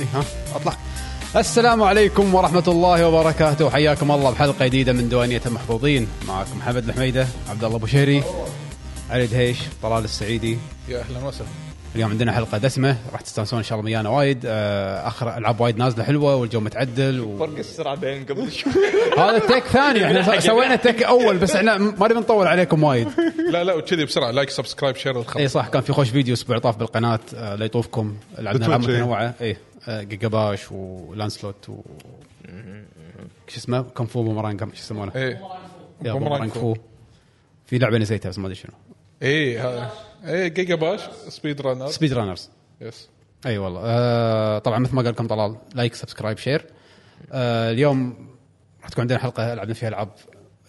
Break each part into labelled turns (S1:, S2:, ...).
S1: إيه، السلام عليكم ورحمة الله وبركاته وحياكم الله بحلقة جديدة من دوانية المحفوظين معكم محمد الحميدة عبد الله أبو شهري علي دهيش طلال السعيدي
S2: يا اهلا وسهلا
S1: اليوم عندنا حلقة دسمة راح تستانسون إن شاء الله ويانا وايد آه، آخر ألعاب وايد نازلة حلوة والجو متعدل و...
S3: فرق السرعه بين قبل شوي
S1: هذا التك ثاني احنا سوينا التك أول بس احنا ما نبي نطول عليكم وايد
S2: لا لا وكذي بسرعه لايك سبسكرايب شير الخط
S1: اي صح كان في خوش فيديو اسبوع طاف بالقناه آه، لا يطوفكم لعبنا العاب
S2: بتويتش، إي.
S1: متنوعه اي آه، جيجا باش ولانسلوت و شو اسمه كونفو بومرانج شو يسمونه؟
S2: ايه
S1: يا
S2: بومرانج
S1: بومرانج
S2: فو.
S1: فو في لعبه نسيتها بس ما ادري شنو
S2: ايه هذا ايه جيجا باش سبيد رانر
S1: سبيد رانرز
S2: يس
S1: اي والله آه طبعا مثل ما قال لكم طلال لايك سبسكرايب شير آه اليوم راح تكون عندنا حلقه لعبنا فيها العاب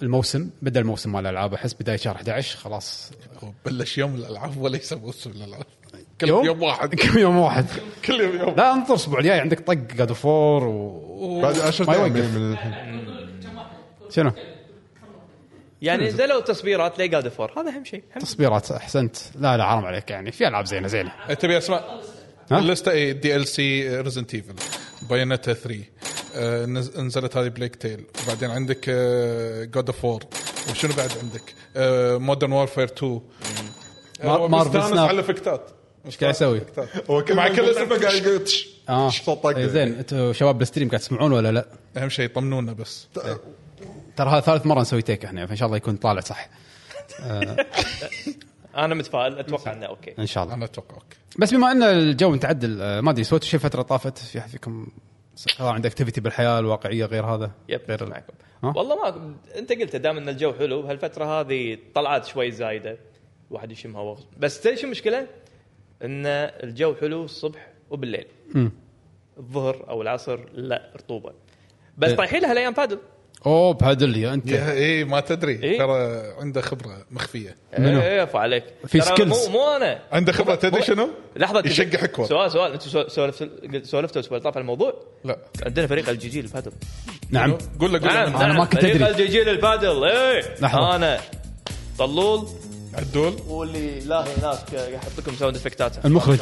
S1: الموسم بدا الموسم مال الالعاب احس بدايه شهر 11 خلاص
S2: بلش يوم الالعاب وليس موسم الالعاب كل
S1: يوم؟
S2: يوم, واحد
S1: كم يوم واحد
S2: كل يوم يوم
S1: لا انطر الاسبوع الجاي عندك طق جاد اوف وور و...
S4: بعد 10
S1: ما
S4: دقائق
S1: يوقف.
S4: من الحين
S1: شنو
S3: يعني
S1: نعم.
S3: نزلوا تصبيرات لي قاعد فور هذا اهم شيء أهم-
S1: تصبيرات احسنت لا لا حرام عليك يعني في العاب زينه زينه
S2: إيه، تبي اسمع
S1: ها؟
S2: اللسته ايه دي ال سي ريزنت ايفل بايونيتا 3 آه، نز- نزلت هذه بليك تيل وبعدين عندك إيه، جود اوف وور وشنو بعد عندك إيه، مودرن وورفير 2
S1: مار-
S2: آه،
S1: مارفل
S2: مستانس
S1: سناب.
S2: على الافكتات ايش
S1: قاعد يسوي؟
S4: هو كل
S2: مع
S4: ما
S2: كل
S4: يقول لعبة
S2: اسم
S4: قاعد يقول تش-
S1: اه
S4: تش طق طق.
S1: إيه زين انتوا شباب بالستريم قاعد تسمعون ولا لا؟
S2: اهم شيء طمنونا بس
S1: ترى هذا ثالث مره نسوي تيك احنا فان شاء الله يكون طالع صح
S3: انا متفائل
S1: نعم.
S3: اتوقع انه اوكي
S1: ان شاء الله
S2: انا اتوقع اوكي
S1: بس بما ان الجو متعدل آه، ما ادري سويتوا شيء فتره طافت في احد فيكم صار عنده اكتيفيتي بالحياه الواقعيه غير هذا
S3: يب
S1: غير
S3: معكم
S1: ها؟
S3: والله ما انت قلت دام ان الجو حلو بهالفتره هذه طلعت شوي زايده الواحد يشم هواء بس تدري شو المشكله؟ ان الجو حلو الصبح وبالليل الظهر او العصر لا رطوبه بس
S1: إيه.
S3: طايحين لها الايام بادل
S1: اوه بهدل يا انت
S2: اي ما تدري
S3: إيه؟
S2: ترى عنده خبره مخفيه
S1: منو؟
S3: ايه عفوا عليك
S1: في
S3: ترى
S1: skills.
S3: مو مو انا
S2: عنده خبره تدري
S3: مو-
S2: شنو؟
S3: لحظه تدري-
S2: يشقح اكوى
S3: سؤال سؤال انتم سو- سولفتوا سولفتوا الاسبوع اللي طاف على الموضوع
S2: لا
S3: عندنا فريق الجيجي البادل
S1: نعم
S2: قول له قول له
S3: نعم
S2: من
S1: أنا
S3: نعم،
S1: ما كنت
S3: فريق
S1: أدري.
S3: الجيجيل البادل ايه
S1: لحظة.
S3: انا طلول
S2: عدول
S3: واللي لا هناك قاعد احط لكم ساوند افكتات
S1: المخرج.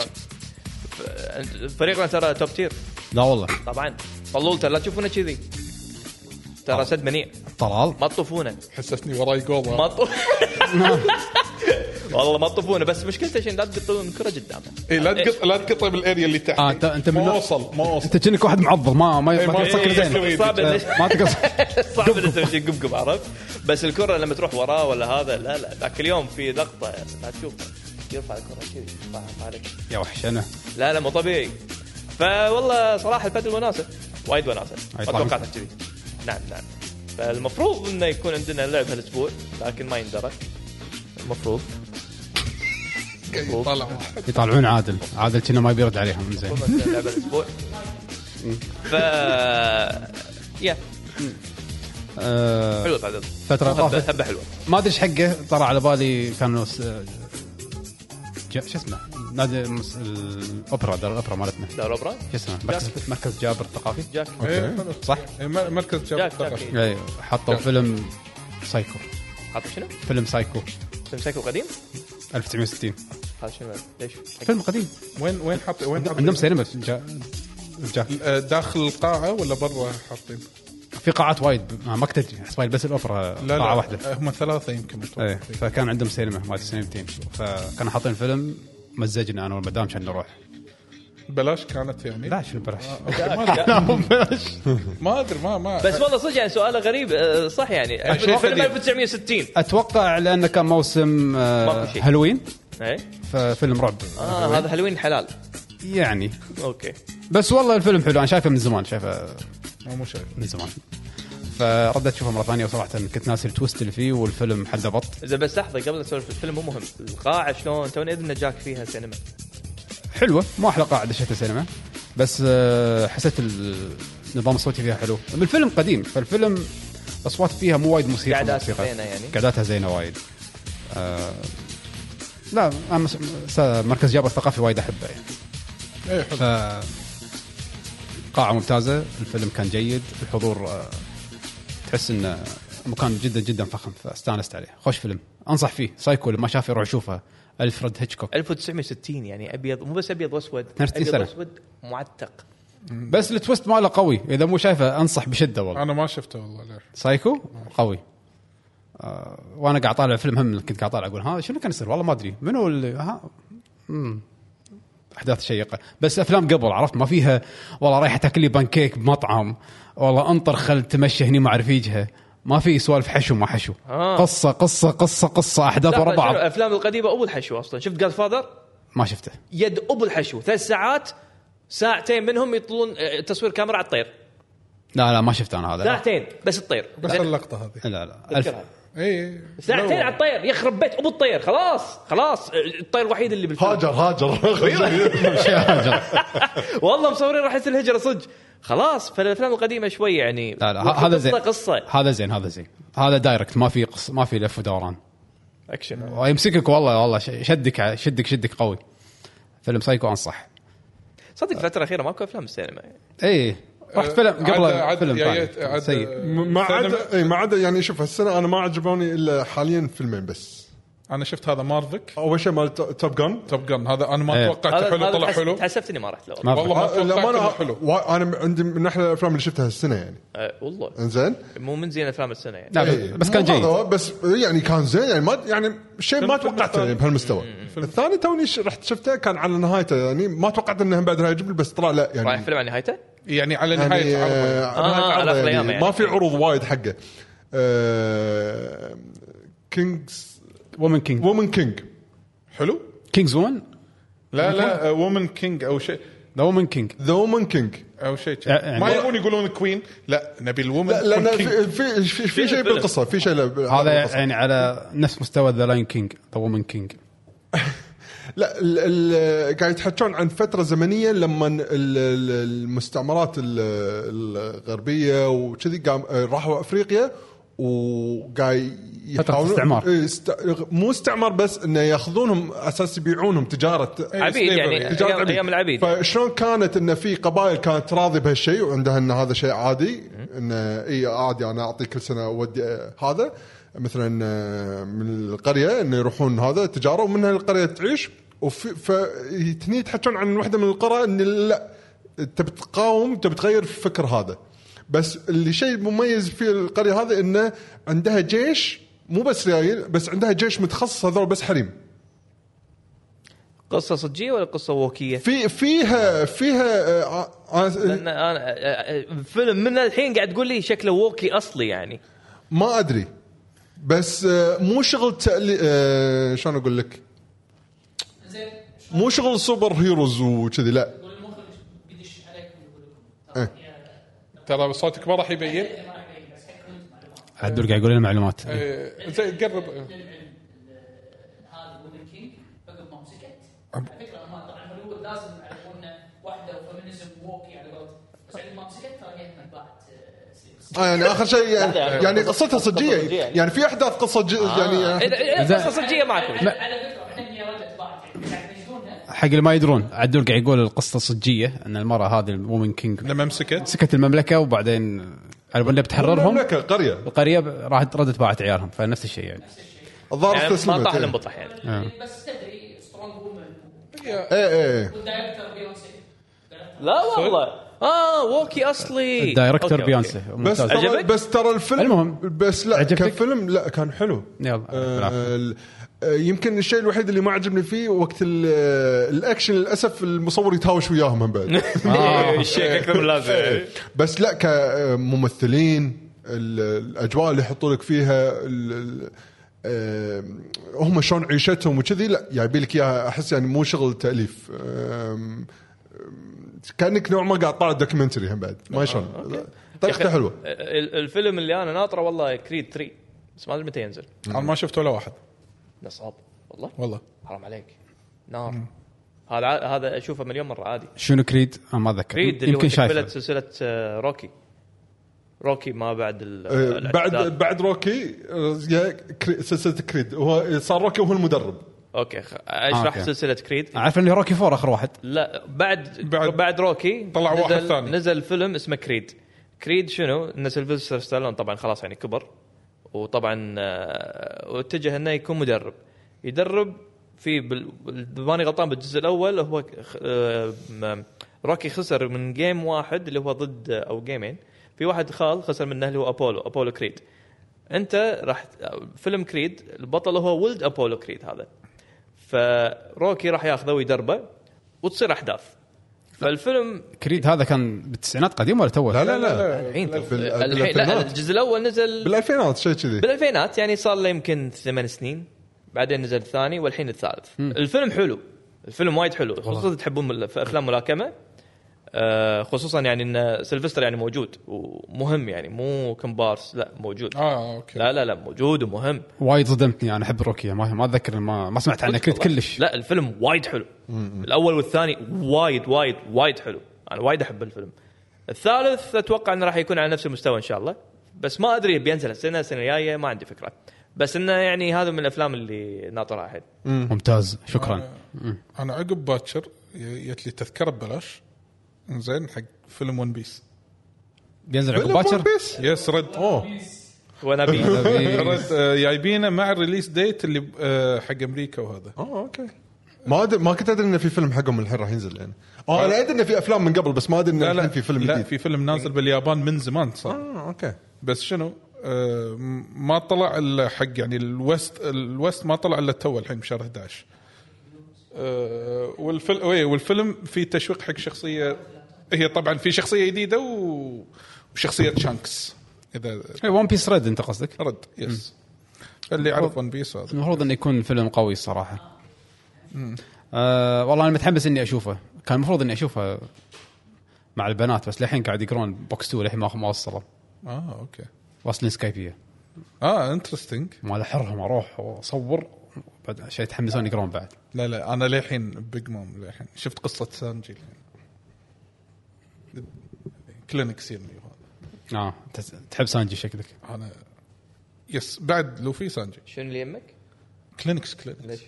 S3: ف- فريقنا ترى توب تير
S1: لا والله
S3: طبعا طلول ترى لا تشوفونه كذي
S1: آه.
S3: ترى سد منيع
S1: طلال
S3: ما تطوفونه
S2: حسسني وراي
S3: ما
S2: جوضه
S3: تطوف
S1: نعم.
S3: والله ما تطوفونه بس مشكلته شيء لا تقطون الكره قدامه
S1: إيه،
S2: اي إيه، لا تقط لا تقطه بالايريا اللي تحت
S1: آه، أنت- أنت من-
S2: ما اوصل ما اوصل
S1: انت كأنك واحد معضل ما ما
S2: إيه، ما
S1: ما تفكر
S2: تفكر
S1: زين
S2: زين.
S3: صعب إنه-
S1: آه، ما تقص
S3: صعب انه تسوي شيء قبقب عرفت بس الكره لما تروح وراه ولا هذا لا لا ذاك اليوم في لقطه لا تشوف يرفع الكره كذي يرفعها عليك
S1: يا وحش انا
S3: لا لا مو طبيعي فوالله صراحه البدل وناسه وايد وناسه ما
S1: أي طبعاً.
S3: توقعتها كذي نعم نعم فالمفروض انه يكون عندنا لعب هالاسبوع لكن ما يندرى المفروض
S2: طلع واحد
S1: يطالعون عادل عادل كنا ما يبيرد عليهم زين
S3: المفروض عندنا لعب هالاسبوع ف يا
S1: آه،
S3: حلو البدل
S1: فترة
S3: هبه
S1: طافت
S3: هبة حلوه
S1: ما ادري ايش حقه طلع على بالي كان س- جا- شو اسمه نادي مس- الاوبرا دار الاوبرا مالتنا شو
S3: دوري اوبرا
S1: اسمه مركز, مركز جابر الثقافي
S3: جاك
S2: إيه،
S1: صح؟
S2: إيه، مر- مركز شباب
S3: جاك
S2: الثقافي.
S3: جاك
S1: اي حطوا فيلم سايكو
S3: حاط شنو؟
S1: فيلم سايكو
S3: تمسكه قديم؟
S1: 1960
S3: هذا شنو ليش؟
S1: فيلم قديم
S2: وين وين حاط وين
S1: عندهم
S2: حاط
S1: سينما في جا... جا...
S2: داخل القاعه ولا برا حاطين؟
S1: في قاعات وايد ما ما كنت أدري، حسب بس الاوبرا
S2: لا
S1: قاعه
S2: لا
S1: واحده
S2: هم ثلاثه يمكن
S1: ايه
S2: اتوقع
S1: فكان عندهم سينما مالت سينمتين فكانوا حاطين فيلم مزجنا انا والمدام عشان نروح
S2: بلاش كانت يعني
S1: لا شنو بلاش
S2: ما ادري ما ما
S3: بس والله صدق يعني سؤاله غريب أه، صح يعني
S2: شيء
S3: فيلم
S2: قديم.
S3: 1960
S1: اتوقع لانه كان موسم آه،
S3: ماكو شيء.
S1: هالوين
S3: ايه
S1: ففيلم رعب
S3: اه هذا حلوين حلال
S1: يعني
S3: اوكي
S1: بس والله الفيلم حلو انا شايفه من زمان شايفه
S2: ما مو شايف
S1: من زمان فردت اشوفه مره ثانيه وصراحه كنت ناسي التويست اللي فيه والفيلم حده بط
S3: اذا بس لحظه قبل نسولف الفيلم مو مهم القاعه شلون توني اذن جاك فيها سينما
S1: حلوه مو احلى قاعده شفتها سينما بس آه، حسيت النظام الصوتي فيها حلو الفيلم قديم فالفيلم الاصوات فيها مو وايد موسيقى
S3: قعدات
S1: موسيقى.
S3: زينة يعني؟
S1: قعداتها زينه وايد آه، لا أنا مس- س- مركز جابر الثقافي وايد احبه يعني
S2: اي حلو
S1: ف قاعة ممتازة الفيلم كان جيد الحضور آه، تحس انه مكان جدا جدا فخم فاستانست عليه خوش فيلم انصح فيه سايكو اللي ما شافه يروح يشوفه الفريد هيتشكوك
S3: 1960 يعني ابيض مو بس ابيض واسود
S1: 62
S3: ابيض
S1: سنة.
S3: واسود معتق
S1: بس التويست ماله قوي اذا مو شايفه انصح بشده والله
S2: انا ما شفته والله ليه.
S1: سايكو قوي آه وانا قاعد طالع فيلم هم كنت قاعد طالع اقول ها شنو كان يصير والله ما ادري منو اللي ها مم. احداث شيقه بس افلام قبل عرفت ما فيها والله رايحه تاكل لي بانكيك بمطعم والله انطر خل تمشي هني مع رفيجها ما في سوالف حشو ما حشو
S3: آه.
S1: قصه قصه قصه قصه احداث
S3: لا،
S1: ورا
S3: شنو
S1: بعض
S3: الافلام القديمه ابو الحشو اصلا شفت جاد فاذر
S1: ما شفته
S3: يد ابو الحشو ثلاث ساعات ساعتين منهم يطلون آه، تصوير كاميرا على الطير
S1: لا لا ما شفته انا هذا لا
S3: ساعتين بس الطير
S2: بس اللقطه هذه إيه،
S1: لا, لا. ألف...
S3: أذكرها.
S2: اي
S3: ساعتين على الطير يخرب بيت ابو الطير خلاص خلاص آه، الطير الوحيد اللي بالفيلم
S4: هاجر هاجر
S1: شيء هاجر.
S3: والله مصورين راح يصير الهجره صدق خلاص فالافلام القديمه شوي يعني
S1: لا لا ه- هذا زين
S3: قصه قصه
S1: هذا زين هذا زين هذا دايركت ما في قص... ما في لف ودوران
S3: اكشن
S1: ويمسكك والله والله ش- شدك ع- شدك شدك قوي فيلم سايكو انصح
S3: صدق الفتره الاخيره ماكو افلام السينما
S1: اي إيه.
S2: آه،
S1: رحت فيلم قبل فيلم ثاني. سيء
S4: ما عدا إي، ما عدا يعني شوف هالسنه انا ما عجبوني الا حاليا فيلمين بس
S2: انا شفت هذا مارفك
S4: اول شيء مال توب جن
S2: توب جن هذا انا ما
S1: إيه.
S2: توقعته حلو طلع
S3: تحس-
S2: حلو
S3: تحسفت اني ما رحت له
S1: ما
S2: والله ما
S4: انا
S2: توقعته حلو
S4: وا- انا عندي من احلى الافلام اللي شفتها هالسنه يعني
S3: أه والله
S4: انزين
S3: مو من زين افلام السنه يعني
S1: لا
S4: إي.
S1: بس- بس كان
S4: مو هذا
S1: جيد
S4: هو، بس يعني كان زين يعني ما يعني شيء ما
S2: فيلم-
S4: توقعته
S2: فيلم
S4: يعني بهالمستوى الثاني توني ش- رحت شفته كان على نهايته يعني ما توقعت انه بعد راح يعجبني بس طلع لا
S1: نعم.
S3: رايح
S4: يعني
S3: فيلم عن نهايته؟
S2: يعني على
S4: يعني
S2: نهايه
S4: آه،
S2: عرضه.
S4: نهاية
S3: آه، على
S4: عرضه
S3: آخر أيام
S4: يعني
S3: يعني.
S4: ما في عروض وايد حقه آه، كينجز
S1: وومن كينج
S4: وومن كينج حلو
S1: كينجز وومن
S2: لا لا آه، وومن كينج او شيء
S1: ذا وومن كينج
S4: ذا وومن كينج
S2: او شيء
S1: يعني-
S2: ما يبون يقولون كوين لا نبي الومن
S4: لا لان
S2: كينج.
S4: في في, في, في شيء
S3: فيلم.
S4: بالقصه في شيء لا-
S1: هذا يعني على نفس مستوى ذا لاين كينج ذا وومن كينج إيه.
S4: لا ال- ال- قاعد يتحكون عن فتره زمنيه لما ال- ال- المستعمرات ال- الغربيه وكذي قام راحوا افريقيا وقاعد يحاولون-
S1: استعمار.
S4: إيه، است- مو استعمار بس انه ياخذونهم اساس يبيعونهم تجاره
S3: عبيد يعني
S2: slavery.
S4: تجارة
S3: ايام أيام العبيد
S4: إيه، فشلون كانت ان في قبائل كانت راضيه بهالشيء وعندها ان هذا شيء عادي ان اي عادي انا اعطي كل سنه اودي آه، هذا مثلا آه، من القريه انه يروحون هذا تجاره ومنها القريه تعيش وفي فتني يتحكون عن واحده من القرى ان لا انت بتقاوم انت بتغير الفكر هذا بس اللي شيء مميز في القريه هذا انه عندها جيش مو بس ريايل بس عندها جيش متخصص هذول بس حريم
S3: قصه صجيه ولا قصه ووكيه؟
S4: في فيها فيها آه، آه،
S3: لان انا آه، آه، فيلم من الحين قاعد تقول لي شكله ووكي اصلي يعني
S4: ما ادري بس آه، مو شغل تألي... آه، شلون اقول لك؟
S5: زين شلون
S4: مو شغل سوبر هيروز وكذي لا
S5: يقول المخرج بيدش عليكم يقول لكم
S4: إيه.
S5: ترى يا-
S2: ترى صوتك ما راح يبين
S5: ما راح يبين، بس حكوا انتم معلومات.
S1: عدول قاعد يقول لنا معلومات
S2: آه، زين قرب
S5: للعلم ال- هذه وومن كينج عقب ما مسكت على فكره هم طبعا هوليوود لازم يعلمونا واحده وفيمينيزم ووكي على قولتهم بس عقب ما مسكت ترى هي انباعت آه، سليبس
S4: آه يعني اخر شيء يعني,
S3: لا، يعني
S4: يعني قصتها صجيه
S3: قصة صجية يعني. آه.
S4: يعني في احداث قصه ج... يعني
S3: إذا- إذا قصه صجيه معكم
S5: على على فكره احنا هي ردت باعت يعني قاعد يمشونها
S1: حق اللي ما يدرون عدول قاعد يقول القصه صجيه ان المراه هذه الوومن كينج
S2: لما مسكت
S1: مسكت المملكه وبعدين على بنا بتحررهم
S4: المملكه قريه
S1: القريه ب- راحت ردت باعت عيالهم فنفس الشيء يعني
S4: الظاهر
S3: يعني ما
S4: استسلمت
S3: طاح
S4: إيه.
S3: الانبطح يعني
S5: بس تدري سترونج وومن
S4: ايه ايه
S5: والدايركتور بيونسي
S3: لا والله اه ووكي اصلي
S1: الدايركتور
S3: أوكي، أوكي.
S1: بيونسي
S4: بس
S1: ممتاز
S4: ترى
S3: عجبك؟
S4: بس ترى الفيلم
S1: المهم.
S4: بس لا
S1: عجبتك؟
S4: كفيلم لا كان حلو
S1: يلا بالعافية.
S4: آه ال- آه، يمكن الشيء الوحيد اللي ما عجبني فيه وقت ال- آه، الاكشن للاسف المصور يتهاوش وياهم من بعد
S1: آه.
S3: إيه، الشيك اكثر من لازم يعني.
S2: إيه.
S4: بس لا كممثلين ال- الاجواء اللي يحطوا لك فيها ال- ال- آم، هم شلون عيشتهم وكذي لا يبي لك اياها احس يعني مو شغل تاليف آم، آم، كانك نوع ما قاعد طالع دوكيومنتري هم بعد ما شلون
S1: طيب،
S4: طريقته حلوه
S3: ال- الفيلم اللي انا ناطره والله كريد 3 بس ما ادري متى ينزل
S2: انا ما شفت ولا واحد
S3: نصاب والله
S2: والله
S3: حرام عليك نار هذا ع- هذا اشوفه مليون مره عادي
S1: شنو كريد؟ انا ما اتذكر
S3: كريد اللي هو
S1: يمكن
S3: تكمله
S1: شايفه
S3: سلسله آه، روكي روكي ما بعد ال-
S4: آه، بعد
S3: الأجزاء.
S4: بعد روكي آه، يا كري- سلسله كريد هو صار روكي وهو المدرب
S3: اوكي خ- اشرح
S1: أوكي. آه.
S3: سلسله كريد
S1: اعرف انه روكي فور اخر واحد
S3: لا بعد
S2: بعد-
S3: بعد, بعد روكي
S2: طلع واحد
S3: نزل
S2: ثاني.
S3: نزل فيلم اسمه كريد كريد شنو؟ ان سيلفستر ستالون طبعا خلاص يعني كبر وطبعا آه، واتجه انه يكون مدرب يدرب في بال- بال- ماني غلطان بالجزء الاول هو آه، م- روكي خسر من جيم واحد اللي هو ضد او جيمين في واحد خال خسر منه اللي هو ابولو ابولو كريد انت راح آه، فيلم كريد البطل هو ولد ابولو كريد هذا فروكي راح ياخذه ويدربه وتصير احداث فالفيلم
S1: كريد هذا كان بالتسعينات قديم ولا تو؟
S4: لا لا لا
S3: الحين
S4: بال- بال-
S3: الحين لا
S4: بالألفينات.
S3: الجزء الاول نزل
S4: بالالفينات شيء كذي
S3: بالالفينات يعني صار له يمكن ثمان سنين بعدين نزل الثاني والحين الثالث الفيلم حلو الفيلم وايد حلو خصوصا تحبون ال- في افلام ملاكمه آه، خصوصا يعني ان سيلفستر يعني موجود ومهم يعني مو كمبارس لا موجود
S2: اه اوكي
S3: لا لا لا موجود ومهم
S1: وايد صدمتني انا احب روكي ما ما اتذكر ما, ما سمعت عنه كريد
S3: والله.
S1: كلش
S3: لا الفيلم وايد حلو الاول والثاني وايد وايد وايد حلو انا وايد احب الفيلم الثالث اتوقع انه راح يكون على نفس المستوى ان شاء الله بس ما ادري بينزل السنه السنه الجايه ما عندي فكره بس انه يعني هذا من الافلام اللي ناطرها الحين
S1: ممتاز
S4: آه.
S1: شكرا
S2: انا عقب باكر ي- جت لي تذكره ببلاش زين حق فيلم ون بيس
S1: بينزل عقب باكر
S4: بس
S2: يس رد اوه
S3: وانا بي
S2: رد
S4: إيه.
S2: آه، جايبينه مع الريليس ديت اللي آه، حق امريكا وهذا
S4: اه اوكي ما أدري ما كنت ادري انه في فيلم حقهم الحين راح ينزل يعني اه انا ادري انه في افلام من قبل بس ما ادري انه
S2: لا لا
S4: الحين في فيلم
S2: لا
S4: جديد
S2: في فيلم نازل باليابان من زمان صار
S4: اه اوكي
S2: بس شنو آه، م- ما طلع الا حق يعني الوست الوست ما طلع الا تو الحين بشهر 11 آه، والفيلم إيه، والفيلم في تشويق حق شخصيه هي طبعا في شخصيه جديده و- وشخصيه شانكس اذا
S1: ون بيس ريد انت قصدك
S2: رد يس اللي يعرف ون بيس هذا
S1: المفروض انه يكون فيلم قوي الصراحه آه والله انا متحمس اني اشوفه كان المفروض اني اشوفه مع البنات بس للحين قاعد يقرون بوكس 2 للحين ما ما وصلوا
S2: اه اوكي
S1: واصلين سكايبيه
S2: اه انترستنج
S1: مال حرهم اروح واصور بعد شيء يتحمسون يقرون بعد
S2: لا لا انا للحين بيج مام للحين شفت قصه سانجي كلينكس يمي وهذا.
S1: اه أنت تحب سانجي شكلك
S2: انا يس بعد لوفي سانجي
S3: شنو اللي يمك؟
S2: كلينكس كلينكس
S3: ليش؟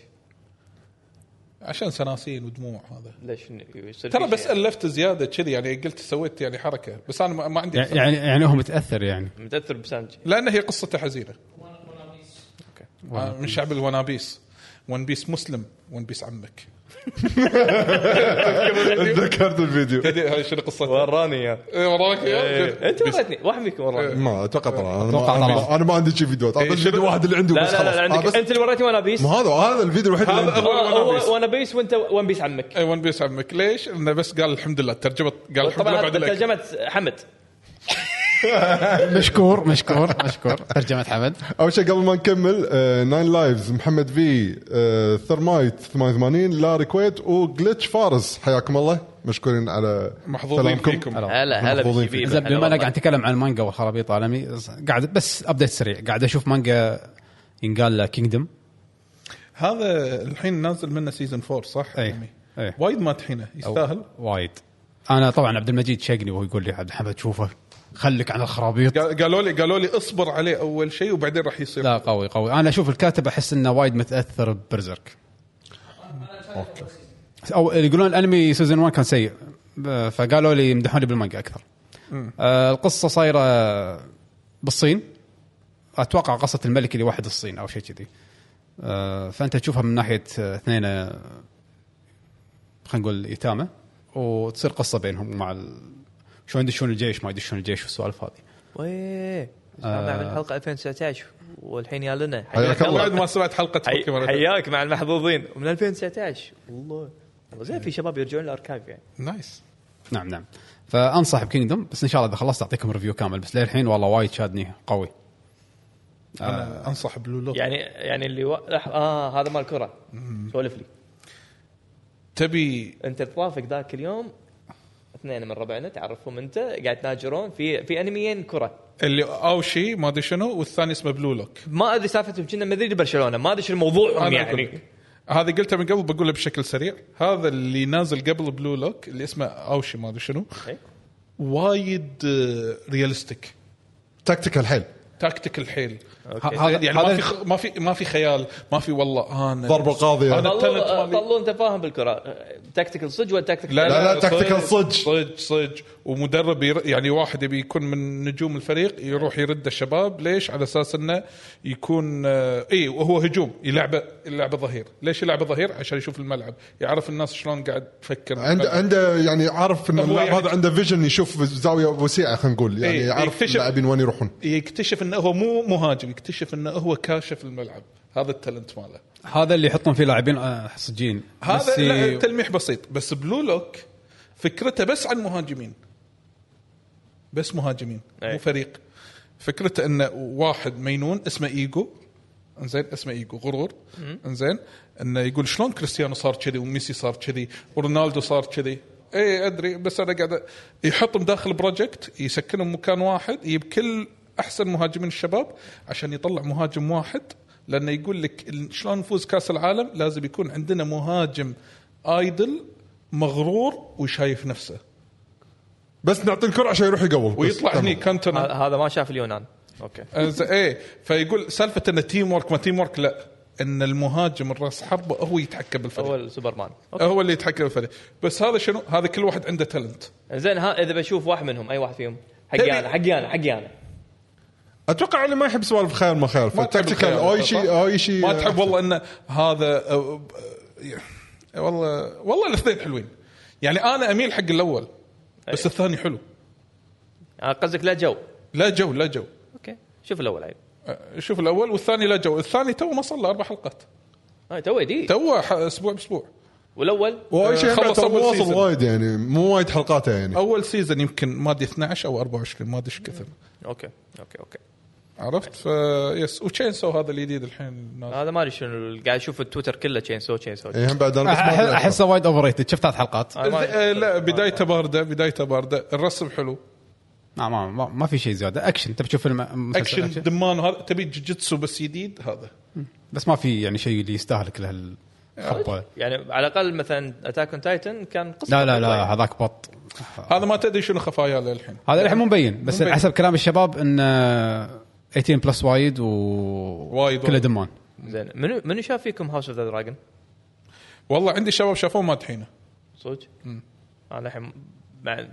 S2: عشان سناسين ودموع هذا
S3: ليش يعني؟ يصير
S2: ترى
S3: في
S2: بس
S3: شيء؟
S2: الفت زياده كذي يعني قلت سويت يعني حركه بس انا ما- ما عندي
S1: يعني يعني- يعني هو متاثر يعني
S3: متاثر بسانجي
S2: لان هي قصته حزينه آه، من شعب الونابيس ون بيس مسلم ون بيس عمك
S4: تذكرت الفيديو
S2: تدري هاي شنو قصته
S3: وراني يا
S2: إيه، وراك
S3: إيه،
S2: يا
S3: انت وريتني واحد منكم وراني
S4: ما اتوقع طلع انا
S1: أتوقع
S4: ما
S1: طلع.
S4: أنا- انا ما عندي شي فيديوهات هذا
S2: إيه،
S4: الفيديو
S2: شنو؟
S4: واحد اللي عندي
S3: لا
S4: بس
S3: لا لا
S4: خلاص آه،
S3: عندك
S4: بس
S3: انت اللي وريتني وانا بيس آه،
S4: ما هذا آه، هذا الفيديو الوحيد اللي
S2: هذا
S4: عندي.
S2: أول ون بيس.
S3: هو وانا بيس وانت ون بيس عمك
S2: اي ون بيس إيه، عمك ليش؟ انه بس قال الحمد لله ترجمه قال الحمد لله
S3: طبعا
S2: بعد الأكل.
S3: ترجمه حمد
S1: مشكور مشكور مشكور ترجمه حمد
S4: اول شيء قبل ما نكمل آه، ناين لايفز محمد في آه، ثرمايت 88 لاري كويت وجلتش فارس حياكم الله مشكورين على
S2: محظوظين
S4: كلامكم.
S2: فيكم
S3: هلا هلا
S4: محظوظين
S3: بشبيبة.
S1: زين
S3: هلا
S1: بما انا
S3: والله.
S1: قاعد اتكلم عن مانجا والخرابيط العالمي قاعد بس ابديت سريع قاعد اشوف مانجا ينقال له كينجدم
S2: هذا الحين نازل منه سيزون 4 صح؟
S1: أي.
S2: عمي؟
S1: أي.
S2: وايد ما طحينه يستاهل
S1: وايد انا طبعا عبد المجيد شقني وهو يقول لي عبد الحمد شوفه خليك عن الخرابيط
S2: قال- قالوا لي قالوا لي اصبر عليه اول شيء وبعدين راح يصير
S1: لا قوي قوي انا اشوف الكاتب احس انه وايد متاثر ببرزرك او يقولون الانمي سيزون 1 كان سيء ب- فقالوا لي يمدحوني بالمانجا اكثر آه القصه صايره بالصين اتوقع قصه الملك اللي واحد الصين او شيء كذي آه فانت تشوفها من ناحيه آه، اثنين آه، خلينا نقول يتامى وتصير قصه بينهم مع ال... شلون يدشون الجيش ما يدشون الجيش والسوالف هذه
S3: ويه سامع
S2: آه.
S3: بالحلقه 2019 والحين يا لنا
S4: حياك الله.
S2: بعد ما سمعت حلقه
S3: حي-
S2: بوكيمون.
S3: حياك مع المحظوظين من 2019 والله والله زين في شباب يرجعون الاركايف يعني
S2: نايس
S1: نعم نعم فانصح بكينجدوم بس ان شاء الله اذا خلصت اعطيكم ريفيو كامل بس للحين والله وايد شادني قوي
S2: انا انصح بلو لوك
S3: يعني يعني اللي و... لح- اه هذا مال كره سولف لي
S2: تبي
S3: انت ترافق ذاك اليوم اثنين من ربعنا تعرفهم انت قاعد تناجرون في في انميين كره
S2: اللي اوشي ما ادري شنو والثاني اسمه بلو لوك
S3: ما ادري سالفتهم كنا مدريد برشلونه ما ادري شو الموضوع
S2: أنا
S3: يعني
S2: أقول لك. هذه قلتها من قبل بقولها بشكل سريع هذا اللي نازل قبل بلو لوك اللي اسمه اوشي ما ادري شنو
S3: إيه.
S2: وايد آه، ريالستيك
S4: تكتيكال حيل
S2: تاكتيكال حيل
S1: ه- هذا
S2: يعني ما في
S1: هذا
S2: خ- ما في ما في خيال ما في والله انا
S4: ضرب القاضية.
S2: انا التالنت
S3: طلوا
S2: مالي
S3: طلوا انت فاهم بالكره تكتيكال صج ولا تكتيكال
S4: لا، لا، تكتيكال صج.
S2: صج صج ومدرب ير... يعني واحد يبي يكون من نجوم الفريق يروح يرد الشباب ليش؟ على اساس انه يكون آه، اي وهو هجوم يلعبه يلعبه ظهير، ليش يلعبه ظهير؟ عشان يشوف الملعب، يعرف الناس شلون قاعد تفكر
S4: عنده عنده يعني عارف ان
S2: طيب. هو
S4: اللاعب
S2: يعني-
S4: هذا عنده فيجن يشوف زاويه وسيعه خلينا نقول يعني
S2: إيه،
S4: يعرف
S2: يكتشف.
S4: اللاعبين وين يروحون
S2: يكتشف انه هو مو مهاجم، يكتشف انه هو كاشف الملعب، هذا التالنت ماله.
S1: هذا اللي يحطون فيه لاعبين آه، صجين
S2: هذا
S1: ميسي-
S2: لا، تلميح بسيط بس بلو لوك فكرته بس عن مهاجمين بس مهاجمين
S3: أي.
S2: مو فريق فكرته انه واحد مينون اسمه ايجو انزين اسمه ايجو غرور انزين انه يقول شلون كريستيانو صار كذي وميسي صار كذي ورونالدو صار كذي اي ادري بس انا قاعد أ- يحطهم داخل بروجكت يسكنهم مكان واحد يجيب كل احسن مهاجمين الشباب عشان يطلع مهاجم واحد لانه يقول لك ال- شلون نفوز كاس العالم لازم يكون عندنا مهاجم ايدل مغرور وشايف نفسه
S4: بس نعطي الكره عشان يروح يقول بس.
S2: ويطلع
S4: تمام.
S2: هني كانتونا
S3: ه- هذا ما شاف اليونان اوكي
S2: أنز- ايه فيقول سالفه ان تيم ورك ما تيم ورك لا ان المهاجم الراس حربه هو يتحكم بالفريق
S3: اول سوبرمان اوكي
S2: هو اللي يتحكم بالفريق بس هذا شنو هذا كل واحد عنده تالنت
S3: زين ها اذا بشوف واحد منهم اي واحد فيهم
S2: تبي-
S3: حقي انا حقي انا حقي انا
S4: اتوقع انه ما يحب سوالف خيال ما خيال
S2: ما تحب
S4: فالتكتيكال
S2: الخيال،
S4: اي
S2: صح؟
S4: شيء اي شيء
S2: ما تحب والله ان هذا أو- أو- يا- والله والله الاثنين حلوين يعني انا اميل حق الاول بس الثاني حلو
S3: آه، قصدك لا جو
S2: لا جو لا جو
S3: اوكي شوف الاول عيب
S2: أه، شوف الاول والثاني لا جو الثاني تو ما صار له اربع حلقات
S3: آه، تو جديد
S2: تو ح- اسبوع باسبوع
S3: والاول
S4: واي شيء
S2: خلص
S4: بعد ترى مو
S2: أول
S4: واصل
S2: سيزون.
S4: وايد يعني مو وايد حلقاته يعني
S2: اول سيزون يمكن ما ادري 12 او 24 ما ادري ايش كثر
S3: اوكي اوكي اوكي
S2: عرفت ف يس وتشين سو هذا الجديد الحين نازل.
S3: هذا ما ادري شنو قاعد اشوف التويتر كله تشين سو تشين سو
S4: إيه، هم بعد انا بس ما
S1: أح-
S4: أدري أكثر.
S1: احسه وايد اوفر ريتد شفت ثلاث حلقات
S3: أنا ما-
S2: ذ- آه، لا بدايته بارده بدايته بارده الرسم حلو
S1: ما ما, ما, ما في شيء زياده اكشن تبي تشوف فيلم مسلسل
S2: اكشن دمان وهذا تبي جوجيتسو بس جديد هذا
S1: بس ما في يعني شيء اللي يستاهلك له
S2: آه،
S1: الخبه
S3: يعني على الاقل مثلا اتاك اون تايتن كان قصه
S1: لا لا
S2: طيب.
S1: لا هذاك بط
S2: هذا ما تدري شنو خفاياه للحين
S1: هذا الحين مو مبين بس
S2: آه. مو مبين.
S1: حسب كلام الشباب انه 18 بلس وايد و
S2: وايد.
S1: كله دمان
S3: زين منو منو شاف فيكم هاوس اوف ذا دراجون؟
S2: والله عندي شباب شافوه ما دحينه
S3: صدق؟ انا الحين مع-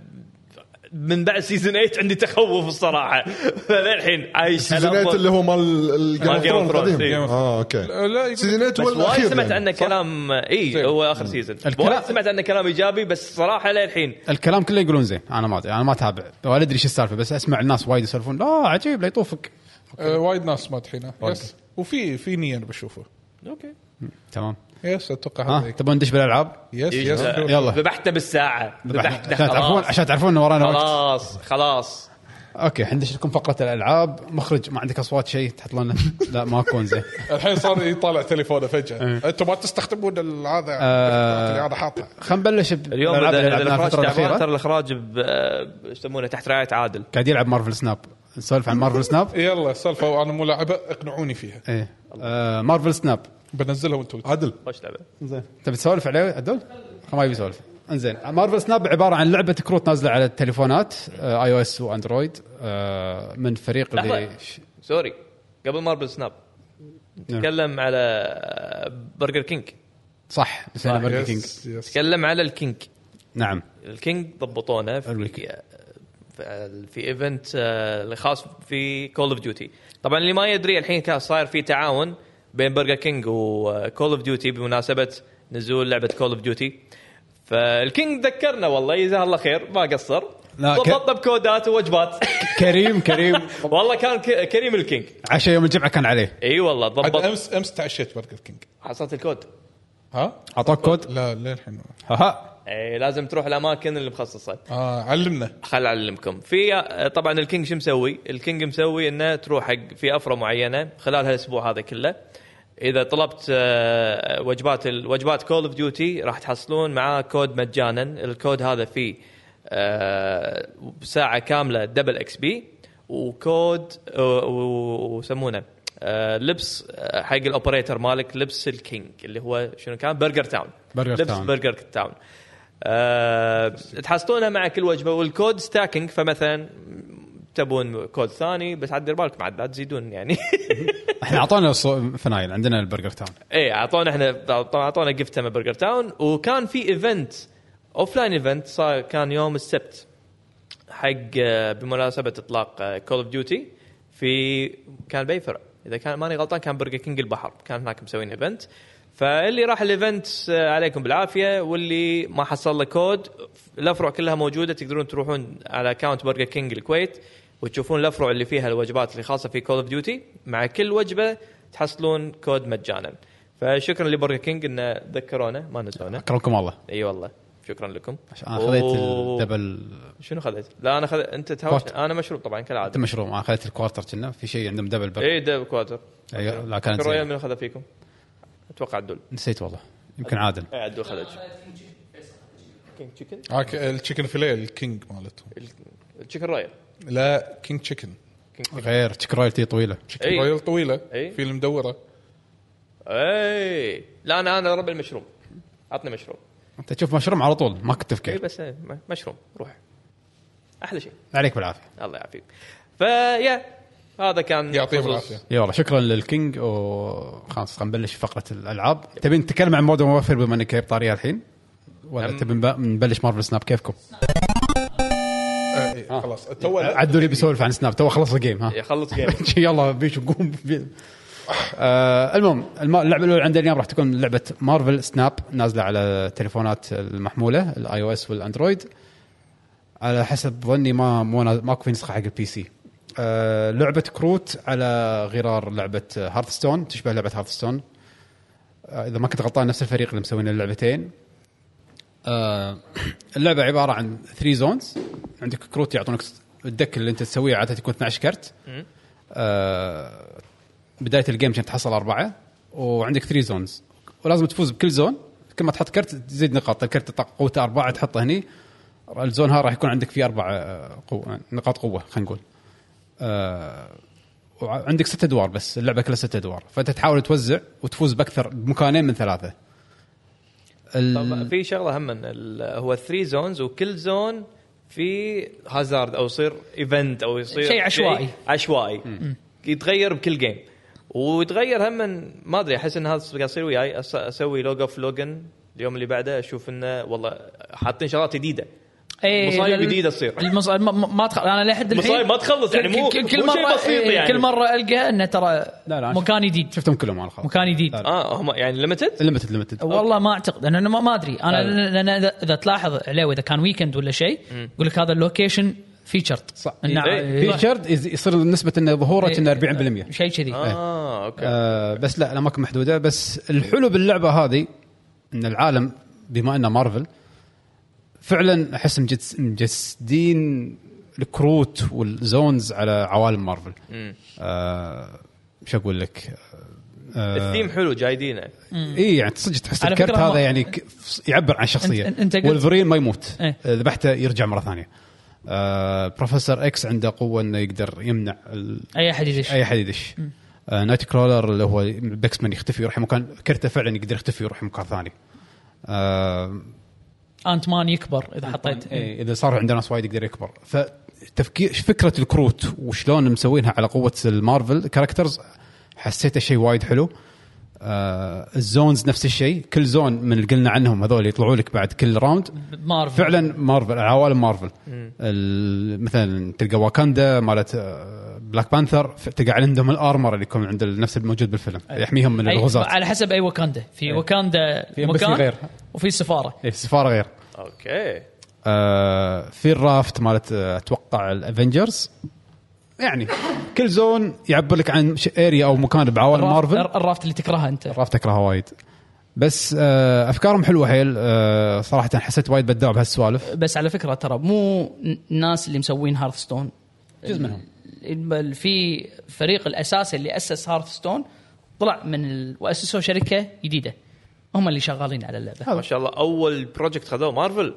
S3: من بعد سيزون 8 عندي تخوف الصراحه للحين عايش
S4: سيزون 8 اللي هو مال الجيم
S3: مال Game
S4: اوف
S3: of
S4: ثرونز القديم
S3: Thrones، إيه.
S4: اه اوكي
S2: لا لا يقول-
S4: سيزون 8
S3: بس
S4: هو
S3: وايد
S4: الاخير
S3: سمعت
S4: يعني.
S3: عنه كلام اي هو اخر سيزون
S1: الكلام-
S3: وايد سمعت عنه كلام ايجابي بس صراحه للحين
S1: الكلام كله يقولون زين انا ما ادري انا ما اتابع ولا ادري شو السالفه بس اسمع الناس وايد يسولفون لا عجيب لا يطوفك
S2: آه، وايد ناس ما دحينه يس وفي في نية انا بشوفه
S3: اوكي
S1: تمام
S2: يس اتوقع هذا
S1: ها
S2: هيك.
S1: تبون ندش بالالعاب
S2: يس
S3: إيه،
S2: يس
S3: لا.
S1: يلا
S3: ذبحته بالساعه ذبحته
S1: عشان تعرفون
S3: خلاص
S1: عشان تعرفون ان ورانا وقت
S3: خلاص خلاص
S1: اوكي حندش لكم فقره الالعاب مخرج ما عندك اصوات شيء تحط لنا لا ما اكون زين
S2: الحين صار يطالع تليفونه فجاه انتم ما تستخدمون ال- هذا
S1: آه.
S2: اللي انا حاطه
S1: خلينا نبلش ب-
S3: اليوم
S1: بالألعاب اللي
S3: إذا- إذا
S1: لعبناها
S3: الاخراج
S1: الفتره
S3: تعبان
S1: الاخيره
S3: ترى الاخراج ب- آه، ايش يسمونه تحت رعايه عادل
S1: قاعد يلعب مارفل سناب نسولف عن مارفل سناب
S2: يلا سالفه انا مو لاعبه اقنعوني فيها
S1: ايه آه، مارفل سناب
S2: بنزلها وانتم
S4: عدل
S3: خوش لعبه
S1: زين تبي تسولف عليه عدول؟ ما يبي يسولف انزين مارفل سناب عباره عن لعبه كروت نازله على التليفونات اي او اس واندرويد آه، من فريق اللي
S3: لحظة. سوري قبل ماربل سناب
S1: نعم.
S3: تكلم على برجر كينج
S1: صح نسينا
S3: صح.
S1: برجر كينج
S3: تكلم على الكينج
S1: نعم
S3: الكينج ضبطونا
S1: الويكند.
S3: في في- في ايفنت آه، الخاص في كول اوف ديوتي طبعا اللي ما يدري الحين كان صاير في تعاون بين برجر كينج وكول اوف ديوتي بمناسبه نزول لعبه كول اوف ديوتي فالكينج ذكرنا والله جزاه الله خير ما قصر
S1: لا، ك-
S3: ضبطنا بكودات ووجبات
S1: كريم كريم
S3: والله كان ك- كريم الكينج
S1: عشاء يوم الجمعه كان عليه
S3: اي والله
S2: عاد
S3: ضبط
S2: امس امس تعشيت برجر كينج
S3: حصلت الكود
S2: ها؟
S1: اعطاك كود
S2: لا للحين
S1: ها ها
S3: اي لازم تروح الاماكن اللي مخصصه
S2: اه علمنا
S3: خل اعلمكم في طبعا الكينج شو مسوي؟ الكينج مسوي انه تروح حق في افره معينه خلال هالاسبوع هذا كله اذا طلبت آه، وجبات ال- وجبات كول اوف ديوتي راح تحصلون معاه كود مجانا، الكود هذا فيه آه، ساعه كامله دبل اكس بي وكود آه، و- ويسمونه آه، لبس آه، حق الاوبريتر مالك لبس الكينج اللي هو شنو كان برجر تاون
S1: برجر
S3: لبس
S1: تاون.
S3: برجر تاون آه، أه تحصلونها مع كل وجبه والكود ستاكينج فمثلا تبون كود ثاني بس عاد دير بالكم عاد لا تزيدون يعني
S1: احنا اعطونا الصو- فنايل عندنا البرجر تاون
S3: ايه اعطونا احنا طبعا اعطونا جفت تم برجر تاون وكان في ايفنت اوف لاين ايفنت صار كان يوم السبت حق آه، بمناسبه اطلاق كول اوف ديوتي في كان باي فرع اذا كان ماني غلطان كان برجر كينج البحر كان هناك مسوين ايفنت فاللي راح الايفنت آه، عليكم بالعافيه واللي ما حصل له كود الافرع كلها موجوده تقدرون تروحون على اكونت برجر كينج الكويت وتشوفون الافرع اللي فيها الوجبات اللي خاصه في كول اوف ديوتي مع كل وجبه تحصلون كود مجانا فشكرا لبرجر كينج انه ذكرونا ما نسونا
S1: اكرمكم الله
S3: اي والله شكرا لكم
S1: عشان انا خذيت
S3: و-
S1: الدبل
S3: شنو خذيت؟ لا انا خذ انت تهوش
S1: كوارتر.
S3: انا مشروب إيه، طبعا
S1: انت
S3: كالعاده
S1: مشروم انا خذيت الكوارتر كنا في شيء عندهم دبل برجر
S3: اي دب كوارتر
S1: أيوة، لا كانت
S3: رويال
S1: زينة.
S3: من خذ فيكم؟ اتوقع عدول
S1: نسيت والله يمكن عادل
S3: اي عدول خذ كينج تشيكن
S2: هاك التشيكن فيليه الكينج مالتهم
S3: تشيكن رويال
S2: لا كينج تشيكن
S1: غير تشيك رويالتي طويله
S2: تشيكن
S3: أي.
S2: رويال طويله
S3: أي.
S2: في المدوره
S3: اي إيه. لا انا انا ربع المشروب عطني مشروب
S1: انت تشوف مشروم على طول ماكو
S3: اي
S1: تفكير
S3: بس إيه، م- مشروب روح احلى شيء
S1: عليك بالعافيه
S3: الله يعافيك فيا هذا كان
S2: يعطيهم
S3: خصوص-
S2: العافيه
S1: اي والله شكرا للكينج وخلاص خلينا نبلش فقره الالعاب تبي نتكلم عن مودرن وافير بما انك جايب طاريه الحين ولا
S3: أم-
S1: تبي نب- نبلش مارفل سناب كيفكم
S2: آه، إي، خلاص تو
S1: عدوا لي بيسولف عن سناب تو خلص الجيم ها
S3: يخلص جيم
S1: يلا بيش قوم بي- آه المهم الم- اللعبه الاولى عندنا اليوم راح تكون لعبه مارفل سناب نازله على التليفونات المحموله الاي او اس والاندرويد على حسب ظني ما مو نا- ماكو في نسخه حق البي سي آه لعبه كروت على غرار لعبه هارثستون تشبه لعبه هارثستون آه اذا ما كنت غلطان نفس الفريق اللي مسوين اللعبتين آه اللعبه عباره عن 3 زونز عندك كروت يعطونك س- الدك اللي انت تسويه عاده يكون 12 كرت آه، بدايه الجيم عشان تحصل اربعه وعندك 3 زونز ولازم تفوز بكل زون كل ما تحط كرت تزيد نقاط الكرت طق- قوته اربعه تحطه هني الزون ها راح يكون عندك فيه اربع آه، قوة نقاط قوه خلينا نقول آه، وعندك ست ادوار بس اللعبه كلها ست ادوار فانت تحاول توزع وتفوز باكثر بمكانين من ثلاثه ال-
S3: طبعا في شغله هم إن ال- هو 3 زونز وكل زون في هازارد او يصير ايفنت او يصير
S6: شيء عشوائي.
S3: عشوائي يتغير بكل جيم ويتغير هم إن- ما ادري احس ان هذا قاعد يصير وياي أس- اسوي لوج اوف لوجن اليوم اللي بعده اشوف انه والله حاطين شغلات جديده
S6: إيه،
S3: مصايب
S6: ال-
S3: جديدة تصير.
S6: المص... ما- ما ما تخ... انا لحد الحين
S3: مصايب ما تخلص، يعني مو-
S6: كل, كل
S3: مو
S6: مره
S3: شيء بسيط
S6: إيه،
S3: يعني.
S6: كل مره القى انه ترى
S1: لا، لا،
S6: مكان جديد
S1: شفتهم كلهم انا خلاص
S6: مكان جديد.
S3: اه هم يعني ليمتد
S1: ليمتد ليمتد
S6: والله ما اعتقد انا ما, ما ادري انا
S1: لا، لا.
S6: لان اذا إذا تلاحظ عليه اذا كان ويكند ولا شيء يقول لك هذا اللوكيشن فيتشرد
S1: صح
S3: إيه.
S1: فيتشرد يصير نسبه انه
S6: إيه.
S1: ظهورك انه 40%
S6: شيء كذي
S3: اه اوكي
S1: آه بس لا الاماكن محدوده بس الحلو باللعبه هذه ان العالم بما انه مارفل فعلا احس مجس- مجسدين الكروت والزونز على عوالم مارفل آه شو اقول لك
S3: الثيم حلو جايدينه
S1: اي يعني صدق تحس
S6: على
S1: الكرت
S6: فكرة
S1: هذا
S6: ما-
S1: يعني ك- يعبر عن شخصيه
S6: أنت- أنت قلت-
S1: ولفرين ما يموت
S6: إيه.
S1: ذبحته يرجع مره ثانيه آه بروفيسور اكس عنده قوه انه يقدر يمنع ال-
S6: اي احد يدش
S1: اي احد يدش آه نايت كرولر اللي هو بيكسمان يختفي يروح مكان كرته فعلا يقدر يختفي يروح مكان ثاني آه
S6: انت مان يكبر اذا حطيت
S1: إيه، اذا صار عنده ناس وايد يقدر يكبر فتفكير فكره الكروت وشلون مسوينها على قوه المارفل كاركترز حسيته شيء وايد حلو آه الزونز نفس الشيء كل زون من اللي قلنا عنهم هذول يطلعوا لك بعد كل راوند
S6: مارفل
S1: فعلا مارفل عوالم مارفل ال- مثلا تلقى واكاندا مالت آه، بلاك بانثر ف- تلقى عندهم الارمر اللي يكون عند ال- نفس الموجود بالفيلم يحميهم من
S6: أي-
S1: الغزاة
S6: على حسب اي وكاندا في وكاندا
S1: في
S6: مكان
S1: embassy غير.
S6: وفي سفاره
S1: إيه، السفاره غير
S3: اوكي
S1: آه، في الرافت مالت آه، اتوقع الافنجرز يعني كل زون يعبر لك عن اريا او مكان بعوالم
S6: الرافت,
S1: مارفل
S6: الرافت اللي تكرهها انت
S1: الرافت اكرهها وايد بس آه، افكارهم حلوه حيل آه، صراحه حسيت وايد بدعوا بهالسوالف
S6: بس على فكره ترى مو ن- الناس اللي مسوين هارثستون
S1: جزء منهم
S6: بل في فريق الاساسي اللي اسس هارثستون طلع من ال... واسسوا شركه جديده هم اللي شغالين على اللعبه
S1: طيب.
S3: ما شاء الله اول بروجكت خذوه مارفل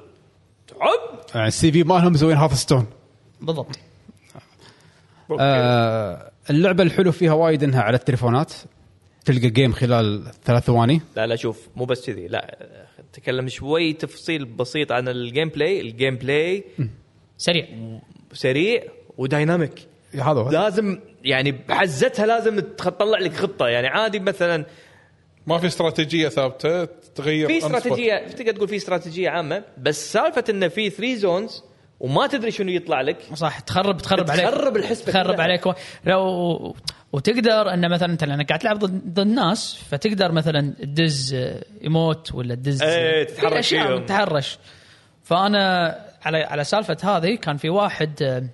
S3: تعب
S1: يعني السي في مالهم مسوين هاف ستون
S6: بالضبط
S3: أوكي.
S1: آه، اللعبه الحلو فيها وايد انها على التليفونات تلقى جيم خلال ثلاث ثواني
S3: لا لا شوف مو بس كذي لا تكلم شوي تفصيل بسيط عن الجيم بلاي الجيم بلاي
S6: سريع
S3: سريع ودايناميك
S1: هذا هو
S3: لازم يعني بحزتها لازم تخ- تطلع لك خطه يعني عادي مثلا
S2: ما في استراتيجيه ثابته تغير
S3: في
S2: on spot.
S3: استراتيجيه تقدر تقول في استراتيجيه عامه بس سالفه انه في 3 زونز وما تدري شنو يطلع لك
S6: صح تخرب تخرب عليك
S3: تخرب الحسبة
S6: تخرب
S3: كلها.
S6: عليك و... لو وتقدر انه مثلا انت لانك قاعد تلعب ضد ضد ناس فتقدر مثلا تدز آه، ايموت ولا تدز
S3: إيه،
S6: آه،
S3: تتحرك
S6: في أشياء
S3: فيهم.
S6: تتحرش فانا على على سالفه هذه كان في واحد آه،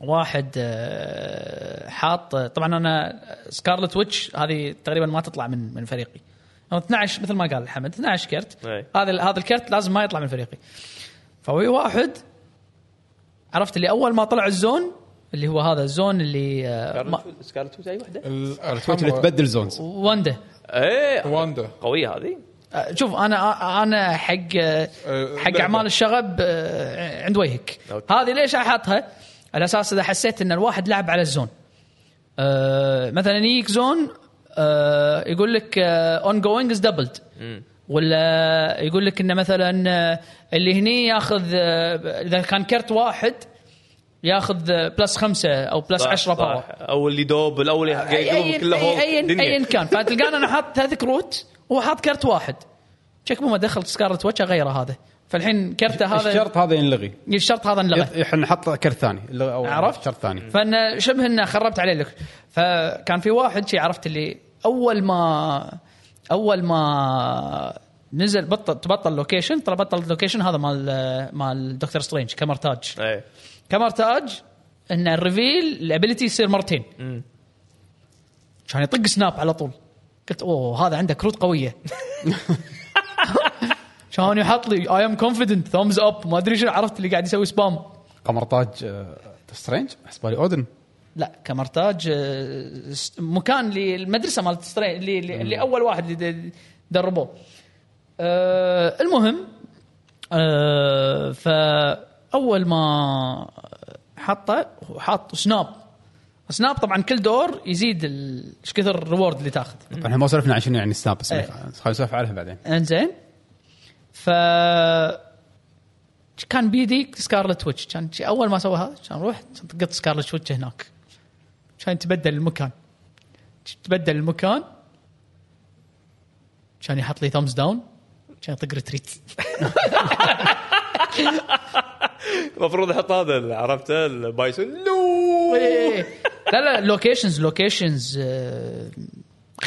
S6: واحد آه، حاط طبعا انا سكارلت ويتش هذه تقريبا ما تطلع من من فريقي أنا 12 مثل ما قال حمد 12 كرت
S3: إيه.
S6: هذا هذا الكرت لازم ما يطلع من فريقي فهو واحد عرفت اللي اول ما طلع الزون اللي هو هذا الزون اللي آه، ما-
S3: سكارلت ويتش اي وحده
S2: الأرحام
S1: تويتش اللي تبدل زونز
S6: واندا
S3: ايه
S2: واندا
S3: قويه هذه
S6: آه، شوف انا آه، انا حق آه،
S2: آه،
S6: حق
S2: لعبة.
S6: اعمال الشغب آه، عند وجهك
S3: أوكي.
S6: هذه ليش احطها؟ على اساس اذا حسيت ان الواحد لعب على الزون آه، مثلا يجيك زون آه، يقول لك آه، اون جوينج از دبلد ولا يقول لك انه مثلا آه، اللي هني ياخذ آه، اذا كان كرت واحد ياخذ بلس خمسه او بلس
S3: صح،
S6: 10
S3: صح.
S6: باور
S3: او اللي دوب او اللي
S6: ايا
S3: يقلبهم كلهم
S6: ايا ايا
S3: دنيا.
S6: كان فتلقانا انا حاط ثلاث كروت وهو حاط كرت واحد شكله ما دخلت سكارلت واتش غيره هذا فالحين كرته هذا
S1: الشرط هذا ينلغي
S6: الشرط هذا انلغى
S1: يط- احنا نحط كرت ثاني اللي هو
S6: عرفت؟
S1: شرط ثاني
S6: فانا شبه انه خربت عليه لك فكان في واحد شي عرفت اللي اول ما اول ما نزل بطل تبطل لوكيشن ترى بطل اللوكيشن هذا مال مال دكتور سترينج كمرتاج
S3: إيه.
S6: كمرتاج ان الريفيل الابيلتي يصير مرتين كان يطق سناب على طول قلت اوه هذا عنده كروت قويه كان يحط لي اي ام كونفدنت ثامز اب ما ادري شنو عرفت اللي قاعد يسوي سبام
S1: قمرطاج آه، سترينج حسب بالي اودن
S6: لا كمرتاج آه، س- مكان للمدرسه مالت ستري- اللي, اللي, اللي اول واحد اللي د- دربوه أه المهم أه فاول ما حطه وحط سناب سناب طبعا كل دور يزيد ال- ايش كثر الريورد اللي تاخذ
S1: طبعا احنا ما سولفنا عن شنو يعني سناب بس
S6: إيه.
S1: خلينا نسولف عليها بعدين
S6: انزين ف كان بيدي سكارلت ويتش كان شي- اول ما سواها كان رحت طقت سكارلت ويتش هناك كان تبدل المكان تبدل المكان كان يحط لي ثامز داون كان يطق ريتريت
S3: المفروض احط هذا اللي عرفته البايسون نو
S6: لا لا لوكيشنز لوكيشنز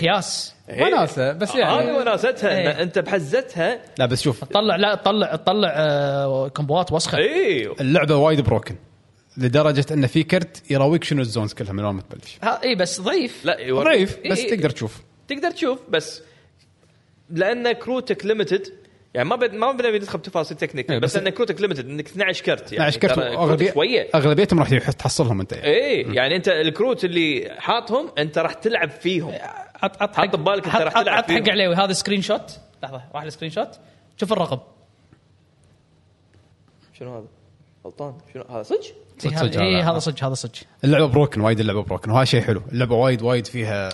S6: قياس
S1: وناسه بس
S3: هذه
S1: يعني
S3: وناستها
S6: إيه.
S3: إن انت بحزتها
S1: لا بس شوف
S6: طلع لا طلع طلع آه، كومبوات
S3: إيه.
S6: وسخه
S3: اي
S1: اللعبه وايد بروكن لدرجه ان في كرت يراويك شنو الزونز كلها من اول ما تبلش
S6: ها- اي بس ضعيف
S3: لا يوريك. إيه.
S1: ضعيف
S3: إي،
S1: بس
S3: إي.
S1: تقدر تشوف
S3: تقدر تشوف بس لان كروتك ليمتد يعني ما بد ما بدنا ندخل بتفاصيل تكنيكال
S1: إيه،
S3: بس,
S1: بس-
S3: ان كروتك ليمتد انك 12 كرت يعني
S1: 12 كرت
S3: ترى كروتك شويه
S1: وأغلبية- اغلبيتهم راح يح- تحصلهم انت يعني.
S3: ايه يعني انت الكروت اللي حاطهم انت راح تلعب فيهم
S6: حط حط
S3: حط ببالك انت
S6: حط-
S3: راح
S6: حط-
S3: تلعب
S6: حط حق
S3: فيهم.
S6: عليوي هذا سكرين شوت لحظه راح السكرين شوت شوف الرقم
S3: شنو هذا؟ غلطان شنو هذا صدق؟
S1: صدق- صدق
S6: اي
S1: هذا.
S6: إيه، هذا صدق هذا صدق
S1: اللعبه بروكن وايد اللعبه بروكن وهذا شيء حلو اللعبه وايد وايد فيها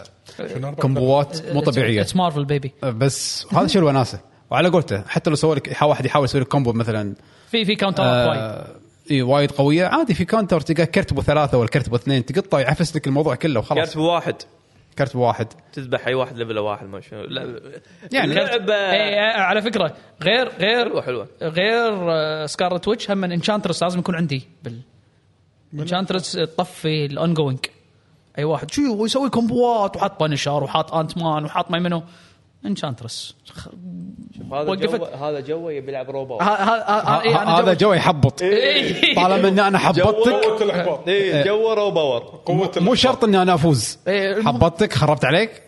S1: كومبوات مو طبيعيه
S6: اتس مارفل بيبي
S1: بس هذا شيء الوناسه وعلى قولته حتى لو سوى لك يحاول- واحد يحاول يسوي لك كومبو مثلا
S6: في في كاونتر
S1: آه،
S6: وايد
S1: اي وايد قويه عادي في كاونتر تلقى كرت ابو ثلاثه ولا كرت ابو اثنين تقطع يعفس لك الموضوع كله
S3: كرت
S1: وخلاص
S3: واحد
S1: كرت واحد
S3: تذبح اي واحد ليفل واحد ما شنو لا
S1: يعني
S6: إي،
S3: لعبه
S6: آه، على فكره غير غير
S3: حلوه حلوه
S6: غير آه، سكارلت ويتش هم انشانترس لازم يكون عندي بال آه، انشانترس تطفي الاون جوينج اي واحد شو يسوي كومبوات وحاط بانشر وحاط انت مان وحاط ما منو انشانترس
S3: هذا
S6: وقفت.
S3: جوه هذا جوه يبي يلعب روبو
S1: هذا جو يحبط
S6: إيه.
S1: طالما ان انا
S2: قوه
S1: حبطتك
S2: الاحباط
S3: ايه جوه
S1: إيه.
S3: روبو
S2: قوه
S1: مو شرط اني انا افوز
S6: إيه، المهم-
S1: حبطتك خربت عليك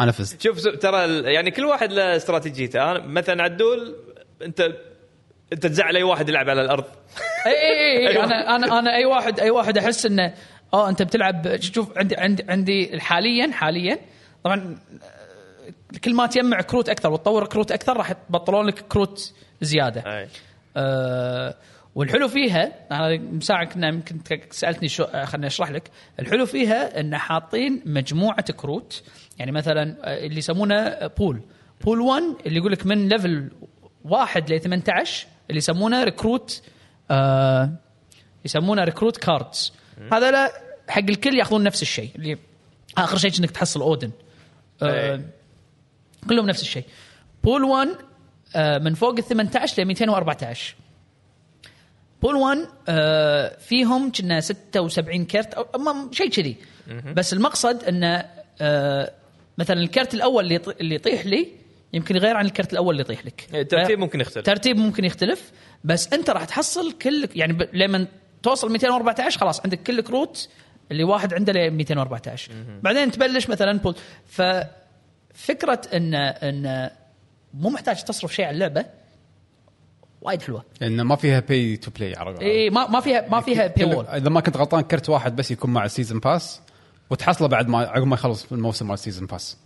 S1: انا فزت
S3: شوف س- ترى ال- يعني كل واحد له استراتيجيته انا مثلا عدول انت انت تزعل اي واحد يلعب على الارض
S6: اي اي اي انا انا انا اي واحد اي واحد احس انه اه انت بتلعب شوف عندي عندي عندي حاليا حاليا طبعا آه، كل ما تجمع كروت اكثر وتطور كروت اكثر راح يبطلون لك كروت زياده
S3: اي
S6: أه والحلو فيها انا من ساعه كنا يمكن سالتني شو آه، خليني اشرح لك الحلو فيها ان حاطين مجموعه كروت يعني مثلا آه، اللي يسمونه بول بول 1 اللي يقول لك من ليفل 1 ل 18 اللي يسمونه ريكروت آه، يسمونه ريكروت كاردز هذا لا حق الكل ياخذون نفس الشيء اللي اخر شيء انك تحصل اودن آه
S3: إيه.
S6: كلهم نفس الشيء بول 1 آه من فوق ال 18 ل 214 بول 1 آه فيهم كنا 76 كرت او أما شيء كذي بس المقصد انه آه مثلا الكرت الاول اللي يط- اللي يطيح لي يمكن غير عن الكرت الاول اللي يطيح لك
S3: الترتيب إيه، ممكن يختلف
S6: ترتيب ممكن يختلف بس انت راح تحصل كل يعني ب... لما توصل 214 خلاص عندك كل كروت اللي واحد عنده ل 214 بعدين تبلش مثلا بول ففكره ان ان مو محتاج تصرف شيء على اللعبه وايد حلوه
S1: لان ما فيها باي تو بلاي عرفت
S6: اي ما ما فيها ما فيها باي وول
S1: اذا ما كنت غلطان كرت واحد بس يكون مع السيزون باس وتحصله بعد ما عقب ما يخلص الموسم مال السيزون باس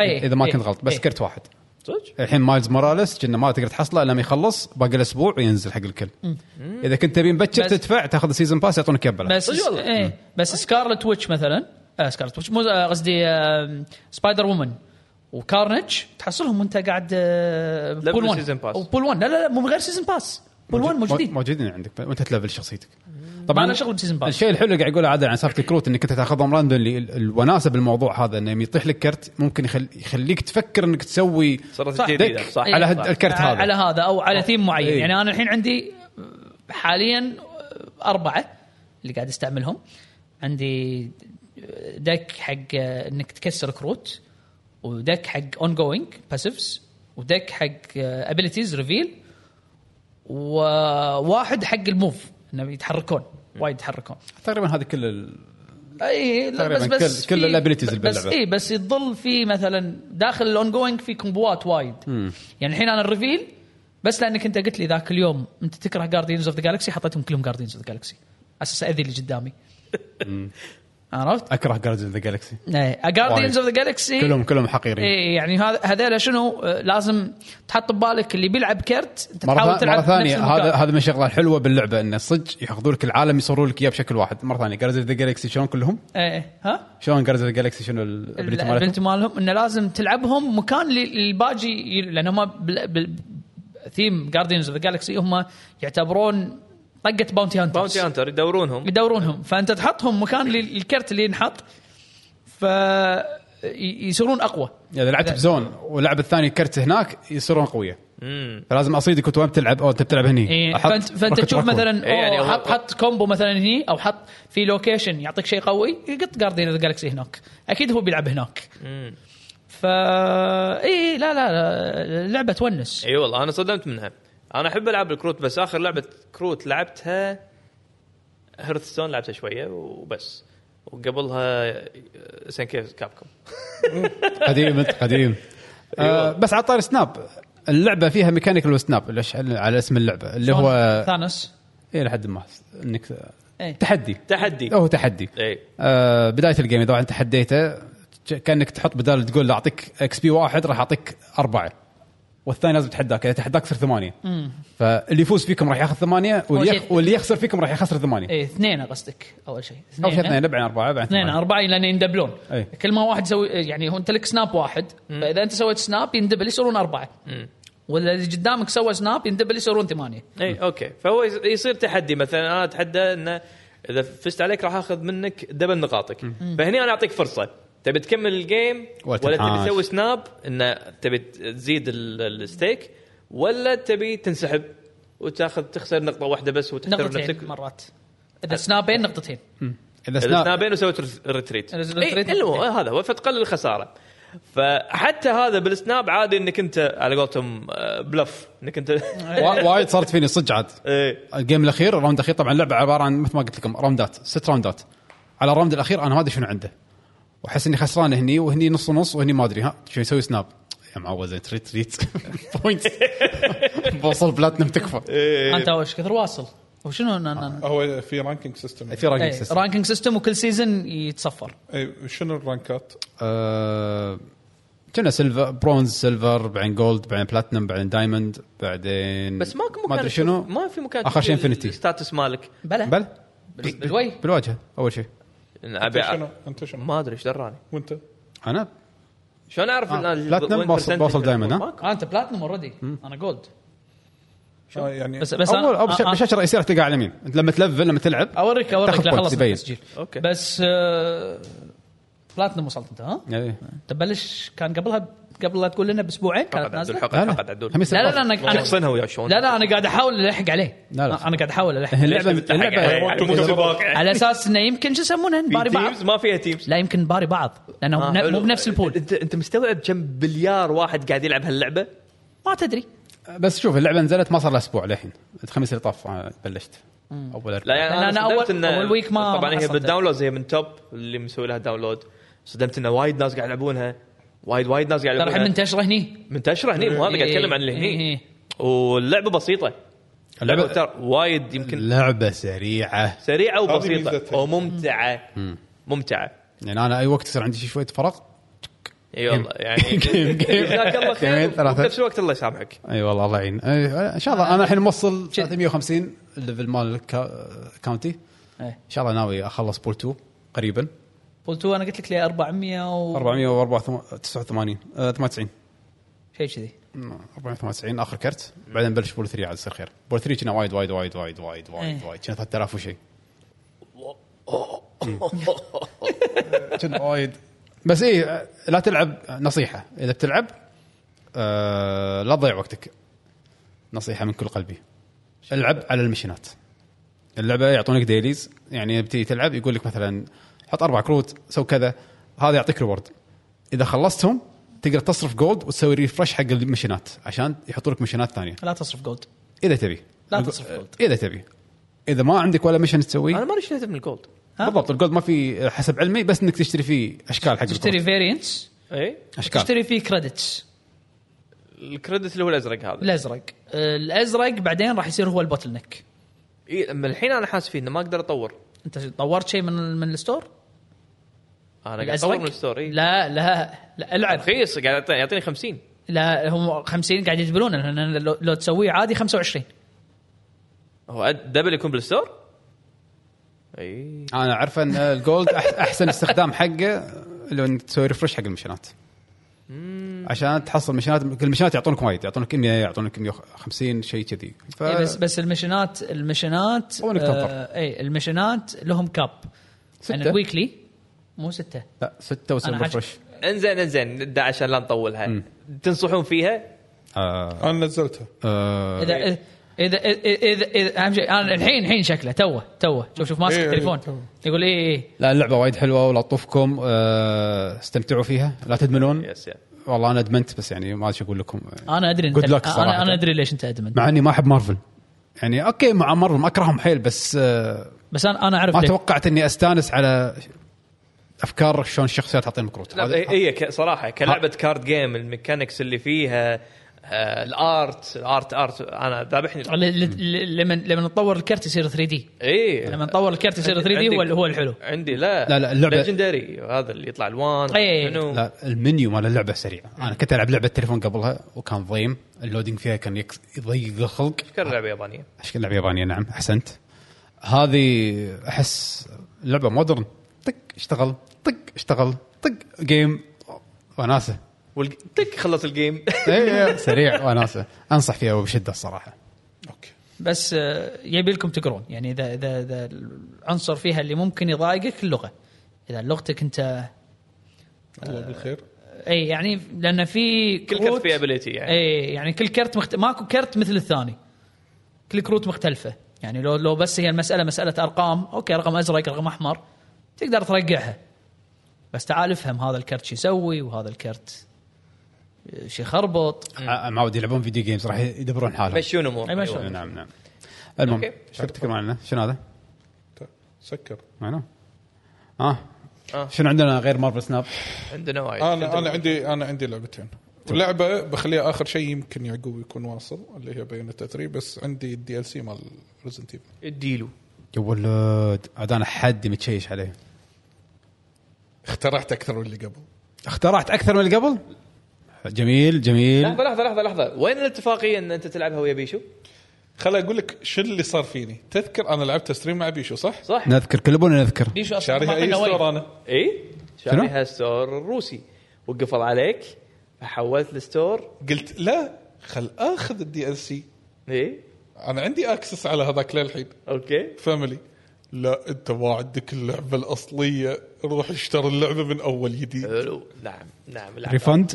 S6: إيه،
S1: اذا ما كنت غلط بس كرت واحد
S3: صدق؟
S1: الحين مايلز موراليس كنا ما تقدر تحصله الا لما يخلص باقي الاسبوع وينزل حق الكل اذا كنت تبي مبكر
S6: بس-
S1: تدفع تاخذ السيزون باس يعطونك اياه ببلاش.
S6: بس
S3: صدق والله.
S6: ايه بس سكارلت ويتش مثلا آه سكارلت ويتش مو آه، قصدي آه سبايدر وومن وكارنج تحصلهم وانت قاعد آه
S3: لا،
S6: بول
S3: من
S6: 1
S3: سيزون باس.
S6: بول 1 لا لا لا مو من غير سيزون باس بول 1
S1: موجود-
S6: موجودين
S1: موجودين عندك وانت تلفل شخصيتك
S6: ما له شغل بسيزن باس.
S1: الشيء الحلو اللي قاعد يقوله عادل عن سالفه الكروت انك انت تاخذهم راندوم اللي ال- الوناسه بالموضوع هذا انه لما يطيح لك كرت ممكن يخل... يخليك تفكر انك تسوي
S3: صارت
S1: صح،
S3: جديدة،
S1: دك
S3: صح.
S1: على هد...
S3: صح.
S1: الكرت هذا
S6: إيه. على هذا او على ثيم معين
S1: إيه.
S6: يعني انا الحين عندي حاليا اربعه اللي قاعد استعملهم عندي دك حق انك تكسر كروت ودك حق اون جوينج باسيفز ودك حق ابيلتيز ريفيل وواحد حق الموف انهم يتحركون وايد يتحركون
S1: تقريبا هذا كل ال...
S6: اي لا بس
S1: تقريباً
S6: بس
S1: كل- كل
S6: في-
S1: الabilities اللي
S6: بس
S1: باللعبة.
S6: اي بس يظل في مثلا داخل الاون جوينج في كومبوات وايد يعني الحين انا الريفيل بس لانك انت قلت لي ذاك اليوم انت تكره جاردينز اوف ذا جالكسي حطيتهم كلهم جاردينز اوف ذا جالكسي اساس اذي اللي قدامي عرفت؟ إيه،
S1: اكره جاردن ذا جالكسي
S6: جاردينز اوف ذا جالكسي
S1: كلهم كلهم حقيرين
S6: اي يعني هذا هذول شنو آه، لازم تحط ببالك اللي بيلعب كرت انت
S1: مرة,
S6: تحاول
S1: ثا- مرة
S6: تلعب
S1: ثانية هذا
S6: هذا
S1: هذا من الشغلة الحلوة باللعبة انه صدق ياخذون لك العالم يصورون لك اياه بشكل واحد، مرة ثانية جاردن ذا جالكسي شلون كلهم؟
S6: إيه، ها؟
S1: شلون جاردن ذا جالكسي شنو الابيلتي مالتهم؟
S6: البنت مالهم انه لازم تلعبهم مكان اللي الباجي ي- لان هم بال... بال... ثيم جاردينز اوف ذا جالكسي هم يعتبرون طقه باونتي هانترز
S3: باونتي هانتر يدورونهم
S6: يدورونهم فانت تحطهم مكان اللي- الكرت اللي ينحط ف ي- يصيرون اقوى
S1: اذا لعبت بزون ولعب الثاني كرت هناك يصيرون قويه
S3: امم
S1: فلازم اصيدك وانت بتلعب او انت بتلعب هني
S6: إيه،
S1: أحط
S6: فانت فانت
S1: ركض-
S6: تشوف
S1: ركض.
S6: مثلا
S3: إيه، يعني
S6: أوه،
S3: هو-
S6: حط حط كومبو مثلا هني او حط في لوكيشن يعطيك شيء قوي يقط جاردين اوف ذا جالكسي هناك اكيد هو بيلعب هناك فا اي لا لا, لا لعبه تونس
S3: اي والله انا صدمت منها انا احب العاب الكروت بس اخر لعبه كروت لعبتها هيرثستون لعبتها شويه وبس وقبلها آه، سنكيف كابكم
S1: قديم أنت قديم
S6: أيوه.
S1: آه بس على طاري سناب اللعبه فيها ميكانيكال سناب الأش- على اسم اللعبه اللي هو
S6: ثانوس
S1: إيه لحد ما انك
S6: إيه.
S1: تحدي
S3: تحدي
S1: هو تحدي
S3: اي
S1: آه بدايه الجيم اذا انت تحديته ج- كانك تحط بدال تقول لا اعطيك اكس بي واحد راح اعطيك اربعه والثاني لازم تحداك اذا تحداك صير ثمانيه فاللي يفوز فيكم راح ياخذ ثمانيه واللي,
S6: أول
S1: يخ...
S6: شيء- إيه،
S1: واللي يخسر فيكم راح يخسر ثمانيه
S6: اي اثنين قصدك اول شيء إيه؟
S1: او شيء اثنين بعدين اربعه بعدين
S6: اثنين
S1: ثمانية.
S6: اربعه لان يندبلون
S1: إيه.
S6: كل ما واحد يسوي يعني هو انت لك سناب واحد فاذا انت سويت سناب يندبل يصيرون اربعه واللي قدامك سوى سناب يندبل يصيرون ثمانيه
S3: اي اوكي إيه، فهو يص- يصير تحدي مثلا انا اتحدى انه اذا فزت عليك راح اخذ منك دبل نقاطك فهني انا اعطيك فرصه تبي تكمل الجيم
S1: ولا
S3: ولا
S1: تنحاش.
S3: تبي تسوي سناب انه تبي تزيد ال- الستيك ولا تبي تنسحب وتاخذ تخسر نقطه واحده بس وتحترم نفسك
S6: نقطتين مرات اذا سنابين نقطتين
S1: اذا
S3: اذا
S1: سناب
S3: سنابين وسويت رت- ريتريت
S6: ريتريت.
S3: إي، الا هو هذا هو فتقلل الخساره فحتى هذا بالسناب عادي انك انت على قولتهم آه، بلف انك انت
S1: وا- وايد صارت فيني صدق عاد
S3: إيه.
S1: الجيم الاخير الراوند الاخير طبعا اللعبه عباره عن مثل ما قلت لكم راوندات ست راوندات على الراوند الاخير انا ما ادري شنو عنده واحس اني خسران هني وهني نص ونص وهني ما ادري ها شو يسوي سناب يا معوز تريت تريت بوينت بوصل بلاتنم
S3: إيه.
S1: تكفى
S6: انت وش كثر واصل وشنو ن-
S1: آه،
S6: ن-
S2: هو في رانكينج سيستم
S1: في رانكينج
S6: إيه،
S1: سيستم
S6: رانكينج سيستم وكل سيزون يتصفر
S2: أي، شنو الرانكات؟
S1: آه، كنا سيلفر برونز سيلفر بعدين جولد بعدين بلاتنم بعدين دايموند بعدين
S3: بس ماكو مكان
S1: ما ادري شنو
S3: تشوف- ما في مكان
S1: اخر شيء
S3: تشوف
S1: انفنتي
S3: الستاتس مالك
S6: بلى
S1: بل
S6: بال- بالوي
S1: بالواجهه اول شيء
S2: انت شنو؟
S3: أبي-
S2: انت شنو؟
S3: ما ادري ايش دراني
S2: وانت؟
S1: انا
S3: شلون اعرف ان ال-
S1: بلاتنم
S3: وين
S1: آه. بوصل-
S3: percentage
S1: بوصل دايماً، ها؟
S3: ماكو.
S6: آه انت بلاتنوم اوريدي انا جولد
S2: آه يعني
S6: بس بس
S1: اول أول
S6: آه، آه.
S1: بشاشه رئيسيه راح تلقى على اليمين أنت لما تلفل لما تلعب
S6: اوريك اوريك
S1: تاخذ
S6: لا
S1: points
S6: خلص
S1: يبين.
S6: التسجيل
S3: أوكي.
S6: بس آه، بلاتنم وصلت انت ها؟
S1: يعني
S6: تبلش كان قبلها قبل لا تقول لنا باسبوعين كانت
S3: حقد عدول
S6: نازله
S3: حقد
S1: لا، لا.
S3: حقد عدول
S1: خميس
S6: لا لا لا
S1: الأربعاء.
S6: انا أنا-
S3: شخصنها ويا شلون
S6: لا لا انا قاعد احاول الحق عليه
S1: لا، لا.
S6: انا قاعد احاول الحق
S1: اللعبة-
S6: عليه
S1: اللعبة-
S3: إيه،
S6: على اساس انه يمكن شو يسمونه باري بعض
S3: تيمز ما فيها تيمز
S6: لا يمكن باري بعض
S3: آه،
S6: لانه ن- مو بنفس البول
S3: انت انت مستوعب كم بليار واحد قاعد يلعب هاللعبه؟
S6: ما تدري
S1: بس شوف اللعبه نزلت ما صار لها اسبوع للحين الخميس اللي طاف آه، بلشت اول
S3: لا يعني انا,
S6: أنا
S3: أنا
S6: أول- أول ويك ما-
S3: طبعا هي
S6: ما حصلت.
S3: بالداونلودز هي من توب اللي مسوي لها داونلود صدمت انه وايد ناس قاعد يلعبونها وايد وايد ناس قاعد
S6: ترى طيب، الحين
S3: يلعبونها
S6: منتشره هني
S3: منتشره هني مو هذا قاعد اتكلم عن اللي
S6: إيه.
S3: هني واللعبه بسيطه اللعبه
S1: اللعبه
S3: ترى وايد يمكن
S1: لعبه سريعه
S3: سريعه وبسيطه
S2: ميزتها.
S3: وممتعه ممتعه
S1: يعني انا اي وقت يصير عندي شي شويه فراغ
S3: اي والله يعني
S1: جيم- جيم.
S3: جزاك الله خير
S1: جيمين، ثلاثة.
S3: وبنفس الوقت الله يسامحك
S1: اي والله الله يعين أي- ان شاء الله انا الحين موصل 350 الليفل مال الكا- كاونتي
S6: إيه.
S1: ان شاء الله ناوي اخلص بول 2 قريبا
S6: بول 2 انا قلت لك لي 400 و
S1: 489 آه، 98
S6: شيء كذي
S1: 498 اخر كرت بعدين بلش بول 3 عاد يصير خير بول 3 كنا وايد وايد وايد وايد وايد وايد
S6: إيه.
S1: وايد كنا 3000 وشيء كنا وايد بس ايه لا تلعب نصيحه اذا بتلعب آه لا تضيع وقتك نصيحه من كل قلبي العب على المشينات اللعبه يعطونك ديليز يعني بتيجي تلعب يقول لك مثلا حط اربع كروت سو كذا هذا يعطيك ريورد اذا خلصتهم تقدر تصرف جولد وتسوي ريفرش حق المشينات عشان يحطوا لك مشينات ثانيه
S6: لا تصرف جولد
S1: اذا تبي
S6: لا تصرف جولد.
S1: اذا تبي اذا ما عندك ولا مشن تسويه
S3: انا ما اشتريت من الجولد
S6: ها؟
S1: بالضبط الجولد ما في حسب علمي بس انك تشتري فيه اشكال حق
S6: تشتري
S1: الكروت.
S6: فيرينتس
S3: اي
S1: اشكال
S6: تشتري فيه كريدتس
S3: الكريدت اللي هو الازرق هذا
S6: الازرق الازرق بعدين راح يصير هو البوتل نك
S3: اي اما إيه، الحين انا حاسس فيه انه ما اقدر اطور
S6: انت طورت شيء من من الستور؟
S3: انا قاعد
S6: الازرق
S3: اطور من الستور اي
S6: لا لا لا العب
S3: رخيص قاعد يعطيني- يعطيني 50
S6: لا هم 50 قاعد يجبلونه لان لو, لو تسويه عادي 25
S3: هو أد- دبل يكون بالستور؟ إيه. اي
S1: انا اعرف ان الجولد أح- احسن استخدام حقه لو انك تسوي ريفرش حق المشينات عشان تحصل مشينات المشينات يعطونك وايد يعطونك 100 يعطونك 150 شيء كذي ف...
S6: إيه بس بس المشينات المشينات
S1: هو إنك تنطر.
S6: آه، اي المشينات لهم كاب
S1: ستة.
S6: يعني الويكلي مو سته
S1: لا ستة وسوي
S6: أنا عاجب-
S1: ريفرش
S3: انزين انزين ده عشان لا نطولها تنصحون فيها؟
S1: آه...
S2: انا نزلتها
S1: آه...
S6: اذا اذا اذا اذا, إذا اهم شيء انا الحين الحين شكله توه توه شوف شوف ماسك
S2: إيه، إيه،
S6: التليفون
S2: توه.
S6: يقول إيه، اي اي
S1: لا اللعبة وايد حلوة ولا تطوفكم آه... استمتعوا فيها لا تدمنون
S3: يس يا.
S1: والله انا ادمنت بس يعني ما ادري شو اقول لكم
S6: انا ادري انت
S1: Good luck
S6: انا
S1: صراحة. نعم.
S6: انا ادري ليش انت ادمن
S1: مع اني ما احب مارفل يعني اوكي مع مارفل ما اكرههم حيل بس آه...
S6: بس انا انا اعرف
S1: ما
S6: ليه.
S1: توقعت اني استانس على افكار شلون الشخصيات تعطيهم كروت
S3: لا هي إيه ك- صراحه كلعبه كارد جيم الميكانكس اللي فيها آه، الارت الارت ارت انا ذابحني
S6: ل- ل- ل- لما لما نطور الكرت يصير 3 دي
S3: اي
S6: لما نطور الكرت يصير 3 دي هو ال- هو الحلو
S3: إيه. عندي لا
S1: لا، لا، اللعبة-
S3: ليجندري هذا اللي يطلع الوان
S6: إيه.
S3: شنو
S1: لا المنيو مال اللعبه سريع انا كنت العب لعبه تليفون قبلها وكان ضيم اللودينج فيها كان يكس- يضيق الخلق
S3: افكار لعبه يابانيه
S1: اشكال لعبه يابانيه نعم احسنت هذه احس لعبه مودرن طق اشتغل طق اشتغل طق جيم وناسه
S3: والج... تك خلص الجيم
S1: إي، إي، إيه، سريع وناسه انصح فيها وبشده الصراحه
S2: اوكي
S6: بس آه، يبي لكم تقرون يعني اذا اذا اذا العنصر فيها اللي ممكن يضايقك اللغه اذا لغتك انت
S2: الله بالخير
S6: اي يعني لان في
S3: كل كرت
S6: كروت-
S3: فيه ابيلتي يعني
S6: اي يعني كل كرت مخت... ماكو كرت مثل الثاني كل كروت مختلفه يعني لو لو بس هي المساله مساله ارقام اوكي رقم ازرق رقم احمر تقدر ترقعها بس تعال افهم هذا الكرت شو يسوي وهذا الكرت آه، شو يخربط
S1: آه، ما ودي يلعبون فيديو جيمز راح يدبرون حالهم
S3: مشون
S6: أي
S3: امور
S6: مشون.
S3: أيوة.
S1: نعم نعم المهم
S3: أوكي.
S1: شو تتكلم عنه شنو هذا؟
S2: ت- سكر
S1: معنا اه
S3: آه.
S1: شنو عندنا غير مارفل سناب؟
S3: عندنا وايد
S2: انا انا عندي انا عندي لعبتين اللعبه بخليها اخر شيء يمكن يعقوب يكون واصل اللي هي بيونتا 3 بس عندي الدي ال سي مال ريزنت ايفل
S3: اديله
S1: يا ولد عاد انا حد متشيش عليه
S2: اخترعت اكثر من اللي قبل
S1: اخترعت اكثر من اللي قبل؟ جميل جميل
S3: لحظه لحظه لحظه لحظه وين الاتفاقيه ان انت تلعبها ويا بيشو؟
S2: خل اقول لك شو اللي صار فيني تذكر انا لعبت ستريم مع بيشو صح؟
S3: صح؟
S1: نذكر كل ابونا نذكر
S6: ليش
S2: شاريها اي ستور انا
S3: اي إيه. شاريها ستور روسي وقفل عليك فحولت الستور
S2: قلت لا خل اخذ الدي ال سي
S3: اي
S2: انا عندي اكسس على هذاك للحين
S3: اوكي
S2: فاميلي لا انت ما عندك اللعبه الاصليه روح اشتري اللعبه من اول جديد
S3: حلو نعم نعم العب
S1: ريفند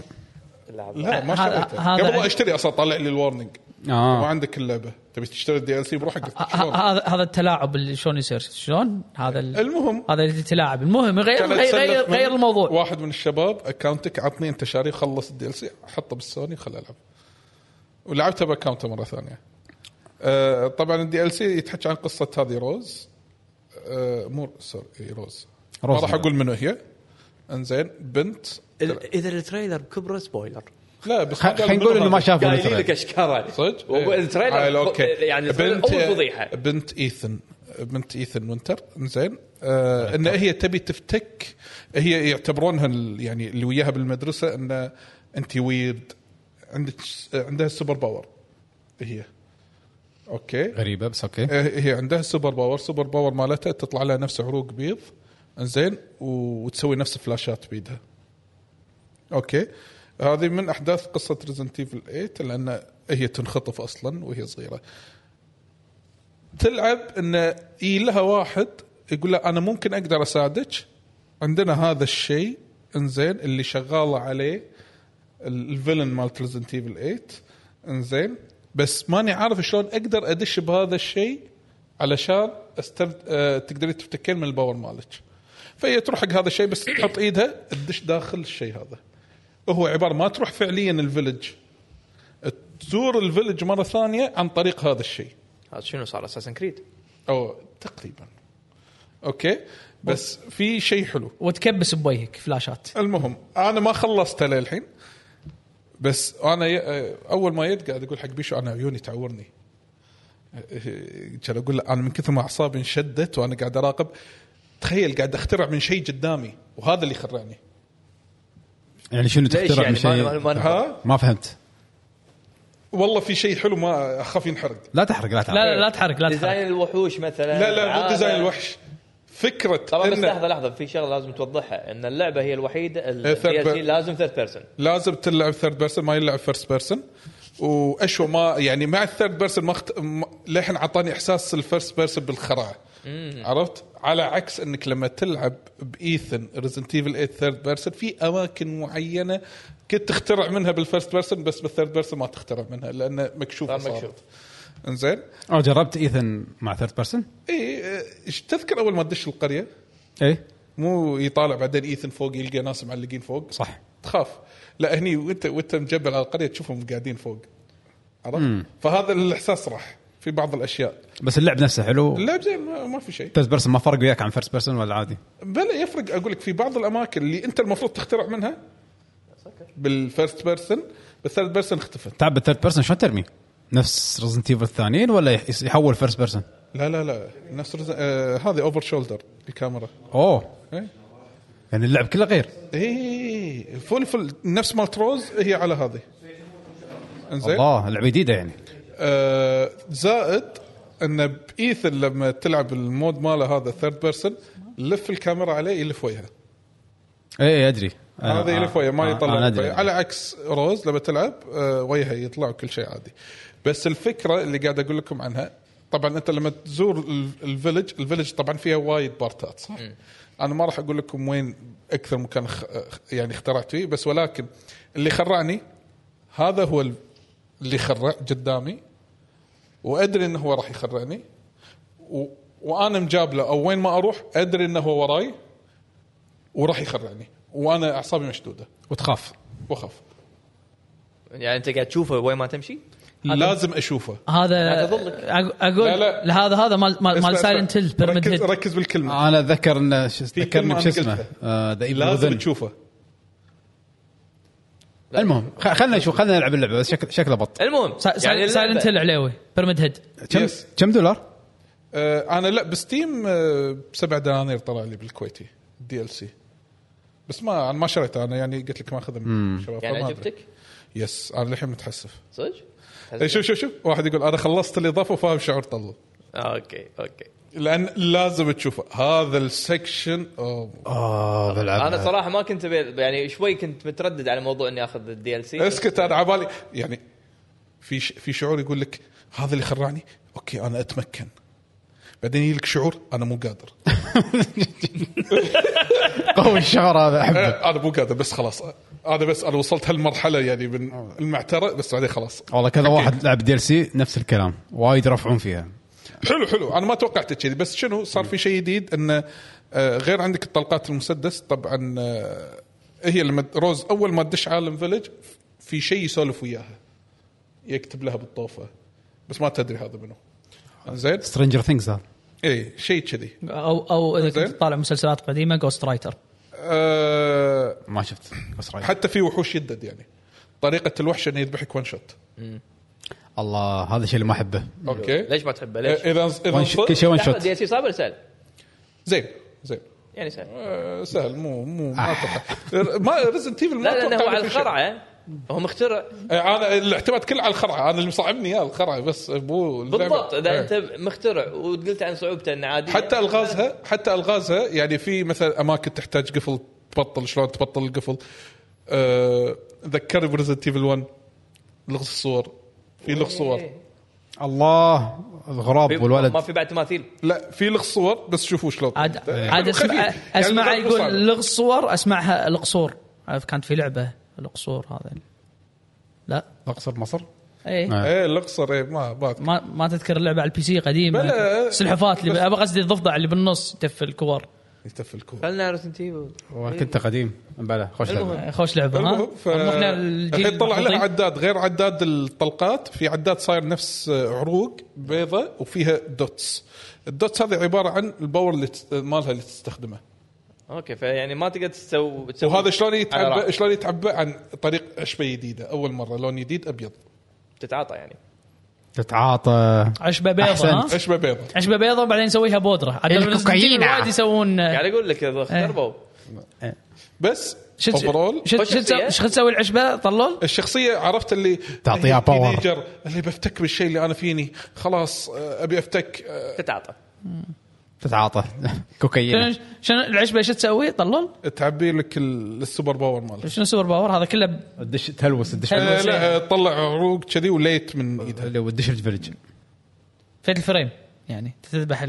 S3: العب.
S2: لا ما
S6: هذا-
S2: اشتريتها
S6: هذا
S2: قبل
S6: عندي-
S2: لا اشتري اصلا طلع لي الورنينج ما
S1: اه
S2: عندك اللعبه تبي تشتري الدي ال سي بروحك
S1: آه،
S6: ه- ه- هذا هذا التلاعب اللي شلون يصير شلون هذا ال-
S2: المهم
S6: هذا اللي تلاعب المهم غير
S2: كانت
S6: غير
S2: سلة
S6: غير,
S2: من
S6: غير الموضوع
S2: واحد من الشباب اكونتك عطني انت شاري خلص الدي ال سي حطه بالسوني خل العب ولعبتها باكونته مره ثانيه آه طبعا الدي ال سي يتحكي عن قصه هذه روز آه مو سوري إي، روز ما
S1: روز.
S2: راح اقول منو هي انزين بنت
S3: ال- اذا التريلر بكبره سبويلر
S2: لا بس ما قالوا
S1: خلينا نقول
S2: منو
S1: انه ما
S2: هذا.
S1: شافوا
S3: قايلين لك
S1: التريلر.
S3: اشكاره
S2: صدق؟ إيه. آه، عيل،
S3: التريلر
S2: اوكي
S3: يعني التريلر اول فضيحه
S2: بنت ايثن بنت ايثن وينتر زين آه ان هي تبي تفتك هي يعتبرونها ال- يعني اللي وياها بالمدرسه ان انت ويرد عندك س- عندها السوبر باور هي اوكي
S1: غريبه بس اوكي
S2: آه، هي عندها سوبر باور سوبر باور مالتها تطلع لها نفس عروق بيض انزين و- وتسوي نفس فلاشات بيدها اوكي هذه من احداث قصه ريزنت ايفل 8 لان هي تنخطف اصلا وهي صغيره تلعب ان يجي لها واحد يقول لها انا ممكن اقدر اساعدك عندنا هذا الشيء انزين اللي شغاله عليه ال- الفيلن مال ريزنت ايفل 8 انزين بس ماني عارف شلون اقدر ادش بهذا الشيء علشان استرد... أه تقدري تفتكين من الباور مالك فهي تروح حق هذا الشيء بس تحط ايدها تدش داخل الشيء هذا هو عباره ما تروح فعليا الفيلج تزور الفيلج مره ثانيه عن طريق هذا الشيء
S3: هذا شنو صار اساسن كريد
S2: او تقريبا اوكي بس في شيء حلو
S6: وتكبس بوجهك فلاشات
S2: المهم انا ما خلصتها للحين بس انا ي- آه، اول ما يد قاعد اقول حق بيشو انا عيوني تعورني آه، كان اقول له انا من كثر ما اعصابي انشدت وانا قاعد اراقب تخيل قاعد اخترع من شيء قدامي وهذا اللي خرعني
S1: يعني شنو
S3: ليش
S1: تخترع من
S3: يعني ما- ما-
S1: شيء
S3: ما نحط.
S2: ها
S1: ما فهمت
S2: والله في شيء حلو ما اخاف ينحرق
S1: لا تحرق لا تحرق
S6: لا لا لا تحرك لا تحرك
S3: ديزاين الوحوش مثلا
S2: لا لا مو
S3: عالم.
S2: ديزاين الوحش فكره
S3: طبعا آه، بس
S2: إنه
S3: لحظه لحظه في شغله لازم توضحها ان اللعبه هي الوحيده ال-
S2: إيه، third
S3: DLC
S2: per-
S3: لازم ثيرد بيرسون
S2: لازم تلعب ثيرد بيرسون ما يلعب فيرست بيرسون واشوى ما يعني مع الثيرد بيرسون ما, اخت... ما للحين عطاني احساس الفيرست بيرسون بالخرعه عرفت على عكس انك لما تلعب بايثن ريزنت ايفل 8 ثيرد بيرسون في اماكن معينه كنت تخترع منها بالفيرست بيرسون بس بالثيرد بيرسون ما تخترع منها لانه مكشوف
S3: صار مكشوف.
S2: انزين
S1: اه جربت ايثن مع ثيرد بيرسون؟
S2: اي اه، ايش تذكر اول ما تدش القريه
S1: اي
S2: مو يطالع بعدين ايثن فوق يلقى ناس معلقين فوق
S1: صح
S2: تخاف لا هني وانت وانت مجبل على القريه تشوفهم قاعدين فوق عرفت؟ فهذا الاحساس راح في بعض الاشياء
S1: بس اللعب نفسه حلو
S2: اللعب زين ما ما في شيء
S1: ثيرد بيرسون ما فرق وياك عن فيرست بيرسون ولا عادي؟
S2: بلا يفرق اقول لك في بعض الاماكن اللي انت المفروض تخترع منها بالفيرست بيرسون بالثيرد بيرسون اختفت
S1: تعب بالثيرد بيرسون شلون ترمي؟ نفس رزنت ايفل الثانيين ولا يح- يحول فيرست بيرسون؟
S2: لا لا لا نفس رز... آه هذه اوفر شولدر الكاميرا
S1: اوه
S2: إيه.
S1: يعني اللعب كله غير
S2: اي فول فول نفس مالت روز هي على هذه انزين
S1: الله لعبه جديده يعني
S2: آه، زائد ان بايثن لما تلعب المود ماله هذا ثيرد بيرسون لف الكاميرا عليه يلف وجهه
S1: اي ادري إيه، أنا-
S2: هذا يلف وجهه ما
S1: آه،
S2: يطلع
S1: أنا أدري.
S2: وجهه. على عكس روز لما تلعب آه، وجهه يطلع كل شيء عادي بس الفكره اللي قاعد اقول لكم عنها طبعا انت لما تزور ال- الفيلج الفيلج طبعا فيها وايد بارتات صح؟ انا ما راح اقول لكم وين اكثر مكان خ... يعني اخترعت فيه بس ولكن اللي خرعني هذا هو ال- اللي خرع قدامي وادري انه هو راح يخرعني و... وانا مجابله او وين ما اروح ادري انه هو وراي وراح يخرعني وانا اعصابي مشدوده
S1: وتخاف
S2: واخاف
S3: يعني انت قاعد تشوفه وين ما تمشي
S2: لازم اشوفه
S6: هذا
S3: لا تظلك.
S6: أق- اقول
S2: لا، لا.
S6: لا هذا هذا مال مال, مال
S2: اسمع،
S6: سايلنت
S2: اسمع.
S6: هيل بيراميد
S2: ركز,
S6: هيد
S2: ركز بالكلمه
S1: انا اتذكر انه شو-
S2: في
S1: ذكرني
S2: كلمة
S1: بشو
S2: أنا
S1: اسمه
S2: قلتها.
S1: آه، ذا ايفل
S2: لازم
S1: وذن
S2: تشوفه
S1: المهم خ- خلنا نشوف خلنا نلعب اللعبه بس شكل شكله بط
S3: المهم يعني
S6: سايلنت هيل
S3: اللعبة-
S6: عليوي بيراميد هيد
S1: كم
S2: Yes.
S1: كم دولار؟
S2: آه انا لا بستيم آه سبع دنانير طلع لي بالكويتي دي ال سي بس ما انا ما شريته انا يعني قلت لك ما اخذه من الشباب
S3: يعني
S2: فما أدري.
S3: عجبتك
S2: يس انا للحين متحسف
S3: صدق؟
S2: إيه، شوف شوف شوف واحد يقول انا خلصت الاضافه وفاهم شعور طلع
S3: آه، اوكي اوكي
S2: لان لازم تشوفه هذا السكشن أوه.
S1: اه بلعب
S3: انا صراحه ما كنت أبي- يعني شوي كنت
S2: إيه.
S3: متردد على موضوع اني اخذ الدي ال سي
S2: اسكت انا عبالي يعني في ش... في شعور يقول لك هذا اللي خرعني اوكي انا اتمكن بعدين يجي لك شعور انا مو قادر
S1: قوي الشعر هذا احبه
S2: انا مو قادر بس خلاص انا بس انا وصلت هالمرحله يعني من المعتره بس بعدين خلاص
S1: والله كذا واحد لعب دي سي نفس الكلام وايد رفعون فيها
S2: حلو حلو انا ما توقعت كذي بس شنو صار في شيء جديد انه آه، غير عندك الطلقات المسدس طبعا آه، هي لما روز اول ما تدش عالم فيلج في شيء يسولف وياها يكتب لها بالطوفه بس ما تدري هذا منو زين
S1: سترينجر ثينجز هذا
S2: اي شيء كذي
S6: او او اذا كنت
S2: زين.
S6: تطالع مسلسلات قديمه جوست رايتر
S2: أه
S1: ما شفت بس رايك.
S2: حتى في وحوش يدد يعني طريقه الوحش انه يذبحك ون شوت
S1: الله هذا الشيء اللي ما احبه
S2: اوكي
S3: ليش ما تحبه ليش؟
S2: اذا
S1: وان
S2: اذا
S1: شوت- كل
S2: إيه،
S1: شيء وان
S3: لحظه
S1: شوت
S3: دي سي صعب ولا سهل؟
S2: زين زين
S3: يعني سهل
S2: آه، سهل مو مو ما اتوقع ما ريزنت ايفل ما
S3: لا لانه
S2: أتوقع
S3: هو على
S2: فيه شيء.
S3: الخرعه هو مخترع
S2: آه، انا الاعتماد كله على الخرعه انا اللي مصعبني اياه الخرعه بس مو اللعبة.
S3: بالضبط اذا
S2: آه.
S3: انت مخترع وقلت عن صعوبته انه عادي
S2: حتى الغازها حتى الغازها يعني في مثلا اماكن تحتاج قفل تبطل شلون تبطل القفل آه، ذكرني بريزنت ايفل 1 لغز الصور في لغز
S3: إيه.
S2: صور
S1: الله الغراب والولد
S3: ما في بعد تماثيل
S2: لا في لغز صور بس شوفوا شلون
S6: عاد
S2: إيه.
S6: عاد اسمع
S2: خفيف. يعني
S6: اسمع
S2: الغاز مو صعب.
S6: يقول لغز صور اسمعها القصور عارف كانت في لعبه القصور هذا لا إيه.
S1: اقصر مصر
S6: اي
S3: نعم.
S1: آه.
S2: ايه الاقصر ايه ما ما أذكر.
S6: ما ما تذكر اللعبه على البي سي قديمه
S2: بلى.
S6: سلحفات
S2: بس-
S6: اللي ابى قصدي الضفدع اللي بالنص تف الكور
S2: يتف الكوره
S3: خلنا ريزنت ايفل
S1: وانا كنت قديم بلى خوش لعبة.
S6: خوش لعبه ها
S2: المهم، ف-
S6: أما احنا الجيل
S2: الحين طلع لها
S6: المحظوظين.
S2: عداد غير عداد الطلقات في عداد صاير نفس آه، عروق بيضة وفيها دوتس الدوتس هذه عباره عن الباور اللي تست- مالها اللي تستخدمه
S3: اوكي فيعني ما تقدر تسوي تسوي
S2: وهذا شلون
S3: على
S2: يتعبى
S3: راحتك.
S2: شلون يتعبى عن طريق عشبه جديده اول مره لون جديد ابيض
S3: تتعاطى يعني
S1: تتعاطى
S6: عشبه بيضه ها
S1: أحسنت.
S2: عشبه بيضة
S6: عشبه بيضه بعدين نسويها بودره عاد Resident Evil وايد يسوون
S2: يعني
S3: قاعد اقول يعني لك إذا خربوا
S2: بس
S6: شو
S2: اوفرول
S6: شو-
S3: خش
S6: شو تسوي-
S3: شخصية.
S6: شو تسوي العشبه
S2: إيه.
S6: طلول؟
S2: الشخصيه عرفت اللي
S1: تعطيها
S2: هي
S1: باور.
S2: تينيجر، اللي بفتك بالشيء اللي انا فيني خلاص آه، ابي افتك آه،
S3: تتعاطى
S1: تتعاطى كوكايين
S6: شنو شنو العشبه شو تسوي طلول؟
S2: تعبي لك ال- السوبر باور ماله
S6: شنو سوبر باور هذا كله ب-
S1: الدش تلوس الدش
S6: حلو.
S2: آه، لا آه، طلع عروق كذي وليت من ايدها
S1: اللي هو الدش الفلج
S6: في الفريم يعني تذبح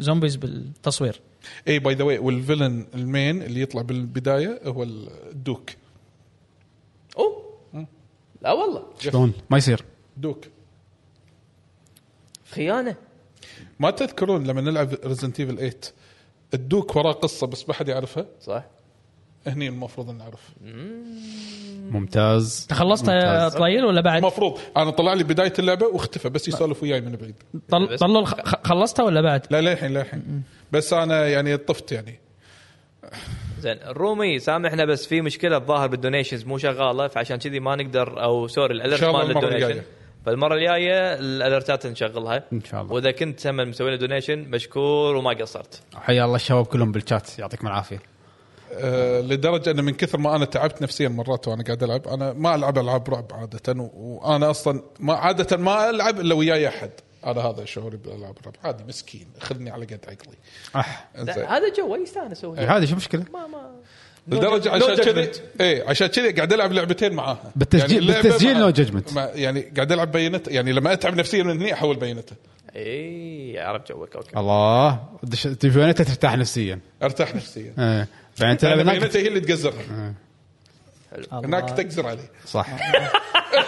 S6: الزومبيز بالتصوير
S2: اي باي ذا واي والفيلن المين اللي يطلع بالبدايه هو الدوك
S3: اوه لا والله
S1: شلون ما يصير
S2: دوك
S3: خيانه
S2: ما تذكرون لما نلعب ريزنت ايفل 8 الدوك وراه قصه بس ما حد يعرفها
S3: صح
S2: هني المفروض إن نعرف
S1: ممتاز
S6: خلصت يا
S1: ممتاز.
S6: طليل ولا بعد؟
S2: المفروض انا طلع لي بدايه اللعبه واختفى بس يسولف وياي من بعيد
S6: طل- طلول خ- خ- خلصتها ولا بعد؟
S2: لا للحين للحين بس انا يعني طفت يعني
S3: زين الرومي سامحنا بس في مشكله الظاهر بالدونيشنز مو شغاله فعشان كذي ما نقدر او سوري
S2: إن
S3: الالرت
S2: شاء الله
S3: مال
S2: المرة
S3: الدونيشن
S2: الجاية.
S3: فالمره الجايه الالرتات نشغلها
S1: إن شاء الله.
S3: واذا كنت هم مسوي لنا دونيشن مشكور وما قصرت
S1: حيا الله الشباب كلهم بالشات يعطيكم العافيه
S2: أه لدرجه ان من كثر ما انا تعبت نفسيا مرات وانا قاعد العب انا ما العب العاب رعب عاده و- وانا اصلا ما عاده ما العب الا وياي احد انا هذا شعوري بالالعاب الرعب عادي مسكين خذني على قد عقلي
S1: اح
S3: لا،
S2: إنزين.
S3: هذا جو يستانس هو
S1: إيه، هذه شو مشكله
S3: ما ما
S2: لدرجه
S3: no
S2: عشان كذي
S3: judgment.
S2: اي عشان كذي قاعد العب لعبتين معاها يعني
S1: بالتسجيل-
S2: اللعبة
S1: بالتسجيل
S2: مع-
S1: no judgment.
S2: مع- يعني قاعد العب بينته يعني لما اتعب نفسيا من هني احول بينته
S3: اي عرفت جوك اوكي
S1: الله الدش الديفيونيتا ترتاح نفسيا
S2: ارتاح نفسيا
S1: إيه. بعدين تلعب
S2: أنا
S1: هناك آه.
S2: بينته هي اللي تقزرها هناك
S6: الله.
S2: تقزر علي
S1: صح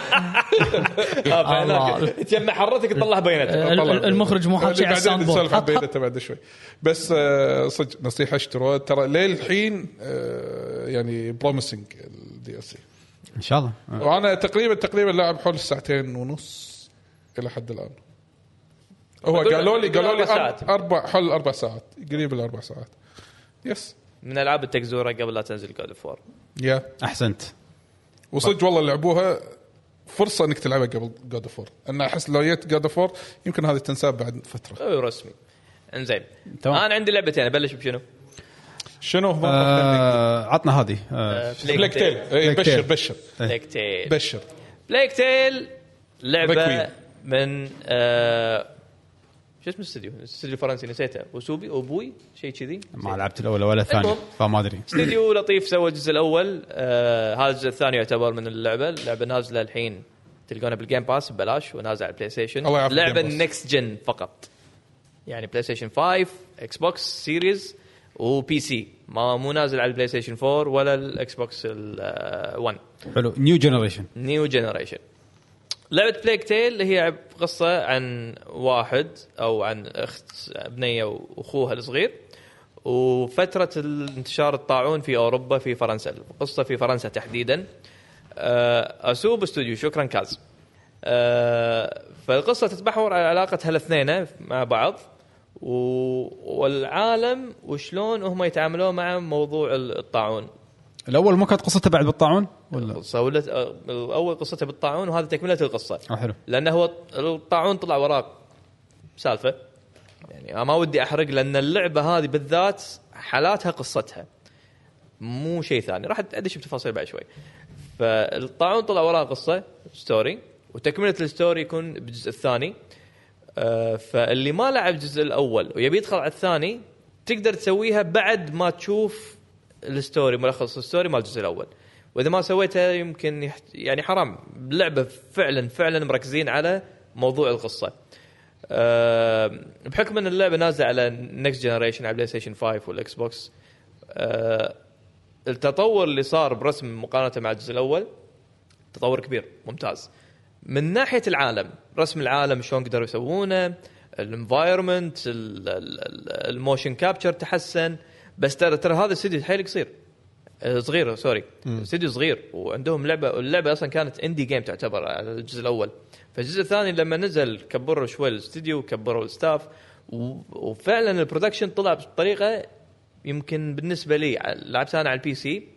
S3: آه، فهناك.
S6: الله.
S3: تجمع حرتك تطلع بينتك
S6: ال-
S2: طلع.
S6: ال- المخرج مو حاط شيء على
S2: بعدين
S6: الساوند بورد
S2: نسولف عن
S6: حط- حط-
S2: بينته بعد شوي بس آه، صدق نصيحه اشتروها ترى للحين آه، يعني بروميسنج الدي اس سي
S1: ان شاء الله آه.
S2: وانا تقريبا تقريبا لاعب حول الساعتين ونص الى حد الان هو قالوا لي قالوا لي
S3: أربع ساعات.
S2: أر- اربع حول اربع ساعات قريب الاربع ساعات يس
S3: من العاب التكزوره قبل لا تنزل جود اوف وور
S2: يا
S1: احسنت
S2: وصدق والله لعبوها فرصه انك تلعبها قبل جاد اوف انا احس لو جيت جاد اوف يمكن هذه تنساب بعد فتره
S3: رسمي انزين
S1: تمام.
S3: انا عندي لعبتين ابلش بشنو؟
S2: شنو هو
S1: آه، عطنا هذه آه،
S2: بلاك تيل إيه،
S1: بلاك تيل.
S2: بشر بشر
S3: بلاك تيل
S2: بشر
S3: بلاك تيل لعبه
S2: ذا
S3: من آه شو اسم الاستوديو؟ الاستوديو الفرنسي نسيته وسوبي وبوي شيء كذي
S1: ما لعبت الاول ولا الثاني
S3: المهم.
S1: فما ادري
S3: استوديو لطيف سوى الجزء الاول آه هذا الجزء الثاني يعتبر من اللعبه اللعبه نازله الحين تلقونه بالجيم باس ببلاش ونازل على البلاي ستيشن
S2: الله يعافيك
S3: لعبه
S2: Game Pass.
S3: النكست جن فقط يعني بلاي ستيشن 5 اكس بوكس سيريز وبي سي ما مو نازل على البلاي ستيشن 4 ولا الاكس بوكس ال، آه، 1
S1: حلو نيو جنريشن
S3: نيو جنريشن لعبه بليك تيل اللي هي عب- قصه عن واحد او عن اخت بنيه واخوها الصغير وفتره ال- انتشار الطاعون في اوروبا في فرنسا القصه في فرنسا تحديدا آه، اسوب استوديو شكرا كاز آه، فالقصه تتمحور على علاقه هالاثنين مع بعض و- والعالم وشلون هم يتعاملون مع موضوع ال- الطاعون
S1: الاول ما كانت قصته بعد بالطاعون ولا
S3: القصه ولا اول قصته أه، بالطاعون وهذا تكمله القصه
S1: آه، حلو
S3: لانه هو الطاعون طلع وراه سالفه يعني ما ودي احرق لان اللعبه هذه بالذات حالاتها قصتها مو شيء ثاني راح ادش بتفاصيل بعد شوي فالطاعون طلع وراه قصه ستوري وتكمله الستوري يكون بالجزء الثاني آه، فاللي ما لعب الجزء الاول ويبي يدخل على الثاني تقدر تسويها بعد ما تشوف الستوري ملخص الستوري مال الجزء الاول واذا ما سويتها يمكن يحت... يعني حرام اللعبه فعلا فعلا مركزين على موضوع القصه آه، بحكم ان اللعبه نازله على نكست جنريشن على بلاي ستيشن 5 والاكس بوكس آه، التطور اللي صار برسم مقارنه مع الجزء الاول تطور كبير ممتاز من ناحيه العالم رسم العالم شلون قدروا يسوونه الانفايرمنت الموشن كابتشر تحسن بس ترى ترى هذا الاستديو حيل قصير آه، صغير سوري استديو صغير وعندهم لعبه اللعبه اصلا كانت اندي جيم تعتبر على الجزء الاول فالجزء الثاني لما نزل كبروا شوي الاستديو كبروا الستاف و- وفعلا البرودكشن طلع بطريقه يمكن بالنسبه لي ع- لعبت انا على البي سي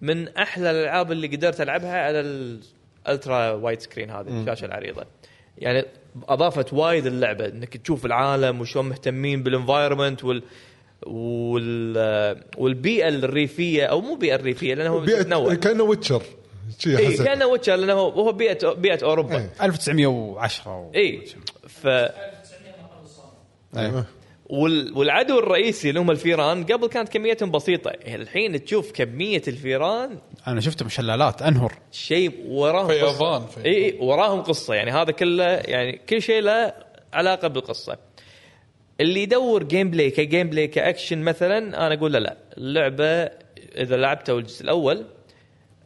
S3: من احلى الالعاب اللي قدرت العبها على الالترا وايد سكرين هذه الشاشه العريضه يعني اضافت وايد اللعبه انك تشوف العالم وشلون مهتمين بالانفايرمنت وال وال والبيئه الريفيه او مو بيئه الريفيه لانه هو متنوع
S4: بيئة كانه ويتشر شي
S3: اي
S4: أحسن.
S3: كانه ويتشر لانه هو- هو بيئه بيئه اوروبا
S4: إيه.
S1: 1910 و...
S3: اي إيه. ف
S1: أي.
S3: وال- والعدو الرئيسي اللي هم الفيران قبل كانت كميتهم بسيطه الحين تشوف كميه الفيران
S1: انا شفتهم شلالات انهر
S3: شيء وراهم
S2: فيضان،
S3: قصة.
S2: فيضان.
S3: اي إي، وراهم قصه يعني هذا كله يعني كل شيء له علاقه بالقصه اللي يدور جيم بلاي كجيم بلاي كاكشن مثلا انا اقول له لا اللعبه اذا لعبتها الجزء الاول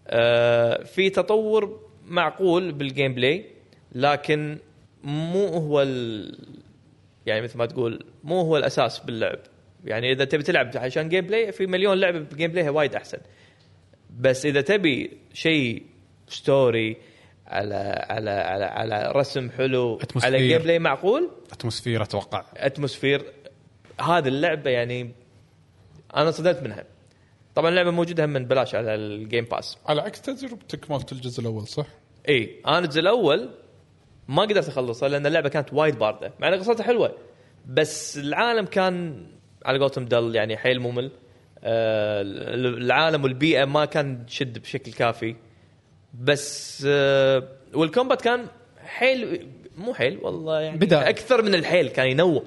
S3: آه في تطور معقول بالجيم بلاي لكن مو هو ال... يعني مثل ما تقول مو هو الاساس باللعب يعني اذا تبي تلعب عشان جيم بلاي في مليون لعبه بالجيم بلاي وايد احسن بس اذا تبي شيء ستوري على على على على رسم حلو على
S1: أتموسفير.
S3: جيم بلاي معقول
S1: اتموسفير اتوقع
S3: اتموسفير هذه اللعبه يعني انا صدمت منها طبعا اللعبه موجوده هم من بلاش على الجيم باس
S2: على عكس تجربتك مالت الجزء الاول صح؟
S3: اي انا إيه، الجزء الاول ما قدرت اخلصه لان اللعبه كانت وايد بارده مع ان قصتها حلوه بس العالم كان على قولتهم دل يعني حيل ممل آه، العالم والبيئه ما كان تشد بشكل كافي بس آه، والكومبات كان حيل مو حيل والله يعني
S1: بدأ.
S3: اكثر من الحيل كان ينوم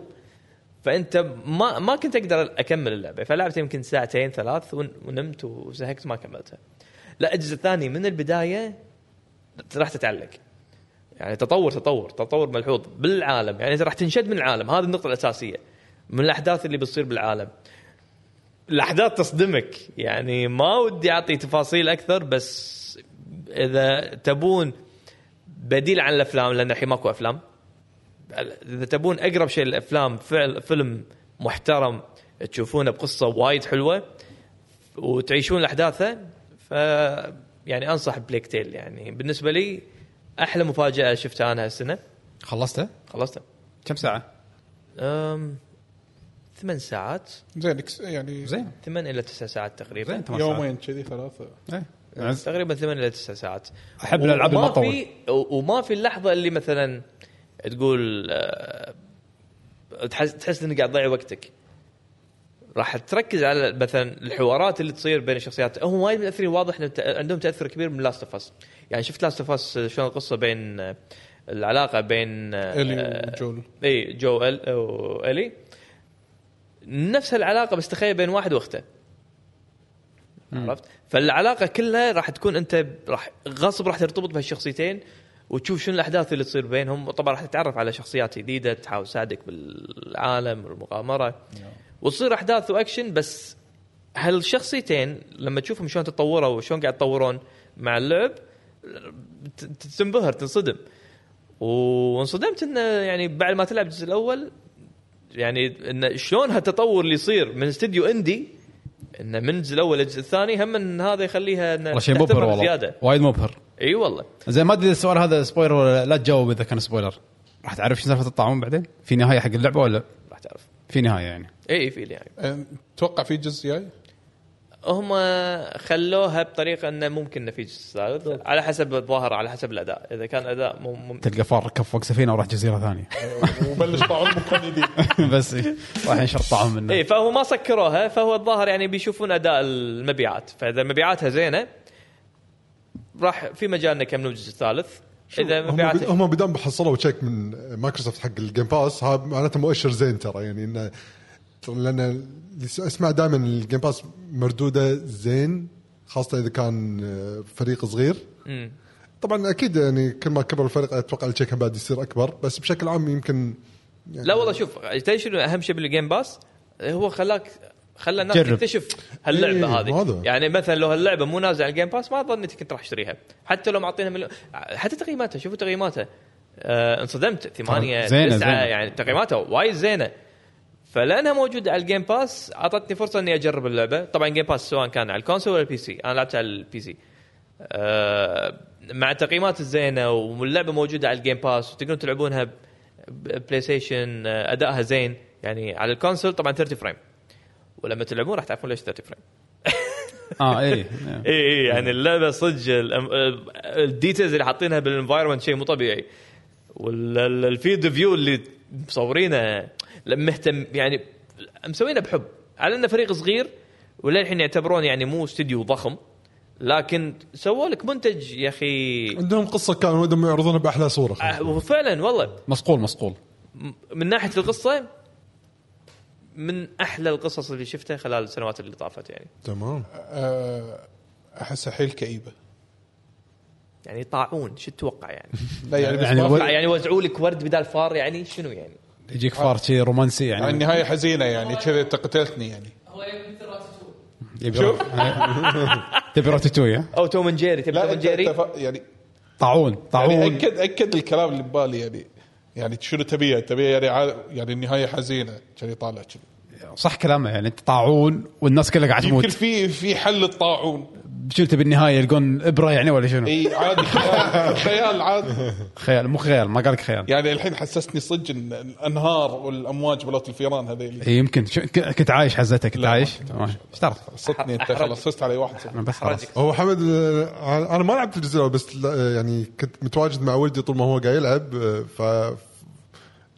S3: فانت ما ما كنت اقدر اكمل اللعبه فلعبت يمكن ساعتين ثلاث ون- ونمت وزهقت ما كملتها لا الجزء الثاني من البدايه راح تتعلق يعني تطور تطور تطور ملحوظ بالعالم يعني انت راح تنشد من العالم هذه النقطه الاساسيه من الاحداث اللي بتصير بالعالم الاحداث تصدمك يعني ما ودي اعطي تفاصيل اكثر بس اذا تبون بديل عن الافلام لان الحين ماكو افلام اذا تبون اقرب شيء للافلام فعل فيلم محترم تشوفونه بقصه وايد حلوه وتعيشون احداثه ف يعني انصح بليك تيل يعني بالنسبه لي احلى مفاجاه شفتها انا هالسنه
S1: خلصته
S3: خلصتها
S1: كم ساعه
S3: أم... ثمان ساعات
S2: زين إكس- يعني
S1: زين
S3: ثمان الى تسع ساعات تقريبا
S1: زين ثمان ساعات
S2: يومين كذي ثلاثه
S1: إيه. يعني
S3: تقريبا ثمان الى تسع ساعات
S1: احب الالعاب
S3: وما
S1: المطول
S3: في وما في اللحظه اللي مثلا تقول آه، تحس تحس انك قاعد تضيع وقتك راح تركز على مثلا الحوارات اللي تصير بين الشخصيات هم وايد متاثرين واضح ان تأ- عندهم تاثر كبير من لاست اوف اس يعني شفت لاست اوف اس شلون القصه بين آه، العلاقه بين آه،
S2: الي وجول
S3: اي جو ال والي نفس العلاقه بس تخيل بين واحد واخته عرفت فالعلاقه كلها راح تكون انت راح غصب راح ترتبط بهالشخصيتين وتشوف شنو الاحداث اللي تصير بينهم طبعا راح تتعرف على شخصيات جديده تحاول تساعدك بالعالم والمغامره وتصير احداث واكشن بس هالشخصيتين لما تشوفهم شلون تطوروا وشلون قاعد يتطورون مع اللعب ت- ت- تنبهر تنصدم وانصدمت انه يعني بعد ما تلعب الجزء الاول يعني انه شلون هالتطور اللي يصير من استديو اندي انه من الجزء الاول للجزء الثاني هم ان هذا يخليها انه
S1: والله شيء
S3: تعتبر
S1: مبهر والله
S3: زياده
S1: وايد مبهر
S3: اي والله
S1: زين ما ادري السؤال هذا سبويلر ولا لا تجاوب اذا كان سبويلر راح تعرف شو سالفه الطاعون بعدين في نهايه حق اللعبه ولا
S3: راح تعرف
S1: في نهايه يعني
S3: اي في يعني
S2: أه، تتوقع في جزء جاي؟
S3: هم خلوها بطريقه انه ممكن انه في جزء ثالث على حسب الظاهر على حسب الاداء اذا كان اداء مم مم
S1: تلقى فار ركب فوق سفينه وراح جزيره ثانيه
S2: وبلش طاعون مكان جديد
S1: بس إيه، راح ينشر الطاعون
S4: نعم.
S1: منه
S3: اي إيه، فهو ما سكروها فهو الظاهر يعني بيشوفون اداء المبيعات فاذا مبيعاتها زينه راح في مجال انه يكملون الجزء الثالث اذا
S4: هم بد-
S3: مبيعاتها
S4: هم بدام حصلوا تشيك من مايكروسوفت حق الجيم باس هذا معناته مؤشر زين ترى يعني انه ترى لان اللي س- اسمع دائما الجيم باس مردوده زين خاصه اذا كان آه، فريق صغير
S3: مم.
S4: طبعا اكيد يعني كل ما كبر الفريق اتوقع التشيك بعد يصير اكبر بس بشكل عام يمكن يعني
S3: لا والله شوف تدري شنو اهم شيء بالجيم باس هو خلاك خلى الناس
S1: جرب.
S3: تكتشف هاللعبه
S4: إيه،
S3: هذه
S4: هذا.
S3: يعني مثلا لو هاللعبه مو نازله على الجيم باس ما ظنيت كنت راح اشتريها حتى لو معطينها مليون حتى تقييماتها شوفوا تقييماتها آه انصدمت ثمانية
S1: زينة، زينة.
S3: تسعة يعني تقييماتها وايد زينه فلانها موجوده على الجيم باس اعطتني فرصه اني اجرب اللعبه طبعا جيم باس سواء كان على الكونسول ولا البي سي انا لعبت على البي سي آه، مع التقييمات الزينه واللعبه موجوده على الجيم باس وتقدرون تلعبونها ب- بلاي ستيشن آه، ادائها زين يعني على الكونسول طبعا 30 فريم ولما تلعبون راح تعرفون ليش 30 فريم
S1: اه اي
S3: اي اي يعني اللعبه صدق ال- ال- الديتيلز اللي حاطينها بالانفايرمنت شيء مو طبيعي والفيد فيو اللي مصورينه مهتم يعني مسوينه بحب على انه فريق صغير وللحين يعتبرون يعني مو استوديو ضخم لكن سووا لك منتج يا اخي
S4: عندهم قصه كان ودهم يعرضونها باحلى صوره
S3: آه، وفعلا والله
S1: مصقول مصقول
S3: م- من ناحيه القصه من احلى القصص اللي شفتها خلال السنوات اللي طافت يعني
S4: تمام
S2: أه، احسها حيل كئيبه
S3: يعني طاعون شو تتوقع يعني؟
S2: لا يعني بس
S1: يعني
S2: ما
S1: و-
S2: في-
S3: يعني وزعوا لك ورد بدال فار يعني شنو يعني؟
S1: يجيك فار شي رومانسي
S2: يعني
S1: يعني
S2: النهايه حزينه يعني كذا أنت قتلتني يعني
S5: هو يبي مثل راتاتوي
S1: يبي آه. تبي روتيتوي ها؟
S3: او توم جيري تبي توم
S2: لا أنت-
S3: جيري؟
S2: أنت فا- يعني
S1: طاعون
S2: يعني
S1: طاعون
S2: اكد اكد الكلام اللي ببالي يعني يعني شنو تبيه؟ تبيه يعني عا- يعني النهايه حزينه كذي طالع كذي
S1: صح كلامه يعني انت طاعون والناس كلها قاعده
S2: يمكن
S1: تموت
S2: في في حل الطاعون
S1: شو تبي النهايه يلقون ابره يعني ولا شنو؟
S2: اي عادي خيال- خيال عادي
S1: خيال مو خيال ما قال لك خيال
S2: يعني الحين حسستني صدق ان الانهار والامواج ملوت الفيران هذيلي
S1: إيه، يمكن شو- ك- كنت عايش حزتك كنت
S2: لا، ما
S1: عايش
S2: كنت
S1: ماشي. ايش تعرف؟
S2: صدقني انت
S3: أحرج.
S2: خلاص فزت علي واحد صفر.
S1: أنا بس خلاص
S3: أحرجك.
S4: هو حمد آه، انا ما لعبت الجزء الاول بس لا- يعني كنت متواجد مع ولدي طول ما هو قاعد يلعب آه، ف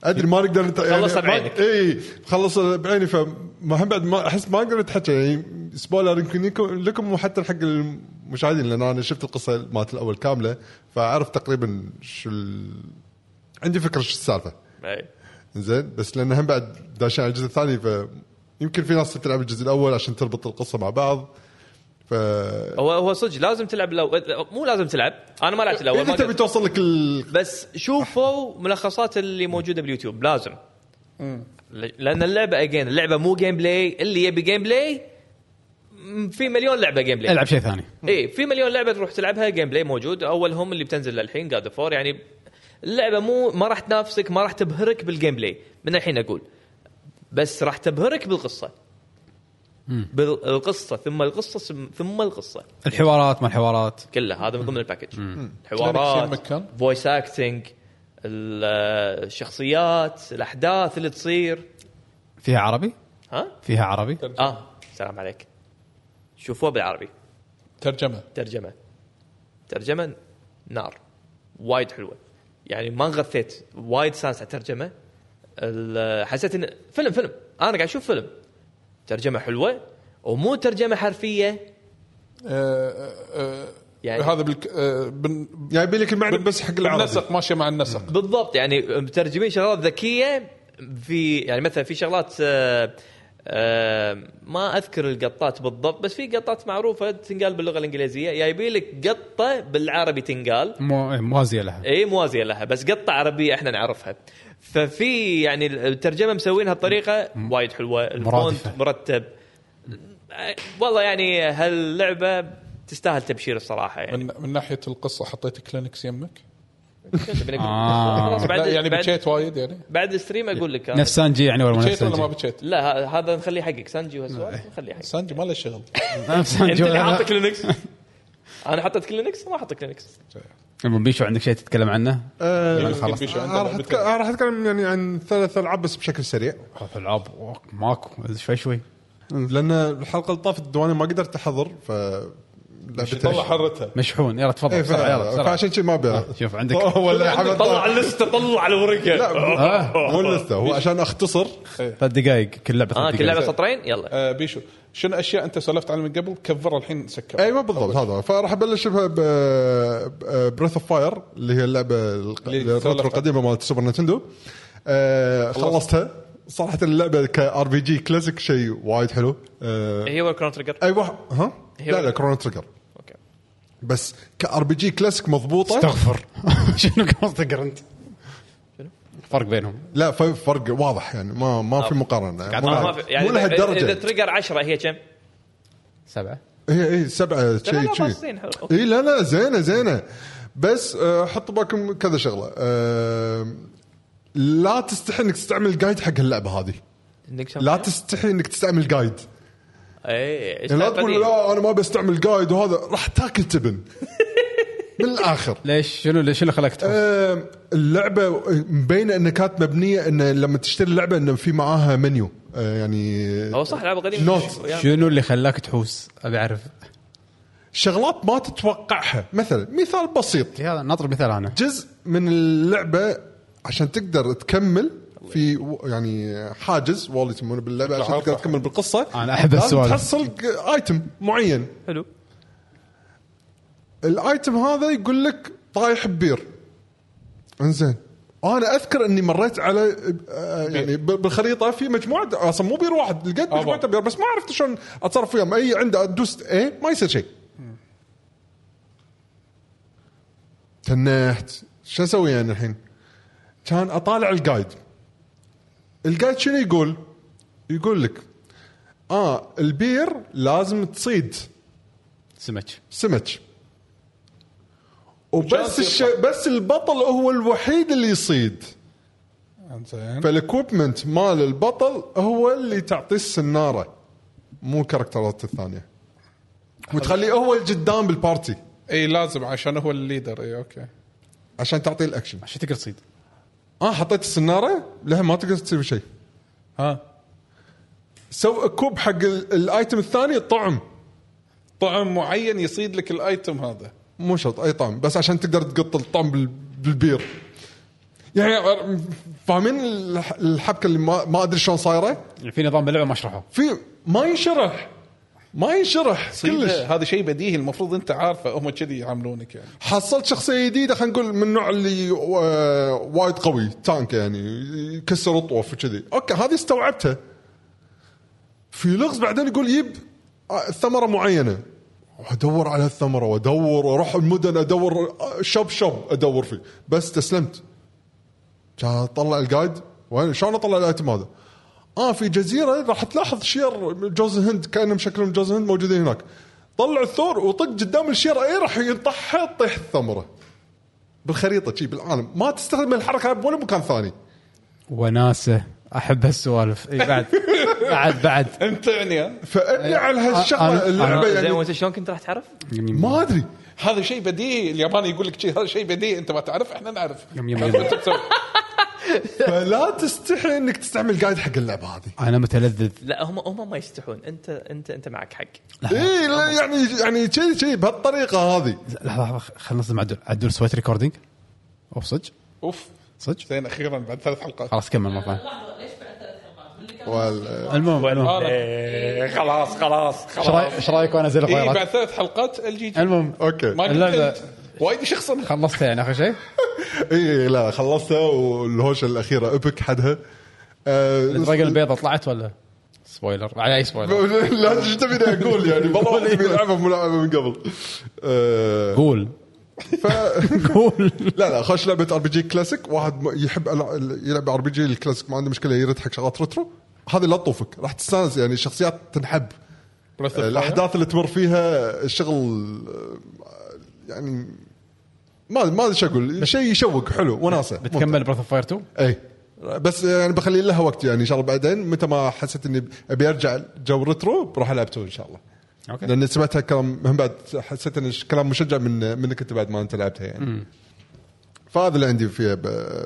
S4: ادري ما نقدر نت...
S3: خلصها بعينك.
S4: اي خلص بعيني فما هم بعد ما احس ما اقدر اتحكى يعني سبويلر يمكن يكون لكم وحتى حق المشاهدين لان انا شفت القصه مالت الاول كامله فاعرف تقريبا شو ال... عندي فكره شو السالفه
S3: إي.
S4: زين بس لان هم بعد داشين على الجزء الثاني ف يمكن في ناس تلعب الجزء الاول عشان تربط القصه مع بعض ف
S3: هو هو صدق لازم تلعب لو مو لازم تلعب انا ما لعبت الاول
S4: اذا
S3: ما
S4: تبي
S3: قد-
S4: توصل لك إيه، ال...
S3: بس شوفوا ملخصات اللي موجوده باليوتيوب لازم ل- لان اللعبه اجين اللعبه مو جيم بلاي اللي يبي جيم بلاي م- في مليون لعبه جيم بلاي
S1: إيه، العب شيء ثاني
S3: اي إيه، في مليون لعبه تروح تلعبها جيم بلاي موجود اولهم اللي بتنزل للحين جاد فور يعني اللعبه مو ما راح تنافسك ما راح تبهرك بالجيم بلاي من الحين اقول بس راح تبهرك بالقصه بالقصه ثم القصه ثم- ثم القصه
S1: الحوارات ما الحوارات
S3: كله هذا من ضمن الباكج
S2: كلام
S3: حوارات
S2: كثير مكان.
S3: فويس اكتنج الشخصيات الاحداث اللي تصير
S1: فيها عربي؟
S3: ها
S1: فيها عربي؟
S3: اه سلام عليك شوفوها بالعربي
S2: ترجمه
S3: ترجمه ترجمه نار وايد حلوه يعني ما انغثيت وايد سانس على الترجمه ال- حسيت ان فيلم فيلم انا قاعد اشوف فيلم ترجمه حلوه ومو ترجمه حرفيه
S2: آه، آه،
S3: يعني-
S2: هذا بالك... آه، بن...
S4: يعني يبي لك المعنى
S2: بن-
S4: بس حق العربي
S2: بالنسق ماشيه مع النسق
S3: بالضبط يعني مترجمين شغلات ذكيه في يعني مثلا في شغلات آه، آم، ما اذكر القطات بالضبط بس في قطات معروفه تنقال باللغه الانجليزيه جايبي لك قطه بالعربي تنقال
S1: مو- موازيه لها
S3: اي موازيه إيه، لها بس قطه عربيه احنا نعرفها ففي يعني الترجمه مسوينها بطريقه وايد حلوه الفونت
S1: مرادفة.
S3: مرتب آه، والله يعني هاللعبه تستاهل تبشير الصراحه يعني
S2: من, من ناحيه القصه حطيت كلينكس يمك
S1: آه.
S3: خلاص بعد
S2: لا يعني
S3: بعد,
S2: بكيت وايد يعني
S3: بعد الستريم اقول لك أنا.
S1: نفس سانجي يعني ولا مو نفس
S2: بكيت ولا ما
S1: سانجي؟
S2: بكيت؟
S3: لا ه- هذا نخليه حقك سانجي وهالسوالف نخليه حقك
S2: سانجي ما له شغل
S1: نفس
S3: انت
S1: سانجي
S3: اللي
S1: ولا
S3: حاط
S1: لا؟
S3: كلينكس انا حطيت كلينكس ما حطيت كلينكس
S1: المهم، بيشو عندك شيء تتكلم عنه؟
S4: آه،
S2: يمكن بيشو عنده
S4: أنا راح أتك-
S2: لعبتين.
S4: أنا راح اتكلم يعني عن ثلاث العاب بس بشكل سريع
S1: العاب ماكو شوي شوي
S4: لان الحلقه اللي طافت الديوانيه ما قدرت احضر ف
S2: طلع حرتها
S1: مشحون يلا
S4: إيه،
S1: تفضل بسرعه يلا بسرعه
S4: فعشان كذي ما ابي
S1: شوف عندك
S4: ولا حمد
S3: طلع اللسته طلع الورقه
S1: آه.
S4: مو لسه هو عشان اختصر
S1: ثلاث دقائق كل لعبه
S3: اه
S1: ثلاث
S3: كل لعبه
S1: دقائق
S3: سطرين يلا
S2: آه بيشو شنو اشياء انت سولفت عنها من قبل كفر الحين سكر
S1: أيوة.
S4: ايوه بالضبط هذا فراح ابلش بريث اوف فاير اللي هي اللعبه الق-
S2: اللي
S4: الريترو
S2: تسولف
S4: القديمه مالت سوبر نتندو آه، خلصتها صراحه اللعبه كار بي جي كلاسيك شيء وايد حلو آه،
S3: هي ولا كرون
S2: أه.
S3: تريجر
S4: ايوه ها
S3: هي
S4: لا
S3: ولا-
S4: لا كرونو تريجر
S3: اوكي
S4: بس كار بي جي كلاسيك مضبوطه
S1: استغفر شنو قصدك انت؟ فرق بينهم
S4: لا ف- فرق واضح يعني ما ما في مقارنه
S1: قاعد-
S4: مو
S1: آه،
S3: ما
S4: لها-
S3: في- يعني
S4: طيب. مو لهالدرجه
S3: اذا تريجر 10 هي كم؟
S1: سبعه
S4: هي هي سبعه شيء
S3: لا،
S4: شيء
S3: باصين حلو. أوكي.
S4: اي لا لا زينه زينه بس آه، حطوا بالكم كذا شغله آه، لا تستحي انك تستعمل جايد حق اللعبه هذه
S3: عندك شم
S4: إيه، لا
S3: فيها؟
S4: تستحي انك تستعمل جايد
S3: اي إيه، إيش
S4: يعني لا
S3: تعرف
S4: تقول
S3: هذه؟
S4: لا انا ما بستعمل جايد وهذا راح تاكل تبن بالاخر
S1: ليش شنو شنو خلاك تحس؟
S4: آه، اللعبه مبينه انها كانت مبنيه ان لما تشتري اللعبه انه في معاها منيو آه، يعني
S3: هو صح لعبه قديمه
S4: نوت.
S3: شو- يعني-
S1: شنو اللي خلاك تحوس؟ ابي اعرف
S4: شغلات ما تتوقعها مثلا مثال بسيط
S1: هذا ناطر مثال انا
S4: جزء من اللعبه عشان تقدر تكمل في و- يعني حاجز والله يسمونه باللعبه عشان تقدر تكمل بالقصه
S1: أنا أحب
S4: لازم
S1: السؤال.
S4: تحصل ج- ايتم معين
S3: حلو
S4: الايتم هذا يقول لك طايح ببير انزين انا اذكر اني مريت على آه، يعني ب- بالخريطه في مجموعه اصلا مو بير واحد لقيت
S2: آه،
S4: مجموعه بير بس ما عرفت شلون اتصرف وياهم اي عند ادوس اي ما يصير شيء تنحت شو اسوي انا الحين؟ كان اطالع الجايد الجايد شنو يقول؟ يقول لك اه البير لازم تصيد
S1: سمك
S4: سمك وبس الش... بس البطل هو الوحيد اللي يصيد
S2: انزين
S4: فالاكوبمنت مال البطل هو اللي تعطيه السناره مو الكاركترات الثانيه وتخليه هو القدام بالبارتي
S2: اي لازم عشان هو الليدر اي اوكي
S4: عشان تعطيه الاكشن
S1: عشان تقدر تصيد
S4: اه حطيت السناره لها ما تقدر تسوي شيء
S2: ها
S4: سو كوب حق ال- الايتم الثاني طعم
S2: طعم معين يصيد لك الايتم هذا
S4: مو شرط اي طعم بس عشان تقدر تقط الطعم بال- بالبير يعني فاهمين الح- الحبكه اللي ما, ما ادري شلون صايره
S1: يعني في نظام باللعبه ما شرحوه
S4: في ما ينشرح ما ينشرح كلش
S2: كلش هذا شيء بديهي المفروض انت عارفه هم كذي يعاملونك يعني
S4: حصلت شخصيه جديده خلينا نقول من النوع اللي آه، وايد قوي تانك يعني يكسر اطوف وكذي اوكي هذه استوعبتها في لغز بعدين يقول يب آه، ثمره معينه ادور على الثمره وادور واروح المدن ادور آه، شب شب ادور فيه بس استسلمت كان اطلع الجايد وين شلون اطلع الايتم هذا؟ اه في جزيره راح تلاحظ شير جوز الهند كانهم شكلهم جوز الهند موجودين هناك. طلع الثور وطق قدام الشير اي راح ينطحها تطيح الثمره. بالخريطه شي بالعالم ما تستخدم الحركه بولا مكان ثاني.
S1: وناسه احب هالسوالف اي بعد بعد بعد
S2: انت يعني ها؟
S4: فابني على هالشغله
S1: أنا-
S4: اللعبه
S1: أنا-
S3: زين
S4: يعني
S3: وانت شلون كنت راح تعرف؟
S4: ما ادري
S2: هذا شيء بديهي الياباني يقول لك شيء هذا شيء بديهي انت ما تعرف احنا نعرف
S1: يم يم يم.
S2: بس أنت تسوي.
S4: فلا تستحي انك تستعمل جايد حق اللعبه هذه.
S1: انا متلذذ
S3: لا هم هم ما يستحون انت انت انت معك حق
S4: اي لا، يعني يعني شيء شيء بهالطريقه هذه.
S1: لحظه لحظة، خلنا نصدم عدول عدول سويت ريكوردينج اوف صدق
S2: اوف
S1: صدق
S2: زين اخيرا بعد ثلاث حلقات
S1: خلاص كمل مره ثانية.
S5: لحظه ليش بعد ثلاث حلقات؟ اللي كان
S4: وال-
S1: المهم المهم
S2: أنا- إيه، خلاص خلاص
S1: ايش رايك
S2: خلاص
S1: ايش رايك وانا ازيل
S2: اي إيه، بعد
S1: الغيرات؟
S2: ثلاث حلقات الجي جي
S1: المهم
S4: اوكي
S2: ما قلت
S1: اللعبة-
S2: أنت. وايد شخصا
S1: خلصت يعني اخر شيء
S4: اي إيه، لا خلصتها والهوشه الاخيره ابك حدها آه،
S1: الدرجه البيضاء طلعت ولا سبويلر على اي سبويلر
S4: لا ايش تبيني اقول يعني والله واحد بيلعبها ملعبه من قبل آه،
S1: قول
S4: ف...
S1: قول
S4: لا لا خوش لعبه ار بي جي كلاسيك واحد م- يحب ألع- يلعب ار بي جي الكلاسيك ما عنده مشكله يرد حق شغلات ريترو هذه لا تطوفك راح تستانس يعني الشخصيات تنحب
S2: Breath of Fire.
S4: الاحداث اللي تمر فيها الشغل آه، يعني ما ما ادري شو اقول شيء يشوق حلو وناسه ممتع.
S1: بتكمل براث اوف فاير 2
S4: اي بس يعني بخلي لها وقت يعني ان شاء الله بعدين متى ما حسيت اني ابي ارجع جو ريترو بروح العب تو ان شاء الله
S1: اوكي
S4: لان سمعتها كلام هم بعد حسيت ان كلام مشجع من منك انت بعد ما انت لعبتها يعني فهذا اللي عندي فيها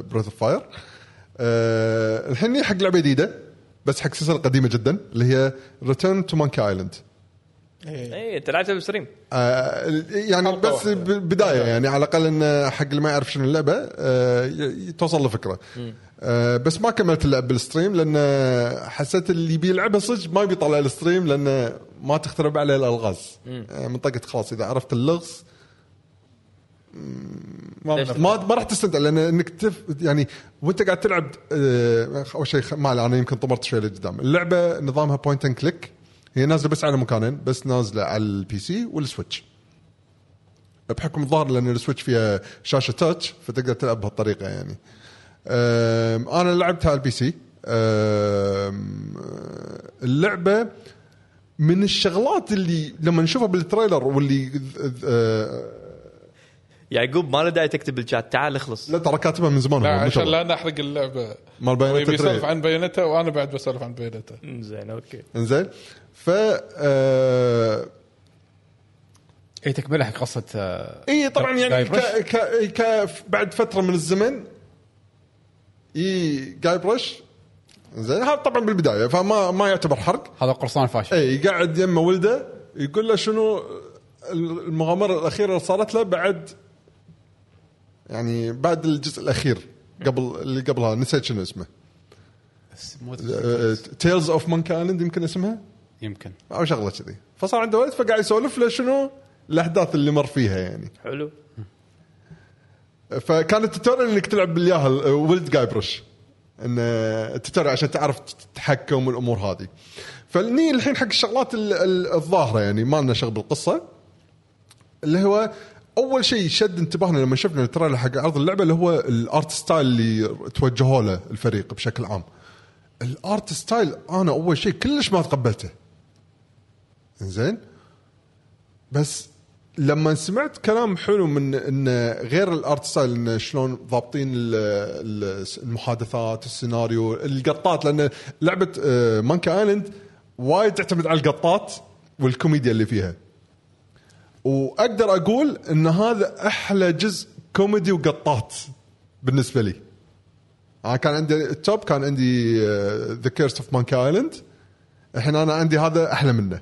S4: بروث اوف فاير أه الحين حق لعبه جديده بس حق سلسله قديمه جدا اللي هي ريتيرن تو مانكي ايلاند
S3: اي انت لعبتها إيه، بالستريم
S4: آه، يعني
S2: حلقة
S4: بس
S2: واحدة.
S4: ب- بدايه يعني على الاقل ان حق اللي ما يعرف شنو اللعبه آه، ي- توصل له فكره آه، بس ما كملت اللعب بالستريم لان حسيت اللي بيلعبها صدق ما بيطلع الستريم لان ما تخترب عليه الالغاز آه، منطقه خلاص اذا عرفت اللغز
S2: ما
S3: ليش؟
S2: بنفع.
S4: ما ما راح تستمتع لان انك تف يعني وانت قاعد تلعب آه، اول شيء خ- ما عليه، انا يمكن طمرت شوي لقدام اللعبه نظامها بوينت اند كليك هي نازله بس على مكانين بس نازله على البي سي والسويتش بحكم الظاهر لان السويتش فيها شاشه تاتش فتقدر تلعب بهالطريقه يعني أم، انا لعبتها على البي سي أم، اللعبه من الشغلات اللي لما نشوفها بالتريلر واللي أه،
S3: يعقوب ما له داعي تكتب بالشات تعال اخلص
S4: لا ترى كاتبها من زمان
S2: لا
S4: هو، مو
S2: عشان
S4: شغلة.
S2: لا نحرق اللعبه
S4: مال
S2: هو
S4: بايونيتا
S2: يبي يسولف
S4: 3
S2: عن بايونيتا وانا بعد بسولف عن بايونيتا
S3: زين اوكي
S4: انزين ف آه،
S1: اي تكمله حق قصه آه،
S4: اي طبعا يعني
S1: جايبرش.
S4: ك... ك... ك... بعد فتره من الزمن اي جاي برش زين هذا طبعا بالبدايه فما ما يعتبر حرق
S1: هذا قرصان فاشل
S4: اي قاعد يمه ولده يقول له شنو المغامره الاخيره اللي صارت له بعد يعني بعد الجزء الاخير قبل اللي قبلها نسيت شنو اسمه آه،
S1: بس مو-
S4: تيلز اوف مونكي ايلاند يمكن اسمها
S1: يمكن
S4: او شغله كذي فصار عنده ولد فقاعد يسولف له شنو الاحداث اللي مر فيها يعني
S3: حلو
S4: فكان التوتوريال انك تلعب بالياهل ولد جايبرش ان التوتوريال عشان تعرف تتحكم والامور هذه فني الحين حق الشغلات ال- ال- الظاهره يعني ما لنا شغل بالقصه اللي هو اول شيء شد انتباهنا لما شفنا التريلر حق عرض اللعبه اللي هو الارت ستايل اللي توجهوا له الفريق بشكل عام الارت ستايل انا اول شيء كلش ما تقبلته زين بس لما سمعت كلام حلو من ان غير الارت ستايل ان شلون ضابطين ال- ال- المحادثات السيناريو القطات لان لعبه مانكا ايلاند وايد تعتمد على القطات والكوميديا اللي فيها واقدر اقول ان هذا احلى جزء كوميدي وقطات بالنسبه لي انا كان عندي التوب كان عندي آه، ذا كيرست اوف مانكا ايلاند الحين انا عندي هذا احلى منه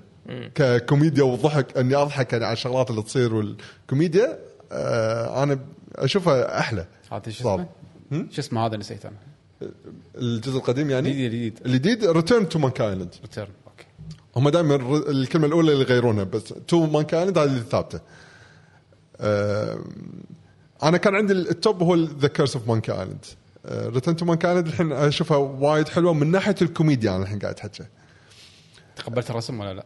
S4: ككوميديا وضحك اني اضحك يعني على الشغلات اللي تصير والكوميديا آه انا اشوفها احلى
S1: هذا شو
S4: صار.
S1: اسمه؟ شو اسمه هذا نسيت انا
S4: الجزء القديم يعني
S1: جديد جديد
S4: الجديد ريتيرن تو مانكا ايلاند
S1: ريتيرن اوكي
S4: هم دائما الر- الكلمه الاولى اللي يغيرونها بس تو مانكا ايلاند هذه اللي ثابته آم، انا كان عندي التوب هو ذا كيرس اوف مانكا ايلاند ريتيرن تو مانكا ايلاند آه، الحين اشوفها وايد حلوه من ناحيه الكوميديا انا الحين قاعد احكي
S1: تقبلت الرسم ولا لا؟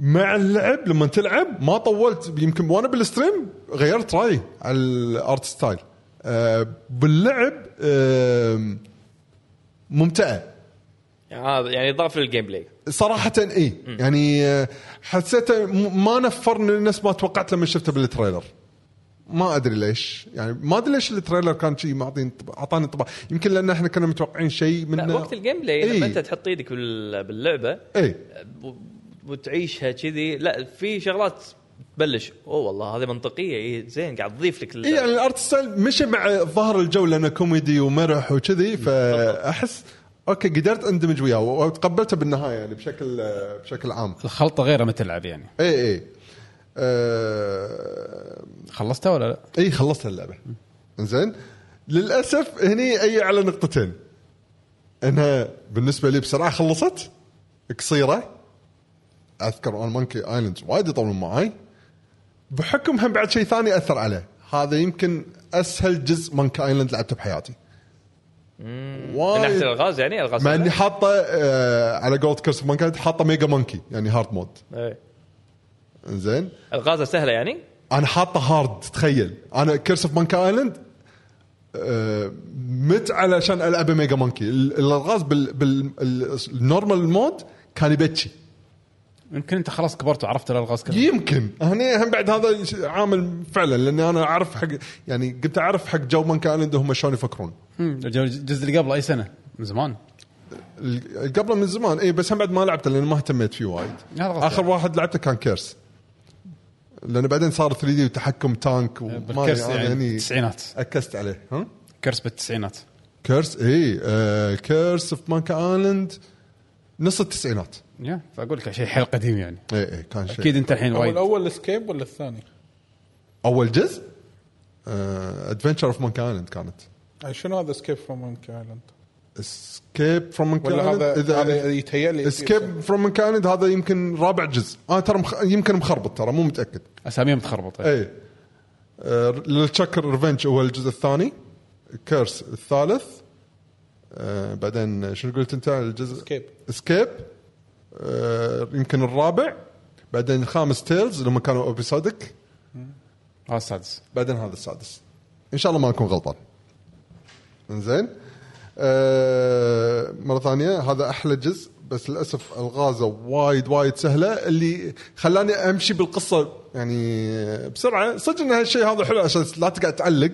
S4: مع اللعب لما تلعب ما طولت يمكن وانا بالستريم غيرت رايي على الارت ستايل آه، باللعب آم، ممتعه
S3: هذا يعني اضاف للجيم بلاي
S4: صراحة اي يعني آه، حسيته م- ما نفرني نفس ما توقعت لما شفته بالتريلر ما ادري ليش يعني ما ادري ليش التريلر كان شيء معطي انطباع- اعطاني انطباع يمكن لان احنا كنا متوقعين شيء من
S3: لا وقت الجيم بلاي
S4: إيه.
S3: لما انت تحط ايدك بال- باللعبه
S4: اي
S3: و- وتعيشها كذي لا في شغلات تبلش اوه والله هذه منطقيه إيه زين قاعد تضيف لك ال-
S4: اي يعني الارت ستايل مشي مع ظهر الجو لانه كوميدي ومرح وكذي فاحس اوكي قدرت اندمج وياه وتقبلته بالنهايه يعني بشكل آه، بشكل عام
S1: الخلطه غير لما تلعب يعني
S4: اي اي آه،
S1: خلصتها ولا لا؟
S4: اي خلصت اللعبه زين للاسف هني اي على نقطتين انها بالنسبه لي بسرعه خلصت قصيره اذكر اون مونكي ايلاند وايد يطولون معاي بحكم هم بعد شيء ثاني اثر عليه هذا يمكن اسهل جزء مونكي ايلاند لعبته بحياتي
S3: من ناحيه
S4: وايد
S3: الالغاز يعني الغاز
S4: مع اني حاطه آه على جولد كرس مانكايند حاطه ميجا مونكي يعني هارد مود
S3: إيه.
S4: زين
S3: الغازه سهله يعني
S4: انا حاطه هارد تخيل انا كيرس اوف مانكا ايلاند آه، مت علشان العب ميجا مونكي ال- الالغاز بالنورمال مود كان يبكي
S1: يمكن انت خلاص كبرت وعرفت الالغاز كلها
S4: يمكن هني هم بعد هذا ش- عامل فعلا لاني انا اعرف حق يعني قمت اعرف حق جو مانكا ايلاند هم شلون يفكرون
S1: مم، الجو- الجزء اللي قبله اي سنه من زمان
S4: ال- قبله من زمان اي بس هم بعد ما لعبته لان ما اهتميت فيه وايد
S1: هذا يعني. غصب.
S4: اخر واحد لعبته كان كيرس لأنه بعدين صار 3 دي وتحكم تانك وما
S1: بالكرس
S4: أدري، أنا
S1: يعني
S4: هني
S1: التسعينات
S4: اكست عليه ها
S1: كرس بالتسعينات
S4: كيرس اي آه كيرس في مانكا ايلاند نص التسعينات
S1: يا فاقول لك شيء حيل قديم يعني
S4: اي اي كان شيء
S1: اكيد انت الحين
S2: هو
S1: وايد
S2: الاول اسكيب ولا الثاني؟
S4: اول جزء آه، ادفنشر اوف مانكا ايلاند كانت
S2: أي آه، شنو هذا اسكيب فروم مونكي ايلاند؟
S4: اسكيب فروم مانكا
S2: ولا
S4: ايلاند
S2: هذا هذا
S4: اذا
S2: يتهيأ لي
S4: اسكيب فروم مانكا ايلاند هذا يمكن رابع جزء انا ترى مخ... يمكن مخربط ترى مو متاكد
S1: اساميهم متخربطه
S4: اي إيه. آه، للتشكر ريفنج هو الجزء الثاني كيرس الثالث آه، بعدين شنو قلت انت على الجزء
S2: اسكيب
S4: اسكيب آه، يمكن الرابع بعدين الخامس تيلز لما كانوا اوبيسودك
S1: هذا السادس
S4: بعدين هذا السادس ان شاء الله ما اكون غلطان زين آه مره ثانيه هذا احلى جزء بس للاسف الغازه وايد وايد سهله اللي خلاني امشي بالقصه يعني بسرعه صدق ان هالشيء هذا حلو عشان لا تقعد تعلق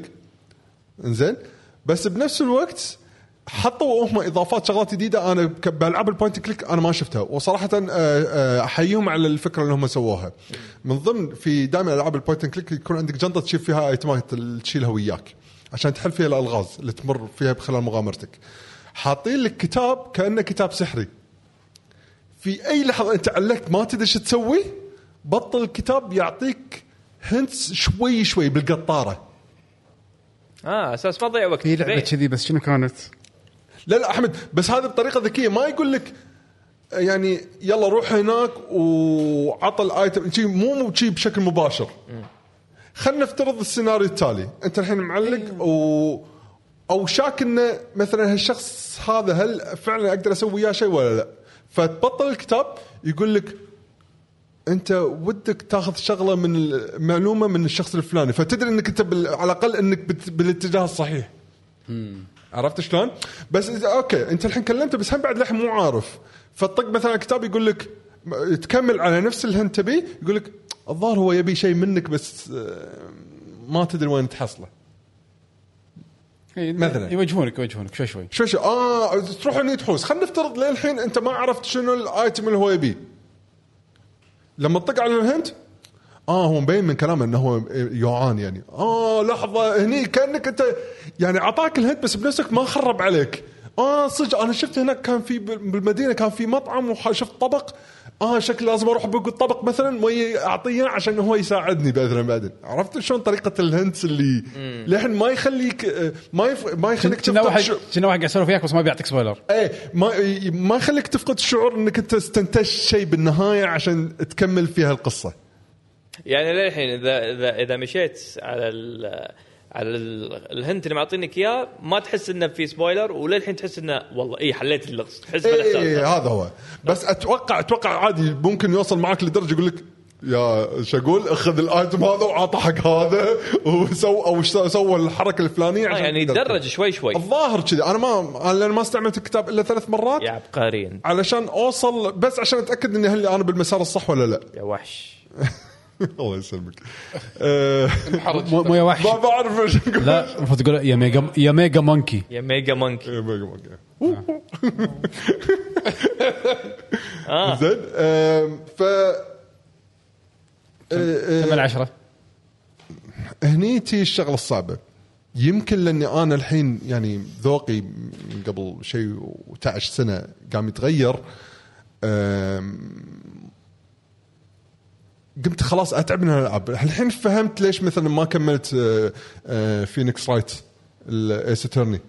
S4: زين بس بنفس الوقت حطوا هم اضافات شغلات جديده انا ك- بالعاب البوينت كليك انا ما شفتها وصراحه آه، آه، احييهم على الفكره اللي هم سووها من ضمن في دائما العاب البوينت كليك يكون عندك جنطه تشيل فيها ايتمات اللي تشيلها وياك عشان تحل فيها الالغاز اللي تمر فيها خلال مغامرتك حاطين لك كتاب كانه كتاب سحري في اي لحظه انت علقت ما تدري شو تسوي بطل الكتاب يعطيك هنتس شوي شوي بالقطاره
S3: اه اساس ما تضيع وقت
S1: في لعبه
S3: زين.
S1: كذي بس شنو كانت؟
S4: لا لا احمد بس هذا بطريقه ذكيه ما يقول لك يعني يلا روح هناك وعطى الايتم شي مو مو شي بشكل مباشر خلينا نفترض السيناريو التالي انت الحين معلق و او شاك انه مثلا هالشخص هذا هل فعلا اقدر اسوي وياه شيء ولا لا فتبطل الكتاب يقول لك انت ودك تاخذ شغله من ال- معلومه من الشخص الفلاني فتدري انك انت بال... على الاقل انك بت... بالاتجاه الصحيح عرفت شلون؟ بس إذا اوكي انت الحين كلمته بس هم بعد لحم مو عارف فطق مثلا كتاب يقول لك م- تكمل على نفس اللي انت تبيه يقول لك الظاهر هو يبي شيء منك بس آه، ما تدري وين تحصله
S1: إي،
S4: مثلاً.
S1: إيه، يوجهونك يوجهونك شوي شوي
S4: شوي شوي اه تروح هني تحوس خلينا نفترض للحين انت ما عرفت شنو الايتم اللي هو يبيه لما تطق على الهنت اه هو مبين من كلامه انه هو يوعان يعني اه لحظه هني كانك انت يعني عطاك الهنت بس بنفسك ما خرب عليك اه صدق انا شفت هناك كان في بال- بالمدينه كان في مطعم وشفت طبق اه شكلي لازم اروح بق الطبق مثلا واعطيه عشان هو يساعدني باذن بعدين عرفت شلون طريقه الهنتس اللي لحن ما يخليك آه، ما يف... ما يخليك
S1: كنا
S4: تفتح
S1: واحد
S4: شو-
S1: كنا واحد قاعد يسولف وياك بس ما بيعطيك سبويلر
S4: ايه ما ما يخليك تفقد الشعور انك انت استنتجت شيء بالنهايه عشان تكمل فيها القصه.
S3: يعني للحين اذا اذا اذا مشيت على ال على ال- الهنت اللي معطينك اياه ما تحس انه في سبويلر وللحين تحس انه والله اي حليت اللغز تحس آه،
S4: ايه إيه
S3: بالاحساس
S4: هذا هو بس اتوقع اتوقع عادي ممكن يوصل معك لدرجه يقول لك يا شقول اخذ الايتم هذا وعطى حق هذا وسو او ش- سوى الحركه الفلانيه
S3: آه،
S4: عشان
S3: يعني
S4: تقدر
S3: يتدرج
S4: تكمل.
S3: شوي شوي
S4: الظاهر كذي انا ما انا لأن ما استعملت الكتاب الا ثلاث مرات
S3: يا عبقريين
S4: علشان اوصل بس عشان اتاكد اني هل انا بالمسار الصح ولا لا
S3: يا وحش
S4: الله يسلمك آه،
S1: مو مو يا وحش
S4: ما بعرف ايش اقول
S1: لا المفروض تقول يا ميجا يا ميجا مونكي
S3: يا ميجا مونكي
S4: إيه، باقي- باقي. آه. زين آم، ف آه،
S1: 8 10
S4: هني تي الشغله الصعبه يمكن لاني انا الحين يعني ذوقي من قبل شيء و11 سنه قام يتغير أم، قمت خلاص اتعب من الالعاب الحين فهمت ليش مثلا ما كملت آه، آه، فينيكس رايت الايس اترني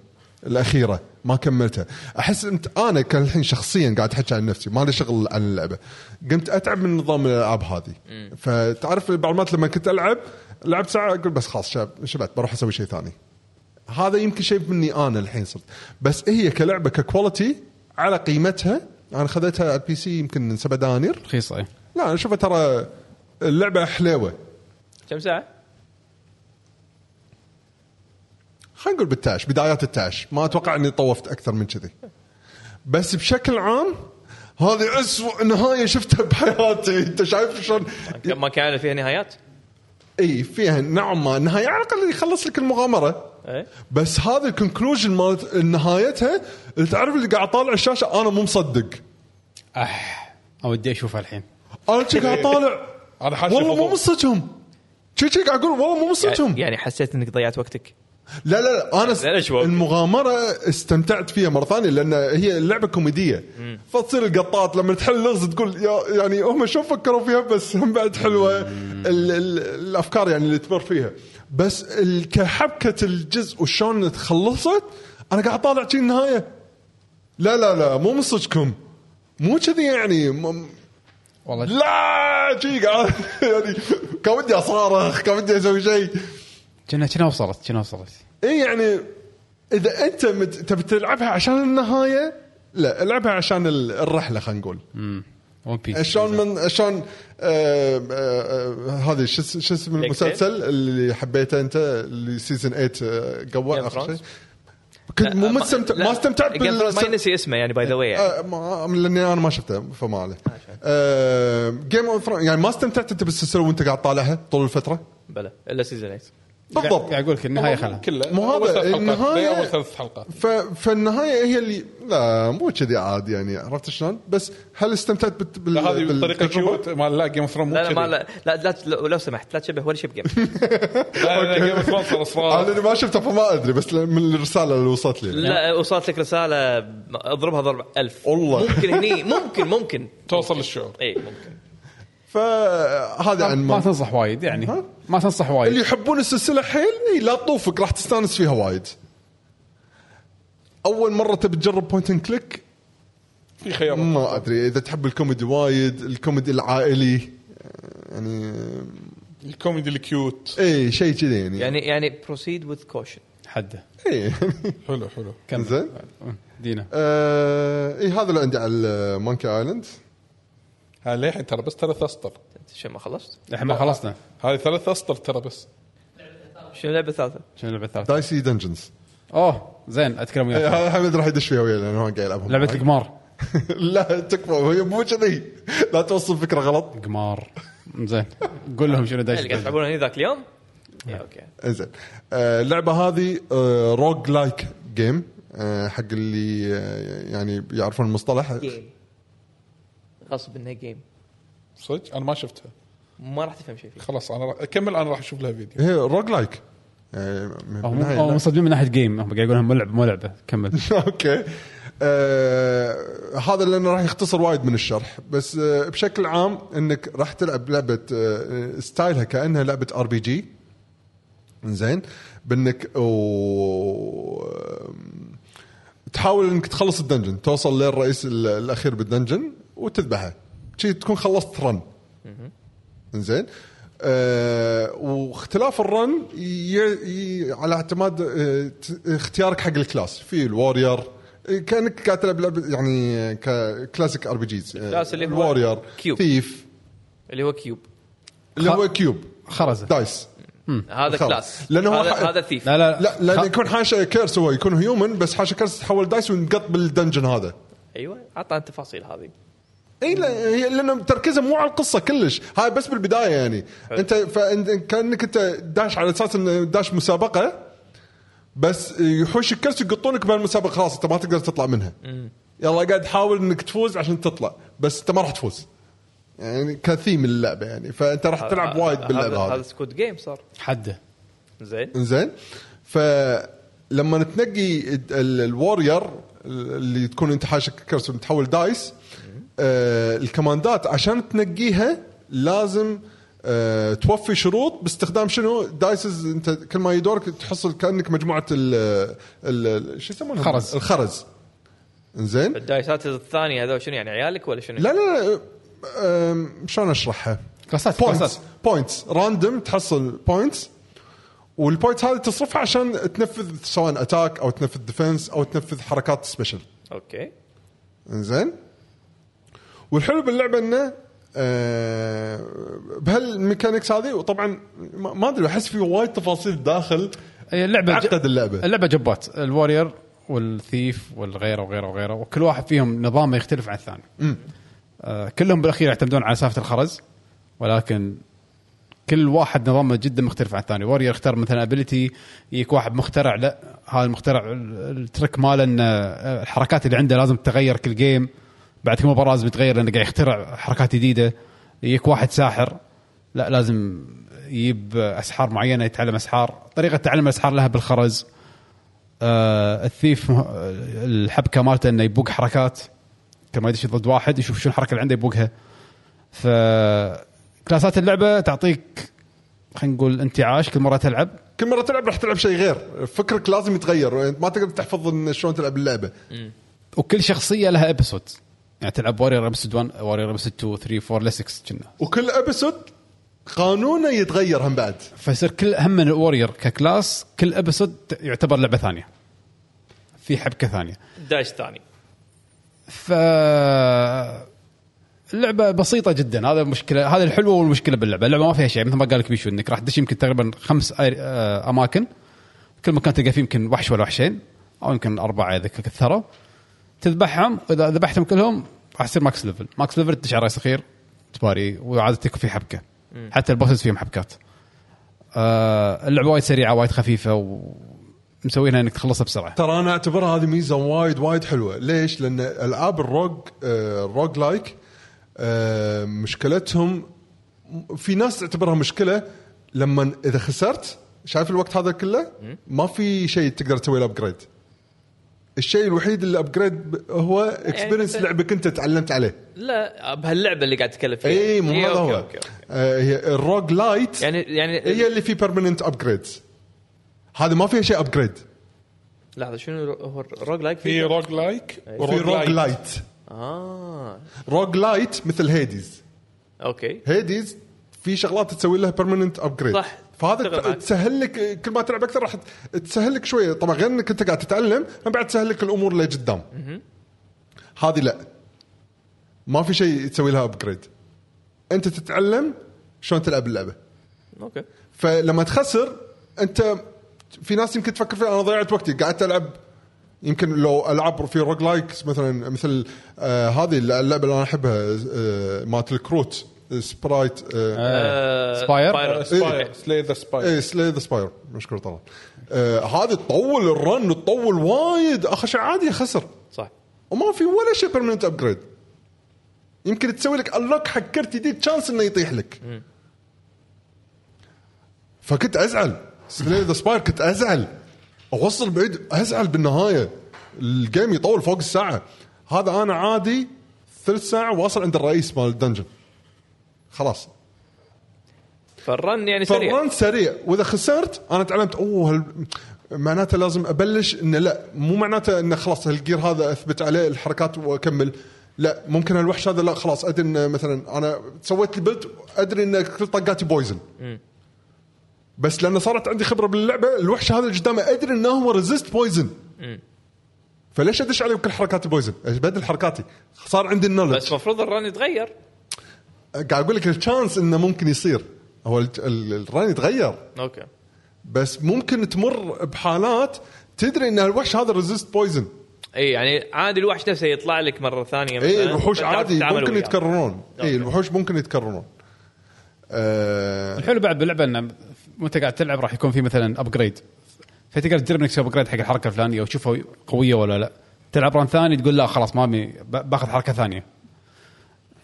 S4: الاخيره ما كملتها احس انت انا كان الحين شخصيا قاعد احكي عن نفسي ما لي شغل عن اللعبه قمت اتعب من نظام الالعاب هذه فتعرف بعض المرات لما كنت العب لعبت ساعه اقول بس خلاص شاب شبعت بروح اسوي شيء ثاني هذا يمكن شيء مني انا الحين صرت بس هي كلعبه ككواليتي على قيمتها انا خذيتها على البي سي يمكن سبع دنانير
S1: رخيصه إيه.
S4: لا انا اشوفها ترى اللعبه حليوه
S3: كم ساعه؟
S4: خلينا نقول بالتاش بدايات التاش ما اتوقع اني طوفت اكثر من كذي بس بشكل عام هذه أسوأ نهايه شفتها بحياتي انت شايف شلون
S3: ما كان فيها نهايات؟
S4: اي فيها نوعا ما نهايه على الاقل يخلص لك المغامره
S3: ايه
S4: بس هذا الكونكلوجن مالت نهايتها اللي تعرف اللي قاعد طالع الشاشه انا مو مصدق
S1: اح اودي اشوفها الحين
S4: انا شي قاعد طالع
S2: انا حاشي
S4: والله مو
S2: فضول.
S4: من صدقهم شي شي قاعد اقول والله مو من صدقهم
S3: يعني حسيت انك ضيعت وقتك
S4: لا لا لا انا
S3: لا، لا،
S4: س-
S3: شباب.
S4: المغامره استمتعت فيها مره ثانيه لان هي اللعبه كوميديه فتصير القطات لما تحل لغز تقول يا يعني هم شو فكروا فيها بس هم بعد حلوه ال ال الافكار يعني اللي تمر فيها بس ال- كحبكه الجزء وشلون تخلصت انا قاعد طالع شي النهايه لا لا لا مو من صدقكم مو كذي يعني م-
S1: والله
S4: لا شي قاعد يعني كان ودي اصارخ كان ودي اسوي شيء
S1: كنا كنا وصلت كنا وصلت
S4: اي يعني اذا انت مت... تبي تلعبها عشان النهايه لا العبها عشان ال- الرحله خلينا نقول
S1: ون بيس
S4: شلون من شلون آه، آه، آه، هذه شو اس- شو اسم المسلسل اللي حبيته انت اللي سيزون 8 قبل
S3: Game of
S4: اخر
S3: Thrones؟
S4: شيء كنت مو مستمتع ما استمتعت
S3: بال ما
S4: بال
S3: ينسي اسمه يعني باي ذا واي
S4: آه، ما- لاني انا ما شفته فما عليه
S3: آه،
S4: جيم اوف يعني ما استمتعت انت بالسلسله وانت قاعد طالعها طول الفتره
S3: بلا الا سيزون 8
S4: بالضبط
S3: يعني
S1: قاعد اقول لك النهايه خلها
S2: كله
S4: مو هذا،
S2: أول ثلاث حلقات.
S4: النهاية-
S2: زي اول ثلاث حلقات
S4: ف... فالنهايه هي اللي لا مو كذي عادي يعني عرفت شلون؟ بس هل استمتعت بت... بال...
S2: لا هذه
S4: بال-
S2: الطريقه
S4: بالتجربة؟
S2: كيوت مال لا جيم اوف ثرون مو
S3: لا لا ما
S2: كذي.
S3: لا لا, لا, لا لو سمحت لا تشبه ولا شيء بجيم
S2: لا جيم اوف ثرونز
S4: انا
S2: اصرار
S4: آه، اللي ما شفته فما ادري بس من الرساله اللي وصلت لي
S3: لا وصلت لك رساله اضربها ضرب ألف
S4: والله.
S3: ممكن هني ممكن ممكن
S2: توصل للشعور
S3: اي ممكن
S4: فهذا عن
S1: ما
S4: ما...
S1: تنصح وايد يعني
S4: ها؟
S1: ما تنصح وايد
S4: اللي يحبون السلسله حيل اي لا تطوفك راح تستانس فيها وايد اول مره تبي تجرب بوينت اند كليك
S2: في خيارات
S4: ما ادري اذا تحب الكوميدي وايد الكوميدي العائلي يعني
S2: الكوميدي الكيوت
S4: اي شيء كذي يعني,
S3: يعني يعني بروسيد وذ كوشن
S1: حده
S4: اي
S2: حلو حلو
S1: كمل.
S4: زين
S1: دينا
S4: آه اي هذا اللي عندي على مونكي ايلاند
S2: ها للحين ترى بس ثلاث اسطر
S3: شو ما خلصت؟
S1: احنا ما خلصنا
S2: هذه ثلاث اسطر ترى بس
S3: شنو اللعبه الثالثه؟
S1: شنو اللعبه الثالثه؟
S4: دايسي دنجنز
S1: اوه زين اتكلم
S4: طيب. إيه، طيب.
S1: وياك
S4: هذا حمد راح يدش فيها وياه لانه هو قاعد يلعبها
S1: لعبه
S4: معاي.
S1: القمار
S4: لا تكفى هي مو كذي لا توصل فكره غلط
S1: قمار زين قول لهم شنو
S3: اللي قاعد
S1: دايس
S3: تلعبون هني ذاك اليوم؟ إيه، اوكي
S4: زين آه، اللعبه هذه آه، روج لايك جيم آه، حق اللي آه، يعني يعرفون المصطلح
S3: جيم غصب انها جيم
S2: صدق انا ما شفتها
S3: ما راح تفهم شيء فيه
S2: خلاص انا راح اكمل انا راح اشوف لها فيديو
S4: هي روج لايك يعني من
S1: هم
S4: ناحية-
S1: هم مصدمين من ناحيه جيم هم قاعد يقولون مو لعبه مو لعبه كمل
S4: اوكي آه هذا لانه راح يختصر وايد من الشرح بس آه بشكل عام انك راح تلعب لعبه آه ستايلها كانها لعبه ار بي جي زين بانك و... تحاول انك تخلص الدنجن توصل للرئيس ال- الاخير بالدنجن وتذبحه شي تكون خلصت رن زين آه واختلاف الرن ي... ي... على اعتماد آه ت- اختيارك حق الكلاس في الوارير آه، كانك قاعد تلعب لعبه يعني كلاسيك ار بي جيز
S3: الكلاس اللي هو
S4: الوارير
S3: كيوب.
S4: ثيف
S3: اللي هو كيوب
S4: اللي
S1: خ-
S4: هو كيوب
S1: خرزه
S4: دايس
S3: هذا
S4: خلاص.
S3: كلاس
S4: لأنه هو
S3: هذا,
S4: حق-
S3: هذا ثيف
S1: لا لا
S4: لا لان يكون حاشه كيرس هو يكون هيومن بس حاشه كيرس تتحول دايس ونقط بالدنجن هذا
S3: ايوه عطنا التفاصيل هذه
S4: اي لا هي لان تركيزها مو على القصه كلش هاي بس بالبدايه يعني انت فانت كانك انت داش على اساس انه داش مسابقه بس يحوش الكرسي يقطونك بهالمسابقه خلاص انت ما تقدر تطلع منها يلا قاعد تحاول انك تفوز عشان تطلع بس انت ما راح تفوز يعني كثيم اللعبه يعني فانت راح تلعب وايد باللعبه
S3: آه، هذا
S4: هذه
S3: هذا سكوت جيم صار
S1: حده
S3: زين
S4: زين فلما تنقي ال- ال- الوارير اللي تكون انت حاشك كرسي وتحول دايس آه الكماندات عشان تنقيها لازم آه توفي شروط باستخدام شنو دايسز انت كل ما يدورك تحصل كانك مجموعه ال ال- ال- شو يسمونها
S1: خرز.
S4: الخرز زين
S3: الدايسات الثانيه هذول شنو يعني عيالك ولا شنو؟
S4: لا لا لا، آم، شلون اشرحها؟
S1: كلاسات
S4: بوينتس
S1: كلاسات
S4: بوينتس راندوم تحصل بوينتس والبوينتس هذه تصرفها عشان تنفذ سواء اتاك او تنفذ ديفنس او تنفذ حركات سبيشل
S3: اوكي
S4: انزين والحلو باللعبه انه آه، بهالميكانكس هذه وطبعا ما ما ادري احس في وايد تفاصيل داخل
S1: هي اللعبه ج-
S4: عقد اللعبه
S1: اللعبه جبات الوارير والثيف والغيره وغيره وغيره وكل واحد فيهم نظامه يختلف عن الثاني آه كلهم بالاخير يعتمدون على سالفه الخرز ولكن كل واحد نظامه جدا مختلف عن الثاني وارير اختار مثلا ابيلتي يجيك واحد مخترع لا هذا المخترع ال- الترك ماله ان آه، الحركات اللي عنده لازم تتغير كل جيم بعد كل مباراه لازم يتغير لانه قاعد يخترع حركات جديده يجيك واحد ساحر لا لازم يجيب اسحار معينه يتعلم اسحار طريقه تعلم الاسحار لها بالخرز آه الثيف مه- الحبكه مالته انه يبوق حركات كما يدش ضد واحد يشوف شو الحركه اللي عنده يبوقها ف كلاسات اللعبه تعطيك خلينا نقول انتعاش كل مره تلعب
S4: كل مره تلعب راح تلعب شيء غير فكرك لازم يتغير انت ما تقدر تحفظ إن شلون تلعب اللعبه
S1: وكل شخصيه لها ابيسود يعني تلعب وارير ابيسود 1 وارير ابيسود 2 3 4 ل 6 كنا
S4: وكل ابيسود قانونه يتغير هم بعد
S1: فيصير كل هم من الورير ككلاس كل ابيسود يعتبر لعبه ثانيه في حبكه ثانيه
S3: داش ثاني
S1: ف اللعبة بسيطة جدا هذا المشكلة هذا الحلوة والمشكلة باللعبة، اللعبة ما فيها شيء مثل ما قال لك بيشو انك راح تدش يمكن تقريبا خمس آي- آه، اماكن كل مكان تلقى فيه يمكن وحش ولا وحشين او يمكن اربعة اذا كثروا تذبحهم واذا ذبحتهم كلهم راح يصير ماكس ليفل، ماكس ليفل تدش على راس خير تباري وعادة يكون في حبكة حتى البوسز فيهم حبكات. آه، اللعبة وايد سريعة وايد خفيفة ومسوينها انك تخلصها بسرعة.
S4: ترى انا اعتبرها هذه ميزه وايد وايد حلوه ليش لان العاب الروج آه، الروج لايك آه، مشكلتهم في ناس تعتبرها مشكله لما اذا خسرت شايف الوقت هذا كله ما في شيء تقدر تسوي له ابجريد الشيء الوحيد اللي ابجريد هو اكسبيرينس
S3: أنت-
S4: لعبك انت تعلمت عليه
S3: لا بهاللعبه اللي قاعد تتكلم فيها
S4: اي مو
S3: إيه،
S4: هذا
S3: أوكي،
S4: هو
S3: أوكي، أوكي.
S4: آه، هي الروج لايت
S3: يعني يعني
S4: هي اللي في بيرمننت ابجريدز هذه ما فيها شيء ابجريد
S3: لحظه شنو رو- هو الروج لايك
S2: في
S3: فيه؟
S2: روج لايك
S4: في روج لايت
S3: اه
S4: روج لايت مثل هيديز
S3: اوكي
S4: هيديز في شغلات تسوي لها بيرمننت ابجريد
S3: صح. أتفق
S4: فهذا
S3: معك.
S4: تسهل لك كل ما تلعب اكثر راح تسهل لك شويه طبعا غير انك انت قاعد تتعلم هم بعد تسهل لك الامور اللي قدام هذه لا ما في شيء تسوي لها ابجريد انت تتعلم شلون تلعب اللعبه
S3: اوكي
S4: فلما تخسر انت في ناس يمكن تفكر فيها انا ضيعت وقتي قعدت العب يمكن لو العب في روج لايكس مثلا مثل آه هذه اللعبه اللي انا احبها آه مالت الكروت سبرايت آه
S1: Spire؟
S3: إيه.
S2: سباير سلاي ذا سباير
S4: ايه سلاي ذا سباير مشكور طلال آه هذه تطول الرن تطول وايد اخر شيء عادي خسر
S3: صح
S4: وما في ولا شيء بيرمننت ابجريد يمكن تسوي لك اللوك حق كرت جديد تشانس انه يطيح لك فكنت ازعل سلاي ذا سباير كنت ازعل اوصل بعيد ازعل بالنهايه الجيم يطول فوق الساعه هذا انا عادي ثلث ساعه واصل عند الرئيس مال الدنجن خلاص
S3: فالرن يعني سريع
S4: فران سريع واذا خسرت انا تعلمت اوه هل... معناته لازم ابلش انه لا مو معناته انه خلاص هالجير هذا اثبت عليه الحركات واكمل لا ممكن هالوحش هذا لا خلاص ادري انه مثلا انا سويت لي بلد ادري ان كل طقاتي بويزن بس لان صارت عندي خبره باللعبه الوحش هذا اللي قدامه ادري انه هو ريزيست بويزن فليش ادش عليه بكل حركاتي بويزن؟ بدل حركاتي صار عندي النولج
S3: بس المفروض الرن يتغير
S4: قاعد اقول لك الشانس انه ممكن يصير هو ال- ال- الران يتغير
S3: اوكي
S4: بس ممكن تمر بحالات تدري ان الوحش هذا ريزيست بويزن
S3: اي يعني عادي الوحش نفسه يطلع لك مره ثانيه مثلا
S4: اي إيه، الوحوش
S3: فتعرف
S4: عادي
S3: تتعامل
S4: ممكن
S3: وياه.
S4: يتكررون اي
S3: أوكي.
S4: الوحوش ممكن يتكررون آه
S1: الحلو بعد باللعبه انه وانت قاعد تلعب راح يكون في مثلا ابجريد فتقدر تجرب انك تسوي ابجريد حق الحركه الفلانيه وتشوفها قويه ولا لا تلعب ران ثاني تقول لا خلاص ما أبي- ب- باخذ حركه ثانيه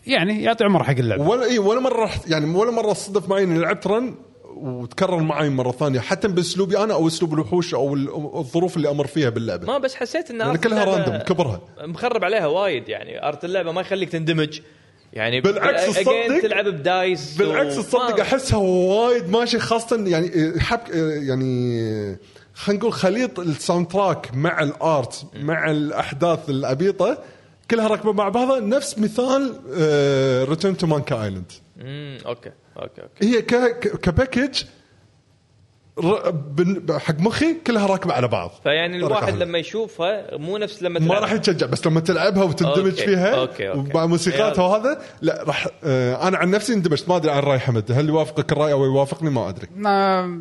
S1: يعني يعطي عمر حق اللعبه
S4: ولا اي ولا مره رحت يعني ولا مره صدف معي اني لعبت رن وتكرر معي مره ثانيه حتى باسلوبي انا او اسلوب الوحوش او ال- الظروف اللي امر فيها باللعبه
S3: ما بس حسيت ان
S4: يعني
S3: أرت
S4: كلها
S3: اللعبة
S4: راندوم كبرها
S3: مخرب عليها وايد يعني ارت اللعبه ما يخليك تندمج يعني
S4: بالعكس
S3: بال- again
S4: تصدق-
S3: تلعب بدايس
S4: بالعكس
S3: و-
S4: تصدق
S3: ما-
S4: احسها وايد ماشي خاصه يعني حب يعني خلينا نقول خليط الساوند تراك مع الارت مع الاحداث العبيطه كلها راكبه مع بعضها نفس مثال إيه، ريتيرن تو مانكا ايلاند
S3: أمم، اوكي اوكي اوكي
S4: هي ك- ك- كباكج ر- بن- حق مخي كلها راكبه على بعض
S3: فيعني الواحد
S4: أحلى.
S3: لما يشوفها مو نفس لما
S4: ما
S3: تلعب.
S4: راح يتشجع بس لما تلعبها وتندمج
S3: أوكي،
S4: فيها
S3: أوكي، أوكي.
S4: ومع موسيقاتها
S3: يلا.
S4: وهذا لا راح آه انا عن نفسي اندمجت ما ادري عن راي حمد هل يوافقك الراي او يوافقني ما ادري
S1: ما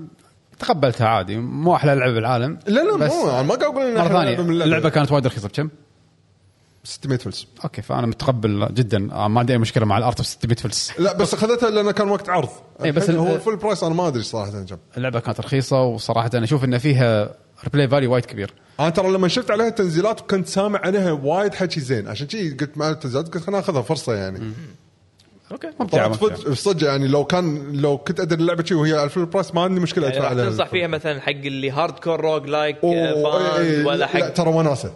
S1: تقبلتها عادي مو احلى لعبه بالعالم
S4: لا لا
S1: بس
S4: مو انا ما قاعد اقول إن
S1: مره
S4: إحنا
S1: ثانيه
S4: نلعب من اللعبة.
S1: اللعبه كانت وايد رخيصه بكم؟
S4: 600 فلس
S1: اوكي فانا متقبل جدا آه، ما عندي اي مشكله مع الارت ب 600 فلس
S4: لا بس اخذتها لانه كان وقت عرض
S1: إي، إيه، بس
S4: الحين
S1: ال-
S4: هو فول برايس انا ما ادري صراحه كم
S1: اللعبه كانت رخيصه وصراحه انا اشوف ان فيها ريبلاي فاليو وايد كبير
S4: انا ترى لما شفت عليها تنزيلات وكنت سامع عنها وايد حكي زين عشان كذي قلت مع التنزيلات قلت خليني اخذها فرصه يعني
S1: اوكي ممتعه
S4: طلعت
S1: ممتعه
S4: فد- صدق يعني لو كان لو كنت ادري اللعبه شي وهي على فول برايس ما عندي مشكله
S3: يعني
S4: ادفع
S3: راح
S4: عليها
S3: تنصح فيها مثلا حق اللي هارد كور روج لايك
S4: أوه،
S3: فان
S4: إي، إي،
S3: ولا
S4: لا
S3: حق
S4: ترى وناسه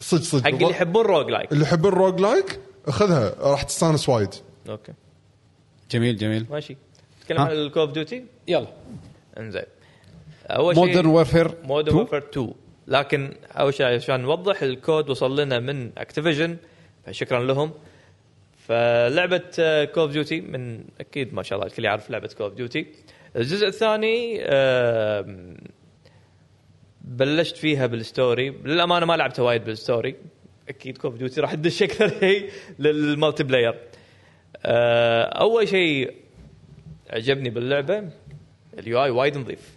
S4: صدق صدق
S3: حق اللي يحبون روج لايك
S4: اللي يحب الروج لايك خذها راح تستانس وايد
S3: اوكي
S1: جميل جميل
S3: ماشي نتكلم
S1: ها؟
S3: عن الكول اوف ديوتي
S1: يلا
S3: انزين اول شيء
S1: مودرن وورفير
S3: مودرن وورفير 2 لكن اول شيء عشان نوضح الكود وصل لنا من اكتيفيجن فشكرا لهم آه، فلعبه كول اوف ديوتي من اكيد ما شاء الله الكل يعرف لعبه كول اوف ديوتي الجزء الثاني آم، بلشت فيها بالستوري للامانه ما لعبتها وايد بالستوري اكيد كول اوف ديوتي راح تدش اكثر شيء للمالتي بلاير آه، اول شيء عجبني باللعبه اليو اي وايد نظيف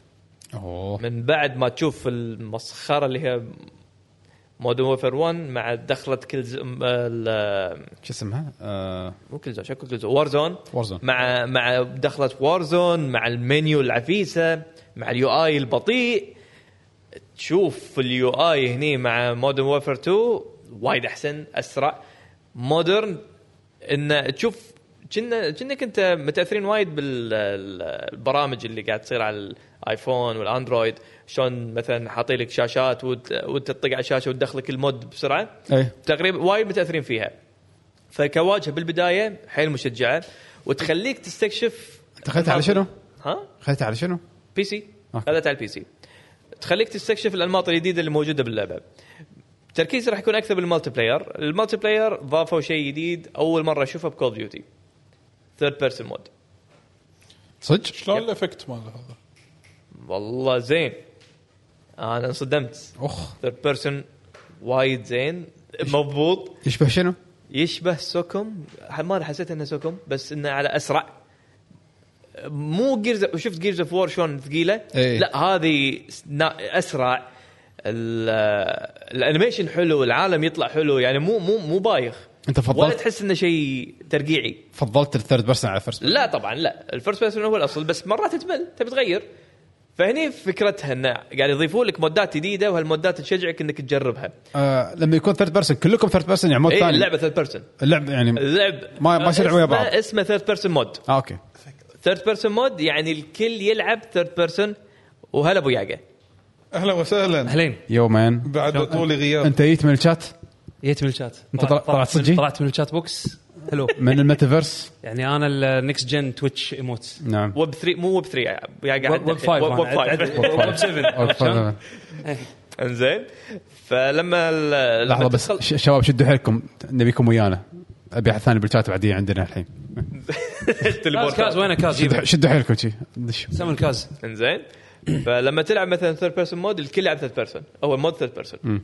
S1: اوه
S3: من بعد ما تشوف المسخره اللي هي مودرن وورفير 1 مع دخله كل ز... م- ال-
S1: شو اسمها؟ آه
S3: مو كل زون شكو كل زون وار زون
S1: Warzone.
S3: مع مع دخله وار زون مع المنيو العفيسه مع اليو اي البطيء تشوف اليو اي هني مع مودرن وورفير 2 وايد احسن اسرع مودرن ان تشوف كنا كنك انت متاثرين وايد بالبرامج اللي قاعد تصير على الايفون والاندرويد شلون مثلا حاطين لك شاشات وت- وانت تطق على الشاشه وتدخلك المود بسرعه
S1: ايه
S3: تقريبا وايد متاثرين فيها فكواجهه بالبدايه حيل مشجعه وتخليك تستكشف
S1: انت خذتها على شنو؟
S3: ها
S1: خذتها على شنو؟
S3: بي سي
S1: أوكي.
S3: هذا على البي سي تخليك تستكشف الانماط الجديده اللي موجوده باللعبه تركيزي راح يكون اكثر بالمالتي بلاير المالتي بلاير ضافوا شيء جديد اول مره اشوفه بكول ديوتي ثيرد بيرسون مود
S1: صدق؟
S2: شلون الافكت ماله هذا؟
S3: والله زين انا انصدمت
S1: اخ
S3: ثيرد بيرسون وايد زين مضبوط
S1: يشبه شنو؟
S3: يشبه سوكم ما حسيت انه سوكم بس انه على اسرع مو جيرز شفت جيرز اوف وور شلون ثقيله
S1: إيه.
S3: لا هذه سنا- اسرع ال- الانيميشن حلو العالم يطلع حلو يعني مو مو مو بايخ
S1: انت
S3: ولا
S1: فضلت
S3: تحس انه شيء ترقيعي
S1: فضلت الثيرد بيرسون على الفيرست
S3: لا طبعا لا الفيرست بيرسون هو الاصل بس مرات تمل تبي تغير فهني فكرتها انه قاعد يضيفوا لك مودات جديده وهالمودات تشجعك انك تجربها إيه،
S1: آه لما يكون ثيرد بيرسون كلكم ثيرد بيرسون يعني مود
S3: اي
S1: ثاني
S3: اللعبه ثيرد بيرسون
S1: اللعبه يعني
S3: اللعب
S1: ما- ما يصير ويا بعض.
S3: آه، اسمه- اسمه ثيرد بيرسون مود
S1: آه اوكي
S3: ثيرد بيرسون مود يعني الكل يلعب ثيرد بيرسون وهلا ابو ياقه
S2: اهلا وسهلا
S7: اهلين
S1: يو مان
S2: بعد طول غياب
S1: انت جيت من الشات
S7: جيت من إيه، الشات
S1: أنت طلع- طلعت صجي؟
S7: طلعت من الشات بوكس حلو
S1: من الميتافيرس
S7: يعني انا النكست جن تويتش ايموت
S1: نعم
S3: ويب 3 مو ويب 3 يا قاعد
S7: ويب 5
S3: ويب 5
S7: ويب 7
S3: انزين فلما ال- لما
S1: لحظه بس
S3: تدخل-
S1: ش- شباب شدوا حيلكم نبيكم ويانا ابي احد ثاني بالشات بعدين عندنا الحين
S7: كاز كاز
S3: التليبورت
S7: وينه كاز
S1: شدوا-
S7: جيبه
S1: شدوا حيلكم شي دشوا
S7: سمن كاز
S3: انزين فلما تلعب مثلا ثيرد بيرسون مود الكل يلعب ثيرد بيرسون هو مود ثيرد بيرسون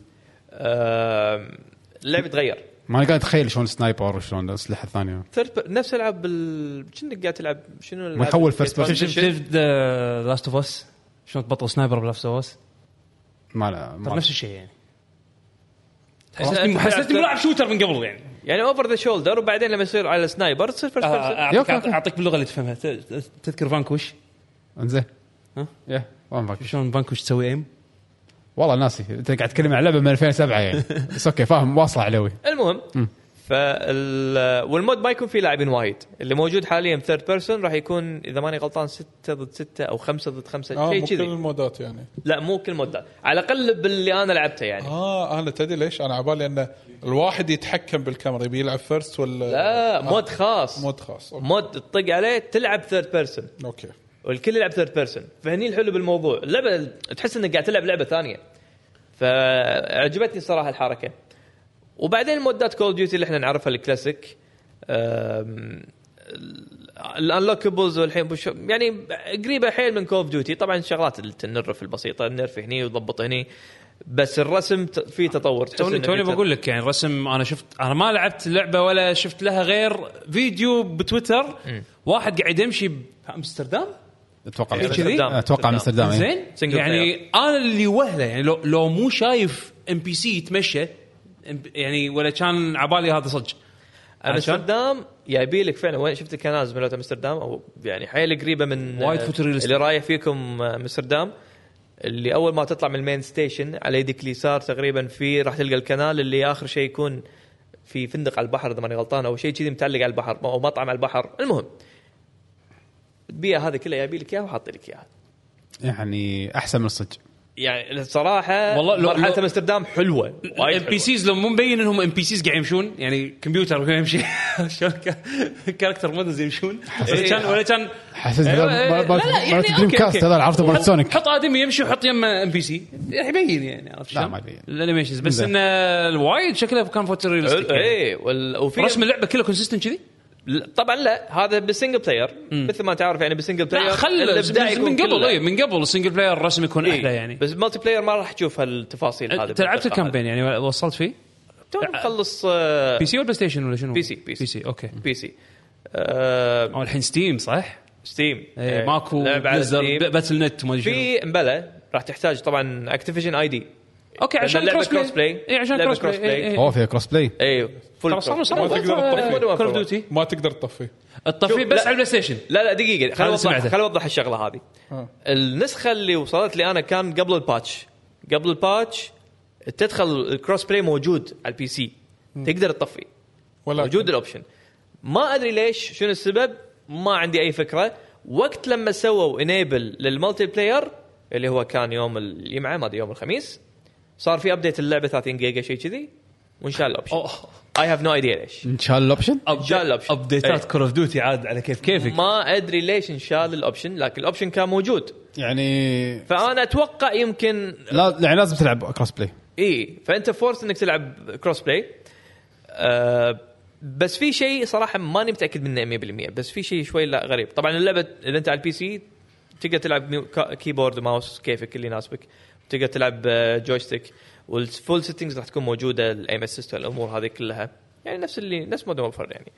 S3: اللعب يتغير
S1: ما انا قاعد اتخيل شلون سنايبر وشلون الاسلحه الثانيه
S3: ثيرد نفس العاب بال- كأنك قاعد تلعب شنو الألعاب
S1: يخول
S3: اللي
S1: first person.
S7: شفت
S3: transition؟
S7: شفت لاست اوف اس شلون تبطل سنايبر بلاست اوف اس
S1: ما لا
S7: ترى
S1: ما
S7: نفس الشيء يعني
S3: أنت
S7: حسيتني حسيتني
S3: تلعب-
S7: ملاعب شوتر من قبل يعني
S3: يعني اوفر ذا شولدر وبعدين لما يصير على سنايبر تصير فيرست
S7: آه،
S3: بيرسون
S7: اعطيك
S1: يوكي، يوكي.
S7: اعطيك باللغه اللي تفهمها ت- ت- تذكر فانكوش
S1: انزين
S7: ها؟
S1: يا وين باك؟
S7: شلون فانكوش تسوي ايم
S1: والله ناسي انت قاعد تتكلم عن لعبه من 2007 يعني بس اوكي فاهم واصله علوي
S3: المهم فال والمود ما يكون فيه لاعبين وايد اللي موجود حاليا ثيرد بيرسون راح يكون اذا ماني غلطان ستة ضد ستة او خمسة ضد خمسة
S2: اه
S3: شيء
S2: مو كل
S3: كذي
S2: المودات يعني
S3: لا مو كل مودات على الاقل باللي انا لعبته يعني
S2: اه انا تدري ليش انا عبالي ان الواحد يتحكم بالكاميرا يبي يلعب فيرست ولا
S3: لا
S2: آه،
S3: مود خاص
S2: مود خاص أوكي.
S3: مود تطق عليه تلعب ثيرد بيرسون
S2: اوكي
S3: والكل يلعب ثيرد بيرسون فهني الحلو بالموضوع اللعبه تحس انك قاعد تلعب لعبه ثانيه فعجبتني صراحه الحركه وبعدين مودات كول ديوتي اللي احنا نعرفها الكلاسيك أم، الانلوكبلز والحين بش- يعني قريبه حيل من كوف ديوتي طبعا شغلات النرف البسيطه النرف هني وضبط هني بس الرسم ت- فيه تطور تحس
S7: توني
S3: إنه
S7: توني
S3: فيه
S7: بقول لك يعني الرسم انا شفت انا ما لعبت لعبه ولا شفت لها غير فيديو بتويتر واحد قاعد يمشي بامستردام
S1: اتوقع
S7: إيه، كذي؟
S1: اتوقع امستردام إيه.
S7: زين
S3: Single
S7: يعني انا اللي وهله يعني لو لو مو شايف ام بي سي يتمشى إم- يعني ولا كان عبالي هذا صدق عشان
S3: امستردام يبي لك فعلا وين شفت الكنائس مالت امستردام او يعني حيل قريبه من
S7: وايد فوتوريلست.
S3: اللي رايح فيكم امستردام اللي اول ما تطلع من المين ستيشن على يدك اليسار تقريبا في راح تلقى الكنال اللي اخر شيء يكون في فندق على البحر اذا ماني غلطان او شيء كذي متعلق على البحر او مطعم على البحر المهم البيئه هذه كلها يبي لك اياها وحاط لك اياها
S1: يعني احسن من الصج
S3: يعني الصراحه
S7: والله لو-
S3: مرحله
S7: لو-
S3: امستردام حلوه وايد
S7: الام بي سيز لو مو مبين انهم ام بي سيز قاعد يمشون يعني كمبيوتر يمشي شلون كاركتر مودلز يمشون ولا كان ولا كان
S1: حسيت
S7: أيوة، إيه،
S1: مالت-
S7: لا، لا،
S1: مالت
S7: يعني
S1: مالت دريم
S7: أوكي،
S1: كاست
S7: أوكي.
S1: هذا عرفته مالت
S7: حط-
S1: سونيك
S7: حط ادمي يمشي وحط يمه ام بي سي يبين يعني عرفت
S1: لا،
S7: شلون؟
S1: ما يبين.
S7: الانيميشنز بس
S1: نعم، زين.
S7: انه وايد شكله كان فوتوريالستيك
S3: اي إيه، وفي
S7: رسم اللعبه كله كونسيستنت كذي
S3: لا، طبعا لا هذا بالسنجل بلاير مثل ما تعرف يعني بالسنجل بلاير
S7: لا خل من- من قبل طيب. اي من قبل السنجل بلاير الرسم يكون احلى يعني
S3: إيه. بس مالتي بلاير ما راح تشوف هالتفاصيل هذه
S7: انت لعبت الكامبين يعني وصلت فيه؟
S3: تو مخلص آه،
S7: بي سي ولا بلاي ستيشن ولا شنو؟
S3: بي سي، بي سي.
S7: بي سي اوكي
S3: بي سي آه،
S7: او الحين ستيم صح؟
S3: ستيم
S7: اي
S3: آه،
S7: إيه، ماكو
S3: لعب على
S7: بليزر
S3: ستيم.
S7: ب- باتل نت وما ادري شنو.
S3: في مبلى راح تحتاج طبعا اكتيفيجن اي دي
S7: اوكي
S3: لأن
S7: عشان
S3: اللعبة
S7: كروس
S3: cross
S7: بلاي
S3: play.
S7: اي عشان إيه،
S3: لعبة
S7: كروس
S3: cross play.
S7: بلاي
S1: اوه فيها كروس بلاي
S3: اي فول
S7: ترى صاروا
S2: ما
S7: صاروا
S2: تقدر تطفي.
S7: كول اوف
S3: Call of
S7: ديوتي
S2: ما تقدر تطفيه
S7: الطفي
S3: شوف،
S7: بس
S3: لا.
S7: على البلاي ستيشن
S3: لا لا دقيقه خل
S7: هذا
S3: اوضح
S7: سمعته.
S3: خل اوضح الشغله هذه النسخه اللي وصلت لي انا كان قبل الباتش قبل الباتش تدخل الكروس بلاي موجود على البي سي تقدر تطفي
S2: ولا
S3: موجود الاوبشن ما ادري ليش شنو السبب ما عندي اي فكره وقت لما سووا انيبل للمالتي بلاير اللي هو كان يوم الجمعه ما ادري يوم الخميس صار في ابديت اللعبه 30 جيجا شيء كذي وانشال الاوبشن اي هاف نو ايديا ليش
S1: انشال الاوبشن
S3: انشال الاوبشن
S7: ابديتات كول اوف ديوتي عاد على كيف كيفك
S3: إيه. ما ادري ليش انشال الاوبشن لكن الاوبشن كان موجود
S1: يعني
S3: فانا اتوقع يمكن
S1: لا يعني لازم تلعب كروس بلاي
S3: اي فانت فورس انك تلعب كروس بلاي آه بس في شيء صراحه ماني متاكد منه 100% بس في شيء شوي لا غريب طبعا اللعبه اذا انت على البي سي تقدر تلعب ميو- كا- كيبورد وماوس كيفك اللي يناسبك تقدر تلعب آه، جويستيك والفول سيتنجز راح تكون موجوده الايم اسيست والامور هذه كلها يعني نفس اللي نفس مودرن وورفير يعني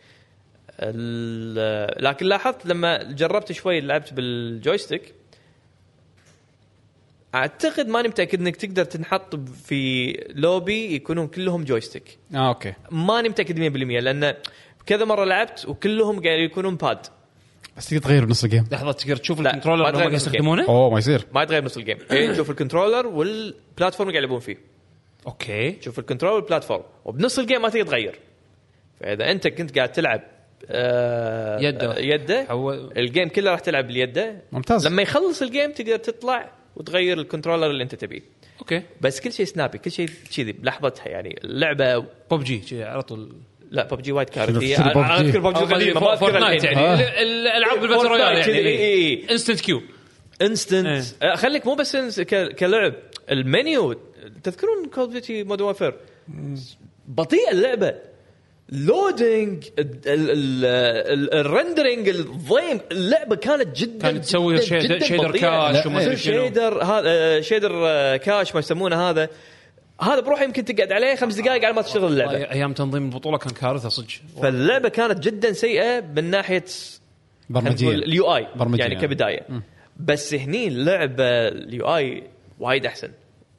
S3: ال- لكن لاحظت لما جربت شوي لعبت بالجويستيك اعتقد ماني متاكد انك تقدر تنحط ب- في لوبي يكونون كلهم جويستيك
S1: اه اوكي
S3: ماني متاكد 100% لان كذا مره لعبت وكلهم قاعد يكونون باد
S1: بس تقدر تغير بنص الجيم
S7: لحظه تقدر تشوف
S3: لا،
S7: الكنترولر
S3: ما
S7: اللي هم قاعد
S3: تغير
S7: يستخدمونه
S1: اوه ما يصير
S3: ما يتغير نص الجيم إيه، تشوف الكنترولر والبلاتفورم اللي قاعد يلعبون فيه
S7: اوكي
S3: تشوف الكنترول والبلاتفورم وبنص الجيم ما تقدر تغير فاذا انت كنت قاعد تلعب آه
S7: يده.
S3: آه، يده
S7: حول-
S3: الجيم كله راح تلعب باليده
S1: ممتاز.
S3: لما يخلص الجيم تقدر تطلع وتغير الكنترولر اللي انت تبيه
S7: اوكي
S3: بس كل شيء سنابي كل شيء كذي بلحظتها يعني اللعبه
S7: ببجي على طول
S3: لا ببجي وايد كارثيه
S1: شنو
S3: أنا- انا
S1: PUBG؟
S3: اذكر ببجي القديمه ما اذكر
S7: فورتنايت
S3: الحين
S7: يعني ال- ال- الالعاب الباتل
S3: فورتنايت
S7: رويال
S3: كذي، إي.
S7: يعني انستنت كيو
S3: انستنت
S7: إيه.
S3: خليك مو بس إنس- ك- كلعب المنيو تذكرون كول اوف ديوتي مودرن وورفير بطيئه اللعبه لودينج الرندرنج الضيم اللعبه كانت جدا
S7: كانت تسوي
S3: جداً-
S7: شيدر-
S3: جداً
S7: شيدر
S3: بطيئة.
S7: كاش وما أدري شنو.
S3: شيدر هذا شيدر آه، كاش ما يسمونه هذا هذا بروحه يمكن تقعد عليه خمس دقائق على ما تشتغل اللعبه
S7: ايام تنظيم البطوله كان كارثه صدق
S3: فاللعبه كانت جدا سيئه من ناحيه
S1: برمجيه
S3: اليو اي
S1: برمجية
S3: يعني
S1: يعني.
S3: كبدايه بس هني اللعبه اليو اي وايد احسن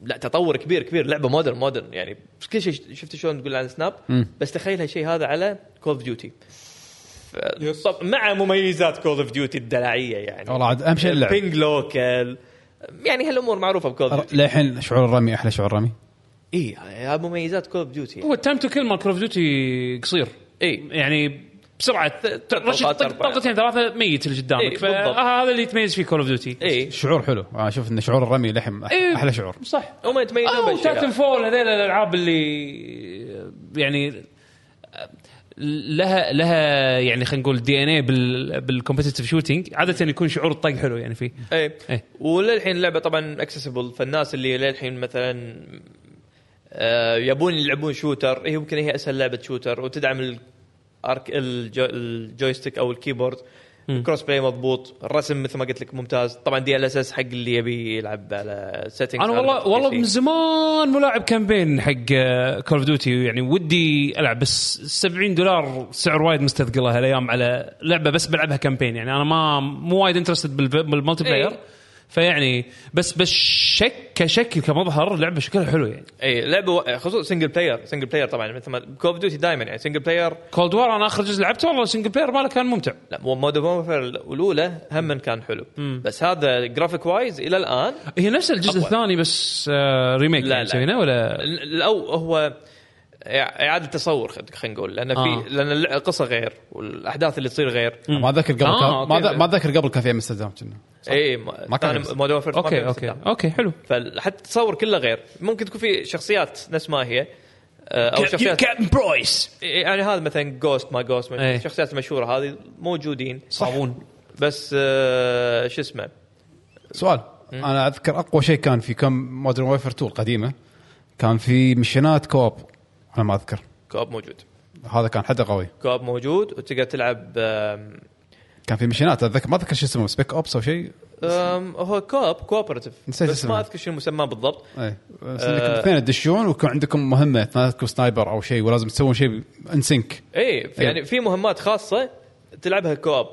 S3: لا تطور كبير كبير لعبه مودرن مودرن يعني كل شيء شفت شلون تقول عن سناب بس تخيل هالشيء هذا على كول اوف ديوتي
S2: يس.
S3: طب مع مميزات كول اوف ديوتي الدلعيه يعني
S1: والله عاد اهم شيء اللعب
S3: بينج لوكال يعني هالامور معروفه بكول اوف
S1: ر-
S3: ديوتي
S1: للحين شعور الرمي احلى شعور الرمي
S3: اي هاي إيه، مميزات كول اوف ديوتي
S7: هو التايم تو كيل مال كول اوف ديوتي قصير
S3: اي
S7: يعني بسرعه ت- رشد
S3: طلقات
S7: طق-
S3: أربعة.
S7: طلقتين ثلاثه ميت اللي
S3: إي،
S7: قدامك
S3: بالضبط.
S7: فهذا اللي يتميز فيه كول اوف ديوتي
S3: اي
S1: شعور حلو انا اشوف ان شعور الرمي للحين
S7: إيه.
S1: أح- احلى شعور
S7: صح
S3: هم يتميزون
S7: او
S3: بالشيء
S7: تاتن
S3: هذا.
S7: فول هذيل الالعاب اللي يعني لها لها يعني خلينا نقول دي ان اي بالكومبتتف شوتنج عاده يكون شعور الطق حلو يعني فيه
S3: ايه
S7: إيه.
S3: وللحين اللعبه طبعا اكسسبل فالناس اللي للحين مثلا آه، يبون يلعبون شوتر هي يمكن هي اسهل لعبه شوتر وتدعم الارك الجو الجويستيك او الكيبورد الكروس بلاي مضبوط الرسم مثل ما قلت لك ممتاز طبعا دي ال اس اس حق اللي يبي يلعب على سيتنج
S7: انا والله
S3: إيه،
S7: والله من زمان ملاعب كامبين حق كول اوف ديوتي يعني ودي العب بس 70 دولار سعر وايد مستثقله هالايام على لعبه بس بلعبها كامبين يعني انا ما مو وايد انترستد بالمالتي بلاير
S3: إيه.
S7: فيعني بس بس شك كشكل كمظهر اللعبه شكلها حلو يعني
S3: اي لعبه إيه، و- خصوصا سنجل بلاير سنجل بلاير طبعا مثل ما كول اوف ديوتي دائما يعني سنجل بلاير
S7: كولد وور انا اخر جزء لعبته والله سنجل بلاير ماله كان ممتع
S3: لا مودرن وورفير الاولى هم كان حلو بس هذا جرافيك وايز الى الان
S7: هي نفس الجزء
S3: أقوى.
S7: الثاني بس آه ريميك
S3: لا،
S7: يعني
S3: لا.
S7: سويناه ولا
S3: الأو هو اعاده تصور خد- خلينا نقول لان في
S7: آه.
S3: لان القصه غير والاحداث اللي تصير غير
S1: ما اتذكر قبل
S7: آه،
S1: كان- ما
S7: أوكي.
S1: أذ- ما اتذكر قبل كان في امستردام كنا
S3: اي
S1: ما
S3: ما
S1: كان
S3: كان
S1: نفس-
S3: مودرن وورفير ما كان
S7: اوكي
S3: نفس
S7: اوكي
S3: الكلام.
S7: اوكي حلو
S3: فحتى التصور كله غير ممكن تكون في شخصيات نفس ما هي آه، او شخصيات
S7: كابتن برويس
S3: يعني هذا مثلا جوست ما جوست
S7: إيه.
S3: الشخصيات المشهوره هذه موجودين
S7: صابون
S3: بس آه، شو اسمه
S1: سؤال انا اذكر اقوى شيء كان في كم مودرن ويفر 2 القديمه كان في مشينات كوب انا ما اذكر
S3: كوب موجود
S1: هذا كان حده قوي
S3: كوب موجود وتقدر تلعب آم،
S1: كان في مشينات اتذكر ما اذكر شو اسمه سبيك اوبس او شيء
S3: آم، هو كوب كوبرتيف
S1: نسيت
S3: بس
S1: اسمه.
S3: ما اذكر شنو المسمى بالضبط
S1: اي إيه. بس انكم اثنين تدشون ويكون عندكم مهمه اثنيناتكم سنايبر او شيء ولازم تسوون شيء انسنك
S3: اي في- يعني
S1: إيه.
S3: في مهمات خاصه تلعبها كوب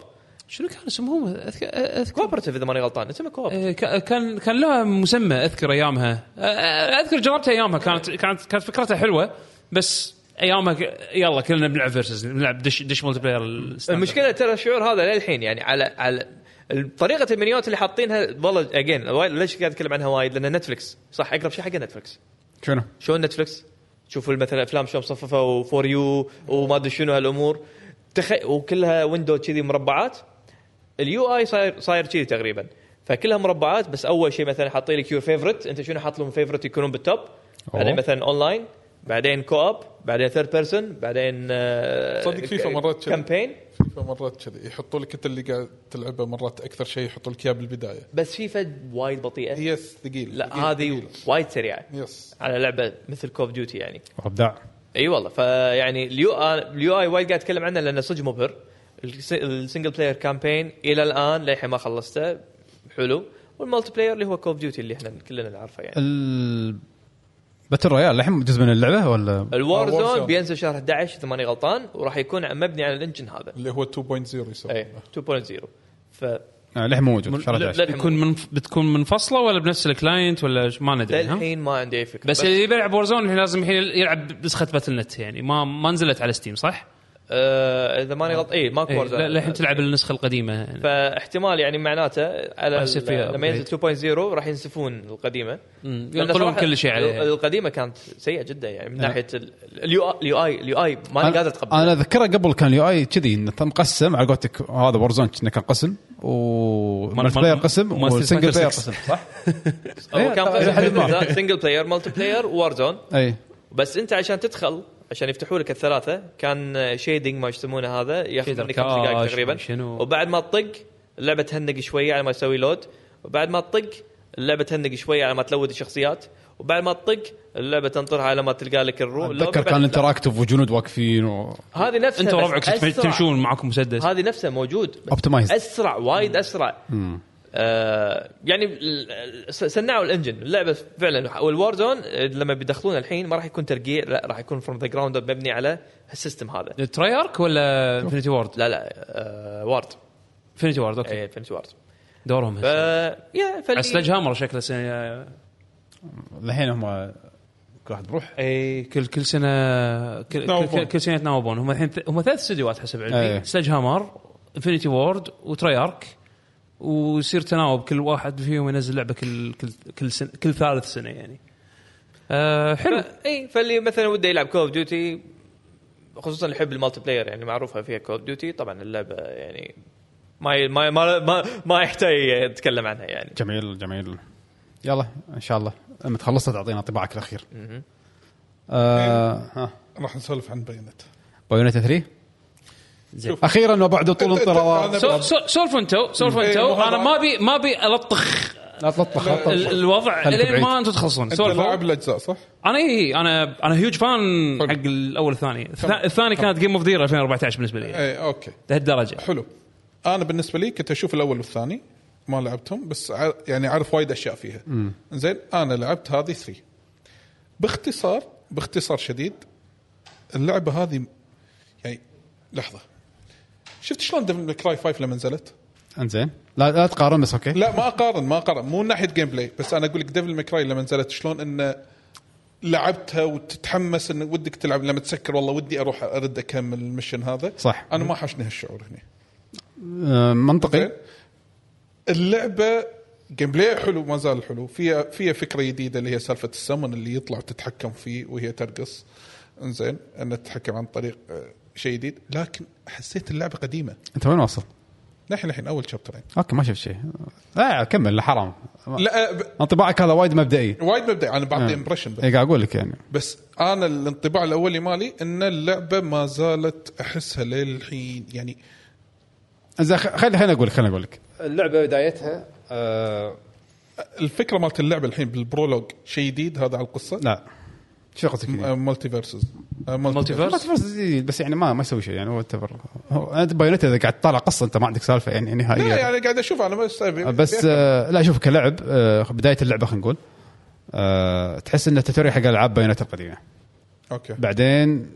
S7: شنو كان اسمهم اذكر اذكر
S3: كوبرتيف اذا ماني غلطان اسمه كوب
S7: آه، ك- كان كان لها مسمى اذكر ايامها آه، آه، اذكر جربتها ايامها كانت كانت كانت فكرتها حلوه بس ايامها ك- يلا كلنا بنلعب فيرسز بنلعب دش دش مولتي بلاير الستاندرد.
S3: المشكله ترى الشعور هذا للحين يعني على على طريقه المنيوات اللي حاطينها والله اجين ليش قاعد اتكلم عنها وايد لان نتفلكس صح اقرب شيء حق نتفلكس
S1: شنو؟
S3: شلون نتفلكس تشوف مثلا افلام شلون مصففه وفور يو وما ادري شنو هالامور تخ... وكلها ويندو كذي مربعات اليو اي صاير صاير كذي تقريبا فكلها مربعات بس اول شيء مثلا حاطين لك يور فيفرت انت شنو حاط لهم فيفرت يكونون بالتوب بعدين مثلا اونلاين بعدين كوب بعدين ثيرد بيرسون بعدين آه،
S2: صدق فيفا مرات كذي.
S3: كامبين
S2: فيفا مرات كذي يحطوا لك انت اللي قاعد تلعبه مرات اكثر شيء يحطوا لك اياه بالبدايه
S3: بس فيفا وايد بطيئه
S2: يس ثقيل
S3: لا
S2: ثقيل،
S3: هذه
S2: ثقيل.
S3: وايد سريعه
S2: يس
S3: على لعبه مثل كوف ديوتي يعني
S1: ابداع
S3: اي والله فيعني اليو آي- اليو اي وايد قاعد اتكلم عنه لانه صدق مبهر الس- السنجل بلاير كامبين الى الان للحين ما خلصته حلو والمالتي بلاير اللي هو كوف ديوتي اللي احنا كلنا نعرفه يعني
S1: ال باتل رويال الحين جزء من اللعبه ولا
S3: الوار
S2: Warzone.
S3: زون بينزل شهر 11 اذا ماني غلطان وراح يكون مبني على الانجن هذا
S2: اللي هو 2.0 يسمونه
S3: اي 2.0 ف
S1: آه، للحين مو موجود شهر 11
S7: بتكون
S3: للحين
S7: من بتكون منفصله ولا بنفس الكلاينت ولا ش- ما ندري ها؟
S3: للحين ما عندي اي فكره
S7: بس اللي بيلعب وورزون الحين لازم الحين يلعب نسخه باتل نت يعني ما ما نزلت على ستيم صح؟
S3: آه، اذا ماني غلطان اي ماكو
S7: إيه،
S3: وار زون
S7: لا- للحين تلعب النسخه القديمه يعني.
S3: فاحتمال يعني معناته على
S7: راح يصير فيها
S3: ال- لما
S7: upgrade.
S3: ينزل 2.0 راح ينسفون القديمه
S7: مم.
S3: لأن
S7: ينقلون
S3: صراحة
S7: كل شيء عليها.
S3: القديمه كانت سيئه جدا يعني من ناحيه اليو اليو اي اليو اي ما انا
S1: انا
S3: قادر اتقبل
S1: انا اذكره قبل كان اليو اي كذي إنه مقسم على قولتك هذا ورزون كنا كان قسم ومالتي
S7: مال-
S1: بلاير قسم
S7: مال-
S1: والسنجل بلاير
S7: سكس.
S1: قسم صح؟
S3: هو
S1: إيه، طبعاً.
S3: كان سنجل بلاير مالتي بلاير وور زون
S1: اي
S3: بس انت عشان تدخل عشان يفتحوا لك الثلاثه كان شيدنج ما يسمونه هذا ياخذ
S7: شيدر
S3: منك خمس دقائق
S7: كاش،
S3: تقريبا
S7: شنو.
S3: وبعد ما تطق اللعبه تهنق شويه على ما يسوي لود وبعد ما تطق اللعبه تهنق شويه على ما تلود الشخصيات وبعد ما تطق اللعبه تنطرها على ما تلقى لك الرو
S1: اتذكر كان انتراكتف وجنود واقفين
S3: هذه نفسها بس
S7: انت وربعك تم-
S3: أسرع.
S7: تمشون معكم مسدس
S3: هذه نفسها موجود بس
S1: Optimized.
S3: اسرع وايد اسرع آه يعني ال- ال- س- سنعوا الانجن اللعبه فعلا والوار زون لما بيدخلون الحين ما راح يكون ترقيع لا راح يكون فروم ذا جراوند مبني على السيستم هذا
S7: تراي ارك ولا انفنتي وورد؟
S3: لا لا آه وارد
S7: انفنتي وورد اوكي
S3: اي فهمت وارد
S7: دورهم
S3: ف يا فاللي-
S7: على سلج هامر شكله سنه
S1: الحين هم كل واحد بروح
S7: اي إيه، كل كل سنه كل, كل,
S2: يتناوبون.
S7: كل, كل سنه يتناوبون هم الحين ث- هم ثلاث استديوهات حسب
S1: إيه.
S7: علمي سلج هامر انفنتي وورد وتراي ارك ويصير تناوب كل واحد فيهم ينزل لعبه كل كل كل, سنة كل ثالث سنه يعني آه حلو
S3: ف- اي فاللي مثلا وده يلعب كول اوف ديوتي خصوصا اللي يحب المالتي بلاير يعني معروفه فيها كول اوف ديوتي طبعا اللعبه يعني ما ما ما ما, ما يحتاج يتكلم عنها يعني
S1: جميل جميل يلا ان شاء الله لما تخلصها تعطينا طباعك الاخير آه
S2: راح نسولف عن بينت
S1: بايونيتا 3
S7: زين.
S1: اخيرا وبعد طول
S2: أنا
S1: انتظار
S7: سو- سو- سولفوا انتو سولفوا
S2: إيه،
S7: انتو
S2: وهذا-
S7: انا ما ابي ما ابي الطخ
S1: لا تلطخ لا
S7: ال-
S1: تلطخ.
S7: الوضع
S1: خليك
S7: لين
S1: بعيد.
S7: ما انتم تخلصون إيه،
S2: انت
S7: سولفوا
S2: لاعب الاجزاء صح؟
S7: انا اي انا انا هيوج فان
S2: حلو.
S7: حق
S2: إيه.
S7: الاول والثاني الث- الثاني كانت جيم اوف ذير 2014 بالنسبه لي
S2: اي اوكي
S7: لهالدرجه
S2: حلو انا بالنسبه لي كنت اشوف الاول والثاني ما لعبتهم بس ع- يعني اعرف وايد اشياء فيها زين انا لعبت هذه 3 باختصار باختصار شديد اللعبه هذه يعني لحظه شفت شلون ديفل كراي 5 لما نزلت؟
S1: انزين لا لا تقارن بس اوكي
S2: لا ما اقارن ما اقارن مو من ناحيه جيم بلاي بس انا اقول لك ديفل ماكراي لما نزلت شلون انه لعبتها وتتحمس ان ودك تلعب لما تسكر والله ودي اروح ارد اكمل المشن هذا
S1: صح.
S2: انا ما حاشني هالشعور هنا
S1: آه، منطقي
S2: زين اللعبه جيم بلاي حلو ما زال حلو فيها فيها فكره جديده اللي هي سالفه السمن اللي يطلع وتتحكم فيه وهي ترقص زين ان تتحكم عن طريق آه، شيء جديد لكن حسيت اللعبه قديمه
S1: انت وين واصل؟
S2: نحن الحين اول شابترين
S1: اوكي ما شفت شيء لا كمل لا حرام
S2: لا آه، ب-
S1: انطباعك هذا وايد مبدئي
S2: وايد مبدئي انا بعطي
S1: آه.
S2: امبرشن بس
S1: اي قاعد اقول لك يعني
S2: بس انا الانطباع الاولي مالي ان اللعبه ما زالت احسها للحين يعني
S1: زين خ- خليني خليني اقول لك خليني اقول لك اللعبه بدايتها آه
S2: الفكره مالت اللعبه الحين بالبرولوج شيء جديد هذا على القصه
S1: لا شو قصدك يعني؟
S2: م- آه، مالتي فيرسز آه، مالتي
S7: مالتي
S1: ما
S7: فيرس
S1: تفرس جديد بس يعني ما ما يسوي شيء يعني هو تفر هو- انت بايونيتا اذا قاعد تطالع قصه انت ما عندك سالفه يعني نهائيه
S2: لا يعني قاعد اشوف انا بس أبي-
S1: بس آه، لا شوف كلعب آه، بدايه اللعبه خلينا نقول آه، تحس انه تتوري حق العاب بايونيتا القديمه
S2: اوكي
S1: بعدين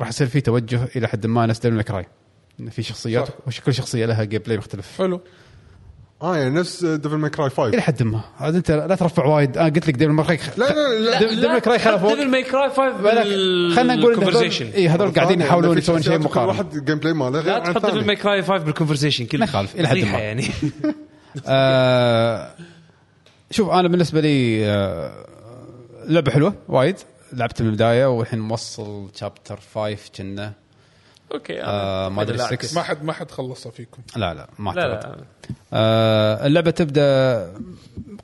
S1: راح يصير في توجه الى حد ما ناس ديفل ماكراي إن في شخصيات
S2: صح.
S1: وكل شخصيه لها جيم بلاي مختلف
S2: حلو
S4: اه يعني نفس ديفل ماي كراي 5
S1: الى حد ما عاد انت لا ترفع وايد انا قلت لك ديفل ماكراي
S4: لا لا لا
S1: ديفل ماكراي خلف فوق
S7: ديفل ماي كراي 5
S1: خلينا نقول إيه. إن هذول-
S7: بالكونفرزيشن
S1: اي هذول قاعدين يحاولون
S4: يعني في
S1: يسوون شيء
S4: شخصيات كل
S1: مقارن
S4: واحد الجيم بلاي ماله غير
S7: لا
S4: عن
S7: تحط ديفل
S4: الثاني
S7: ماي كراي 5 بالكونفرزيشن كله
S1: ما يخالف، إلى حد ما.
S7: فضيحة يعني
S1: آه، شوف انا بالنسبه لي آه، لعبه حلوه وايد لعبت من البدايه والحين موصل شابتر 5 كنا
S7: اوكي
S1: آه، ما أدري
S7: لا،
S1: 6.
S2: ما حد ما حد خلصها فيكم
S1: لا لا ما
S7: لا
S1: اعتقد
S7: لا
S1: آه، اللعبه تبدا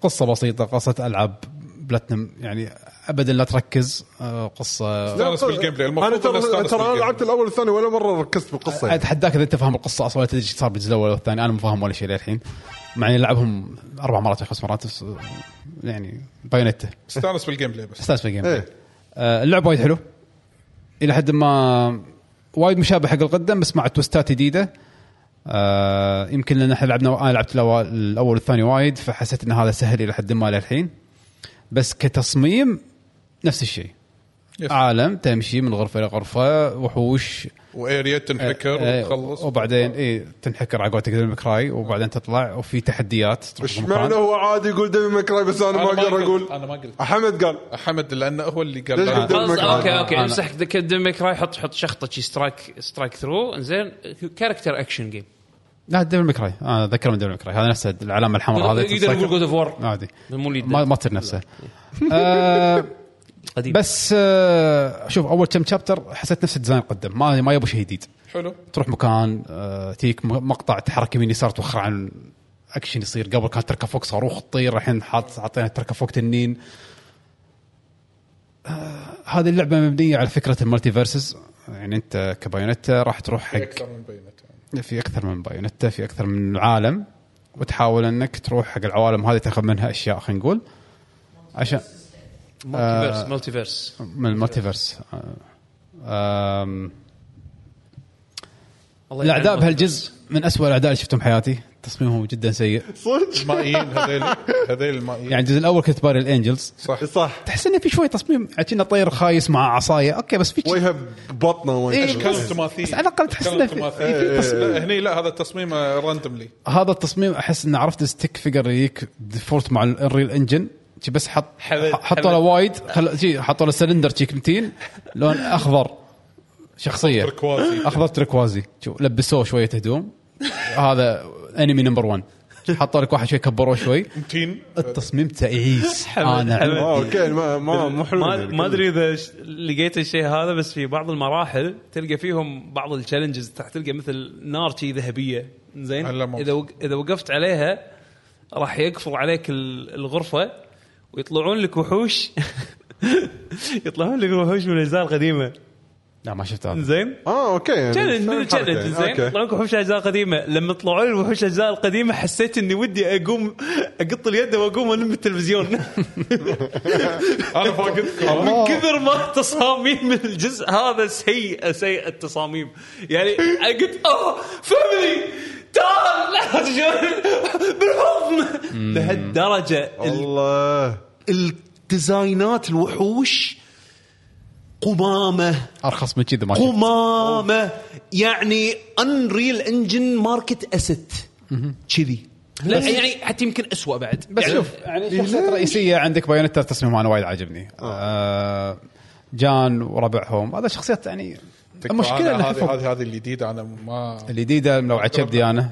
S1: قصه بسيطه قصه العاب بلاتنم يعني ابدا لا تركز آه، قصه
S2: استانس بالجيم بلاي المفروض
S4: انا
S2: إنه
S4: ترى
S2: استانس
S4: ترى انا
S2: بالجيم
S4: لعبت الاول والثاني ولا مره ركزت بالقصه يعني.
S1: اتحداك اذا انت فاهم القصه اصلا ولا تدري ايش صار بالجزء الاول والثاني انا مو فاهم ولا شيء للحين مع اني لعبهم اربع مرات او خمس مرات بس، آه، يعني بايونيتا
S2: استانس بالجيم بلاي بس
S1: استانس بالجيم
S4: ايه
S1: آه، اللعب وايد حلو الى حد ما وايد مشابه حق القدم بس مع توستات جديده آه، يمكن لان احنا لعبنا انا لعبت الأول- الاول والثاني وايد فحسيت ان هذا سهل الى حد ما للحين بس كتصميم نفس الشيء
S2: Yes.
S1: عالم تمشي من غرفه الى غرفه وحوش
S2: واريا تنحكر
S1: آه، آه،
S2: وتخلص
S1: وبعدين اي تنحكر على قولتك ديفل ماكراي وبعدين تطلع وفي تحديات تروح
S4: ايش
S1: مكان.
S4: معنى هو عادي يقول ديفل ماي كراي بس انا ما اقدر اقول
S2: انا ما قلت
S4: حمد قال
S2: حمد لانه هو اللي قال
S4: ليش
S2: لا.
S4: قلت
S7: خلاص
S4: ديفل ماي
S7: اوكي
S4: كراي
S7: اوكي
S1: آه، أنا-
S7: امسح ديفل ماي كراي حط حط شخطه شي سترايك سترايك ثرو انزين كاركتر اكشن جيم
S1: لا ديفل ماكراي انا اتذكر من ديفل ماكراي هذا نفسه العلامه الحمراء آه،
S4: إيه،
S1: هذه
S7: يقدر يقول جود اوف وور
S1: عادي
S7: مو اللي
S1: ما ما تصير نفسه آه،
S7: قديم
S1: بس آه، شوف اول كم شابتر حسيت نفس الديزاين قدم ما ما يبوا شيء جديد
S2: حلو
S1: تروح مكان آه، تيك م- مقطع تحرك يمين يسار توخر عن اكشن يصير قبل كانت تركب فوق صاروخ تطير الحين حاط حاطين تركب فوق تنين آه، هذه اللعبه مبنيه على فكره المالتي فيرسز يعني انت كبايونيتا راح تروح حق
S2: اكثر من بينت
S1: في اكثر من بايونيتا في اكثر من عالم وتحاول انك تروح حق العوالم هذه تاخذ منها اشياء خلينا نقول عشان
S7: مالتيفيرس مالتيفيرس
S1: من المالتيفيرس آه، آم،
S7: الله يلعن
S1: الاعداء
S7: المالتيفيرس.
S1: بهالجزء من أسوأ الاعداء اللي شفتهم بحياتي تصميمهم جدا سيء
S4: صدق
S2: المائيين هذيل هذيل المائيين
S1: يعني الجزء الاول كنت باري الانجلز
S2: صح
S4: صح
S1: تحس انه في شوي تصميم كنا طير خايس مع عصايه اوكي بس في
S4: وجهه ببطنه وين
S1: إيه،
S2: اشكال
S1: بس-
S2: تماثيل
S1: بس على الأقل تحس إنه
S2: أشكال
S1: في-
S2: تماثيل.
S1: في-
S4: إيه.
S1: في تصميم.
S2: لا، هني لا هذا التصميم راندوملي
S1: هذا التصميم احس انه عرفت ستيك فيجر يجيك ديفولت مع الانريل انجن شي بس حط
S7: حمد-
S1: حطوا له وايد خل... شي حطوا له سلندر شي كمتين لون اخضر شخصيه
S2: تركوازي.
S1: اخضر تركوازي شوف لبسوه شويه هدوم هذا انمي نمبر 1 حطوا لك واحد شوي كبروه شوي
S2: متين
S1: التصميم تعيس انا
S7: حمد.
S1: عندي
S4: آه، اوكي ما ما مو حلو
S7: ما,
S4: يعني.
S7: ما ادري اذا ش- لقيت الشيء هذا بس في بعض المراحل تلقى فيهم بعض التشالنجز راح تلقى مثل نار شي ذهبيه زين
S2: هلا مو-
S7: اذا وق- اذا وقفت عليها راح يقفل عليك ال- الغرفه ويطلعون لك وحوش يطلعون لك وحوش من الاجزاء القديمه
S1: لا ما شفت هذا
S7: زين
S4: اه اوكي يعني
S7: تشالنج من
S4: فاهم حركة
S7: تشالنج
S4: يعني.
S7: زين
S4: أوكي.
S7: يطلعون لك وحوش اجزاء قديمه لما طلعوا لي وحوش اجزاء القديمه حسيت اني ودي اقوم اقط اليد واقوم الم التلفزيون
S2: انا فاقدكم
S7: من كثر ما تصاميم الجزء هذا سيئه سيئه التصاميم يعني قلت اوه فاميلي
S3: تعال لا شلون؟ بالحضن
S8: لهالدرجه ال-
S4: الله
S8: Uh, الديزاينات الوحوش قمامه
S1: ارخص من كذا ما شفت.
S8: قمامه يعني انريل انجن ماركت اسيت كذي يعني حتى يمكن اسوء بعد
S1: بس
S8: يعني
S1: شوف يعني شخصيات رئيسيه عندك بايونتا تصميمها انا وايد عاجبني آه جان وربعهم هذا شخصيات يعني المشكله
S2: أنا
S1: إن
S2: هذه
S1: خفوا.
S2: هذه هذه الجديده انا ما
S1: الجديده ملوعه كبدي انا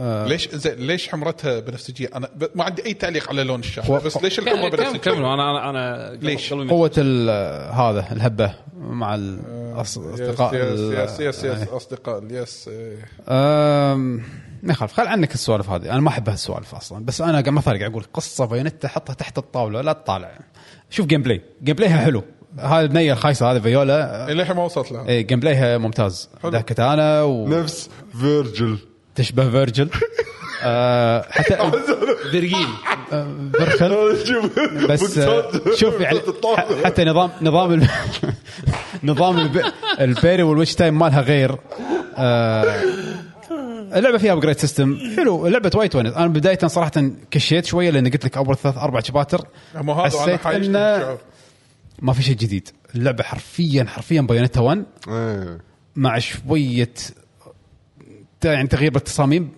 S1: آه
S2: ليش زين ليش حمرتها بنفسجيه انا ب- ما عندي اي تعليق على لون الشعر بس ليش الحمره
S7: كملوا
S2: بنفسجيه
S7: كملوا انا انا انا
S2: ليش؟
S7: قبل- قبل-
S1: قوه ال- هذا الهبه مع
S2: آه،
S1: الاصدقاء
S2: يس يس يس يس اصدقاء يس إيه.
S1: أم، ما يخالف خل عنك السوالف هذه انا ما احب هالسوالف اصلا بس انا قاعد مثلا قاعد اقول قصه بايونتا حطها تحت الطاوله لا تطالع شوف جيم بلاي جيم بلايها حلو هاي البنيه الخايسه هذه فيولا
S2: للحين آه. ما وصلت لها
S1: اي جيم بلايها ممتاز ذا كتانا
S4: نفس فيرجل
S1: وتشبه فيرجل أه، حتى
S8: برجيل
S1: أه، فيرخل بس آه، شوف يعني ح- حتى نظام نظام ال... نظام الب... البيري والويتش تايم مالها غير آه اللعبه فيها ابجريد سيستم حلو لعبه وايد تونس انا بدايه صراحه كشيت شويه لان قلت لك اول ثلاث اربع شباتر
S2: مو هذا انا
S1: حسيت
S2: حايشت
S1: انه
S2: بالشعور.
S1: ما في شيء جديد اللعبه حرفيا حرفيا بايونيتا 1
S4: إيه.
S1: مع شويه ت- يعني تغيير بالتصاميم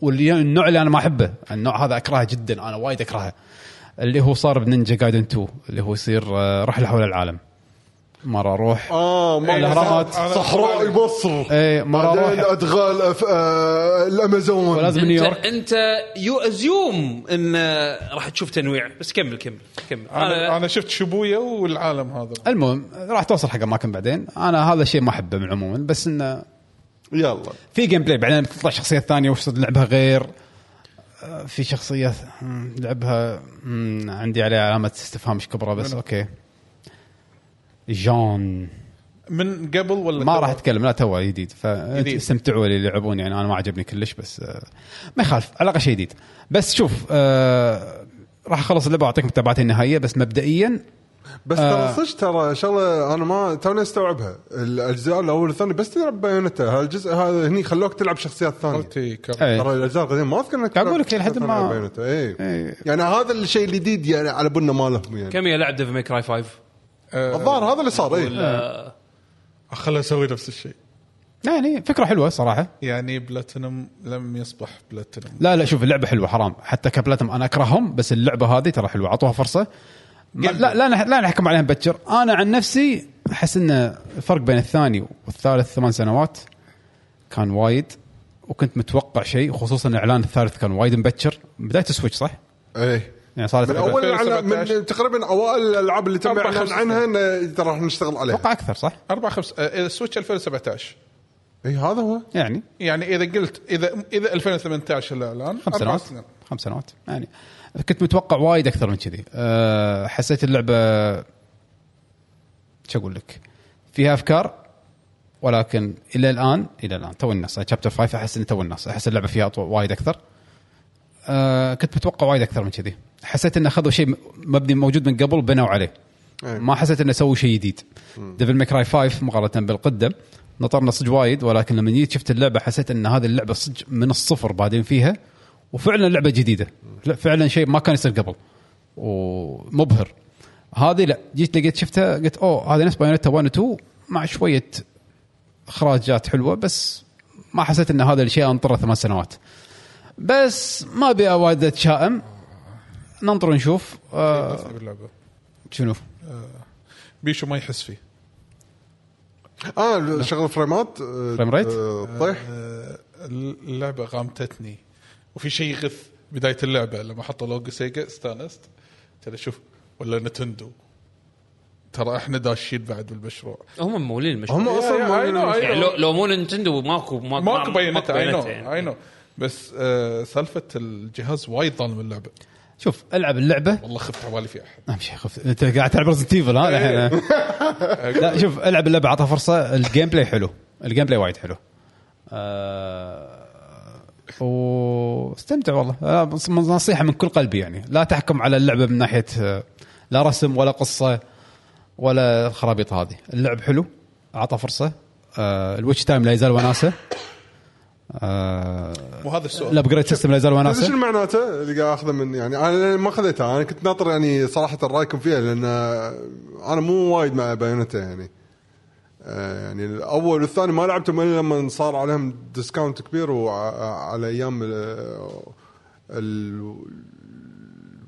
S1: والنوع اللي انا ما احبه النوع هذا اكرهه جدا انا وايد اكرهه اللي هو صار بنينجا جايدن 2 اللي هو يصير آه، رحله حول العالم مره اروح
S4: اه
S1: الأهرامات.
S4: مره صحراء مصر
S1: ايه مره
S4: بعدين
S1: اروح
S4: ادغال أف- آه، الامازون
S1: ولازم نيويورك
S7: انت انت يو ازيوم ان آه، راح تشوف تنويع بس كمل كمل كمل آه،
S2: انا
S7: انا
S2: انا شفت شبويه والعالم هذا
S1: المهم راح توصل حق اماكن بعدين انا هذا الشيء ما احبه من عموما بس انه
S4: يلا
S1: في جيم بلاي بعدين تطلع شخصيه ثانيه وش صد لعبها غير آه، في شخصيه مم، لعبها مم، عندي عليها علامه استفهام مش كبرى بس اوكي جون
S2: من قبل ولا
S1: ما
S2: قبل؟
S1: راح اتكلم لا توه جديد
S2: جديد.
S1: فاستمتعوا اللي يلعبون يعني انا ما عجبني كلش بس آه، ما يخالف على الاقل شيء جديد بس شوف آه، راح اخلص اللعبه واعطيكم تبعاتي النهائيه بس مبدئيا
S4: بس ترى صدق ترى شغله انا ما توني استوعبها الاجزاء الاول والثاني بس تلعب بايونتا هالجزء هذا هني خلوك تلعب شخصيات ثانيه
S2: قلتي كم-
S1: إيه.
S4: ترى الاجزاء القديمه ما اذكر انك
S1: قاعد أقول لك إلى حد ما-
S4: اي
S1: إيه.
S4: يعني هذا الشيء الجديد يعني على بالنا ما لهم يعني
S7: كم يا لعب ديف ميك راي 5
S4: الظاهر هذا اللي صار إيه. اي
S7: ولا
S2: خليني اسوي آه، نفس الشيء
S1: يعني فكره حلوه صراحه
S2: يعني بلاتينم لم يصبح بلاتينم
S1: لا لا شوف اللعبه حلوه حرام حتى كبلاتهم انا اكرههم بس اللعبه هذه ترى حلوه اعطوها فرصه ما لا لا نح- لا نحكم عليها مبكر انا عن نفسي احس ان الفرق بين الثاني والثالث ثمان سنوات كان وايد وكنت متوقع شيء خصوصا اعلان الثالث كان وايد مبكر بدايه السويتش صح؟
S4: اي
S1: يعني صارت
S4: إيه. من اول العلم-
S2: 2017.
S4: من تقريبا اوائل الالعاب اللي تم
S2: أربع
S4: اعلان
S2: خمس
S4: عنها إن ترى راح نشتغل عليها
S1: اتوقع اكثر صح؟
S2: 4 5 آه، سويتش 2017
S4: اي إيه، هذا هو
S1: يعني
S2: يعني اذا قلت اذا اذا 2018 الاعلان
S1: خمس
S2: أربع
S1: سنوات خمس سنوات يعني كنت متوقع وايد اكثر من كذي أه حسيت اللعبه شو اقول لك فيها افكار ولكن الى الان الى الان تو الناس شابتر 5 احس ان تو الناس احس اللعبه فيها أطو- وايد اكثر أه كنت متوقع وايد اكثر من كذي حسيت ان اخذوا شيء م- مبني موجود من قبل بنوا عليه
S4: أي.
S1: ما حسيت انه سووا شيء جديد ديفل ميكراي 5 مقارنه بالقدم نطرنا صدق وايد ولكن لما جيت شفت اللعبه حسيت ان هذه اللعبه صدق من الصفر بادين فيها وفعلا لعبه جديده لا فعلا شيء ما كان يصير قبل ومبهر هذه لا جيت لقيت شفتها قلت اوه هذه نفس بايونيتا 1 و 2 مع شويه اخراجات حلوه بس ما حسيت ان هذا الشيء انطره ثمان سنوات بس ما ابي وايد اتشائم ننطر ونشوف آه
S2: بس باللعبه
S1: شنو
S2: بيشو ما يحس فيه
S4: اه شغل فريمات آه،
S1: فريم ريت؟
S4: آه، طيح
S2: آه، اللعبه غامتتني وفي شيء يغث بدايه اللعبه لما حطوا لوجو سيجا استانست ترى شوف ولا نتندو ترى احنا داشين بعد بالمشروع
S7: هم مولين المشروع
S4: هم اصلا
S2: يا- I know,
S4: ما-
S2: I know.
S7: يعني لو لو مو نينتندو ماكو ماكو
S2: ماكو بايونيتا اي نو
S7: بايونيتا يعني.
S2: اي نو بس آه، سالفه الجهاز وايد ظالم اللعبه
S1: شوف العب اللعبه
S2: والله خفت عوالي في احد
S1: امشي خف انت قاعد تلعب ريزنت ايفل ها
S2: إيه.
S1: الحين لا شوف العب اللعبه اعطها فرصه الجيم بلاي حلو الجيم بلاي وايد حلو آه، واستمتع والله آه، بس- نصيحه من كل قلبي يعني لا تحكم على اللعبه من ناحيه آه، لا رسم ولا قصه ولا الخرابيط هذه اللعب حلو اعطى فرصه آه، الويتش تايم لا يزال وناسه آه،
S2: مو هذا السؤال
S1: الابجريد سيستم لا يزال
S4: تدري شنو
S1: وناسه
S4: معناته اللي قاعد اخذه من يعني انا لأن ما خذيتها انا كنت ناطر يعني صراحه رايكم فيها لان انا مو وايد مع بايونتا يعني آه، يعني الاول والثاني ما لعبتهم الا لما صار عليهم ديسكاونت كبير وعلى ايام ال- ال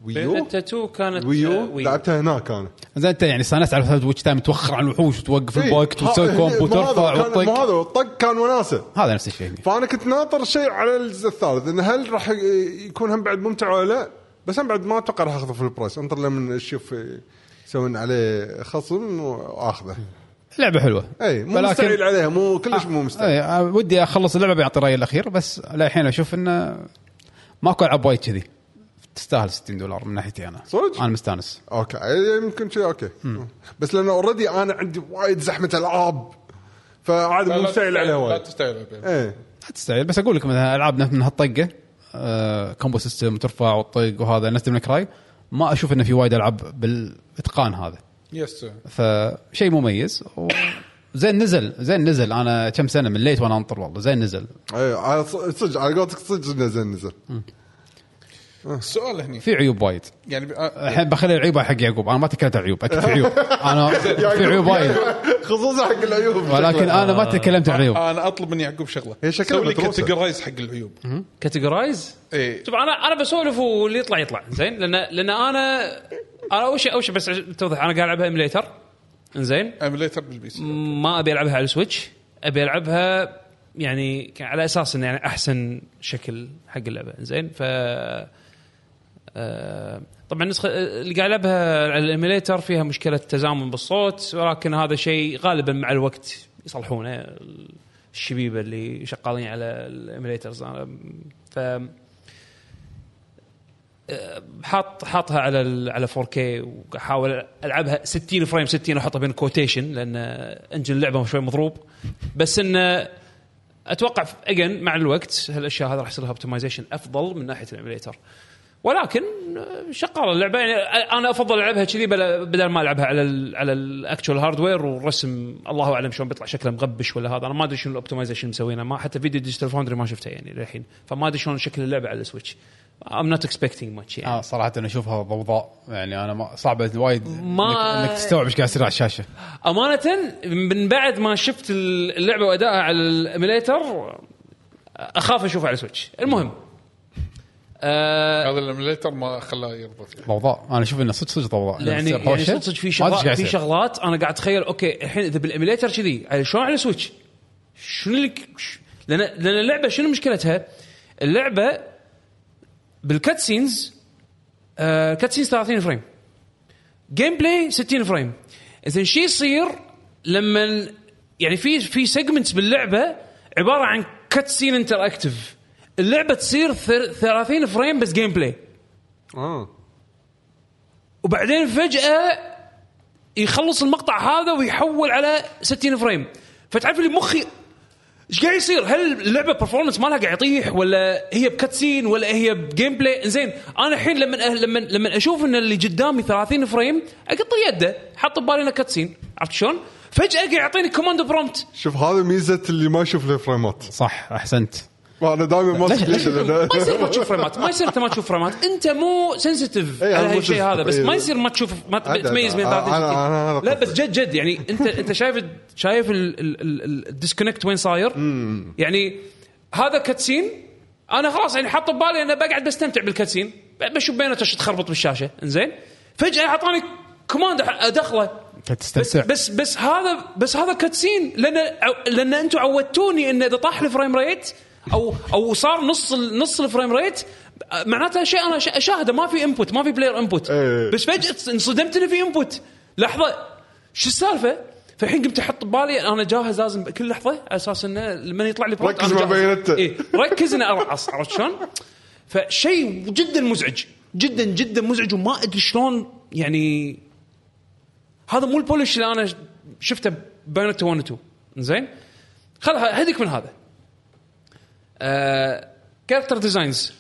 S4: الويو
S7: بيتا 2 كانت
S4: ويو
S7: ويو.
S4: لعبتها هناك انا
S1: زين انت يعني استانست على فهد ويتش تايم توخر عن الوحوش وتوقف الوقت
S4: إيه،
S1: وتسوي
S4: ها-
S1: كومب
S4: ما هذا
S1: وترفع
S4: كان- ما
S1: وتطق
S4: هذا الطق كان وناسه
S1: هذا نفس الشيء
S4: فانا كنت ناطر شيء على الجزء الثالث انه هل راح يكون هم بعد ممتع ولا لا بس هم بعد ما اتوقع راح اخذه في البرايس انطر لما اشوف يسوون عليه خصم واخذه
S1: لعبه حلوه
S4: اي مو مستعيل عليها مو كلش مو مستعيل
S1: اي آه، ودي اخلص اللعبه بيعطي رايي الاخير بس للحين اشوف انه ماكو العاب وايد كذي تستاهل 60 دولار من ناحيتي انا
S4: صدق؟
S1: انا مستانس
S4: اوكي أي إيه، يمكن شيء اوكي بس لانه اوريدي انا عندي وايد زحمه العاب فعاد
S2: لا-
S4: مو
S2: لا
S4: مستعيل عليها
S2: لا
S4: وايد
S2: تستعيل عليها.
S4: ايه
S1: لا تستعجل بس اقول لك مثلا العاب نفس من هالطقه آه كومبو سيستم ترفع وتطق وهذا نفس من كراي ما اشوف انه في وايد العاب بالاتقان هذا
S2: يس
S1: فشيء مميز و... زين نزل زين نزل انا كم سنه من ليت وانا انطر والله زين نزل
S4: ايه على ص- صدق على قولتك صدق نزل نزل
S2: السؤال هني
S1: في عيوب وايد
S2: يعني آه،
S1: الحين بخلي العيوب حق يعقوب انا ما تكلمت عن عيوب اكيد في عيوب انا في عيوب وايد
S4: خصوصا يعني حق العيوب
S1: ولكن انا ما تكلمت عن
S7: آه،
S1: عيوب
S2: انا اطلب من يعقوب شغله
S4: هي شكلها
S2: سوي لي
S4: متروسة.
S2: كاتيجرايز حق العيوب إيه،
S7: كاتيجورايز
S2: اي
S7: شوف انا انا بسولف واللي يطلع يطلع زين لان لان انا انا اول شيء اول شيء بس عشان التوضيح انا قاعد العبها ايميليتر زين
S2: ايميليتر بالبي سي
S7: ما ابي العبها على السويتش ابي العبها يعني ك- على اساس انه يعني احسن شكل حق اللعبه زين ف آه، طبعا النسخه اللي قاعد العبها على الايميليتر فيها مشكله تزامن بالصوت ولكن هذا شيء غالبا مع الوقت يصلحونه الشبيبه اللي شغالين على الايميليترز أنا- ف آه، حاط حاطها على ال- على 4K واحاول العبها 60 فريم 60 احطها بين كوتيشن لان انجن اللعبه شوي مضروب بس انه اتوقع اجين مع الوقت هالاشياء هذه راح يصير لها اوبتمايزيشن افضل من ناحيه الاميليتر ولكن آه، شغاله اللعبه يعني آه، انا افضل العبها كذي بلا- بدل ما العبها على ال على الاكتشوال هاردوير والرسم الله اعلم شلون بيطلع شكله مغبش ولا هذا انا ما ادري شنو الاوبتمايزيشن مسوينه ما حتى فيديو ديجيتال فاوندري ما شفته يعني للحين فما ادري شلون شكل اللعبه على السويتش ام نوت اكسبكتينج ماتش يعني
S1: آه صراحه انا اشوفها ضوضاء يعني انا ما صعبه وايد
S7: ما-
S1: انك إنك تستوعب ايش قاعد يصير على الشاشه
S7: امانه من بعد ما شفت اللعبه وادائها على الايميليتر اخاف اشوفها على سويتش المهم آه
S2: هذا الايميليتر ما خلاه يربط فيه.
S1: ضوضاء انا اشوف انه صدق صدق ضوضاء
S7: يعني
S1: يصير
S7: يعني
S1: هوشة،
S7: صدق في
S1: ما أدري إيش قاعد
S7: شغلات في
S1: يصير.
S7: شغلات انا قاعد اتخيل اوكي الحين اذا بالاميليتر كذي على- شلون على سويتش؟ شنو اللي ك- ش- لان لان اللعبه شنو مشكلتها؟ اللعبه بالكات سينز آه كات سينز 30 فريم جيم بلاي 60 فريم زين شو يصير لما يعني في في سيجمنتس باللعبه عباره عن كات سين انتر اكتف اللعبه تصير ثر- 30 فريم بس جيم بلاي
S4: اه
S7: وبعدين فجأة يخلص المقطع هذا ويحول على 60 فريم فتعرف اللي مخي ايش قاعد يصير؟ هل اللعبه برفورمانس مالها قاعد يطيح ولا هي بكاتسين ولا هي بجيم بلاي؟ زين انا الحين لما أه- لما لما اشوف ان اللي قدامي 30 فريم اقطع يده حط ببالي انه كاتسين عرفت شلون؟ فجاه قاعد يعطيني كوماند برومت
S4: شوف هذا ميزه اللي ما يشوف له فريمات
S1: صح احسنت
S4: انا دائما ما
S1: ليش-
S4: أسوي
S1: ليش-
S4: كذا.
S7: إيه. ما يصير ما تشوف فريمات ما يصير انت ما تشوف فريمات انت مو سنسيتيف
S4: إيه،
S7: على
S4: أنا مو
S7: هالشيء
S4: sensitive.
S7: هذا بس ما
S4: إيه.
S7: يصير ما تشوف ما
S4: عاد-
S7: تميز بين
S4: أنا-
S7: 30
S4: أنا- أنا هذا
S7: لا بس جد جد يعني انت انت شايف شايف الديسكونكت وين صاير يعني هذا كاتسين انا خلاص يعني حاط ببالي انا بقعد بستمتع بالكاتسين ب- بشوف بينه ايش تخربط بالشاشه انزين فجاه اعطاني كوماند ادخله بس
S1: فتستمتع
S7: بس بس هذا بس هذا كاتسين لان لان انتم عودتوني ان اذا طاح الفريم ريت او او صار نص ال- نص الفريم ريت معناته شيء انا ش- اشاهده ما في انبوت ما في بلاير انبوت
S4: إيه.
S7: بس فجاه انصدمت انه في انبوت لحظه شو السالفه؟ فالحين قمت احط ببالي انا جاهز لازم كل لحظه على اساس انه لما يطلع لي prompt
S4: ركز
S7: أنا
S4: مع
S7: جاهز.
S4: بياناته.
S7: إيه ركز اني ارعص عرفت شلون؟ فشيء جدا مزعج جدا جدا مزعج وما ادري شلون يعني هذا مو البولش اللي انا شفته بينت 1 و 2 زين خل هديك من هذا آه كاركتر ديزاينز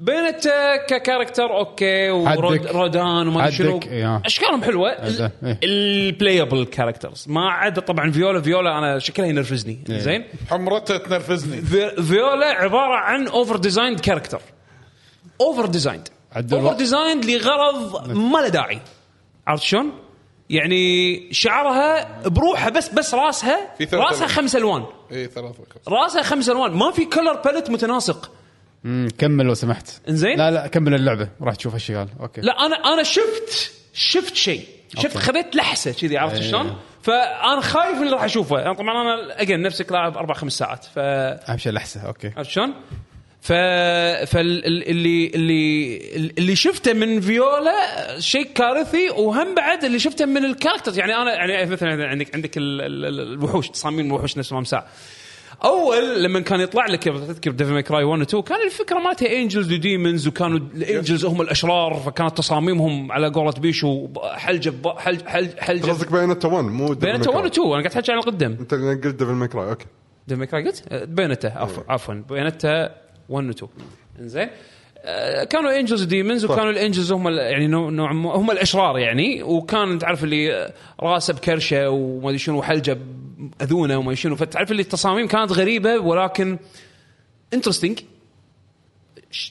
S7: بينتا ككاركتر اوكي ورود
S1: عدك.
S7: رودان وما أدري شنو
S1: عدك، إيه.
S7: اشكالهم حلوه
S1: عدة، إيه.
S7: البلايبل كاركترز ما عدا طبعا فيولا فيولا انا شكلها ينرفزني
S1: إيه.
S7: زين
S2: حمرته تنرفزني
S7: في- فيولا عباره عن اوفر ديزايند كاركتر اوفر ديزايند
S1: عدل
S7: اوفر
S1: الوقت.
S7: ديزايند لغرض ما له داعي عرفت شلون؟ يعني شعرها بروحها بس بس راسها
S2: في ثلاث
S7: راسها
S2: ألوان.
S7: خمس الوان
S2: اي ثلاث وخمس.
S7: راسها خمس الوان ما في كلر باليت متناسق
S1: مم، كمل لو سمحت
S7: إنزين.
S1: لا لا كمل اللعبه راح تشوف اشياء اوكي
S7: لا انا انا شفت شفت شيء شفت
S1: أوكي.
S7: خذيت لحسه كذي عرفت
S1: إيه.
S7: شلون؟ فانا خايف من اللي راح اشوفه انا طبعا انا اجين نفسك لاعب اربع خمس ساعات ف
S1: اهم شيء لحسه اوكي
S7: عرفت شلون؟ ف فاللي اللي اللي شفته من فيولا شيء كارثي وهم بعد اللي شفته من الكاركترز يعني انا يعني مثلا عندك عندك ال- ال- ال- الوحوش تصاميم الوحوش نفسهم ساعه اول لما كان يطلع لك تذكر ديفل ماي كراي 1 و 2 كان الفكره مالتها انجلز وديمونز وكانوا الانجلز هم الاشرار فكانت تصاميمهم على قولة بيشو حلجه ب- حلج حلج حلجه
S4: قصدك بيانتا 1 مو ديفل
S7: بينتا 1 و
S4: ماي كراي.
S7: 2 انا قاعد احكي عن القدم
S4: انت يعني قلت ديفل ماي كراي اوكي
S7: ديفل ماي كراي قلت بينتا عفوا عفوا بينتا 1 و 2 انزين آه، كانوا انجلز وديمونز وكانوا الانجلز هم ال- يعني نوع نوع ما- هم الاشرار يعني وكان تعرف اللي آه، راسه بكرشه وما ادري شنو وحلجه اذونه وما أدري شنو فتعرف اللي التصاميم كانت غريبه ولكن انترستنج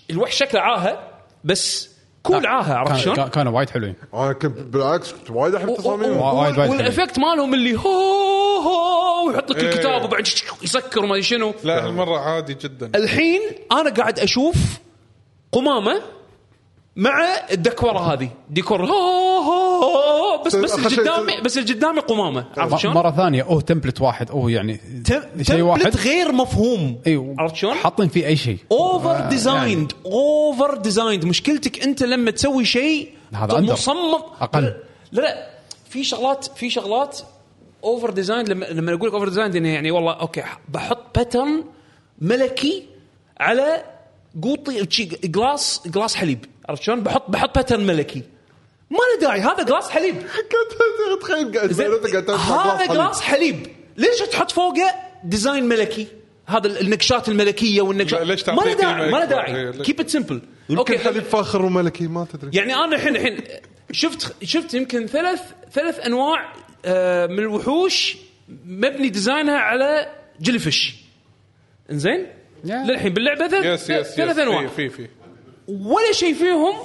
S7: الوحش شكله عاهه بس كول عاهه عرفت شلون؟
S1: كان- كانوا وايد حلوين
S4: انا كنت بالعكس كنت وايد احب
S7: و-
S4: تصاميمه
S7: و-
S1: وايد وايد
S7: والافكت مالهم اللي هو هو ويحط لك
S2: إيه.
S7: الكتاب وبعد يسكر وما ادري شنو
S2: لا هالمره عادي جدا
S7: الحين انا قاعد اشوف قمامه مع الدكوره هذه ديكور هو هو هو بس بس
S4: أخر شيء-
S7: اللي قدامي بس اللي قدامي قمامه عرفت
S1: م-
S7: شلون؟
S1: مره ثانيه اوه تمبلت واحد اوه يعني شيء واحد آه،
S8: تمبلت غير مفهوم
S1: ايوه
S7: عرفت شلون؟
S1: حاطين فيه اي شيء
S7: اوفر ديزايند
S1: يعني.
S7: اوفر ديزايند مشكلتك انت لما تسوي شيء
S1: هذا
S7: طب
S1: أندر.
S7: مصمم
S1: أقل.
S7: لا لا في شغلات في شغلات اوفر ديزايند لما لما اقول لك اوفر ديزايند يعني, يعني والله اوكي ح- بحط باترن ملكي على قوطي شي- جلاس جلاس حليب عرفت شلون؟ بحط بحط باترن ملكي ما له داعي هذا جلاس حليب
S4: كنت تخيل قاعد
S7: زين
S4: بيانتا قاعد تسمع
S7: هذا
S4: حليب.
S7: جلاس حليب ليش تحط فوقه ديزاين ملكي هذا ال- النكشات الملكيه والنكشات
S2: لا، ليش
S7: ما له
S2: تعطيه
S7: داعي ما له
S2: ملك؟
S7: داعي
S2: إيه، ليش؟
S7: كيب ات سمبل
S4: يمكن حليب فاخر وملكي ما تدري
S7: يعني انا الحين الحين شفت شفت يمكن ثلاث ثلاث انواع آه، من الوحوش مبني ديزاينها على جلفش انزين للحين باللعبه ثلاث
S2: يس يس يس
S7: ثلاث انواع
S2: في في, في.
S7: ولا شيء فيهم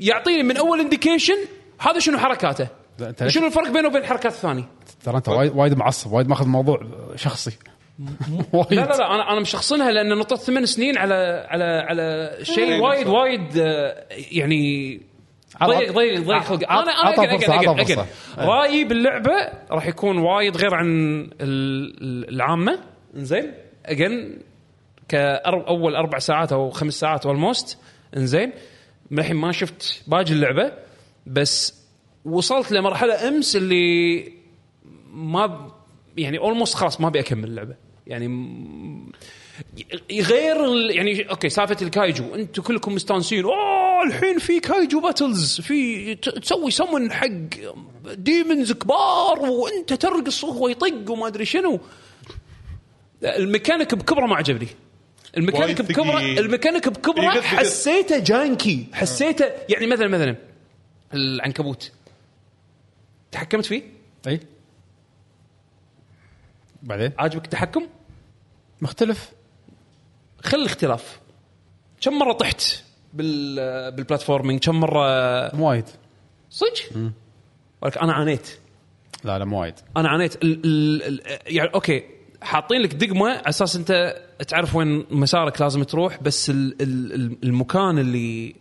S7: يعطيني من اول انديكيشن هذا شنو حركاته
S1: لا، أنت ليش-
S7: شنو الفرق بينه وبين الحركات الثانيه
S1: ترى انت وايد وايد معصب وايد ماخذ موضوع شخصي وايد
S7: لا لا لا انا انا مشخصنها لان نطت ثمان سنين على على على شيء
S2: إيه،
S7: وايد
S2: بالضبط.
S7: وايد آه، يعني ضيق
S1: عط-
S7: ضيق ضيق
S1: عط-
S7: خلق
S1: عط-
S7: انا
S1: عطها
S7: انا
S1: فرصة،
S7: أجل- أجل-
S1: عطها
S7: أجل.
S1: فرصة.
S7: رايي باللعبه راح يكون وايد غير عن ال- ال- العامه انزين اجن كاول اربع ساعات او خمس ساعات اولموست انزين للحين ما شفت باقي اللعبه بس وصلت لمرحله امس اللي ما ب- يعني اولموست خلاص ما ابي اكمل اللعبه يعني م- غير ال- يعني اوكي سالفه الكايجو انتم كلكم مستانسين اوه الحين في كايجو باتلز في ت- تسوي سمن حق ديمونز كبار وانت ترقص وهو يطق وما ادري شنو الميكانيك بكبره ما عجبني الميكانيك
S2: وايد
S7: بكبره
S2: ثقيل.
S7: الميكانيك
S2: يقط-
S7: بكبره
S2: يقط.
S7: حسيته جانكي حسيته يعني مثلا مثلا العنكبوت تحكمت فيه
S1: اي بعدين
S7: عاجبك التحكم
S1: مختلف
S7: خل الاختلاف كم مره طحت بال بالبلاتفورمينج كم مره
S1: مو وايد
S7: صدق ولك انا عانيت
S1: لا لا مو وايد
S7: انا عانيت ال ال ال يعني اوكي حاطين لك دقمه على اساس انت تعرف وين مسارك لازم تروح بس ال ال ال- المكان اللي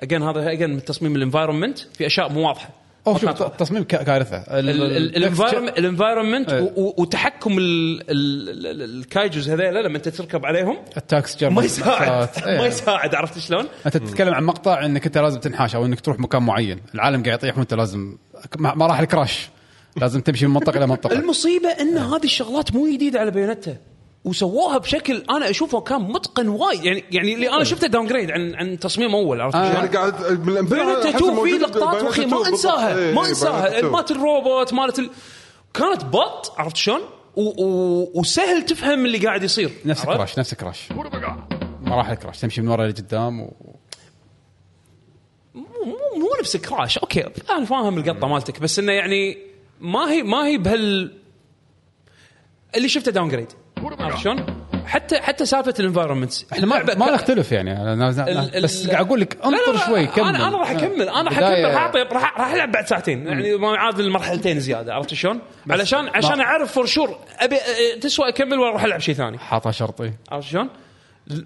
S7: اجين هذا اجين من تصميم الانفايرمنت في اشياء مو واضحه
S1: اوه شوف
S7: ما تعرف.
S1: ت- تصميم كا- كارثه ال- ال-
S7: الانفايرمنت الانفايرمنت
S1: إيه.
S7: وتحكم ال- ال- ال- ال- الكايجوز هذيلا لما انت تركب عليهم
S1: التاكس جرب
S7: ما يساعد
S1: التاكسات. إيه.
S7: ما يساعد عرفت شلون؟
S1: انت تتكلم عن مقطع انك انت لازم تنحاش او انك تروح مكان معين العالم قاعد يطيح وانت لازم ما- مراحل كراش لازم تمشي من منطقه الى منطقه
S7: المصيبه ان هذه الشغلات مو جديده على بياناته وسووها بشكل انا اشوفه كان متقن وايد يعني يعني اللي انا شفته داون جريد عن عن تصميم اول عرفت
S1: آه.
S7: شلون؟
S4: يعني قاعد
S7: بياناتا 2 في لقطات وخي ما انساها
S4: إيه،
S7: ما انساها
S4: مات
S7: مالت الروبوت مالت ال... كانت بط عرفت شلون؟ و... و... وسهل تفهم اللي قاعد يصير
S1: نفس
S7: عرفت؟
S1: كراش نفس كراش ما راح الكراش تمشي من ورا لقدام و...
S7: مو مو- مو نفس كراش اوكي انا فاهم القطه مالتك بس انه يعني ما هي ما هي بهال اللي شفته داون جريد عرفت شلون؟ حتى حتى سالفه الانفايرمنتس
S1: احنا ما ما نختلف يعني أنا- أنا-
S7: ال- ال-
S1: بس قاعد اقول لك
S7: لا،
S1: انطر
S7: لا، لا،
S1: شوي كمل
S7: انا انا راح اكمل انا راح
S1: بداية-
S7: اكمل راح اعطي راح راح العب بعد ساعتين يعني ما يعادل مرحلتين زياده عرفت شلون؟ علشان عشان اعرف فور شور ابي أه، تسوى اكمل ولا اروح العب شيء ثاني
S1: حاطه شرطي
S7: عرفت شلون؟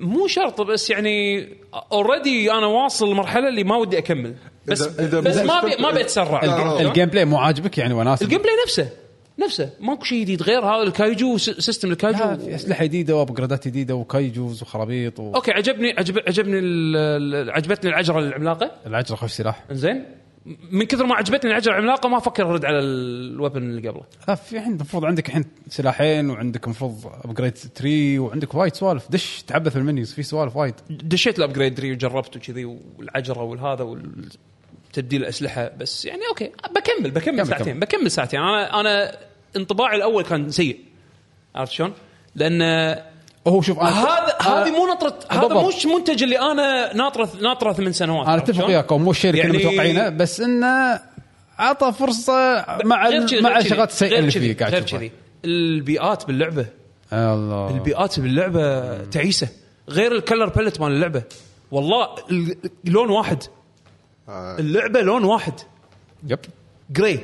S7: مو شرط بس يعني اوريدي انا واصل لمرحله اللي ما ودي اكمل بس
S4: إذا- إذا
S7: بس
S4: مو
S7: ما
S4: مستمتع-
S7: بي ما بتسرع
S4: لا، لا، لا.
S1: الجيم بلاي مو عاجبك يعني وناس
S7: الجيم بلاي نفسه نفسه ماكو شيء جديد غير هذا الكايجو س- سيستم الكايجو
S1: في اسلحه جديده وابجريدات جديده وكايجوز وخرابيط و...
S7: اوكي عجبني عجب عجبني ال- ال- عجبتني العجره العملاقه
S1: العجله خوش سلاح
S7: زين من كثر ما عجبتني العجره العملاقه ما افكر ارد على الوبن اللي قبله
S1: لا في عندك المفروض عندك الحين سلاحين وعندك المفروض ابجريد تري وعندك وايد سوالف دش تعبث بالمنيوز في سوالف وايد
S7: دشيت الابجريد 3 وجربت وكذي والعجره والهذا وال تبديل الاسلحه بس يعني اوكي بكمل بكمل
S1: كمل،
S7: ساعتين
S1: كمل.
S7: بكمل ساعتين انا انا انطباعي الاول كان سيء عرفت شلون؟ لان
S1: هو شوف انا
S7: هذا هذه مو نطره هذا
S1: بالضبط.
S7: مو المنتج اللي انا ناطره ناطره ثمان سنوات
S1: انا
S7: عرفت
S1: اتفق
S7: شلون؟
S1: وياك هو مو الشيء اللي كنا
S7: يعني-
S1: متوقعينه بس انه عطى فرصه مع
S7: غير
S1: ال-
S7: كذي-
S1: مع
S7: غير كذي-
S1: الشغلات السيئه
S7: غير
S1: اللي
S7: كذي-
S1: فيه قاعد
S7: غير
S1: تشوفها.
S7: كذي البيئات باللعبه
S1: الله
S7: البيئات باللعبه تعيسه غير الكلر باليت مال اللعبه والله ال- لون واحد
S4: آه.
S7: اللعبه لون واحد
S1: يب
S7: جراي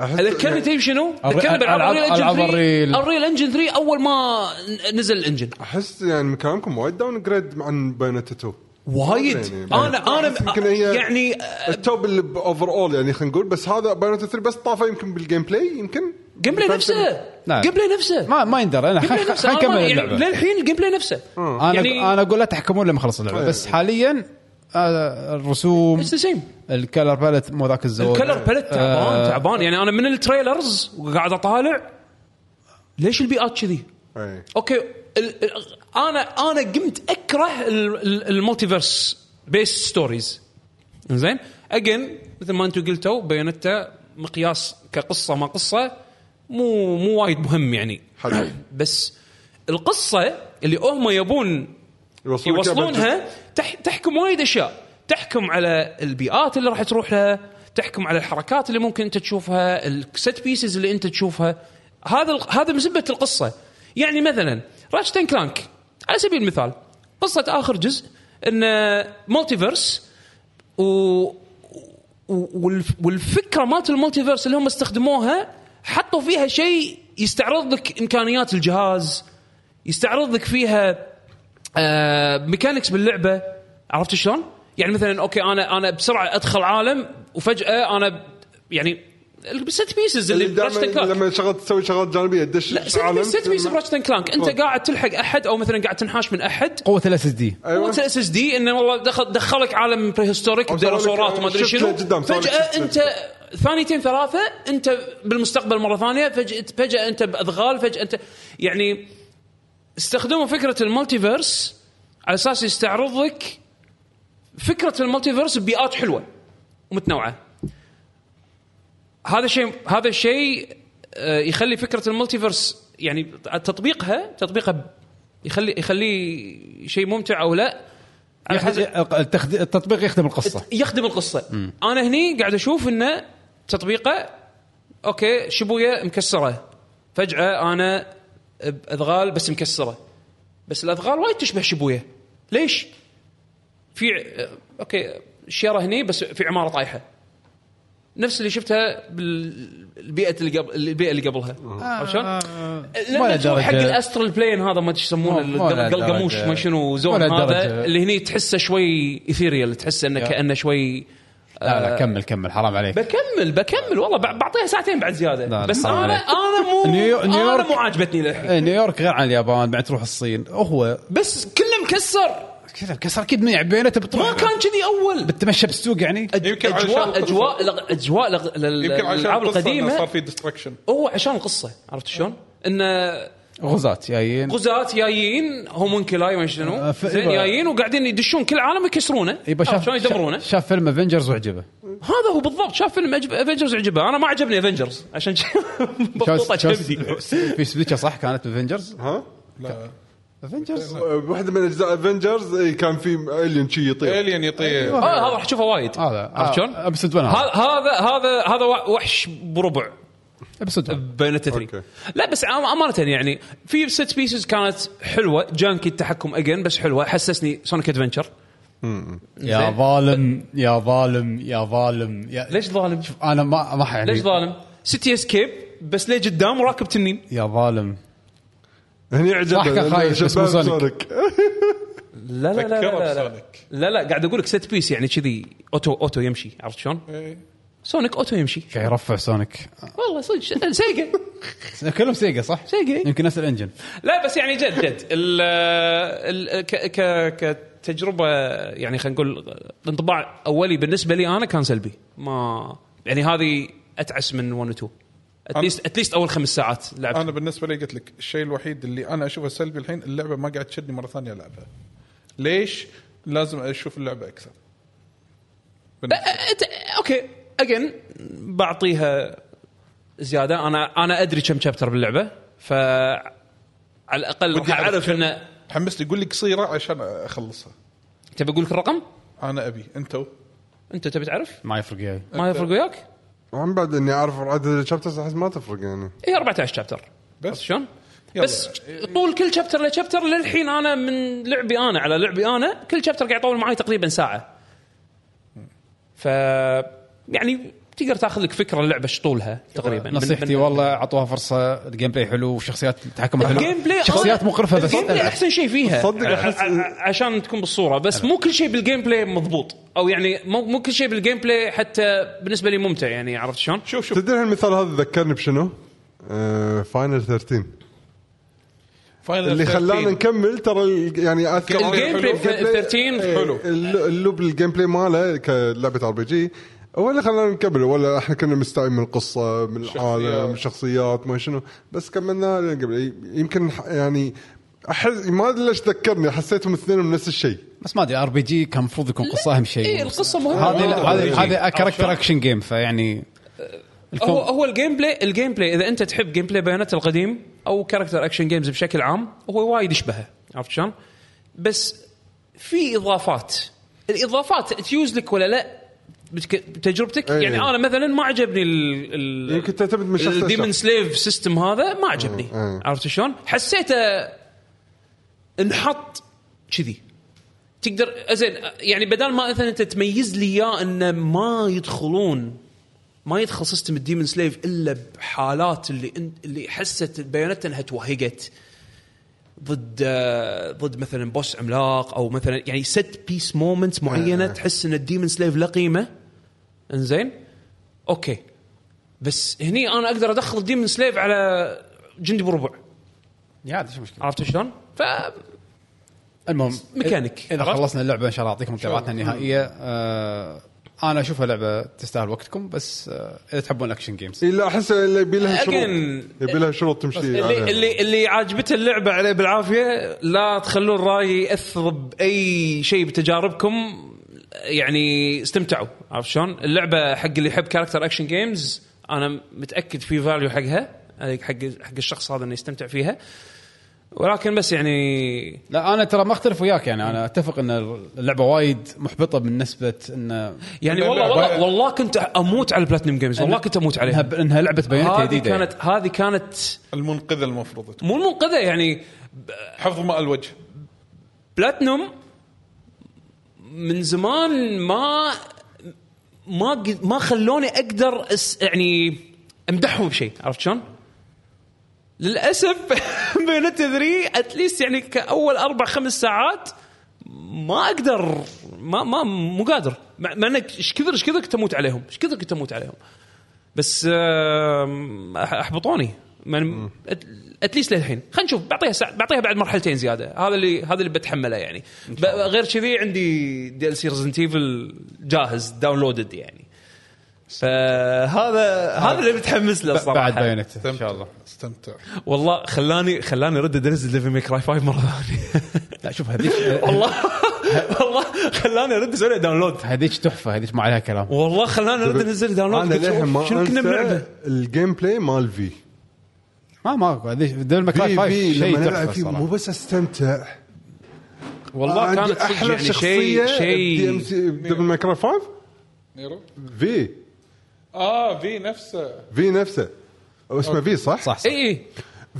S4: أحس-
S7: ذكرني تدري شنو؟
S1: ألعاب-
S7: ذكرني بالعاب
S1: ألعاب-
S7: الريل انجن
S1: ألعاب
S7: 3
S1: الريل.
S7: الريل انجن 3 اول ما ن- نزل الانجن
S4: احس يعني من كلامكم وايد داون جريد عن بايونيتا 2
S7: وايد
S4: يعني-
S7: انا انا
S4: أحس يمكن هي-
S7: يعني
S4: التوب اللي باوفر اول يعني خلينا نقول بس هذا بايونيتا 3 بس طافه يمكن بالجيم بلاي يمكن
S7: جيم بلاي نفسه
S1: نعم.
S7: جيم بلاي نفسه
S1: ما ما يندرى انا
S7: الجيم بلاي
S1: خلينا
S7: نفسه. أنا
S1: نكمل
S7: ما- يعني
S1: اللعبه
S7: للحين الجيم بلاي نفسه
S4: آه.
S1: انا
S7: يعني
S1: انا اقول لا تحكمون لما خلص اللعبه
S4: طيب.
S1: بس حاليا آه، الرسوم
S7: اتس ذا سيم
S1: الكلر باليت مو ذاك الزود
S7: الكلر باليت تعبان
S1: آه،
S7: تعبان يعني انا من التريلرز وقاعد اطالع ليش البيئات كذي؟
S4: إيه.
S7: اوكي ال- ال- انا انا قمت اكره ال- ال- المالتيفيرس بيس ستوريز زين اجين مثل ما انتم قلتوا بيانتا مقياس كقصه ما قصه مو مو وايد مهم يعني
S4: حلو
S7: بس القصه اللي هم يبون
S4: يوصلونك إياه
S7: يوصلونها تح تحكم وايد اشياء تحكم على البيئات اللي راح تروح لها تحكم على الحركات اللي ممكن انت تشوفها الست بيسز اللي انت تشوفها هذا ال- هذا مسبه القصه يعني مثلا راشتن كلانك على سبيل المثال قصه اخر جزء ان مالتيفيرس و والف- والفكره مالت المالتيفيرس اللي هم استخدموها حطوا فيها شيء يستعرض لك امكانيات الجهاز يستعرض لك فيها آه، ميكانكس باللعبه عرفت شلون؟ يعني مثلا اوكي انا انا بسرعه ادخل عالم وفجاه انا ب- يعني الست بيسز اللي
S4: اللي
S7: براشتن
S4: دائما
S7: كلانك
S4: لما شغل تسوي شغلات جانبيه تدش
S7: لا ست بيس-
S4: عالم. طيب.
S7: ست بيس براشتن كلانك انت قاعد تلحق احد او مثلا قاعد تنحاش من احد
S1: قوه الاس اس دي
S4: أيوة.
S7: قوه الاس اس دي انه والله دخل دخلك عالم بريهستوريك
S4: أو سوالك-
S7: ديناصورات وما ادري
S4: شفت
S7: شنو
S4: قدام، سوالك
S7: فجاه
S4: شفت-
S7: انت ثانيتين ثلاثه انت بالمستقبل مره ثانيه فجاه فجاه انت باذغال فجاه انت يعني استخدموا فكره المالتيفيرس على اساس يستعرض لك فكره المالتيفيرس ببيئات حلوه ومتنوعه هذا شيء هذا الشيء آه، يخلي فكره المالتيفيرس يعني تطبيقها تطبيقها يخلي يخليه شيء ممتع او لا
S1: يعني
S7: على حسب-
S1: التخد- التطبيق يخدم القصه
S7: يخدم القصه انا هني قاعد اشوف انه تطبيقه اوكي شبويه مكسره فجاه انا باذغال بس مكسره بس الاذغال وايد تشبه شبويه ليش؟ في ع- اوكي شيره هني بس في عماره طايحه نفس اللي شفتها بالبيئه اللي قبل البيئه اللي قبلها عرفت
S1: آه.
S7: شلون؟
S1: ولا
S7: لما تروح حق
S1: درجة.
S7: الاسترال بلين هذا ما أدري إيش يسمونه
S1: مو- ولا
S7: القلقموش
S1: درجة.
S7: ما شنو زون
S1: ولا
S7: هذا
S1: درجة.
S7: اللي هني تحسه شوي ايثيريال تحسه انه
S1: يا.
S7: كانه شوي
S1: لا لا كمل كمل حرام عليك
S7: بكمل بكمل والله بع- بعطيها ساعتين بعد زياده
S1: لا،
S7: بس
S1: حرام
S7: انا
S1: عليك.
S7: انا مو
S1: نيو-
S7: انا
S1: نيويورك.
S7: مو عاجبتني للحين
S1: إيه، نيويورك غير عن اليابان بعد تروح الصين هو
S7: بس كله مكسر
S1: كذا كسر اكيد من بينته بتروح
S7: ما كان كذي اول
S1: بتمشى بالسوق يعني
S7: أج-
S2: يمكن عشان
S7: اجواء
S2: القصة.
S7: اجواء لغ- اجواء لغ- لل-
S2: يمكن عشان
S7: الالعاب
S2: القصه صار
S7: القديمه
S2: في ديستركشن
S7: هو عشان القصه عرفت شلون؟ انه
S1: غزات جايين
S7: غزاة جايين هومنكلاي ما شنو
S1: آه، ف- إيوه،
S7: زين
S1: يبا-
S7: جايين وقاعدين يدشون كل عالم يكسرونه
S1: يبا
S7: عرفت
S1: شاف
S7: آه، شلون يدمرونه
S1: شاف- شاف فيلم افنجرز وعجبه
S7: هذا هو بالضبط شاف فيلم افنجرز عجبه انا ما عجبني افنجرز عشان
S1: شاف-
S7: بطوطه
S1: شاف-
S7: كبدي
S1: في سبيكه صح كانت افنجرز
S4: ها
S2: لا
S1: افنجرز
S4: واحده من اجزاء افنجرز إي، كان في الين شي يطير
S2: الين يطير
S7: آه، هذا راح تشوفه وايد
S1: هذا آه،
S7: عرفت شلون؟
S1: ابسط ون هذا
S7: هذا هذا هذا هذا وحش بربع
S1: ابسط ون
S7: بينتا 3
S4: أوكي.
S7: لا بس عم- امانه يعني في ست بيسز كانت حلوه جانكي التحكم اجين بس حلوه حسسني سونيك ادفنشر
S1: يا
S7: زين.
S1: ظالم يا ظالم يا ظالم يا
S7: ليش ظالم؟
S1: انا ما ما حيعني
S7: ليش ظالم؟ سيتي اسكيب بس ليه قدام وراكب تنين
S1: يا ظالم
S4: هني عجبني
S1: راح كان
S4: لأن
S1: خايف بس مو
S4: شباب
S1: سونيك.
S7: لا لا لا لا
S2: فكرها
S7: لا لا,
S2: بسونيك.
S7: لا, لا قاعد اقول لك ست بيس يعني كذي اوتو اوتو يمشي عرفت شلون؟
S2: إيه.
S7: سونيك اوتو يمشي
S1: قاعد يرفع سونيك
S7: والله صدق سيجا
S1: كلهم سيجا صح؟
S7: سيجا إيه.
S1: يمكن نفس الانجن
S7: لا بس يعني جد جد ال ال ك ك كتجربه يعني خلينا نقول انطباع اولي بالنسبه لي انا كان سلبي ما يعني هذه اتعس من 1 و 2 اتليست اتليست اول خمس ساعات لعبت
S2: انا بالنسبه لي قلت لك الشيء الوحيد اللي انا اشوفه سلبي الحين اللعبه ما قاعد تشدني مره ثانيه العبها ليش لازم اشوف اللعبه اكثر بالنسبة لي.
S7: أت... اوكي اجين بعطيها زياده انا انا ادري كم شابتر باللعبه ف على الاقل راح
S2: ودي أعرف
S7: اعرف
S2: كم.
S7: انه
S2: حمسني قول لي قصيره عشان اخلصها
S7: تبي اقول لك الرقم؟
S2: انا ابي انتو
S7: انت تبي تعرف؟
S1: ما يفرق يعني. وياي
S7: ما يفرق وياك؟
S4: عم بعد اني اعرف عدد الشابترز احس ما تفرق يعني
S7: هي 14 شابتر بس
S2: بس
S7: شلون؟
S2: يلا.
S7: بس طول كل شابتر لشابتر للحين انا من لعبي انا على لعبي انا كل شابتر قاعد يطول معي تقريبا ساعه. ف يعني تقدر تاخذ لك فكره اللعبه ايش طولها تقريبا من-
S1: نصيحتي
S7: من-
S1: والله اعطوها فرصه الجيم بلاي حلو وشخصيات تحكم حلو
S7: الجيم بلاي
S1: شخصيات مقرفه بس
S7: الجيم بلاي احسن شيء فيها
S4: تصدق
S7: ع-
S4: أحس-
S7: ع- عشان تكون بالصوره بس مو كل شيء بالجيم بلاي مضبوط او يعني مو مو كل شيء بالجيم بلاي حتى بالنسبه لي ممتع يعني عرفت شلون؟
S2: شوف شوف
S4: تدري المثال هذا ذكرني بشنو؟ آه، فاينل 13
S2: فاينل
S4: اللي
S2: 13.
S4: خلانا نكمل ترى ال- يعني اذكر
S7: الجيم بلاي في
S4: الجيم بلاي-
S7: 13
S2: حلو.
S4: إيه، الل- اللوب الجيم بلاي ماله كلعبه ار بي جي هو اللي خلانا نكمل ولا احنا كنا مستعين من القصه من العالم من الشخصيات ما شنو بس كملنا لين قبل ي- يمكن ح- يعني احس ما ادري ليش ذكرني حسيتهم اثنين من نفس الشيء
S1: بس ما ادري ار بي جي كان المفروض يكون قصه اهم شيء
S7: اي القصه مهمه
S1: هذه
S7: هذه-
S1: هذه هذه كاركتر اكشن جيم فيعني
S7: هو هو الجيم بلاي الجيم بلاي اذا انت تحب جيم بلاي بيانات القديم او كاركتر اكشن جيمز بشكل عام هو وايد يشبهه عرفت شلون؟ بس في اضافات الاضافات تيوز لك ولا لا بتك- بتجربتك
S4: أي.
S7: يعني انا مثلا ما عجبني ال ال
S4: يمكن إيه، تعتمد من شخص
S7: الديمن
S4: لشخص. إيه،
S7: سليف سيستم هذا ما عجبني
S4: أي.
S7: عرفت شلون؟ حسيته انحط كذي تقدر زين يعني بدل ما مثلا انت تميز لي اياه انه ما يدخلون ما يدخل سيستم الديمن سليف الا بحالات اللي انت اللي حست بيانات انها توهقت ضد آه، ضد مثلا بوس عملاق او مثلا يعني ست بيس
S4: إيه،
S7: مومنتس معينه تحس ان الديمن سليف له قيمه انزين اوكي بس هني انا اقدر ادخل الديمن سليف على جندي بربع
S1: يا عاد شو مشكله
S7: عرفت شلون؟ ف
S1: المهم
S7: ميكانيك
S1: اذا
S7: عرفت؟
S1: خلصنا اللعبه ان شاء الله اعطيكم انطباعاتنا النهائيه آه انا اشوفها لعبه تستاهل وقتكم بس آه اذا تحبون الاكشن جيمز
S4: الا احس اللي يبي لها شروط
S7: Again.
S4: يبي لها شروط تمشي
S7: اللي
S4: عليها.
S7: اللي اللي عاجبته اللعبه عليه بالعافيه لا تخلون الراي ياثر باي شيء بتجاربكم يعني استمتعوا عرفت شلون؟ اللعبه حق اللي يحب كاركتر اكشن جيمز انا متاكد في فاليو حقها حق حق الشخص هذا انه يستمتع فيها ولكن بس يعني
S1: لا انا ترى ما اختلف وياك يعني انا اتفق ان اللعبه وايد محبطه بالنسبه ان
S7: يعني والله والله والله كنت اموت على البلاتنم جيمز والله كنت اموت
S1: انها,
S7: عليها
S1: إنها لعبه بيانات
S7: هذه
S1: جديده يعني.
S7: كانت هذه كانت
S2: المنقذه المفروض تكون
S7: مو المنقذه يعني
S2: حفظ ماء الوجه
S7: بلاتنوم من زمان ما ما قد- ما خلوني اقدر أس يعني امدحهم بشيء عرفت شلون؟ للاسف بينت 3 اتليست يعني كاول اربع خمس ساعات ما اقدر ما ما مو قادر مع مع انك ايش كثر ايش كثر كنت اموت عليهم ايش كثر كنت اموت عليهم بس آم، أح- احبطوني يعني اتليست للحين خلينا نشوف بعطيها ساعة بعطيها بعد مرحلتين زياده هذا اللي هذا اللي بتحمله يعني ب- غير كذي عندي دي ال سي ريزنت ايفل جاهز داونلودد يعني فهذا هذا اللي متحمس له صراحه
S1: يعني. بعد بيانات ان شاء الله
S2: استمتع
S7: والله خلاني خلاني ارد انزل ديفل ميك راي 5 مره ثانيه
S1: لا شوف هذيك
S7: والله والله خلاني ارد اسوي لها داونلود
S1: هذيك تحفه هذيك ما عليها كلام
S7: والله خلاني ارد انزل داونلود
S4: انا
S7: قلت
S4: للحين
S7: شوف
S4: ما
S7: شنو كنا
S4: أنسى
S7: بنلعبه
S4: الجيم بلاي مال في
S1: ما ما ديفل ماكراي
S4: في
S1: 5
S4: في
S1: شيء
S4: لما
S1: تحفه
S4: نلعب فيه مو
S1: الصراحة.
S4: بس استمتع
S7: والله
S4: عندي
S7: كانت صدق
S4: احلى
S7: يعني
S4: شخصيه
S7: شيء
S4: شيء
S7: شيء
S4: دبل ماكراي 5
S2: نيرو
S4: في
S7: آه،
S2: اه في نفسه
S4: في نفسه أو اسمه في صح؟
S1: صح صح
S7: اي اي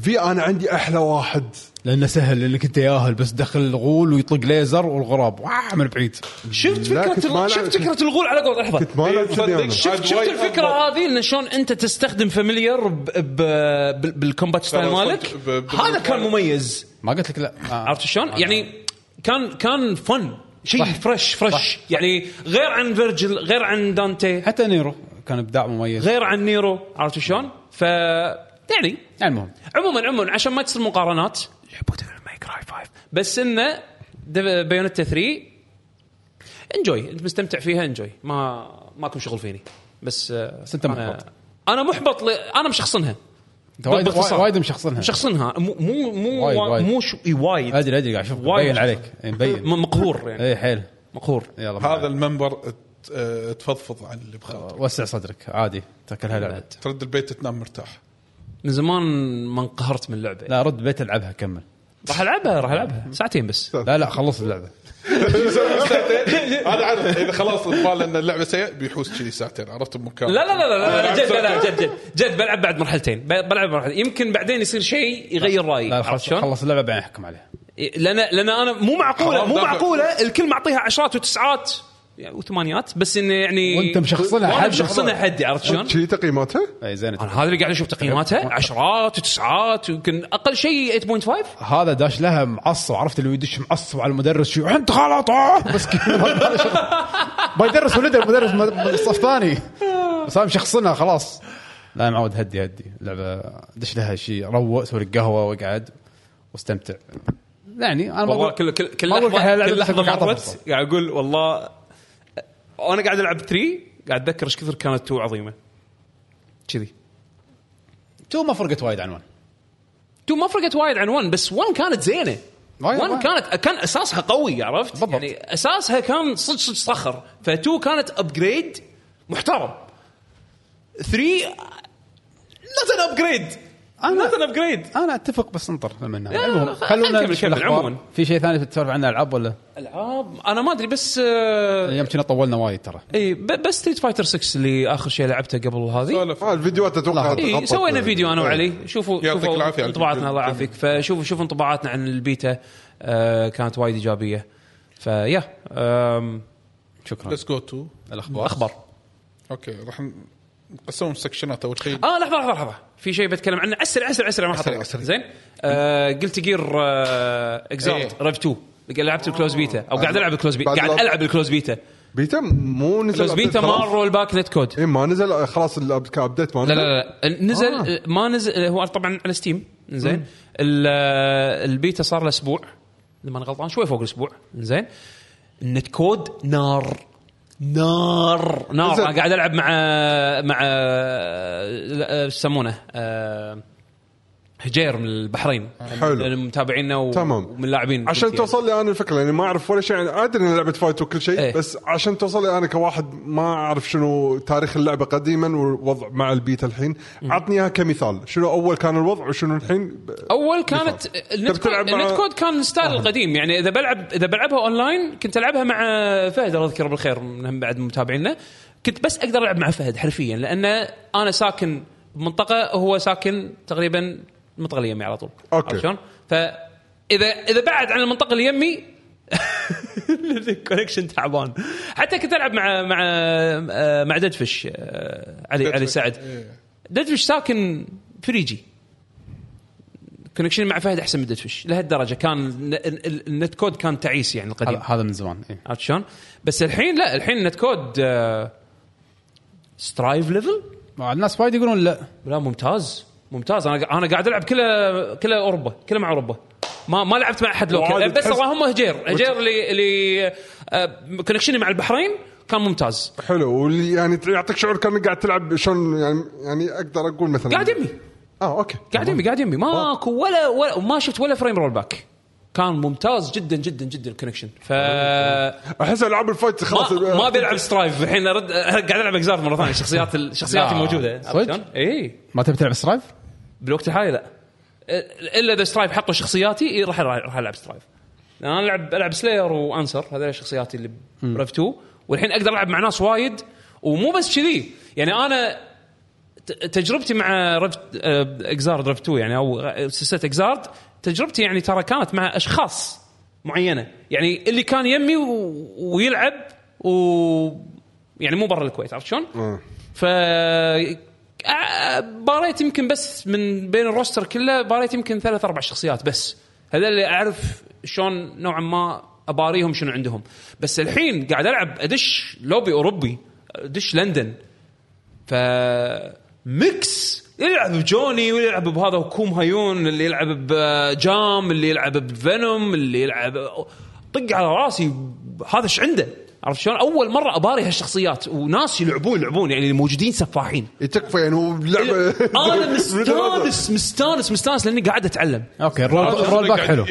S4: في انا عندي احلى واحد
S1: لانه سهل لانك انت ياهل بس دخل الغول ويطق ليزر والغراب واه من بعيد
S7: شفت
S4: لا،
S7: فكره
S4: كنت ما
S7: الغ-
S4: ألعب-
S7: شفت فكره الغول على قول لحظه
S4: كنت ما
S2: إيه،
S4: لعبت كذي
S2: صدق.
S4: أنا.
S7: شفت شفت
S2: أدواي
S7: الفكره
S2: أفضل.
S7: هذه ان شلون انت تستخدم فاميليار ب... ب... بال- بالكومبات ستايل
S2: خلاص،
S7: مالك
S2: ب- ب-
S7: هذا كان مميز
S1: ما قلت لك لا آه.
S7: عرفت شلون؟ يعني كان كان فن شيء فريش فريش يعني غير عن فيرجل غير عن دانتي
S1: حتى نيرو كان ابداع مميز
S7: غير عن نيرو عرفت شلون؟ ف يعني
S1: يعني المهم
S7: عموما عموما عشان ما تصير مقارنات لعبوا ديفل ماي كراي 5 بس انه بايونتا 3 انجوي انت مستمتع فيها انجوي ما ماكم شغل فيني بس بس
S1: أنت محبط.
S7: انا محبط ل... انا مشخصنها
S1: انت وايد
S7: باختصار.
S1: وايد مشخصنها
S7: مشخصنها مو مو مو
S1: وايد- وايد.
S7: مو شو... إي، وايد
S1: ادري ادري قاعد اشوف
S7: وايد
S1: مبين
S7: مشخصن.
S1: عليك إي، مبين
S7: م- مقهور يعني
S1: اي حيل
S7: مقهور
S1: يلا
S2: هذا
S1: معليش.
S2: المنبر ت- آه، تفضفض عن اللي بخاطرك
S1: وسع صدرك عادي تاكلها لعبه
S2: ترد البيت تنام مرتاح
S7: من زمان ما انقهرت من اللعبه
S1: لا رد بيت العبها كمل
S7: راح العبها راح العبها ساعتين بس
S1: لا لا خلص اللعبه
S2: انا عارف اذا خلاص بال ان اللعبه سيئه بيحوس كذي ساعتين عرفت بمكان
S7: لا لا لا لا, لا, لا جد لا جد جد جد بلعب بعد مرحلتين ب- بلعب مرحلتين يمكن بعدين يصير شيء يغير رايي
S1: لا
S7: عرفت
S1: خلص
S7: شلون؟ إيه،
S1: خلص اللعبه بعدين احكم عليها
S7: لان لان انا مو معقوله
S2: خلاص،
S7: مو
S2: دافع.
S7: معقوله الكل معطيها عشرات وتسعات يعني وثمانيات بس انه يعني
S1: وانت مشخصنها
S7: وأنا
S1: حد.
S7: مشخصنها حدي عرفت شلون؟
S4: كذي تقييماتها؟
S1: اي زين
S7: انا هذا اللي قاعد اشوف تقييماتها عشرات وتسعات يمكن اقل شيء 8.5
S1: هذا داش لها معصب عرفت اللي يدش معصب على المدرس شو انت غلط آه!" مسكين بيدرس ولده المدرس مد- صف ثاني بس انا مشخصنها خلاص لا يا معود هدي هدي لعبه دش لها شيء روق سوي لك قهوه واقعد واستمتع يعني انا ما
S7: والله
S1: أقول-
S7: كل كل كل
S1: ما أقول لك إحنا
S7: لحظه
S1: لعبة بس
S7: كل لحظه
S1: أقول لك عطها
S7: مرت
S1: فرصة.
S7: قاعد اقول والله وانا قاعد العب 3 قاعد اتذكر ايش كثر كانت 2 عظيمه كذي
S1: تو ما فرقت وايد عن ون
S7: 2 ما فرقت وايد عن 1 بس 1 كانت زينه
S1: وايد-
S7: 1
S1: وايد.
S7: كانت كان اساسها قوي عرفت؟
S1: بالضبط.
S7: يعني اساسها كان صدق صدق صخر ف2 كانت ابجريد محترم 3 نوت ان ابجريد نوت ان ابجريد
S1: انا اتفق بس انطر لما
S7: لا،
S1: النهايه المهم
S7: خل-
S1: خلونا
S7: خل
S1: نشوف
S7: نكمل،
S1: الأخبار.
S7: عموماً. أه،
S1: في شيء ثاني بتسولف عنه العاب ولا
S7: العاب انا ما ادري بس آه،
S1: يمكن طولنا وايد ترى
S7: اي ب- بس ستريت فايتر 6 اللي اخر شيء لعبته قبل هذه
S2: سولف
S4: آه الفيديوهات اتوقع
S7: اي
S4: تغطت.
S7: إيه، سوينا فيديو
S4: إيه.
S7: انا وعلي شوفوا
S2: يعطيك العافية
S7: شوفوا
S2: على
S7: انطباعاتنا
S2: الفيديو.
S7: الله يعافيك فشوفوا شوفوا انطباعاتنا عن البيتا آه، كانت وايد ايجابيه فيا آم،
S1: شكرا
S2: ليتس جو تو
S1: الاخبار
S7: اخبار
S2: اوكي راح نقسمهم سكشنات اول شيء
S7: اه لحظه لحظه لحظه في شيء بتكلم عنه اسرع اسرع اسرع ما
S2: أسرع،
S7: أخطأ.
S2: أسرع.
S7: زين آه قلت جير آه اكزالت
S2: إيه.
S7: ريف 2 لعبت الكلوز بيتا او قاعد العب الكلوز بيتا
S4: بعد
S7: قاعد
S4: لا-
S7: العب الكلوز بيتا
S4: بيتا مو نزل
S7: الكلوز بيتا ما
S4: مره
S7: رول باك نت كود
S4: اي ما نزل آه، خلاص الابديت ما
S7: لا
S4: نزل
S7: لا لا نزل
S4: آه.
S7: آه. ما نزل هو طبعا على ستيم زين ال- آه، البيتا صار له اسبوع اذا ماني غلطان شوي فوق الاسبوع زين النت كود نار نار نار
S4: زين.
S7: انا قاعد العب مع مع آه، ايش يسمونه آه، هجير من البحرين
S4: حلو.
S7: من متابعينا و-
S4: تمام.
S7: ومن لاعبين
S4: عشان
S7: BTL.
S4: توصل لي انا الفكره لاني ما اعرف ولا شيء يعني عن ادري ان لعبه فايت وكل شيء
S7: إيه.
S4: ايه. بس عشان توصل لي انا كواحد ما اعرف شنو تاريخ اللعبه قديما والوضع مع البيتا الحين عطني اياها كمثال شنو اول كان الوضع وشنو الحين
S7: اول كانت النت
S4: تبي طيب
S7: كود,
S4: تلعب مع- آه.
S7: النت كود كان ستايل القديم يعني اذا بلعب اذا بلعبها اونلاين كنت العبها مع فهد الله يذكره بالخير من هم بعد متابعينا كنت بس اقدر العب مع فهد حرفيا لانه انا ساكن بمنطقه وهو ساكن تقريبا المنطقه اللي يمي على طول
S4: أوكي.
S7: عرفت شلون؟ فاذا اذا بعد عن المنطقه اللي يمي الكونكشن تعبان حتى كنت العب مع مع مع ددفش آه، علي علي سعد
S4: إيه.
S7: ددفش ساكن فريجي كونكشن مع فهد احسن من ددفش لهالدرجه كان ال- ال- ال- النت كود كان تعيس يعني القديم
S1: هذا هذا من زمان إيه.
S7: عرفت شلون؟ بس الحين لا الحين النت كود آه، سترايف ليفل
S1: الناس وايد يقولون لا
S7: لا ممتاز ممتاز انا قا- انا قاعد العب كله كله اوروبا كله مع اوروبا ما ما لعبت مع احد لوكل
S4: وعاد
S7: بس
S4: تحس-
S7: اللهم هجير هجير اللي اللي آه، كونكشني مع البحرين كان ممتاز
S4: حلو واللي يعني يعطيك شعور كانك قاعد تلعب شلون يعني يعني اقدر اقول مثلا
S7: قاعد يمي
S4: اه اوكي
S7: قاعد يمي قاعد يمي ماكو ولا ولا ما شفت ولا فريم رول باك كان ممتاز جدا جدا جدا الكونكشن ف
S4: احس العاب الفايت خلاص
S7: ما, ما بيلعب سترايف الحين ارد قاعد العب اكزارف مره ثانيه الشخصيات الشخصيات
S1: لا.
S7: الموجوده
S1: صدق؟
S7: اي
S1: ما تبي تلعب سترايف؟
S7: بالوقت الحالي لا إ- الا اذا سترايف حطوا شخصياتي إي راح راح العب سترايف لأن انا العب العب سلاير وانسر هذول شخصياتي اللي بريف 2 والحين اقدر العب مع ناس وايد ومو بس كذي يعني انا ت- تجربتي مع رفت اكزارد رفت 2 يعني او غ- سلسله اكزارد تجربتي يعني ترى كانت مع اشخاص معينه يعني اللي كان يمي و... ويلعب و يعني مو برا الكويت عرفت شلون؟ ف أع- باريت يمكن بس من بين الروستر كله باريت يمكن ثلاث اربع شخصيات بس هذا اللي اعرف شلون نوعا ما اباريهم شنو عندهم بس الحين قاعد العب ادش لوبي اوروبي ادش لندن ف ميكس يلعب بجوني ويلعب بهذا وكوم هايون اللي يلعب بجام اللي يلعب بفينوم اللي يلعب طق على راسي هذا ايش عنده عرفت شلون؟ اول مره اباري هالشخصيات وناس يلعبون يلعبون يعني الموجودين سفاحين
S4: تكفى يعني هو بلعبه
S7: انا مستانس مستانس مستانس لاني قاعد اتعلم
S1: اوكي الرول الرول باك حلو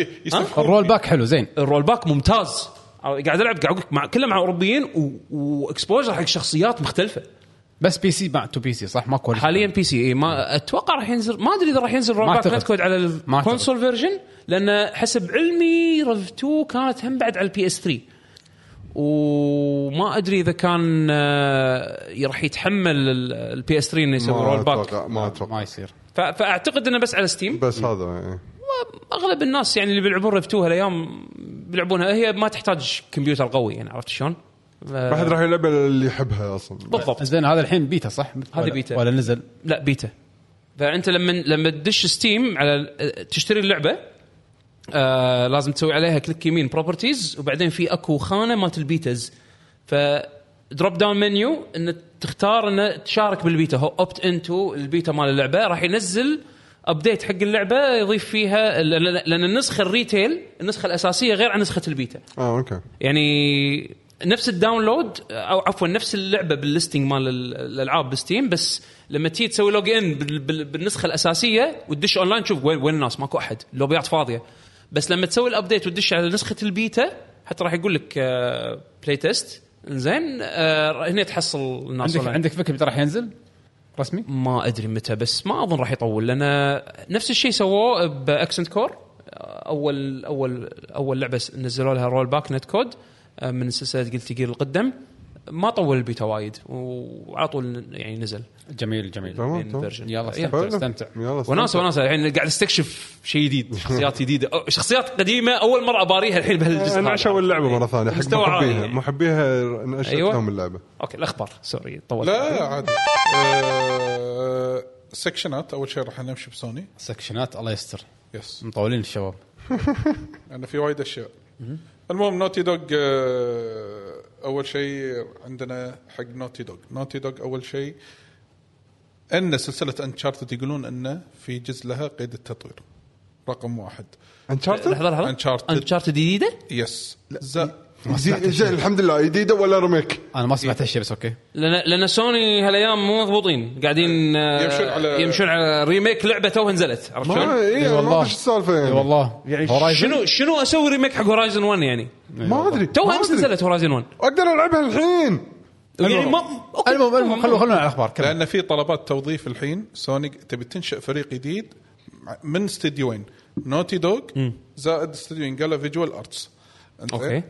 S1: الرول باك حلو زين
S7: الرول باك ممتاز قاعد العب قاعد أقول لك مع كله مع اوروبيين و- واكسبوجر حق شخصيات مختلفه
S1: بس بي سي مع تو بي سي صح ماكو
S7: حاليا بي سي إيه ما اتوقع راح ينزل ما ادري اذا راح ينزل رول
S1: ما
S7: باك
S1: أعتقد.
S7: نت كود على
S1: ما أعتقد.
S7: الكونسول فيرجن لان حسب علمي رف 2 كانت هم بعد على البي اس 3 وما ادري اذا كان آه، راح يتحمل البي اس 3 انه يسوي رول
S4: ما
S7: باك
S4: اتوقع ما اتوقع
S1: ما يصير
S7: ف- فاعتقد انه بس على ستيم
S4: بس هذا يعني.
S7: اغلب الناس يعني اللي بيلعبون رف 2 هالايام بيلعبونها هي ما تحتاج كمبيوتر قوي يعني عرفت شلون؟ ف-
S4: ما حد راح يلعب إلا اللي يحبها اصلا
S7: بالضبط
S1: زين هذا الحين بيتا صح؟
S7: هذه
S1: ولا-
S7: بيتا.
S1: ولا نزل
S7: لا بيتا فانت لما لما تدش ستيم على تشتري اللعبه آه لازم تسوي عليها كليك يمين بروبرتيز وبعدين في اكو خانه مالت البيتز ف دروب داون منيو ان تختار ان تشارك بالبيتا هو اوبت انتو البيتا مال اللعبه راح ينزل ابديت حق اللعبه يضيف فيها لأن- لان النسخه الريتيل النسخه الاساسيه غير عن نسخه البيتا
S4: اه اوكي
S7: يعني نفس الداونلود او عفوا نفس اللعبه بالليستنج مال ال- الالعاب بستيم بس لما تيجي تسوي لوج ان بال- بال- بالنسخه الاساسيه وتدش اونلاين تشوف وين وين الناس ماكو احد اللوبيات فاضيه بس لما تسوي الابديت وتدش على نسخه البيتا حتى راح يقول لك بلاي تيست زين آه هنا تحصل الناس
S1: عندك
S7: أونلاين.
S1: عندك فكره متى راح ينزل؟ رسمي؟
S7: ما ادري متى بس ما اظن راح يطول لان نفس الشيء سووه باكسنت كور اول اول اول لعبه س- نزلوا لها رول باك نت كود آه، من سلسله قلت جير القدم ما طول البيتا وايد وعلى طول يعني نزل
S1: جميل جميل
S4: تمام
S7: يعني
S4: تمام
S7: version.
S1: يلا
S7: إيه.
S1: استمتع استمتع
S4: يلا
S7: وناس وناس الحين قاعد استكشف شيء جديد شخصيات جديده أو- شخصيات قديمه اول مره اباريها الحين
S2: إيه،
S7: بهالجزء هذا.
S4: نعشوا اللعبه مره ثانيه حق
S7: مستوى عالي
S4: محبيها
S7: يعني.
S4: محبيها نعشت
S7: أيوة.
S4: لهم اللعبه
S7: اوكي الاخبار سوري طولت
S2: لا لا عادي آه، سكشنات اول شيء راح نمشي بسوني
S1: سكشنات الله يستر
S2: يس
S1: مطولين الشباب
S2: لان في وايد اشياء المهم نوتي دوغ آه، اول شيء عندنا حق نوتي دوغ نوتي دوغ اول شيء ان سلسله انشارتد يقولون انه في جزء لها قيد التطوير رقم واحد
S4: انشارتد
S7: لحظه لحظه
S2: Uncharted.
S7: انشارتد جديده؟
S2: يس ز-
S4: زين الحمد لله جديده ولا ريميك
S1: انا ما سمعت هالشيء بس اوكي
S7: لان لان سوني هالايام مو مضبوطين قاعدين آه،
S2: يمشون على-
S7: يمشون على ريميك لعبه توها نزلت عرفت
S4: ما
S7: شلون؟
S4: اي
S1: إي
S4: والله
S1: والله.
S4: ما ادري شو السالفه
S1: اي
S4: يعني
S1: والله Horizon؟
S7: شنو شنو اسوي ريميك حق هورايزن 1 يعني؟
S4: ما ادري ما
S7: توها امس
S4: أدري.
S7: نزلت هورايزن 1
S4: اقدر العبها الحين
S7: يعني ما أوكي.
S1: المهم المهم خلونا خلونا على الاخبار كمل.
S2: لان في طلبات توظيف الحين سوني تبي تنشا فريق جديد مع- من استديوين نوتي دوغ زائد استديوين قالوا فيجوال ارتس
S7: اوكي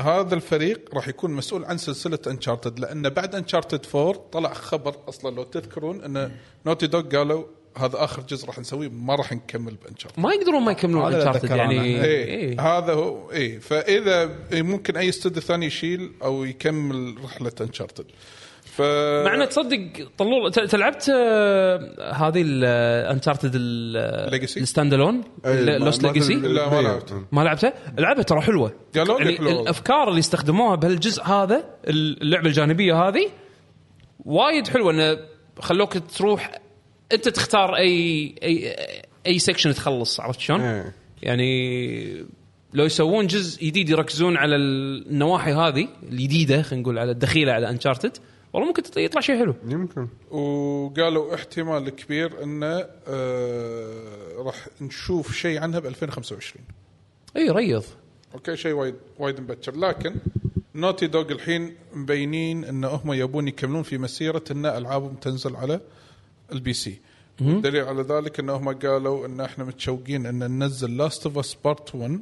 S2: هذا الفريق راح يكون مسؤول عن سلسله انشارتد لان بعد انشارتد 4 طلع خبر اصلا لو تذكرون ان نوتي دوغ قالوا هذا اخر جزء راح نسويه ما راح نكمل بانشارتد
S7: ما يقدرون ما يكملون
S1: هذا اللي
S7: انشارتد
S1: أتذكره
S7: يعني
S1: أنا.
S7: إيه.
S2: إيه. هذا هو اي فاذا إيه، ممكن اي استوديو ثاني يشيل او يكمل رحله انشارتد ف
S7: مع انه تصدق طلول ت- تلعبت آه، هذه الانشارتد
S2: Legacy؟
S7: الستاند الون لوست ليجسي
S2: لا، ما لعبت.
S7: ما لعبته؟ لعبها ترى حلوه
S2: قالوا لي
S7: يعني
S2: حلوة والله.
S7: الافكار اللي استخدموها بهالجزء هذا اللعبه الجانبيه هذه وايد حلوه انه خلوك تروح انت تختار اي اي اي سكشن تخلص عرفت شلون؟
S4: إيه.
S7: يعني لو يسوون جزء جديد يركزون على النواحي هذه الجديده خلينا نقول على الدخيله على انشارتد والله ممكن يطلع شيء حلو
S4: يمكن
S2: وقالوا احتمال كبير انه آه راح نشوف شيء عنها ب 2025
S7: اي إيه، ريض
S2: اوكي شيء وايد وايد مبكر لكن نوتي دوغ الحين مبينين ان هم يبون يكملون في مسيره ان العابهم تنزل على البي سي الدليل على ذلك انهم قالوا ان احنا متشوقين ان ننزل لاست اوف اس بارت 1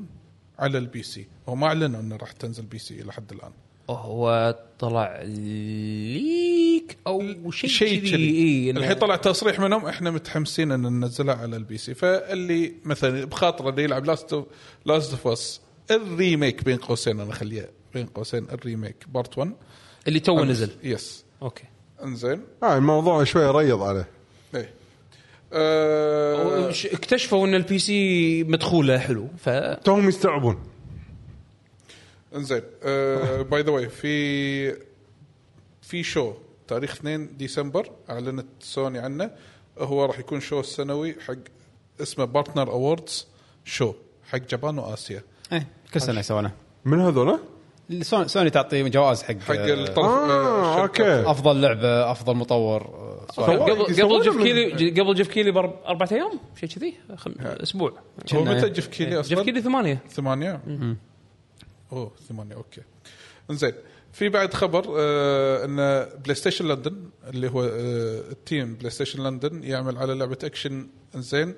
S2: على البي سي هم اعلنوا انه راح تنزل بي سي الى حد الان
S7: هو طلع ليك او شيء
S2: شيء
S7: كذي،
S2: كذي.
S7: إي، إنه-
S2: الحين طلع تصريح منهم احنا متحمسين ان ننزلها على البي سي فاللي مثلا بخاطره اللي يلعب لاست اوف لاست اوف اس الريميك بين قوسين انا اخليها بين قوسين الريميك بارت 1
S7: اللي تو نزل
S2: يس
S7: اوكي
S2: انزين
S4: آه الموضوع شوي ريض عليه
S2: ايه أه
S7: وش- اكتشفوا ان البي سي مدخوله حلو ف
S4: توهم يستوعبون
S2: انزين آه، باي ذا واي في في شو تاريخ 2 ديسمبر اعلنت سوني عنه هو راح يكون شو السنوي حق اسمه بارتنر اووردز شو حق جابان واسيا
S1: إيه، كل سنه يسوونه
S4: من هذول؟
S1: سون- سوني تعطي جوائز حق
S2: حق الطرف
S4: آه،
S2: الشركة.
S4: أوكي.
S1: افضل لعبه افضل مطور آه، سوالف.
S7: قبل قبل
S4: يسوونه
S7: جيف
S4: من-
S7: كيلي ج- قبل جيف كيلي بارب- اربع ايام شيء كذي خم... اسبوع
S2: هو
S1: كنا-
S2: متى جيف كيلي اصلا؟
S7: جيف كيلي ثمانيه
S2: ثمانية؟ اوه ثمانية اوكي. انزين في بعد خبر آه ان بلاي ستيشن لندن اللي هو آه التيم بلاي ستيشن لندن يعمل على لعبة اكشن انزين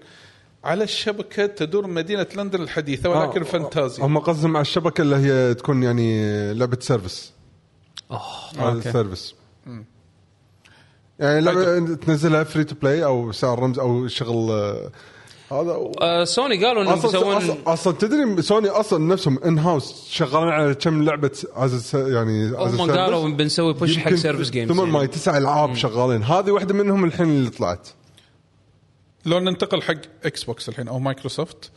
S2: على الشبكة تدور مدينة لندن الحديثة ولكن
S4: آه،
S2: فانتازي
S4: هم قصدهم على الشبكه اللي هي تكون يعني لعبه سيرفس اوه سيرفس يعني
S7: طيب.
S4: لعبه تنزلها فري تو بلاي او سعر رمز او شغل آه، هذا و-
S7: آه سوني قالوا انهم
S4: اصلا
S7: بيسوون
S4: اصلا, أصلا تدري سوني اصلا نفسهم ان هاوس شغالين على كم لعبه از س- يعني as a
S7: هم
S4: service.
S7: قالوا بنسوي بوش حق
S4: يمكن
S7: سيرفس جيمز
S4: ثمان
S7: يعني.
S4: ماي تسع العاب شغالين هذه واحده منهم الحين اللي طلعت
S2: لو ننتقل حق اكس بوكس الحين او مايكروسوفت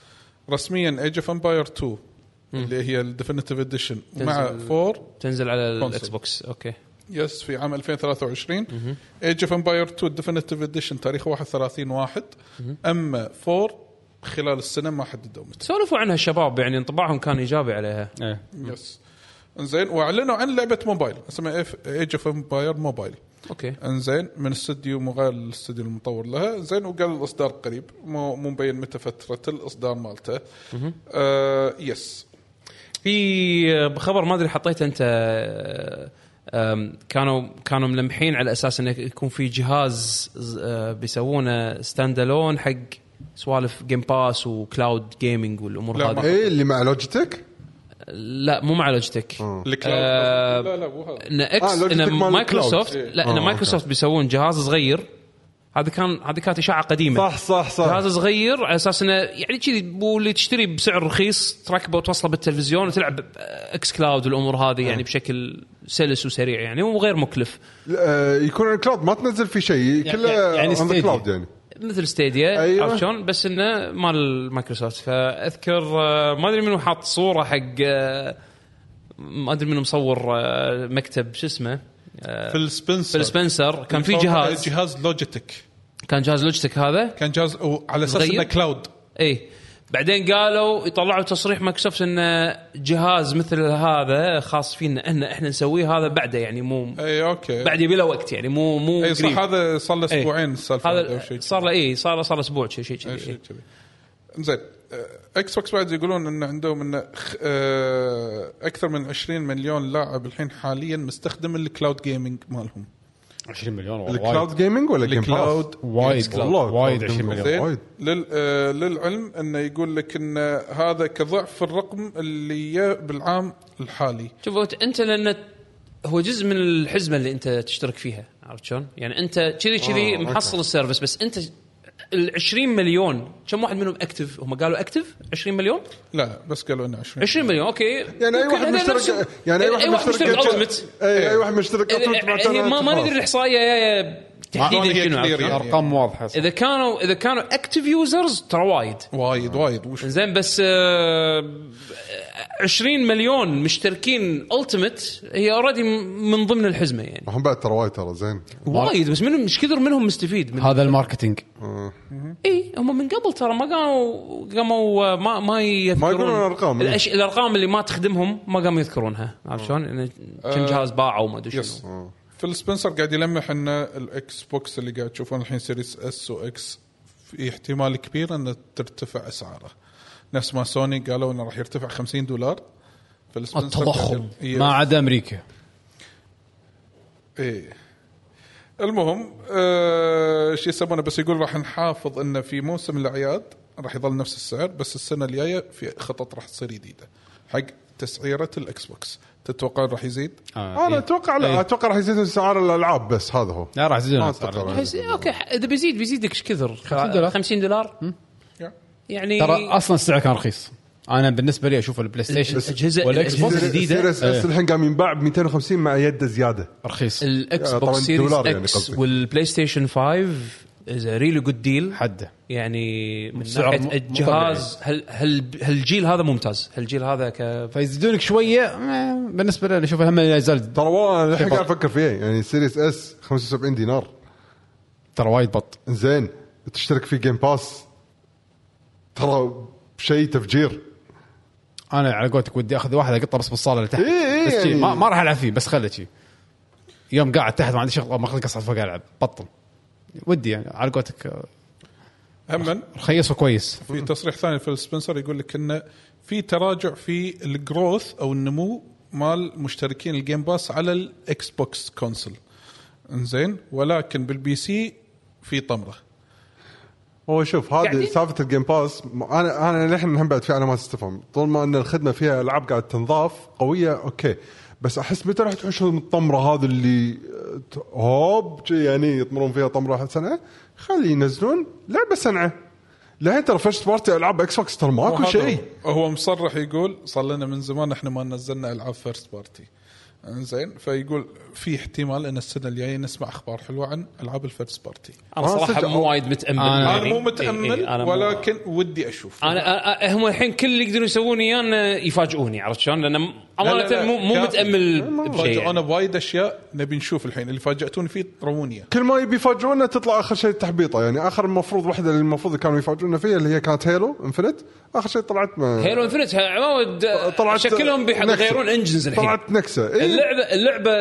S2: رسميا ايج اوف امباير 2 اللي هي الديفينيتيف اديشن مع 4
S7: تنزل على الاكس
S2: كونسول.
S7: بوكس اوكي
S2: يس في عام 2023 ايج اوف امباير 2 ديفينيتيف اديشن تاريخ 31 واحد اما 4 خلال السنه ما حددوا متى
S7: سولفوا عنها الشباب يعني انطباعهم كان ايجابي عليها
S1: إيه.
S2: يس انزين واعلنوا عن لعبه موبايل اسمها ايج اوف امباير موبايل
S7: اوكي
S2: انزين من استديو مغاير للاستديو المطور لها زين وقال الاصدار قريب مو مو مبين متى فتره الاصدار مالته آه يس
S7: في خبر ما ادري حطيته انت أم، كانوا كانوا ملمحين على اساس انه يكون في جهاز ز- أه، بيسوونه ستاند الون حق سوالف جيم باس وكلاود جيمنج والامور
S2: لا، ما-
S7: هذه
S4: اي إيه، اللي مع لوجيتك
S7: لا مو مع لوجيتك
S2: الكلاود
S7: آه،
S2: لا لا مو هذا
S7: ان
S4: آه،
S7: اكس
S4: لوجيتك
S7: ان
S4: مال
S7: مايكروسوفت
S4: الكلاود.
S7: لا ان
S4: آه،
S7: مايكروسوفت بيسوون جهاز صغير هذا كان هذه كانت اشاعه قديمه
S4: صح صح صح
S7: جهاز صغير على اساس انه يعني كذي واللي تشتري بسعر رخيص تركبه وتوصله بالتلفزيون وتلعب ب- اكس كلاود والامور هذه يعني بشكل سلس وسريع يعني وغير مكلف
S4: آه، يكون على الكلاود ما تنزل فيه شيء كله
S1: يعني
S4: on the
S1: Stadia.
S4: cloud يعني
S7: مثل ستيديا
S4: أيوة.
S7: عرفت شلون بس انه مال مايكروسوفت فاذكر آه، ما ادري منو حاط صوره حق آه، ما ادري منو مصور آه، مكتب شو اسمه آه،
S2: فيل سبنسر
S7: فيل سبنسر كان في
S2: مصور
S7: جهاز
S2: جهاز لوجيتك
S7: كان جهاز لوجتك هذا
S2: كان جهاز أو- على اساس
S7: صغير؟
S2: انه كلاود
S7: اي إيه. بعدين قالوا يطلعوا تصريح مايكروسوفت ان جهاز مثل هذا خاص فينا ان احنا نسويه هذا بعده يعني مو
S2: اي اوكي
S7: بعد يبي له وقت يعني مو مو
S4: إيه،
S2: اي صح
S7: قريب. إيه.
S2: هذا صار له اسبوعين السالفه هذه أو
S7: هذا
S2: شيء
S7: صار له اي صار له صار له اسبوع شيء شيء
S2: أي
S7: كذي
S2: شيء
S7: إي.
S2: كذي زين اكس بوكس بعد يقولون ان عندهم ان خ- آه، اكثر من 20 مليون لاعب الحين حاليا مستخدم الكلاود جيمنج مالهم
S1: 20 مليون والله
S4: الكلاود
S1: وايد
S4: جيمنج ولا جيم باس؟
S2: الكلاود
S1: وايد
S4: والله
S1: وايد
S4: cloud
S1: 20
S4: gaming.
S1: مليون
S2: زين
S4: وايد.
S2: لل- آه، للعلم انه يقول لك ان هذا كضعف الرقم اللي جاء بالعام الحالي
S7: شوف أنت- انت لان هو جزء من الحزمه اللي انت تشترك فيها عرفت شلون؟ يعني انت كذي
S4: آه،
S7: كذي محصل السيرفس بس انت ال 20 مليون كم واحد منهم اكتف؟ هم قالوا اكتف 20 مليون؟
S2: لا لا بس قالوا انه 20
S7: 20 مليون اوكي
S4: يعني اي
S7: ممكن
S4: واحد
S7: هذا
S4: مشترك
S7: نفسه-
S4: يعني اي واحد مشترك
S7: Ultimate.
S4: اي
S1: إيه.
S4: اي إيه، واحد مشترك Ultimate
S7: إذا-
S1: يعني
S4: معناته
S7: هي ما ما
S4: خلاص.
S7: ندري الاحصائيه يا- يا تحديدا
S2: هي
S7: شنو
S2: كبيرة.
S7: عرفت؟
S1: ارقام واضحه
S7: اذا كانوا اذا كانوا اكتف يوزرز ترى وايد
S2: وايد وايد وش
S7: زين بس آه، 20 مليون مشتركين التمت هي اوريدي من ضمن الحزمه يعني
S4: هم بعد ترى وايد ترى زين
S7: وايد بس منهم مش كثر منهم مستفيد من
S1: هذا الماركتينج
S7: اي هم من قبل ترى ما قاموا قاموا آه، ما ما يذكرون
S4: يقولون الأرقام، إي.
S7: الأش... الارقام اللي ما تخدمهم ما قاموا يذكرونها عرفت شلون؟ إنه كم جهاز باعوا وما ادري
S2: يس
S7: شنو
S2: فيل سبنسر Uh. قاعد يلمح ان الاكس بوكس اللي قاعد تشوفون الحين سيريس اس واكس في احتمال كبير ان ترتفع اسعاره نفس ما سوني قالوا انه راح يرتفع 50 دولار فيل سبنسر إيه.
S1: التضخم
S2: قاعد-
S1: ما عدا امريكا
S2: ايه إيه. المهم آه شو يسمونه بس يقول راح نحافظ انه في موسم الاعياد راح يظل نفس السعر بس السنه الجايه في خطط راح تصير جديده حق تسعيره الاكس بوكس تتوقع راح يزيد؟
S1: آه،
S4: انا
S1: إيه.
S4: اتوقع لا
S1: إيه.
S4: اتوقع راح يزيد اسعار الالعاب بس هذا هو
S1: لا راح يزيدون
S4: ما
S1: الأسعار.
S4: أتوقع.
S7: بس اوكي اذا بيزيد بيزيدك ايش كثر؟ 50
S1: دولار.
S7: 50 دولار
S2: يا.
S7: يعني
S1: ترى اصلا السعر كان رخيص انا بالنسبه لي اشوف البلاي
S7: بس
S1: ستيشن
S7: الأجهزة-
S1: والاكس بوكس
S7: الأجهزة-
S4: الجديده
S1: الجديده إيه،
S4: الحين قام ينباع ب 250 مع يده زياده
S1: رخيص
S7: الاكس
S4: آه، طبعاً
S7: بوكس سيريز
S4: دولار يعني
S7: اكس
S4: قصدي.
S7: والبلاي ستيشن 5 از ريلي جود ديل
S1: حده
S7: يعني من
S1: سعر مو-
S7: ناحيه
S1: مو
S7: الجهاز هل هل هالجيل هذا ممتاز هالجيل هذا ك
S1: فيزيدونك شويه ما- بالنسبه لي أنا اشوف هم لا يزال
S4: ترى والله انا الحين
S1: في
S4: قاعد افكر فيه يعني سيريس اس 75 دينار
S1: ترى وايد بط
S4: زين تشترك في جيم باس ترى شيء تفجير
S1: انا على قولتك ودي اخذ واحد اقطه بس بالصاله اللي تحت
S4: إيه، إيه،
S1: بس شي،
S4: يعني-
S1: ما, ما راح العب فيه بس خله شي يوم قاعد تحت ما عندي شغل ما اخذ قصعد فوق العب بطل ودي يعني على قولتك آه،
S2: هم
S1: رخيص وكويس
S2: في تصريح ثاني في سبنسر يقول لك انه في تراجع في الجروث او النمو مال مشتركين الجيم باس على الاكس بوكس كونسل انزين ولكن بالبي سي في طمره
S4: هو شوف هذه
S6: قاعدين-
S4: سالفه الجيم باس م- انا انا للحين هم بعد في علامات استفهام طول ما ان الخدمه فيها العاب قاعد تنضاف قويه اوكي بس احس متى راح تحوش الطمره هذه اللي آه، ت- هوب شي يعني يطمرون فيها طمره سنه خلي ينزلون لعبه سنه لهين ترى فيرست بارتي العاب اكس بوكس ترى ماكو
S2: وهذا
S4: شيء
S2: هو هو مصرح يقول صار لنا من زمان احنا ما نزلنا العاب فيرست بارتي انزين فيقول في احتمال ان السنه الجايه نسمع اخبار حلوه عن العاب الفيرست بارتي
S7: انا
S4: آه،
S7: صراحه
S4: صدق.
S7: مو وايد متامل
S1: أنا-
S2: انا
S7: يعني.
S2: مو
S7: إي- إي،
S2: متامل
S7: أنا مو-
S2: ولكن ودي اشوف
S7: انا أ- أ- هم الحين كل اللي يقدرون يسوون اياه إنه يفاجئوني عرفت شلون؟ لان م-
S2: لا، لا،
S7: امانه
S2: لا.
S7: مو مو
S2: كافي.
S7: متامل بشيء
S2: فاجئونا
S7: يعني.
S2: بوايد اشياء نبي نشوف الحين اللي فاجاتوني فيه رموني إياه.
S4: كل ما يبي يفاجئونا تطلع اخر شيء تحبيطه يعني اخر المفروض واحده اللي المفروض كانوا يفاجئونا فيها اللي هي كانت هيلو انفنت اخر شيء طلعت ما
S7: هيرو انفنت عمود
S4: طلعت-
S7: شكلهم بيح-
S4: نكسة.
S7: بيغيرون انجنز الحين
S4: طلعت إيه. نكسه اي
S7: اللعبه اللعبه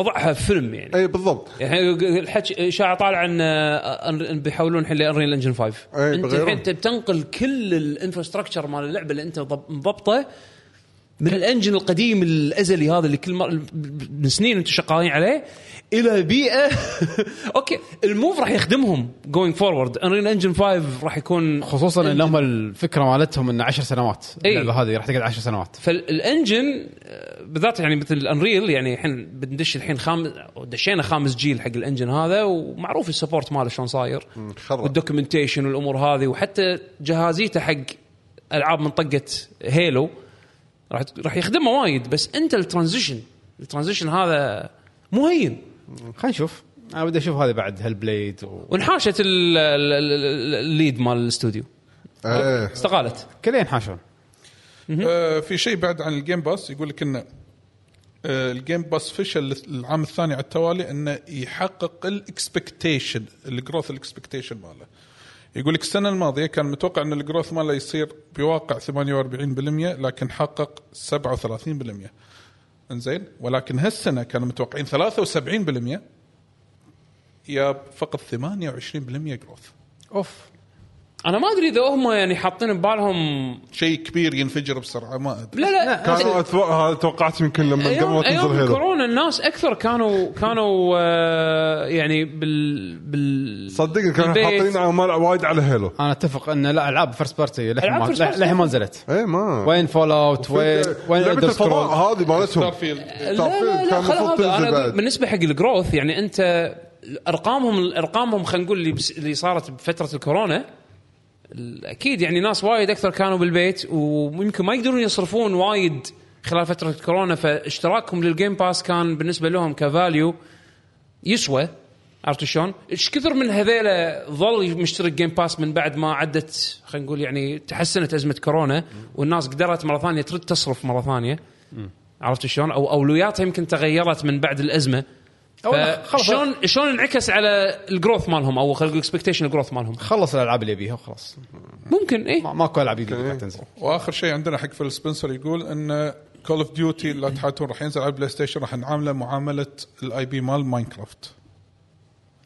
S7: وضعها فيلم يعني
S4: اي إيه، بالضبط
S7: الحين الحكي اشاعه طالعه عن آه، أن- أن بيحولون الحين لانريل انجن 5
S4: أي،
S7: انت
S4: بيغيرون.
S7: الحين بتنقل كل الانفراستراكشر مال اللعبه اللي انت ضب- مضبطه من الانجن القديم الازلي هذا اللي كل مره من سنين انتم شغالين عليه الى بيئه اوكي الموف راح يخدمهم جوينج فورورد انريل انجن 5 راح يكون
S1: خصوصا ان هم الفكره مالتهم ان 10 سنوات
S7: إي.
S1: اللعبه هذه راح تقعد 10 سنوات
S7: فالانجن آه، بالذات يعني مثل الانريل يعني الحين بندش الحين خام دشينا خامس جيل حق الانجن هذا ومعروف السبورت ماله شلون صاير
S4: خرب.
S7: والدوكيومنتيشن والامور هذه وحتى جهازيته حق العاب من طقه هيلو راح راح يخدمه وايد بس انت الترانزيشن الترانزيشن هذا مو هين
S1: خلينا نشوف انا بدي اشوف هذه بعد هالبليد و...
S7: وانحاشت ال- ال- ال- الليد مال الاستوديو
S4: ايه
S7: استقالت
S1: كلين حاشون
S2: آه في شيء بعد عن الجيم باس يقول لك انه آه الجيم باس فشل العام الثاني على التوالي انه يحقق الاكسبكتيشن الجروث الاكسبكتيشن ماله يقول لك السنه الماضيه كان متوقع ان الجروث ماله يصير بواقع 48% لكن حقق 37% انزين ولكن هالسنه كانوا متوقعين 73% يا فقط 28% جروث
S1: اوف
S7: انا ما ادري اذا هم يعني حاطين ببالهم
S2: شيء كبير ينفجر بسرعه ما ادري
S7: لا لا
S4: كانوا أتوقع- هذا توقعت يمكن لما قبل ما
S7: ايام
S4: تنزل
S7: ايام
S4: هيلو
S7: كورونا الناس اكثر كانوا كانوا آه، يعني بال بال
S4: صدقني كانوا
S7: البيت.
S4: حاطين عمال وايد على هيلو
S1: انا اتفق ان لا العاب فيرست بارتي للحين
S7: ألعاب
S1: ما-
S7: first party.
S1: للحين ما نزلت
S7: إيه،
S4: اي ما
S1: وين فول اوت وين وين
S4: لعبه
S1: Elder
S4: الفضاء
S1: Scrolls؟
S4: إيه، هذه مالتهم
S2: ستارفيلد
S7: لا لا
S4: كان
S7: لا خل
S4: المفروض
S7: هذا
S4: تنزل
S7: انا أقول
S4: بعد
S7: بالنسبه حق الجروث يعني انت ارقامهم ارقامهم خلينا نقول اللي بس- اللي صارت بفتره الكورونا ال- اكيد يعني ناس وايد اكثر كانوا بالبيت ويمكن ما يقدرون يصرفون وايد خلال فتره الكورونا فاشتراكهم للجيم باس كان بالنسبه لهم كفاليو يسوى عرفت شلون؟ ايش كثر من هذيلا ظل مشترك جيم باس من بعد ما عدت خلينا نقول يعني تحسنت ازمه كورونا والناس قدرت مره ثانيه ترد تصرف مره ثانيه عرفت شلون؟ او اولوياتها يمكن تغيرت من بعد الازمه
S1: أو لا، خلص.
S7: أه، شلون شلون انعكس على الجروث مالهم او خلينا نقول اكسبكتيشن جروث مالهم
S1: خلص الالعاب اللي يبيها وخلاص
S7: ممكن إيه. اي
S1: ما- ماكو العاب جديده قاعد تنزل
S2: واخر شيء عندنا حق فيل سبنسر يقول ان كول اوف ديوتي لا تحاتون راح ينزل على البلاي ستيشن راح نعامله معامله الاي بي مال ماينكرافت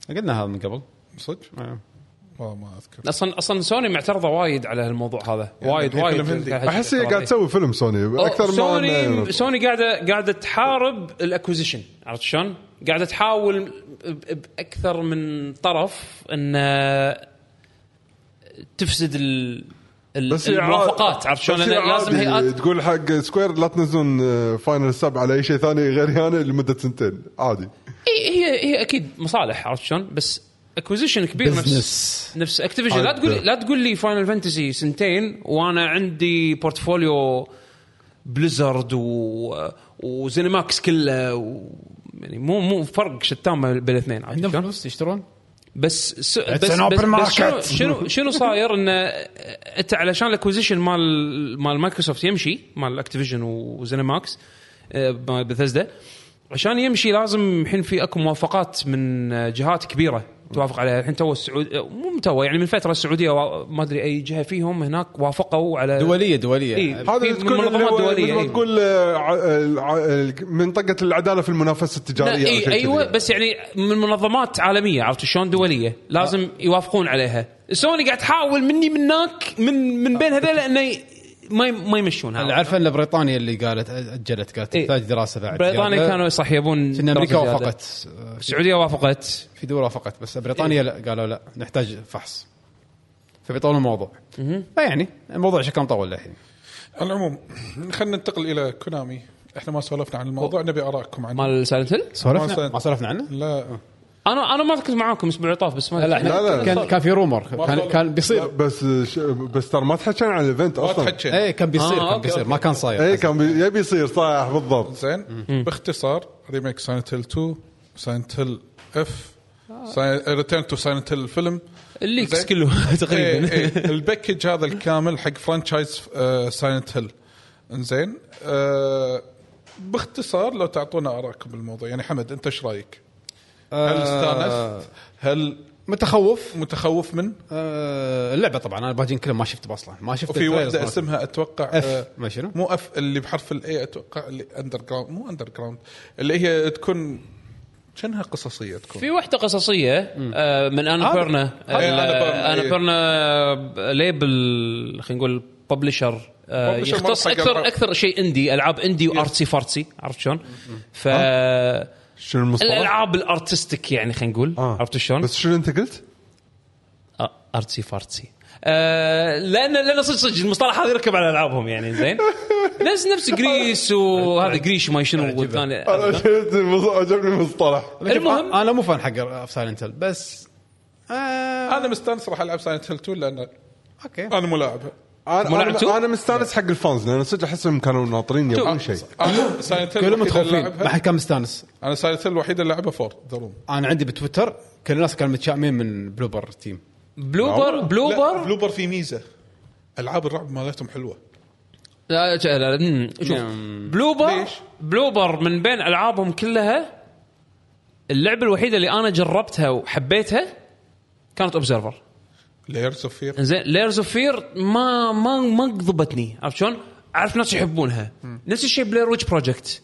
S1: قلنا هذا من قبل
S2: صدق؟
S1: آه.
S2: والله ما اذكر
S7: اصلا اصلا سوني معترضه وايد على هالموضوع هذا
S4: يعني
S7: وايد
S2: في
S7: وايد
S2: فيلم هندي.
S4: احس هي قاعد تسوي فيلم سوني اكثر ما
S7: سوني
S4: إنه-
S7: سوني قاعده قاعده تحارب الاكوزيشن عرفت شلون؟ قاعده تحاول ب- باكثر من طرف ان آه، تفسد ال ال-
S4: بس هي عاد-
S7: الموافقات عرفت شلون؟
S4: بس هي
S7: لأن لازم
S4: عادي
S7: هيئات
S4: تقول حق سكوير لا تنزلون فاينل سب على اي شيء ثاني غير هانا لمده سنتين عادي
S7: هي هي, هي اكيد مصالح عرفت شلون؟ بس اكوزيشن كبير
S1: Business.
S7: نفس نفس اكتيفيجن لا تقول لا تقول لي فاينل فانتسي سنتين وانا عندي بورتفوليو بليزرد و... وزينماكس كله و... يعني مو مو فرق شتان بين بين الاثنين عرفت
S1: عندهم
S7: شلون؟
S1: فلوس يشترون
S7: بس س... بس,
S1: an
S7: بس,
S1: open
S7: بس شنو,
S1: market.
S7: شنو شنو صاير ان آه، انت علشان الاكوزيشن مال مال مايكروسوفت يمشي مال اكتيفيجن وزينماكس آه، مال بثزدا عشان يمشي لازم الحين في اكو موافقات من آه، جهات كبيره توافق عليها الحين تو السعود آه، مو من تو يعني من فتره السعوديه وا- ما ادري اي جهه فيهم هناك وافقوا على
S1: دوليه دوليه
S7: إيه.
S4: هذا
S7: في
S4: اللي تكون
S7: منظمات
S4: اللي هو- مثل
S7: دولية،
S4: ما
S7: أيوة.
S4: تقول آه، ع- ال- ع- ال- منطقه العداله في المنافسه
S7: لا،
S4: التجاريه أو
S7: إيه
S4: شيء
S7: ايوه
S4: كذي.
S7: بس يعني من منظمات عالميه عرفت شلون دوليه لازم يوافقون عليها سوني قاعد تحاول مني منك من من بين هذول انه ي- ما ي- ما
S1: اللي
S7: يمشونها
S1: عارفه ان بريطانيا اللي قالت اجلت قالت
S7: إيه.
S1: تحتاج دراسه بعد
S7: بريطانيا
S1: زيادة.
S7: كانوا صح يبون
S1: ان امريكا
S7: دراسة زيادة.
S1: وافقت آه،
S7: السعوديه وافقت
S1: في دول وافقت بس بريطانيا
S7: إيه.
S1: لا قالوا لا نحتاج فحص فبيطولون الموضوع فيعني الموضوع شكله مطول للحين
S2: على العموم خلينا ننتقل الى كونامي احنا ما سولفنا عن الموضوع نبي ارائكم عنه
S7: مال سايلنت هيل
S1: سولفنا
S2: سولفنا.
S1: ما سولفنا عنه؟
S2: لا
S7: انا انا ما كنت معاكم الاسبوع اللي طاف بس ما
S1: لا
S4: لا، لا.
S1: احنا كان كان في رومر كان
S2: سولفنا.
S1: كان
S4: لا،
S1: بيصير
S4: بس ش- بس ترى ما تحكينا عن الايفنت
S2: ما
S4: اصلا
S2: تحكي
S1: ايه كان بيصير
S7: آه،
S1: كان
S7: أوكي،
S1: بيصير
S7: أوكي.
S1: ما كان صاير
S4: اي كان بي- يبي يصير صح بالضبط
S2: زين باختصار ريميك ساينت هيل 2 ساينت هيل اف ريتيرن تو ساينت هيل الفيلم
S7: الليكس
S2: زين.
S7: كله
S2: إيه،
S7: تقريبا
S2: إيه. الباكج هذا الكامل حق آه، فرانشايز ساينت هيل انزين آه، باختصار لو تعطونا ارائكم بالموضوع يعني حمد انت ايش رايك؟ هل استانست؟ هل
S1: متخوف
S2: متخوف من؟
S1: آه، اللعبه طبعا انا الباجين كلهم ما شفته اصلا ما شفت
S2: وفي
S1: التريلرز
S2: واحده
S1: مالته.
S2: اسمها اتوقع
S1: F،
S2: آه،
S1: ما شنو؟
S2: مو اف اللي بحرف الاي اتوقع اللي اندر جراوند مو اندر جراوند اللي هي تكون شنها قصصيه تكون
S7: في واحده قصصيه آه، من انا
S2: هذا-
S7: بيرنا
S2: هذا أنا بيرنا،
S7: انا
S2: إيه.
S7: بيرنا ليبل خلينا نقول ببلشر
S2: Publisher
S7: يختص
S2: مرة حق
S7: اكثر
S2: ألعاب.
S7: اكثر شيء اندي العاب اندي وارتسي فارتسي عرفت شلون؟ ف
S4: شنو المصطلح؟
S7: الالعاب الارتستيك يعني خلينا نقول
S4: آه.
S7: عرفت شلون؟
S4: بس شنو انت قلت؟
S7: آه، ارتسي فارتسي آه، لان لان صدق صدق المصطلح هذا يركب على العابهم يعني زين نفس نفس جريس وهذا جريش ما
S2: يعني
S7: شنو والثاني
S4: عجبني المصطلح
S1: لكن
S7: المهم-
S1: أ- انا مو فان حق سايلنت هيل بس آه
S2: انا مستانس راح العب ساينت هيل 2 لان
S1: اوكي
S2: انا مو لاعبها
S4: انا
S7: مو لعبتوا؟
S4: انا, أنا مستانس حق الفانز لان صدق احسهم كانوا ناطرين يبون شيء
S2: انا ساينت هيل
S1: كلهم
S2: الوحيدة اللي
S1: متخوفين ما
S2: ألعبها-
S1: حد كان مستانس
S2: انا ساينت هيل الوحيده اللي العبها فور ذا روم
S1: انا عندي بتويتر كل الناس كانوا متشائمين من بلوبر تيم
S7: بلوبر بلوبر
S2: بلوبر في ميزه العاب الرعب مالتهم حلوه
S7: لا لا لا، مم، شوف بلوبر
S2: ليش؟
S7: بلوبر من بين العابهم كلها اللعبه الوحيده اللي انا جربتها وحبيتها كانت اوبزرفر
S2: لايرز اوف فير
S7: زين ليرز اوف فير ما ما ما قضبتني عرفت شلون؟ اعرف ناس يحبونها نفس الشيء بلاير ويتش بروجكت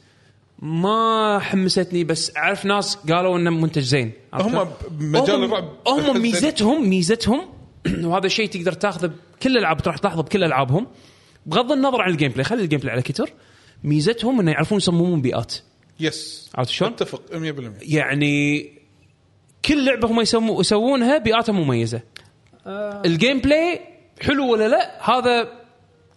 S7: ما حمستني بس اعرف ناس قالوا انه منتج زين عرفت
S2: هم
S7: شلون؟
S2: بمجال
S7: هم-
S2: الرعب
S7: هم
S2: زين.
S7: ميزتهم ميزتهم وهذا الشيء تقدر تاخذه بكل الالعاب راح تلاحظه بكل العابهم بغض النظر عن الجيم بلاي خلي الجيم بلاي على كتر ميزتهم انه يعرفون يصممون بيئات
S2: يس
S7: عرفت شلون؟
S2: اتفق 100%
S7: يعني كل لعبه هم يسمو يسوونها بيئاتها مميزه
S1: آه.
S7: الجيم بلاي حلو ولا لا هذا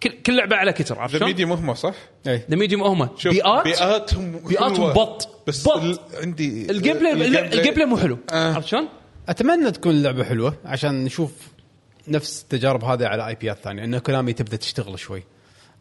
S7: كل, كل لعبه على كتر عرفت
S2: ذا
S7: شلون؟
S2: ميديوم هم صح؟
S1: إيه.
S7: ذا ميديوم هم
S2: شوف
S7: بيئات
S2: بيئاتهم
S7: بيئاتهم
S2: حلوة.
S7: بط
S2: بس
S7: بط.
S2: ال- عندي
S7: الجيم بلاي الجيم بلاي مو حلو
S2: آه.
S7: عرفت شلون؟
S1: اتمنى تكون اللعبه حلوه عشان نشوف نفس التجارب هذه على اي بيات ثانيه ان كونامي تبدا تشتغل شوي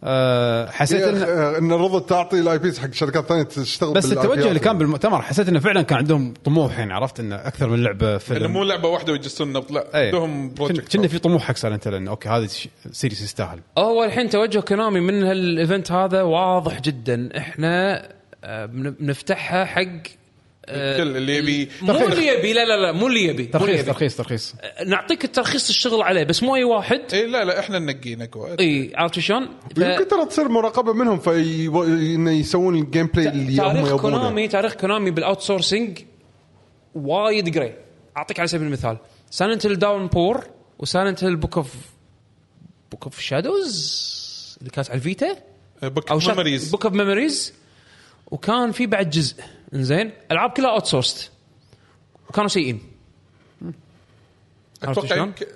S1: أه حسيت ان
S4: آه، ان الرضا تعطي الاي بيس حق شركات ثانيه تشتغل
S1: بس
S4: بالآي
S1: التوجه
S4: بيات.
S1: اللي كان بالمؤتمر حسيت انه فعلا كان عندهم طموح يعني عرفت انه اكثر من لعبه
S2: انه
S1: فيلم
S2: مو لعبه واحده ويجسون نبض لا
S1: إيه.
S2: عندهم
S1: كنا-
S2: بروجكت
S1: كنا في طموح حق سايلنت انه اوكي هذا الشيء- سيريس يستاهل
S7: هو الحين توجه كونامي من هالايفنت هذا واضح جدا احنا آه، بن- بنفتحها حق آه،
S1: إيه.
S2: كل اللي يبي
S7: مو اللي يبي لا لا لا مو اللي يبي مو اللي
S1: ترخيص
S7: يبي.
S1: ترخيص ترخيص
S7: آه، نعطيك الترخيص الشغل عليه بس مو اي واحد
S2: اي إيه، لا لا احنا ننقي
S1: إيه.
S2: نقوى
S7: اي عرفت شلون؟ ف-
S4: يمكن ترى تصير مراقبه منهم في انه يسوون الجيم بلاي اللي هم
S7: تاريخ
S4: يبونه
S7: كونامي تاريخ كونامي بالاوت سورسنج وايد جري اعطيك على سبيل المثال سايلنت هيل داون بور وسايلنت هيل بوك اوف بوك اوف شادوز اللي كانت على الفيتا
S2: بوك
S7: او
S2: اوف ميموريز
S7: بوك اوف ميموريز وكان في بعد جزء انزين العاب كلها اوت سورست وكانوا سيئين عرفت
S2: اتوقع
S7: شلون؟
S2: يمكن-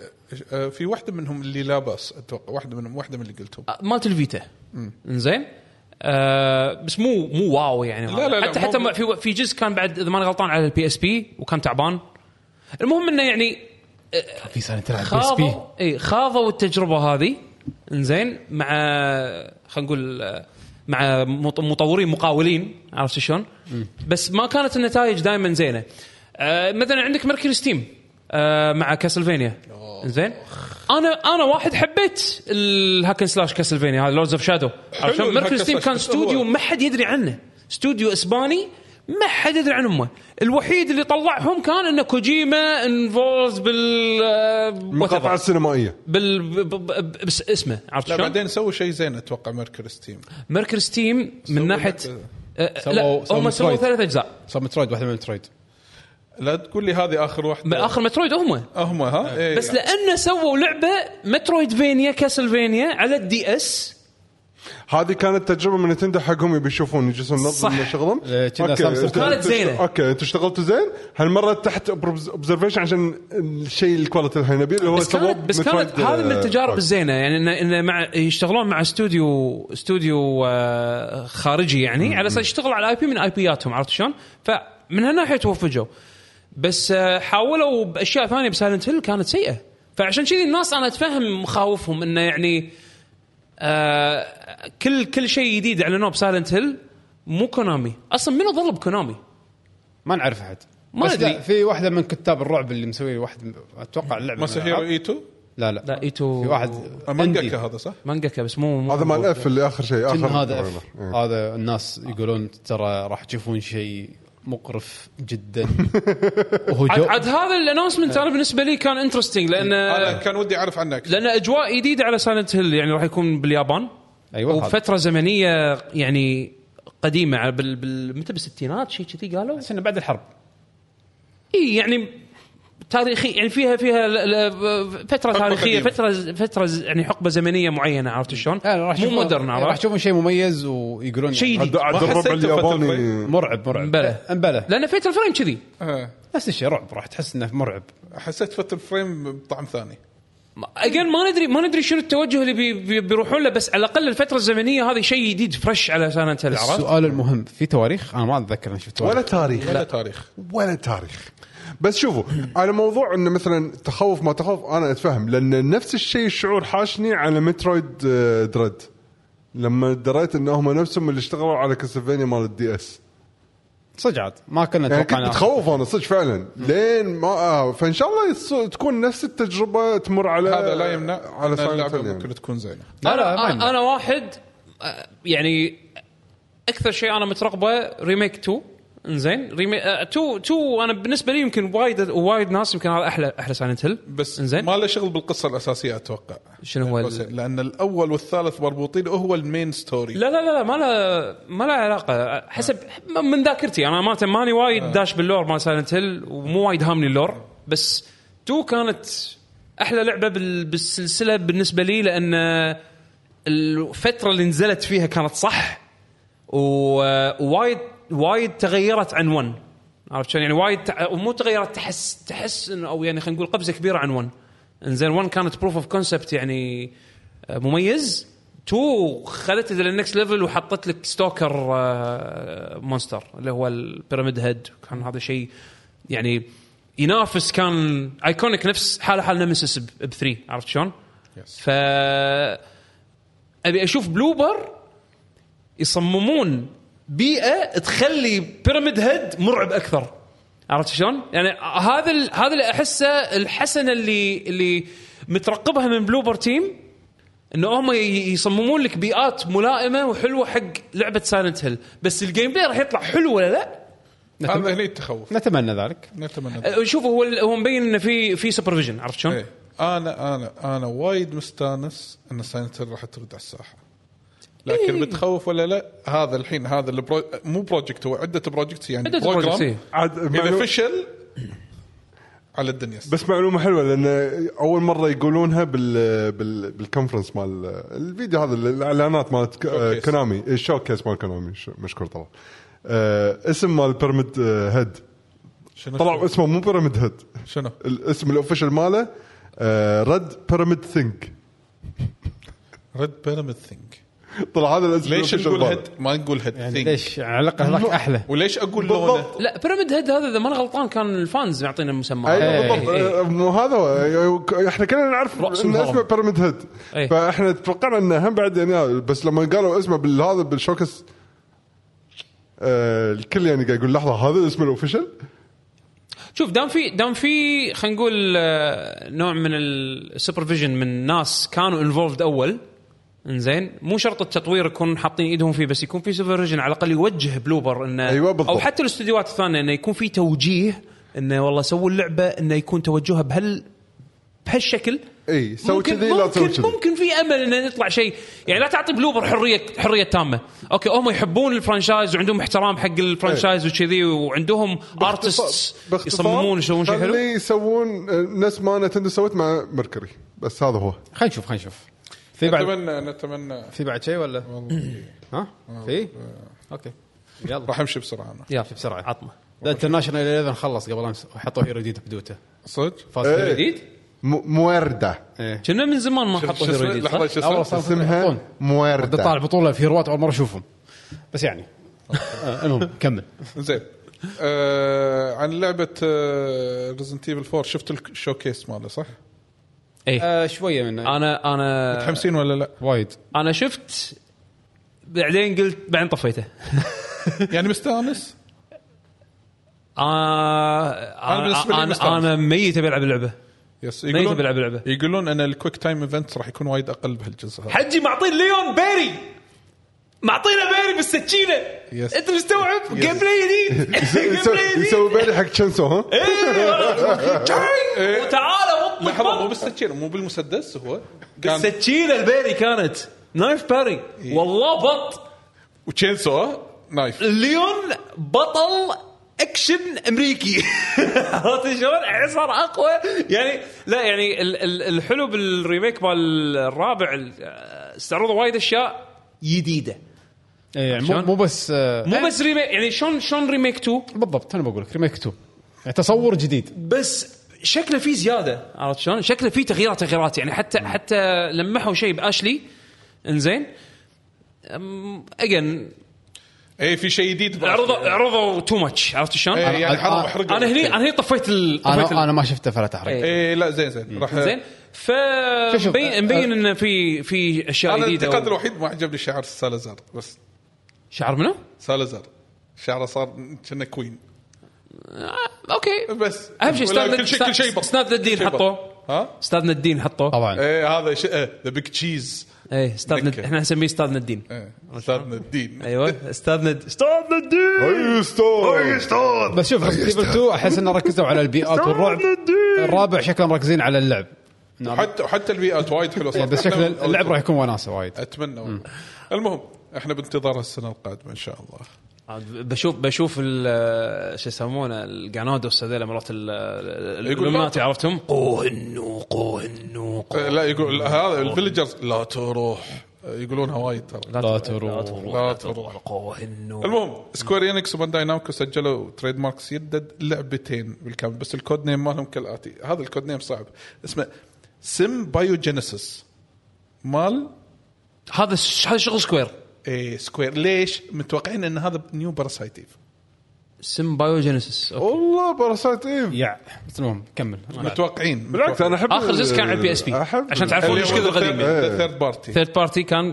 S2: آه، في واحده منهم اللي لا باس اتوقع واحده منهم واحده من اللي قلتهم
S7: آه، مالت الفيتا انزين آه بس مو مو واو يعني
S2: لا، لا، لا،
S7: حتى
S2: مو-
S7: حتى ما- في في جزء كان بعد اذا ماني غلطان على البي اس بي وكان تعبان المهم انه يعني
S1: في سنه تلعب بي اس
S7: خاضوا
S1: بي
S7: اي خاضوا التجربه هذه انزين مع خلينا نقول آه، مع مط- مطورين مقاولين عرفت شلون؟ بس ما كانت النتائج دائما زينه. آه مثلا عندك ميركوري ستيم آه مع كاسلفينيا زين انا انا واحد حبيت الهاكن سلاش كاسلفينيا هذا لوردز اوف شادو
S2: حلو الهاكن
S7: ميركوري ستيم
S2: سلاش،
S7: كان
S2: بس هو-
S7: استوديو ما حد يدري عنه استوديو اسباني ما حد يدري عن امه الوحيد اللي طلعهم كان ان كوجيما انفولز بال
S4: المقاطعه
S7: whatever.
S4: السينمائيه
S7: بال ب- ب- ب- بس اسمه عرفت
S2: لا
S7: شلون؟
S2: بعدين سووا شيء زين اتوقع ميركوري ستيم
S7: ميركر ستيم من ناحيه آه،
S1: سووا-
S7: لا
S1: سووا
S7: هم سووا
S1: مترويد.
S7: ثلاث اجزاء
S1: صار مترويد واحده من مترويد
S2: لا تقول لي هذه اخر
S7: ب-
S2: واحده
S7: اخر مترويد هم
S2: هم
S1: آه،
S2: ها إيه.
S7: بس لانه سووا لعبه مترويد فينيا كاسلفينيا على الدي اس
S4: هذه كانت تجربه من نتندو حقهم يبي يشوفون يجلسون
S7: صح. آه،
S4: ينظمون شغلهم
S1: إيه، كنا
S4: أوكي،
S1: سامسونج.
S4: أنت-
S7: كانت
S4: أنت-
S7: زينة.
S4: اوكي انت اشتغلتوا زين هالمره تحت اوبزرفيشن عشان الشيء الكواليتي الحين نبيه اللي هو
S7: بس كانت
S4: سووه
S7: بس كانت
S4: بمترويد،
S7: هذا من
S4: آه،
S7: التجارب
S4: برايم.
S7: الزينه يعني انه إن مع يشتغلون مع استوديو استوديو آه، خارجي يعني على اساس يشتغل على اي بي من اي بياتهم عرفت شلون؟ فمن هالناحيه توفجوا بس آه، حاولوا باشياء ثانيه بسايلنت هيل كانت سيئه فعشان كذي الناس انا اتفهم مخاوفهم انه يعني آه كل كل شيء جديد اعلنوه بسايلنت هيل مو كونامي اصلا منو ضرب كونامي؟
S1: ما نعرف احد
S7: ما
S1: بس لا،
S7: أدري.
S1: في واحده من كتاب الرعب اللي مسوي واحد اتوقع اللعبه
S2: ماساهيرو ايتو
S1: لا لا
S7: لا ايتو
S1: في واحد
S2: مانجاكا
S1: عندي.
S2: آه، هذا صح؟
S7: مانجاكا بس مو, مو
S4: هذا مال اف اللي اخر شيء
S1: كنا
S4: اخر
S1: هذا اف هذا الناس يقولون ترى راح تشوفون شيء مقرف جدا وهو
S7: عاد,
S1: جو
S7: عاد هذا الانونسمنت انا بالنسبه لي كان انترستنج لان
S1: آه.
S2: انا كان ودي اعرف عنك
S7: لان اجواء جديده على سايلنت هيل يعني راح يكون باليابان
S1: ايوه هذا.
S7: وفتره زمنيه يعني قديمه على بال, بال... متى بالستينات شيء كذي قالوا
S1: بس انه بعد الحرب
S7: اي يعني تاريخي يعني فيها فيها ل... ل... فتره تاريخيه
S2: قديمة.
S7: فتره ز- فتره ز- يعني حقبه زمنيه معينه عرفت شلون؟
S1: لا، لا، راح
S7: مو
S1: تشوفون-
S7: مودرن
S1: راح
S7: عرفت؟
S1: تشوفون شيء مميز ويقولون
S7: شيء
S1: يعني
S7: جديد
S4: عاد
S2: ما
S4: الربع
S2: حسيت
S4: الياباني
S1: مرعب مرعب
S7: امبلى.
S1: امبلى
S7: لان فيتر فريم كذي
S2: آه.
S1: نفس الشيء رعب راح تحس انه مرعب
S2: حسيت فتره فريم بطعم ثاني
S7: اجين ما ندري ما ندري شنو التوجه اللي بي بي بيروحون له بس على الاقل الفتره الزمنيه هذه شيء جديد فريش على سايلنت هيل عرفت؟
S1: السؤال المهم في تواريخ انا ما اتذكر اني شفت
S4: ولا
S1: تواريخ
S4: تاريخ
S2: ولا تاريخ
S4: ولا تاريخ بس شوفوا على موضوع انه مثلا تخوف ما تخوف انا اتفهم لان نفس الشيء الشعور حاشني على مترويد آه، دريد لما دريت انهم نفسهم اللي اشتغلوا على كاسلفينيا مال الدي اس
S1: صدق عاد ما كنا
S4: يعني كنت
S1: نتوقع إنه-
S4: متخوف انا صدق فعلا لين ما آه، فان شاء الله يص- تكون نفس التجربه تمر على
S2: هذا لا يمنع
S4: آه، على
S2: على
S4: Silent
S2: اللعبه
S4: Hill يعني.
S2: ممكن تكون زينه
S1: لا، لا، ما
S7: انا
S1: يمنع.
S7: انا واحد آه، يعني اكثر شيء انا مترقبه ريميك 2 انزين ريميك 2 2 انا بالنسبه لي يمكن وايد وايد ناس يمكن هذا احلى احلى سايلنت هيل
S2: بس
S7: انزين
S2: ما له شغل بالقصه الاساسيه اتوقع
S7: شنو هو ال-
S2: يعني بس لان الاول والثالث مربوطين هو المين ستوري
S7: لا لا لا لا، ما له ما له علاقه حسب من ذاكرتي انا ما ماني
S2: آه.
S7: وايد داش باللور مال سايلنت هيل ومو وايد هامني اللور بس 2 كانت احلى لعبه بال- بالسلسله بالنسبه لي لان الفتره اللي نزلت فيها كانت صح و- ووايد وايد تغيرت عن 1 عرفت شلون يعني وايد تع- مو تغيرت تحس تحس انه او يعني خلينا نقول قفزه كبيره عن 1 انزين 1 كانت بروف اوف كونسبت يعني آه، مميز 2 خلت الى النكست ليفل وحطت لك ستوكر آه، مونستر اللي هو البيراميد هيد كان هذا شيء يعني ينافس كان ايكونيك نفس حاله حال نمسيس ب 3 عرفت شلون؟ ف ابي اشوف بلوبر يصممون بيئه تخلي بيراميد هيد مرعب اكثر عرفت شلون؟ يعني هذا ال- هذا اللي احسه الحسنه اللي اللي مترقبها من بلوبر تيم انه هم ي- يصممون لك بيئات ملائمه وحلوه حق لعبه سايلنت هيل بس الجيم بلاي راح يطلع حلو ولا لا؟
S2: هذا هني التخوف
S1: نتمنى ذلك
S2: نتمنى ذلك.
S7: أه، شوف هو هو مبين انه في في سوبرفيجن عرفت شلون؟
S2: إيه. انا انا انا وايد مستانس ان ساينت راح ترد على الساحه
S7: إيه.
S2: لكن متخوف ولا لا هذا الحين هذا البرو... مو بروجكت هو عده بروجكت يعني
S7: عدة
S2: بروجرام
S7: projects، إيه.
S4: عاد
S2: اذا
S4: معلو-
S2: فشل على الدنيا
S4: بس معلومه حلوه لان اول مره يقولونها بال بال بالكونفرنس مال الفيديو هذا الاعلانات مالت ك- آه،
S2: شوكيس.
S4: كونامي الشوكيس مال كونامي ش- مشكور طبعا آه، اسم مال بيرميد هيد
S2: شنو
S4: طلع اسمه مو بيرميد هيد
S2: شنو؟
S4: الاسم الاوفيشال ماله آه، ريد بيرميد ثينك
S2: ريد بيراميد ثينك
S4: طلع هذا الاسم
S2: ليش
S4: الأوفيشال
S2: نقول
S4: ماله.
S2: هيد ما نقول هيد
S1: يعني
S2: ثينك
S1: ليش على الاقل هذاك احلى
S2: وليش اقول لونه؟
S4: بالضبط.
S7: لا بيراميد هيد هذا اذا ماني غلطان كان الفانز معطينا المسمى
S4: ايوه
S7: هذا.
S4: بالضبط
S7: إيه، إيه.
S4: آه، مو هذا هو. آه، احنا كلنا نعرف
S7: رأس
S4: ان
S7: الهرم.
S4: اسمه بيراميد هيد
S7: إيه.
S4: فاحنا توقعنا انه هم بعد يعني بس لما قالوا اسمه بالهذا بالشوكس آه الكل يعني قاعد يقول لحظه هذا الاسم الاوفيشال
S7: شوف دام في دام في خلينا نقول آه، نوع من السوبرفيجن من ناس كانوا انفولفد اول انزين مو شرط التطوير يكون حاطين ايدهم فيه بس يكون في سوبرفيجن على الاقل يوجه بلوبر انه
S4: أيوة بالضبط.
S7: او حتى الاستديوهات الثانيه انه يكون في توجيه انه والله سووا اللعبه انه يكون توجهها بهال بهالشكل
S4: اي سوي
S7: ممكن-
S4: كذي لا تسوي
S7: ممكن
S4: كذي
S7: ممكن في امل انه يطلع شيء يعني لا تعطي بلوبر حريه حريه تامه اوكي هم يحبون الفرانشايز وعندهم احترام حق الفرانشايز وكذي وعندهم ارتستس
S4: باختصار،
S7: يصممون يسوون شيء حلو
S4: خلي يسوون آه، نفس ما نتندو سوت مع ميركوري بس هذا هو
S1: خلينا نشوف خلينا نشوف في بعد
S2: نتمنى نتمنى
S1: في بعد شيء ولا ها في اوكي يلا
S2: راح امشي بسرعه انا
S7: يلا
S1: شوف بسرعه
S7: عطنا
S1: ذا انترناشونال 11 خلص قبل امس وحطوا هيرو جديد بدوته
S2: صدق؟
S1: فاز
S4: إيه.
S1: هيرو جديد.
S7: جديد
S4: م- مورده
S1: إيه.
S7: كنا من زمان ما
S2: شو
S7: حطوا هيرو
S2: اسمه؟
S7: جديد
S2: لحظه
S7: صح؟
S2: شو
S1: اول
S2: اسمه؟
S1: صار
S4: اسمها
S1: يحطون. بدي طالع
S4: مورده
S1: بطوله في رواد اول مره اشوفهم بس يعني آه، المهم كمل
S2: زين آه عن لعبه آه ريزنت ايفل 4 شفت الشوكيس ماله صح؟
S7: آه. اي
S1: آه، شويه منه
S7: انا انا
S2: متحمسين ولا لا؟
S1: وايد
S7: انا شفت بعدين قلت بعدين طفيته
S2: يعني مستانس؟
S7: آه،
S2: بالنسبة لي
S7: انا
S2: مستانس.
S7: انا انا ميت ابي العب اللعبه
S2: يس
S7: ما يجي بيلعب لعبة.
S2: يقولون ان الكويك تايم ايفنتس راح يكون وايد اقل بهالجزء هذا
S7: حجي معطين ليون بيري معطينا بيري بالسكينه
S2: يس.
S7: انت مستوعب جيم بلاي جديد جيم
S4: يسوي-
S7: بلاي جديد
S4: يسوي بالي حق شنسو ها
S7: إيه، والله.
S2: إيه.
S7: وتعال وطك
S2: لحظه مو
S7: بط.
S2: بالسكينه مو بالمسدس هو كان
S7: بالسكينه البيري كانت نايف باري
S4: إيه.
S7: والله بط
S2: وتشينسو نايف
S7: ليون بطل اكشن امريكي عرفت شلون؟ يعني صار اقوى يعني لا يعني ال- ال- الحلو بالريميك مال الرابع ال- استعرضوا وايد اشياء جديده
S1: إيه، مو
S7: شلون؟
S1: مو بس آه،
S7: مو بس ريميك يعني شلون شلون ريميك 2
S1: بالضبط انا بقول لك ريميك 2 يعني تصور جديد
S7: بس شكله فيه زياده عرفت شلون؟ شكله فيه تغييرات تغييرات يعني حتى حتى لمحوا شيء باشلي انزين اجين
S2: اي إيه، في شيء جديد بعد.
S7: عرضوا عرضوا تو ماتش عرفت شلون؟
S2: إيه، يعني
S1: أنا-
S2: حرام
S1: أنا-
S2: احرق
S7: انا هني انا هني طفيت ال طفيت
S1: انا
S7: ال
S1: انا ما شفته فلا تحرق
S7: إيه.
S2: اي لا زين زين راح
S7: زين ف
S1: شوف، شوف،
S7: مبين مبين
S1: أه،
S7: انه في في اشياء
S2: انا
S7: جديده
S2: الانتقاد
S7: و-
S2: الوحيد ما عجبني شعار سالازار بس
S7: شعر منه؟
S2: سالازار شعره صار كنا كوين
S7: آه، اوكي
S2: بس
S7: اهم شيء
S2: ولا
S7: استاذ
S2: كل شيء كل شيء
S7: ند-
S2: بط.
S7: استاذ
S2: كل
S7: الدين
S2: شيء بط.
S7: حطوه
S2: ها
S7: استاذ الدين حطوه
S1: طبعا
S2: ايه هذا شيء ذا بيج تشيز
S7: ايه استاذ ند-
S2: دكة.
S7: احنا نسميه استاذ الدين
S2: إيه. استاذنا الدين
S7: ايوه استاذ ند- استاذ الدين
S2: أيوه.
S4: اي ستور
S1: بس شوف ريزنت 2 احس انه ركزوا على البيئات والرعب الرابع شكلهم مركزين على اللعب
S2: حتى حتى البيئات وايد حلوه صارت
S1: إيه، بس شكل
S2: أحنا-
S1: اللعب راح يكون وناسه وايد
S2: اتمنى والله. المهم احنا بانتظار السنه القادمه ان شاء الله
S7: عاد بشوف بشوف ال- شو يسمونه القانودوس هذول مرات ال- ال-
S2: يقول
S7: الإلومناتي عرفتهم؟ قوهنوا قوهنوا
S2: آه، لا يقول هذا الفيلجرز لا تروح آه، يقولونها وايد ترى
S1: لا تروح
S2: لا تروح
S7: قوهنوا
S2: المهم سكوير انكس وبانداي نامكو سجلوا تريد ماركس يدد لعبتين بالكامل بس الكود نيم مالهم كالاتي هذا الكود نيم صعب اسمه سم بايوجينيسيس مال
S7: هذا ش- هذا شغل سكوير
S2: إيه سكوير ليش متوقعين ان هذا نيو باراسايت ايف
S7: سم بايوجينيسيس
S4: والله باراسايت ايف
S1: يع بس المهم
S2: أه،
S1: كمل
S2: متوقعين
S4: بالعكس انا احب
S7: اخر جزء كان على البي اس بي
S4: أحب أيوة.
S7: عشان تعرفون ايش كثر قديم يعني
S2: ثيرد بارتي
S7: ثيرد بارتي كان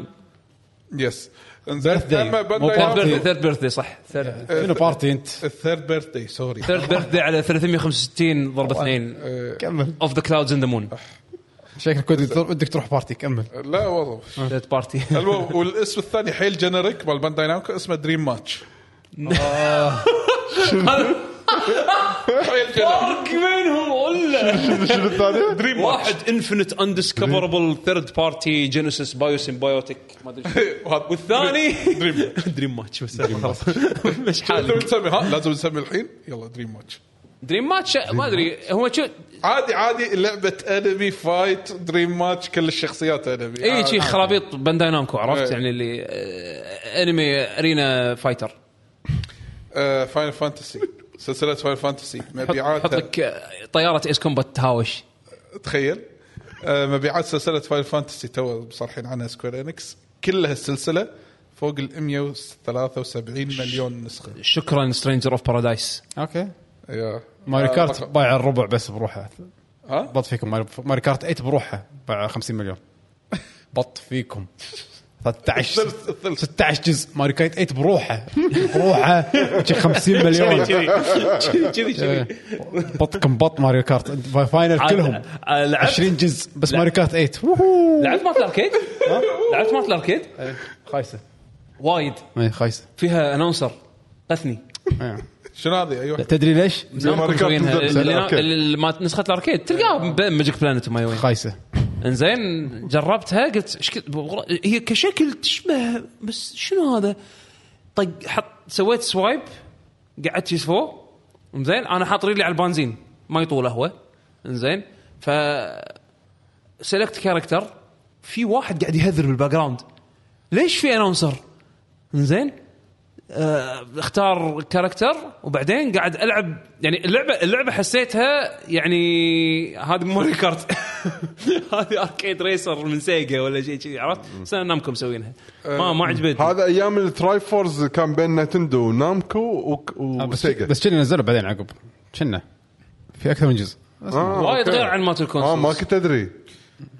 S7: إيه.
S2: يس انزين
S1: Birthday.
S2: أما
S1: مو
S2: بانداي
S7: ثيرد بيرثدي
S2: نامكو-
S7: ثيرد بيرثدي صح ثيرد
S1: شنو بارتي انت
S2: الثيرد بيرثدي سوري
S7: بيرثدي على 365 ضرب اثنين
S2: أه،
S1: كمل
S7: اوف ذا كلاودز ان ذا مون
S1: شكلك كنت بتروح- بدك تروح بارتي كمل
S2: لا والله
S7: ثيرد بارتي
S2: المهم والاسم الثاني حيل جنريك مال بانداي نامكو اسمه دريم ماتش
S7: آه.
S2: حيل جنريك
S7: فرق بينهم ولا
S4: شنو الثانيه؟ دريم
S7: واحد انفنت اندسكفربل ثيرد بارتي جينيسيس بايو سيمبايوتيك ما ادري شو. والثاني دريم ماتش بس خلاص مش
S2: لازم
S7: حالي
S2: نسمي ها لازم نسمي الحين يلا دريم ماتش
S7: دريم ماتش ما ادري هو شو
S2: عادي عادي لعبه انمي فايت دريم ماتش كل الشخصيات آه، انمي
S7: اي
S4: آه،
S2: عادي.
S7: إيه، شي خرابيط بانداي نامكو عرفت
S2: إيه.
S7: يعني اللي آه، انمي ارينا فايتر
S2: آه فاينل فانتسي سلسله فاينل فانتسي
S7: حط حط
S2: مبيعاتها
S7: لك آه، طياره ايس كومبات تهاوش
S2: تخيل آه، مبيعات سلسله فاينل فانتسي تو صارحين عنها سكوير انكس كلها السلسله فوق ال 173 مليون نسخه
S7: شكرا سترينجر اوف بارادايس
S1: اوكي
S2: يا
S1: ماري
S2: آه،
S1: كارت
S2: رقم.
S1: بايع الربع بس بروحه
S2: ها؟
S1: بط فيكم ماري- ماري كارت 8 بروحه بايع 50 مليون بط فيكم 13
S2: الثلث- الثلث.
S1: 16 جزء ماري كارت 8 بروحه بروحه شي 50 مليون
S3: كذي
S1: إيه. بطكم بط ماريو كارت فاينل كلهم
S7: آه، لعبت-
S1: 20 جزء بس ماريو كارت 8 ووهو.
S7: لعبت مارت الاركيد؟ لعبت مارت الاركيد؟
S1: خايسه
S7: وايد
S1: اي خايسه
S7: فيها انونسر قثني
S1: إيه.
S2: شنو هذه أيوة. اي واحد
S1: تدري ليش؟
S7: نامكو
S4: ماركات
S7: مسوينها.
S4: تنزل
S7: اللي-
S4: بالأركيد.
S7: اللي- ما- نسخه الاركيد تلقاها بماجيك بلانت وما وين
S1: خايسه
S7: انزين جربتها قلت إيش كذا- والله هي كشكل تشبه بس شنو هذا؟ طق حط سويت سوايب قعدت يس فوق زين انا حاط رجلي على البنزين ما يطول هو زين ف سلكت كاركتر في واحد قاعد يهذر بالباك جراوند ليش في انونسر؟ زين آه، اختار كاركتر وبعدين قاعد العب يعني اللعبه اللعبه حسيتها يعني هذه مو ماري كارت هذه اركيد ريسر من سيجا ولا شيء كذي عرفت؟ بس أنا نامكم مسوينها ما ما عجبتني
S4: هذا ايام التراي فورز كان بين نتندو ونامكو وك-
S1: آه، بس
S4: وسيجا
S1: بس كنا نزلوا بعدين عقب كنا في اكثر من جزء
S4: آه،
S7: وايد
S4: أوكي.
S7: غير عن مالت
S4: اه ما
S7: الكونسول
S4: كنت ادري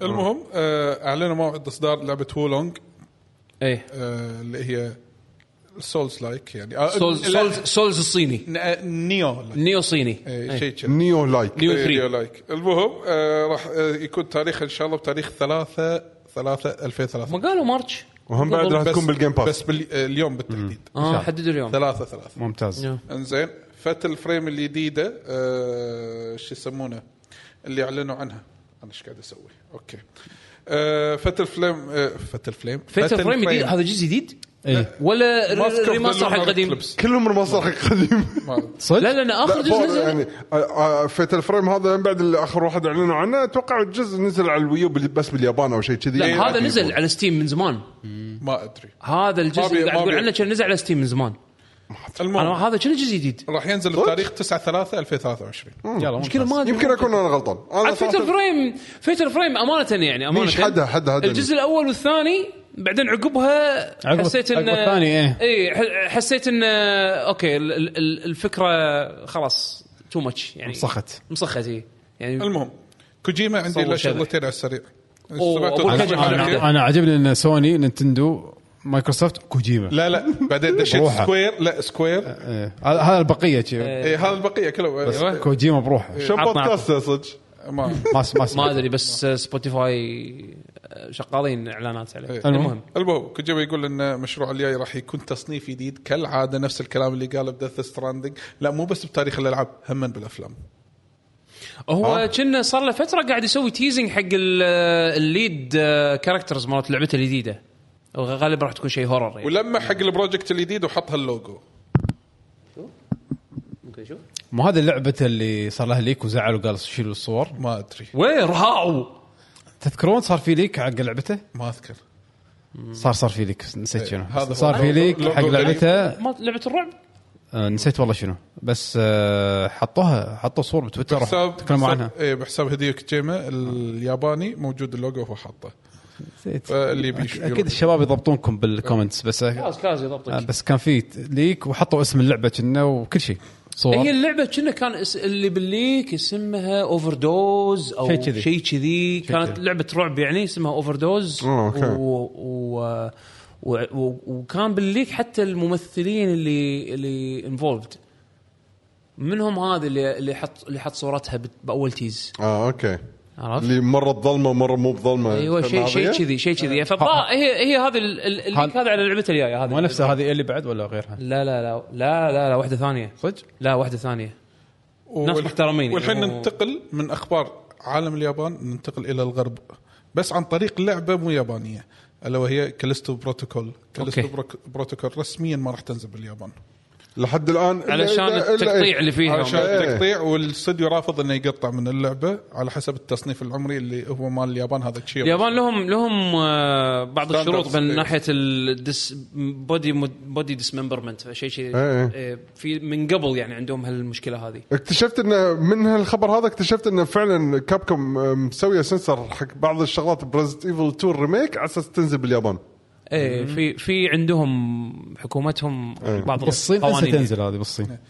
S2: المهم آه، اعلنوا موعد اصدار لعبه هولونج
S7: ايه
S2: آه، اللي هي سولز لايك يعني آه،
S7: سولز
S2: لا، إيه.
S7: سولز سولز الصيني
S2: ن- نيو لايك
S7: نيو صيني
S2: إيه، شيء كذا
S4: نيو لايك
S7: نيو
S2: إيه،
S7: 3
S2: لايك المهم آه، راح آه، يكون تاريخ ان شاء الله بتاريخ 3 3 2003
S7: ما قالوا مارتش
S4: وهم بعد راح
S2: بس-
S4: تكون بالجيم باس
S2: بس بال- آه، اليوم بالتحديد
S7: اه حددوا اليوم
S2: 3 3
S1: ممتاز
S7: يا.
S2: انزين فات الفريم الجديده آه، شو يسمونه اللي اعلنوا عنها انا ايش قاعد اسوي اوكي آه، فات الفريم آه، فات الفريم
S7: فيت الفريم جديد هذا جزء جديد
S1: ايه
S7: ولا
S2: Mask of the
S7: ريماستر حق
S2: Lunar
S7: قديم
S2: Eclipse.
S4: كلهم المصالح القديم
S7: لا
S1: صدق؟
S7: لا لا اخر جزء
S4: فوق-
S7: نزل
S4: يعني آه، آه، فيت الفريم هذا من بعد اللي اخر واحد اعلنوا عنه اتوقع الجزء نزل على الويو بال- بس باليابان او شيء كذي
S7: لا
S4: إيه،
S7: هذا
S4: عادي
S7: نزل
S4: يكون.
S7: على ستيم من زمان
S2: ما ادري
S7: هذا الجزء
S2: ما بي-
S7: اللي قاعد
S2: ما
S7: تقول
S2: بي-
S7: عنه كان نزل على ستيم من زمان انا
S2: المهم
S7: هذا كنا جزء جديد
S2: راح ينزل بتاريخ 9 3 2023
S1: يلا
S7: مشكله
S1: ممتاز
S7: ما ادري
S4: يمكن اكون انا غلطان انا
S7: عاد فيتر فريم فيتر فريم امانه يعني امانه
S4: ميش حدها- حدها هذا
S7: الجزء الاول والثاني بعدين عقبها
S1: عقب-
S7: حسيت ان
S1: عقب الثاني، إيه.
S7: إيه، ح- حسيت ان اوكي ال- ال- ال- الفكره خلاص تو ماتش يعني
S1: مسخت.
S7: مسخت إيه. يعني
S2: المهم كوجيما عندي
S7: صور
S2: له
S7: شبح.
S2: شغلتين على السريع
S7: أوه،
S2: سمعتوا
S7: أقول
S2: عن
S7: لك
S2: عن-
S7: أنا-
S2: عن-
S1: انا عجبني ان سوني نينتندو مايكروسوفت كوجيما
S2: لا لا بعدين دشيت
S1: بروحه.
S2: سكوير لا سكوير
S7: آه.
S1: إيه. هذا هذا البقيه شي.
S2: إيه، هذا إيه، البقيه
S1: بس
S2: كلهم
S1: كوجيما بروحه
S4: شو
S7: عطنا-
S4: بودكاست يا صدق
S2: ما
S1: ما س-
S7: ما
S1: ما
S7: ادري بس سبوتيفاي شغالين اعلانات عليه
S2: إيه.
S7: المهم
S2: المهم كوجيما يقول ان المشروع الجاي راح يكون تصنيف جديد كالعاده نفس الكلام اللي قاله بدث ستراندنج لا مو بس بتاريخ الالعاب هم بالافلام
S4: آه.
S7: هو كنا صار له فتره قاعد يسوي تيزنج حق ال- الليد كاركترز مالت لعبته الجديده وغالبا راح تكون شيء هورر يعني
S2: ولما حق البروجكت الجديد وحط هاللوجو
S1: مو هذه اللعبه اللي صار لها ليك وزعل وقال شيلوا الصور
S2: ما ادري
S7: وين راحوا
S1: تذكرون صار في ليك حق لعبته؟
S2: ما اذكر
S1: صار صار في ليك نسيت شنو
S2: إيه، هذا هو.
S1: صار في ليك
S2: لوجو
S1: حق
S2: غريب.
S1: لعبته
S7: مالت لعبه الرعب
S1: آه، نسيت والله شنو بس آه، حطوها حطوا صور بتويتر
S2: حساب إيه،
S1: تكلموا عنها
S2: اي بحساب هديو كوجيما الياباني موجود اللوجو هو حاطه
S1: نسيت
S2: فاللي
S1: أك-
S2: بيشوف
S1: اكيد آه، الشباب يضبطونكم بالكومنتس بس آه،
S7: كاز كاز
S2: طيب.
S7: يضبطك
S1: بس كان في ليك وحطوا اسم اللعبه كنا وكل شيء صور
S7: هي اللعبه كنا كان اس- اللي بالليك اسمها اوفر دوز او
S1: شيء كذي.
S7: شيء كذي كانت
S1: كذي.
S7: لعبه رعب يعني اسمها اوفر دوز
S4: آه، أوكي.
S7: و... و... و... وكان بالليك حتى الممثلين اللي اللي انفولفد منهم هذا اللي اللي حط اللي حط صورتها بت- باول تيز
S4: اه اوكي
S7: عرفت؟
S4: اللي مره بظلمه ومره مو بظلمه
S7: ايوه شيء شيء
S4: هذه؟
S7: كذي شيء كذي فطا هي هي هذا ال- ال- الليك
S1: آه. هذا-
S7: هذا على لعبته الجايه
S1: مو
S7: هذا
S1: نفسها هذه اللي بعد ولا غيرها؟
S7: لا لا لا لا لا لا واحده ثانيه
S1: صدق؟
S7: لا واحده ثانيه
S2: وال-
S7: ناس محترمين
S2: والحين
S7: يعني.
S2: ننتقل من اخبار عالم اليابان ننتقل الى الغرب بس عن طريق لعبه مو يابانيه الا وهي كاليستو بروتوكول كاليستو
S7: أوكي.
S2: بروك- بروتوكول رسميا ما راح تنزل باليابان
S4: لحد الان إلا-
S7: علشان
S4: إلا- إلا-
S7: التقطيع
S4: إيه.
S7: اللي فيها.
S4: علشان
S7: إيه.
S4: التقطيع
S2: تقطيع والاستوديو رافض انه يقطع من اللعبه على حسب التصنيف العمري اللي هو مال اليابان هذا تشير
S7: اليابان لهم لهم آه، بعض
S2: Standards.
S7: الشروط من
S2: إيه.
S7: ناحيه الدس بودي بودي ديسمبرمنت شيء شيء
S4: إيه.
S7: إيه، في من قبل يعني عندهم هالمشكله هذه
S4: اكتشفت انه من هالخبر هذا اكتشفت انه فعلا كابكم مسويه سنسر حق بعض الشغلات بريزنت ايفل 2 ريميك على اساس تنزل باليابان
S7: ايه في في عندهم حكومتهم بعض
S1: بالصين انسى
S7: القوانين.
S1: تنزل هذه بالصين
S7: إيه.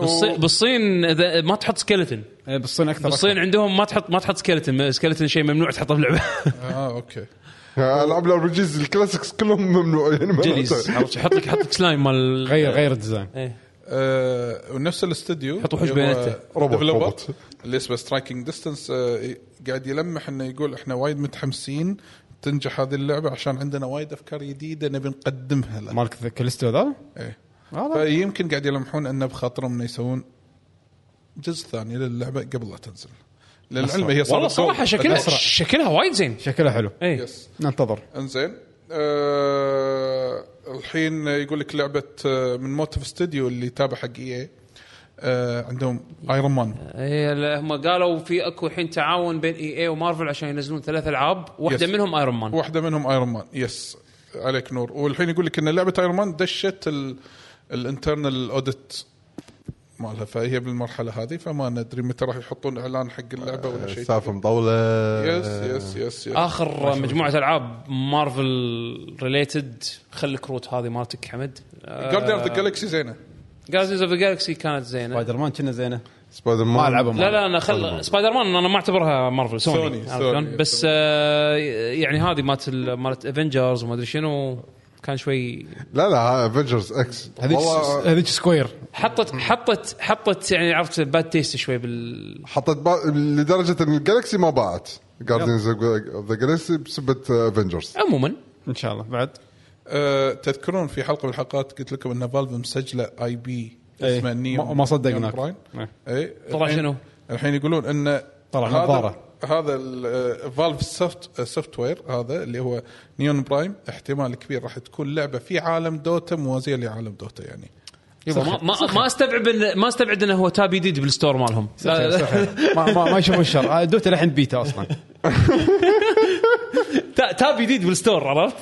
S7: بالصين بالصين إذا ما تحط سكeleton
S1: إيه، بالصين اكثر
S7: بالصين عندهم ما تحط ما تحط سكلتن سكلتن شيء ممنوع تحطه في لعبه
S2: اه اوكي
S4: العاب الار بي جيز الكلاسيكس كلهم ممنوع يعني ما-
S7: جليز عرفت؟ يحط لك يحط لك سلايم مال
S1: غير غير الديزاين
S2: آه ونفس الاستوديو
S7: حط وحوش
S2: اللي هو
S7: بياناته.
S4: روبوت،
S2: developer
S4: روبوت.
S2: اللي اسمه سترايكنج ديستنس قاعد يلمح انه يقول احنا وايد متحمسين تنجح هذه اللعبه عشان عندنا وايد افكار جديده نبي نقدمها لها
S1: مالك كاليستو ذا
S2: إيه.
S1: هذا
S2: فيمكن قاعد يلمحون انه بخاطرهم انه يسوون جزء ثاني للعبه قبل لا تنزل للعلم هي صارت
S7: والله صراحه
S2: gold.
S7: شكلها
S1: أسرع.
S7: شكلها وايد زين
S1: شكله حلو
S7: ايه
S2: يس طيب.
S1: ننتظر
S2: انزين أه الحين يقول لك لعبه آه، من موتيف ستوديو اللي تابع حق اي أه عندهم ايرون مان
S7: إيه، لا، هم قالوا في اكو الحين تعاون بين اي اي ومارفل عشان ينزلون ثلاث العاب واحده
S2: Yes.
S7: منهم ايرون مان
S2: واحده منهم ايرون مان يس عليك نور والحين يقول لك ان لعبه ايرون مان دشت الانترنال اوديت مالها فهي بالمرحله هذه فما ندري متى راح يحطون اعلان حق اللعبه ولا شيء
S4: سالفه مطوله
S2: يس يس يس
S1: آه.
S2: يس
S7: اخر مجموعه العاب مارفل ريليتد خليك روت هذه مالتك حمد
S2: Uh,
S7: آه،
S2: جاردن اوف ذا جالكسي زينه
S7: جاردنز اوف ذا جالكسي كانت زينه
S1: سبايدر مان كنا زينه
S4: سبايدر مان
S1: ما العبه
S7: لا لا انا خل سبايدر مان انا ما اعتبرها مارفل سوني,
S2: سوني،
S7: عرفت
S2: سوني.
S7: شلون؟ بس آه يعني هذه مالت ال- مالت افنجرز وما ادري شنو كان شوي
S4: لا لا افنجرز اكس
S1: هذيك
S4: والله
S1: هذيك سكوير
S7: حطت حطت حطت يعني عرفت باد تيست شوي بال
S4: حطت با... لدرجه ان الجالكسي ما باعت جاردينز اوف ذا جالكسي بسبه افنجرز
S7: عموما
S1: ان شاء الله بعد
S2: أه تذكرون في حلقه من الحلقات قلت لكم ان فالف مسجله اي بي
S1: إيه.
S2: اسمه نيو
S1: ما- ما صدقناك. إيه.
S2: اي
S7: طلع
S2: الحين-
S7: شنو؟
S2: الحين يقولون ان
S1: طلع
S2: هذا-
S1: نظارة.
S2: هذا آه، فالف سوفت سوفت وير هذا اللي هو نيون برايم احتمال كبير راح تكون لعبه في عالم دوتا موازيه لعالم دوتا يعني
S7: يبا ما ما, ما استبعد إن- ما استبعد انه هو تاب جديد بالستور مالهم
S1: صحيح، صحيح. ما ما, ما يشوفون الشر آه، دوتا للحين بيتا اصلا
S7: تا- تاب جديد بالستور عرفت؟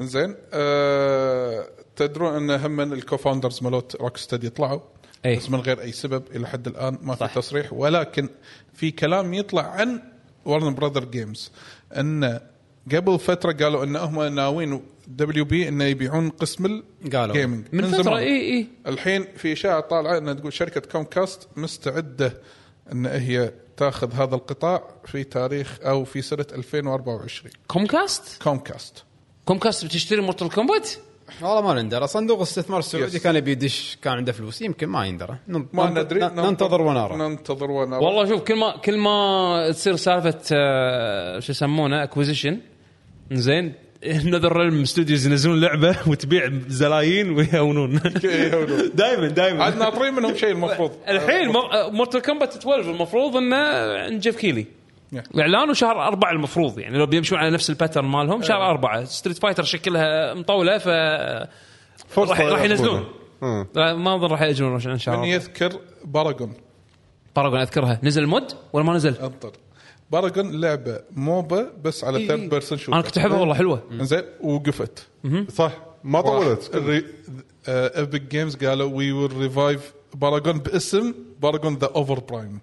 S2: انزين أه تدرون ان هم من الكوفاوندرز مالوت روك ستدي طلعوا
S7: إيه.
S2: بس من غير اي سبب الى حد الان ما في
S7: صح.
S2: تصريح ولكن في كلام يطلع عن ورن براذر جيمز ان قبل فتره قالوا ان هم ناويين دبليو بي انه يبيعون قسم
S1: قالوا.
S2: الجيمنج
S7: من إيه، فتره اي اي
S2: الحين في اشاعه طالعه ان تقول شركه كوم كاست مستعده ان هي تاخذ هذا القطاع في تاريخ او في سنه 2024
S7: كوم كاست
S2: كوم كاست
S7: كوم كاست بتشتري مورتال كومبات
S1: والله ما ندرى صندوق الاستثمار السعودي
S2: Yes.
S1: كان يبي يدش كان عنده فلوس يمكن ما يندرى نن-
S2: ما
S1: نن-
S2: ندري
S1: نن- ننتظر ونرى
S2: ننتظر ونرى
S7: والله شوف كل ما كل ما تصير سالفه آه، شو يسمونه اكوزيشن زين نذر ريلم ستوديوز ينزلون لعبه وتبيع زلايين ويهونون
S2: يهونون.
S7: دائما
S2: عاد
S7: دائما
S2: ناطرين منهم شيء المفروض
S7: الحين آه، مورتال كومبات 12 المفروض انه عند جيف كيلي الاعلان وشهر أربعة المفروض يعني لو بيمشون على نفس الباترن مالهم شهر أربعة ستريت فايتر شكلها مطوله ف راح راح ينزلون
S4: مم.
S7: لا، ما اظن راح ياجلون ان شاء
S2: من
S7: الله
S2: يذكر باراجون
S7: باراجون اذكرها نزل مود ولا ما نزل؟
S2: انطر باراجون لعبه موبا بس على ثيرد بيرسون شوتر
S7: انا إيه، كنت احبها والله حلوه
S2: زين وقفت
S4: صح ما طولت
S2: ايبك جيمز آه، قالوا وي ويل ريفايف باراجون باسم باراجون ذا اوفر برايم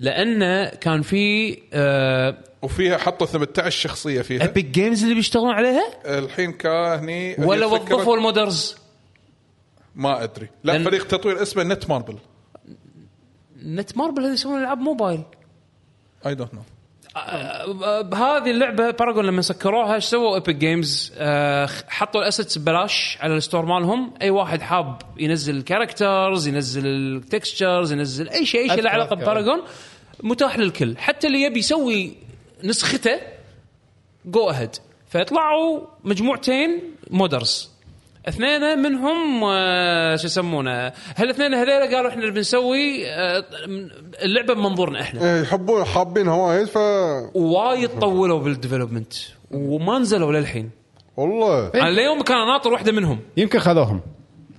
S7: لانه كان في آه
S2: وفيها حطوا 18 شخصيه فيها
S7: ابيك جيمز اللي بيشتغلون عليها
S2: الحين كان هني
S7: ولا
S2: هي إيه. فكرة-
S7: وظفوا المودرز
S2: ما ادري لا
S7: لأن-
S2: فريق تطوير اسمه نت ماربل
S7: نت ماربل هذول يسوون العاب موبايل
S2: اي دونت نو
S7: آه، بهذه اللعبه باراجون لما سكروها ايش سووا ايبك جيمز آه، حطوا الاسيتس ببلاش على الستور مالهم اي واحد حاب ينزل كاركترز ينزل التكستشرز ينزل اي شيء اي شيء له
S1: أذكر-
S7: علاقه
S1: أذكر.
S7: بباراجون متاح للكل حتى اللي يبي يسوي نسخته جو اهيد فيطلعوا مجموعتين مودرز اثنين منهم آه، شو يسمونه هالاثنين هذول قالوا احنا بنسوي آه، اللعبه بمنظورنا احنا
S4: إيه، يحبون حابينها وايد ف
S7: وايد طولوا بالديفلوبمنت وما نزلوا للحين
S4: والله
S7: انا ليوم كان ناطر واحده منهم
S1: يمكن خذوهم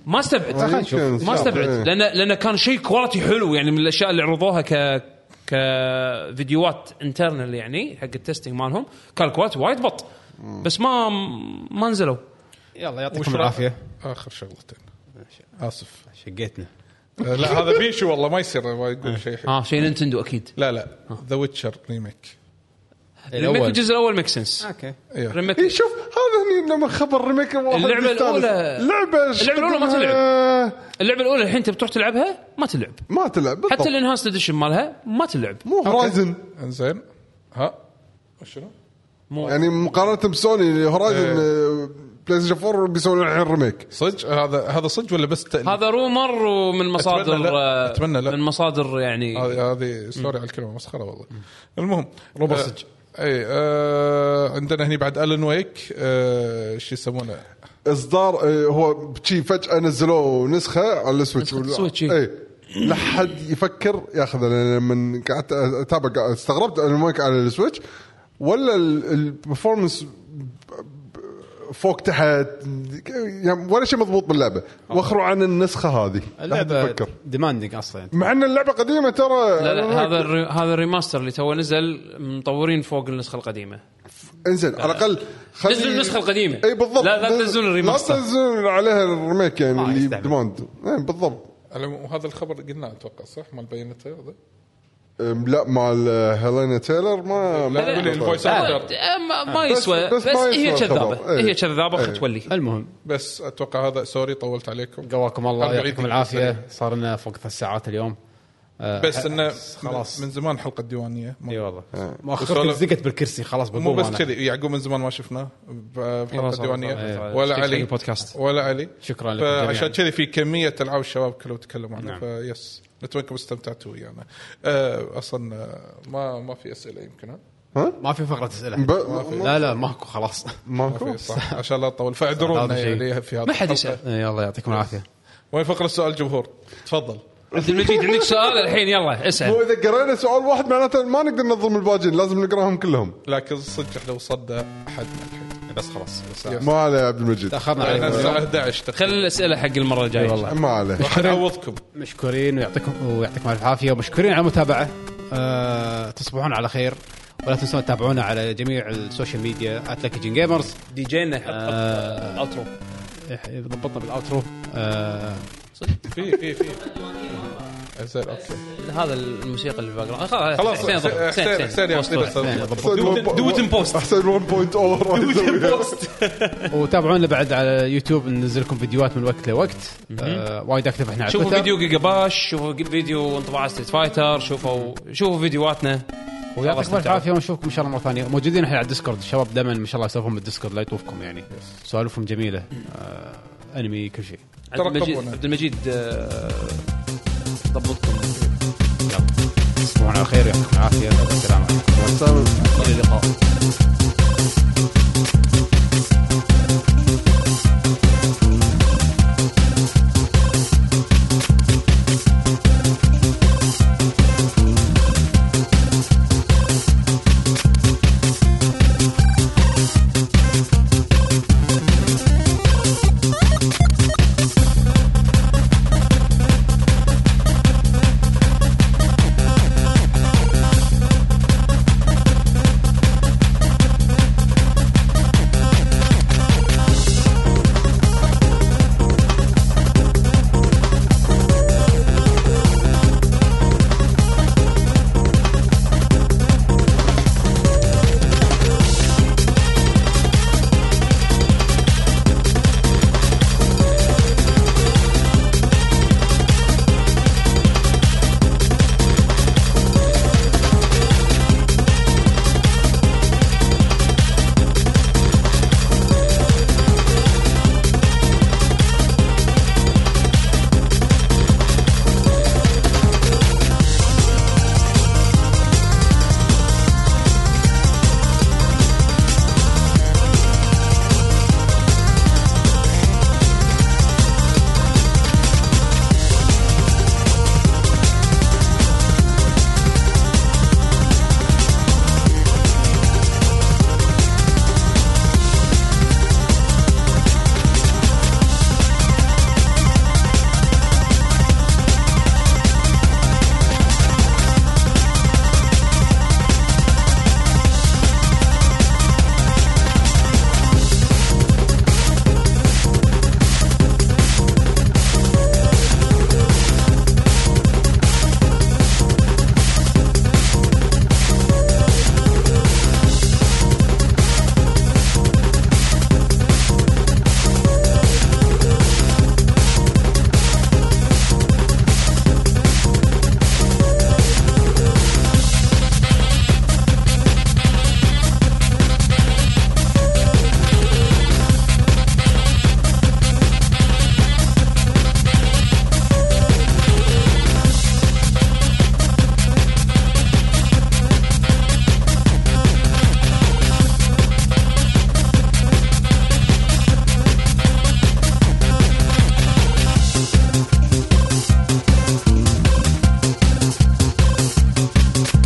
S7: ما استبعد
S4: خلينا نشوف.
S7: ما استبعد
S4: إيه.
S7: لان لان كان شيء كواليتي حلو يعني من الاشياء اللي عرضوها ك كفيديوهات انترنال يعني حق التستنج مالهم كان الكواليتي وايد بط بس ما ما نزلوا
S1: يلا
S2: وش
S1: يعطيكم
S2: رأ-
S1: العافيه
S2: اخر شغلتين اسف
S1: شقيتنا
S2: آه، لا هذا بيشو والله ما يصير ما يقول شيء حلو
S7: اه شيء نينتندو اكيد
S2: لا لا
S7: آه.
S2: ذا ويتشر ريميك
S7: ريميك الجزء الاول ميك سنس
S1: اوكي
S2: إيه.
S7: ريميك
S4: إيه شوف هذا هني لما خبر ريميك الواحد
S7: اللعبة
S4: يستانس.
S7: الأولى-
S4: اللعبة إيش
S7: اللعبة الأولى ما
S4: تقول؟
S7: تلعب.
S4: آه،
S7: اللعبه الاولى الحين انت بتروح تلعبها ما تلعب
S4: ما تلعب بالضبط.
S7: حتى الانهانس اديشن مالها ما تلعب
S4: مو هورايزن
S2: انزين ها شنو؟
S4: يعني مقارنة بسوني يعني هورايزن
S7: إيه.
S4: آه، بلاي ستيشن 4 بيسوون الحين ريميك
S2: صدق هذا هذا صدق ولا بس تأليف؟
S7: هذا رومر ومن مصادر
S2: أتمنى لا.
S7: آه،
S2: أتمنى لا.
S7: من مصادر يعني
S2: هذه هذه سوري على الكلمه مسخره والله المهم
S1: روبر
S2: آه،
S1: صج.
S2: اي آه عندنا هني بعد الن ويك آه شو يسمونه
S4: اصدار آه، هو بشي فجأة نزلوه نسخة على السويتش
S7: نسخة السويتش، إيه.
S4: اي لحد يفكر ياخذه لأن لما قعدت اتابع قاعد- استغربت انه ماك على السويتش ولا ال- البرفورمنس ب- ب- فوق تحت يعني ولا شيء مضبوط باللعبه واخروا عن النسخه هذه لحد
S1: اللعبه
S4: يفكر
S1: ديماندنج اصلا يعني.
S4: مع ان اللعبه قديمه ترى
S7: لا لا هذا الري... هذا الريماستر اللي تو نزل مطورين فوق النسخه القديمه
S4: انزين على الاقل خلي-
S7: نزلوا النسخه القديمه
S4: اي بالضبط
S7: لا لا
S4: نز-
S7: تنزلون الريماستر
S4: لا تنزلون عليها الريميك يعني
S1: آه،
S4: اللي
S1: يستعمل.
S4: ديماند اي بالضبط
S2: على- وهذا الخبر قلناه اتوقع صح مال بينته هذا
S4: أم، لا مال آه، هيلينا تايلر
S2: لا
S4: ما ما
S2: قولي الفويس
S7: لا،
S2: أكتر.
S7: آه، ما, ما يسوى
S4: بس-
S7: بس,
S4: بس ما
S7: هي
S4: يسوى
S7: كذابه
S4: الخبر. إيه.
S7: هي كذابه خلت تولي
S1: المهم
S2: بس اتوقع هذا سوري طولت عليكم
S1: قواكم الله
S2: أربعين
S1: يعطيكم
S2: دقيقة.
S1: العافيه صار لنا فوق ثلاث ساعات اليوم آه،
S2: بس
S1: ح-
S2: انه
S1: خلاص أيوه،
S2: من زمان حلقه ديوانيه
S1: اي
S2: ما-
S1: والله
S2: وسولف-
S1: مؤخرا زقت بالكرسي خلاص
S2: مو
S1: بقوم
S2: بس
S1: أنا.
S2: كذي يعقوب من زمان ما شفناه ب- بحلقه
S7: خلاص،
S2: ديوانيه
S7: خلاص، خلاص.
S2: ولا
S7: إيه، شكراً
S2: علي
S7: للبودكاست.
S2: ولا علي
S1: شكراً لكم
S2: فعشان
S1: جميعاً.
S2: كذي في كميه العاب الشباب كلهم تكلموا عنها
S1: نعم.
S2: فيس نتمنى انكم استمتعتوا ويانا آه، اصلا آه، ما ما في اسئله يمكن ها
S1: ما في فقره اسئله
S4: ب- ما-
S1: لا لا ماكو خلاص
S2: ما
S4: ماكو
S2: في، إيه، صح عشان لا اطول فاعذرونا
S1: هذا شيء.
S2: يعني في هذا
S7: ما حد
S2: الحلقة.
S7: يسال
S1: يلا يعطيكم العافيه
S2: وين فقره سؤال الجمهور تفضل
S7: عبد المجيد عندك سؤال الحين يلا
S4: هو
S7: اسال
S4: اذا قرينا سؤال واحد معناته ما نقدر ننظم الباجين لازم نقراهم كلهم
S2: لكن صدق احنا وصلنا حد الحين
S1: بس خلاص
S4: ما عليه يا عبد المجيد
S1: تاخرنا
S2: يعني
S1: عليكم
S2: الساعه 11
S7: خلي
S2: تخيل
S7: الاسئله حق المره الجايه
S1: والله.
S4: ما عليه
S2: راح نعوضكم
S1: مشكورين ويعطيكم ويعطيكم الف عافيه ومشكورين على المتابعه أه تصبحون على خير ولا تنسون تتابعونا على جميع السوشيال ميديا @لكيجن جيمرز
S7: دي جينا يحط
S1: آه.
S7: اوترو
S1: ضبطنا بالاوترو أه
S2: في في في زين اوكي
S7: هذا الموسيقى اللي بقرا خلاص
S2: خلاص،
S7: حسين ضبط.
S2: حسين-
S7: حسين
S2: حسين
S7: حسين
S2: يعطينا
S7: وسط.
S2: السلام.
S7: Do it in post.
S4: احسن 1.0 راح يسويها.
S1: وتابعونا بعد على يوتيوب ننزل لكم فيديوهات من وقت لوقت أه وايد اكتب احنا على
S7: شوفوا
S1: تويتر.
S7: فيديو جيجا باش شوفوا فيديو انطباع ستريت فايتر شوفوا شوفوا فيديوهاتنا خلاص،
S1: ويعطيكم الف
S7: استمتعوا.
S1: عافيه ونشوفكم ان شاء الله مره ثانيه موجودين احنا على الديسكورد الشباب دائما ما شاء الله سوالفهم بالديسكورد لا يطوفكم يعني سوالفهم جميله أه انمي كل شيء
S7: عبد المجيد
S2: ترقبونا.
S7: عبد المجيد آه، ضبطكم
S1: تصبحون على خير ويعطيكم العافيه والسلام عليكم
S7: الى اللقاء
S9: Thank you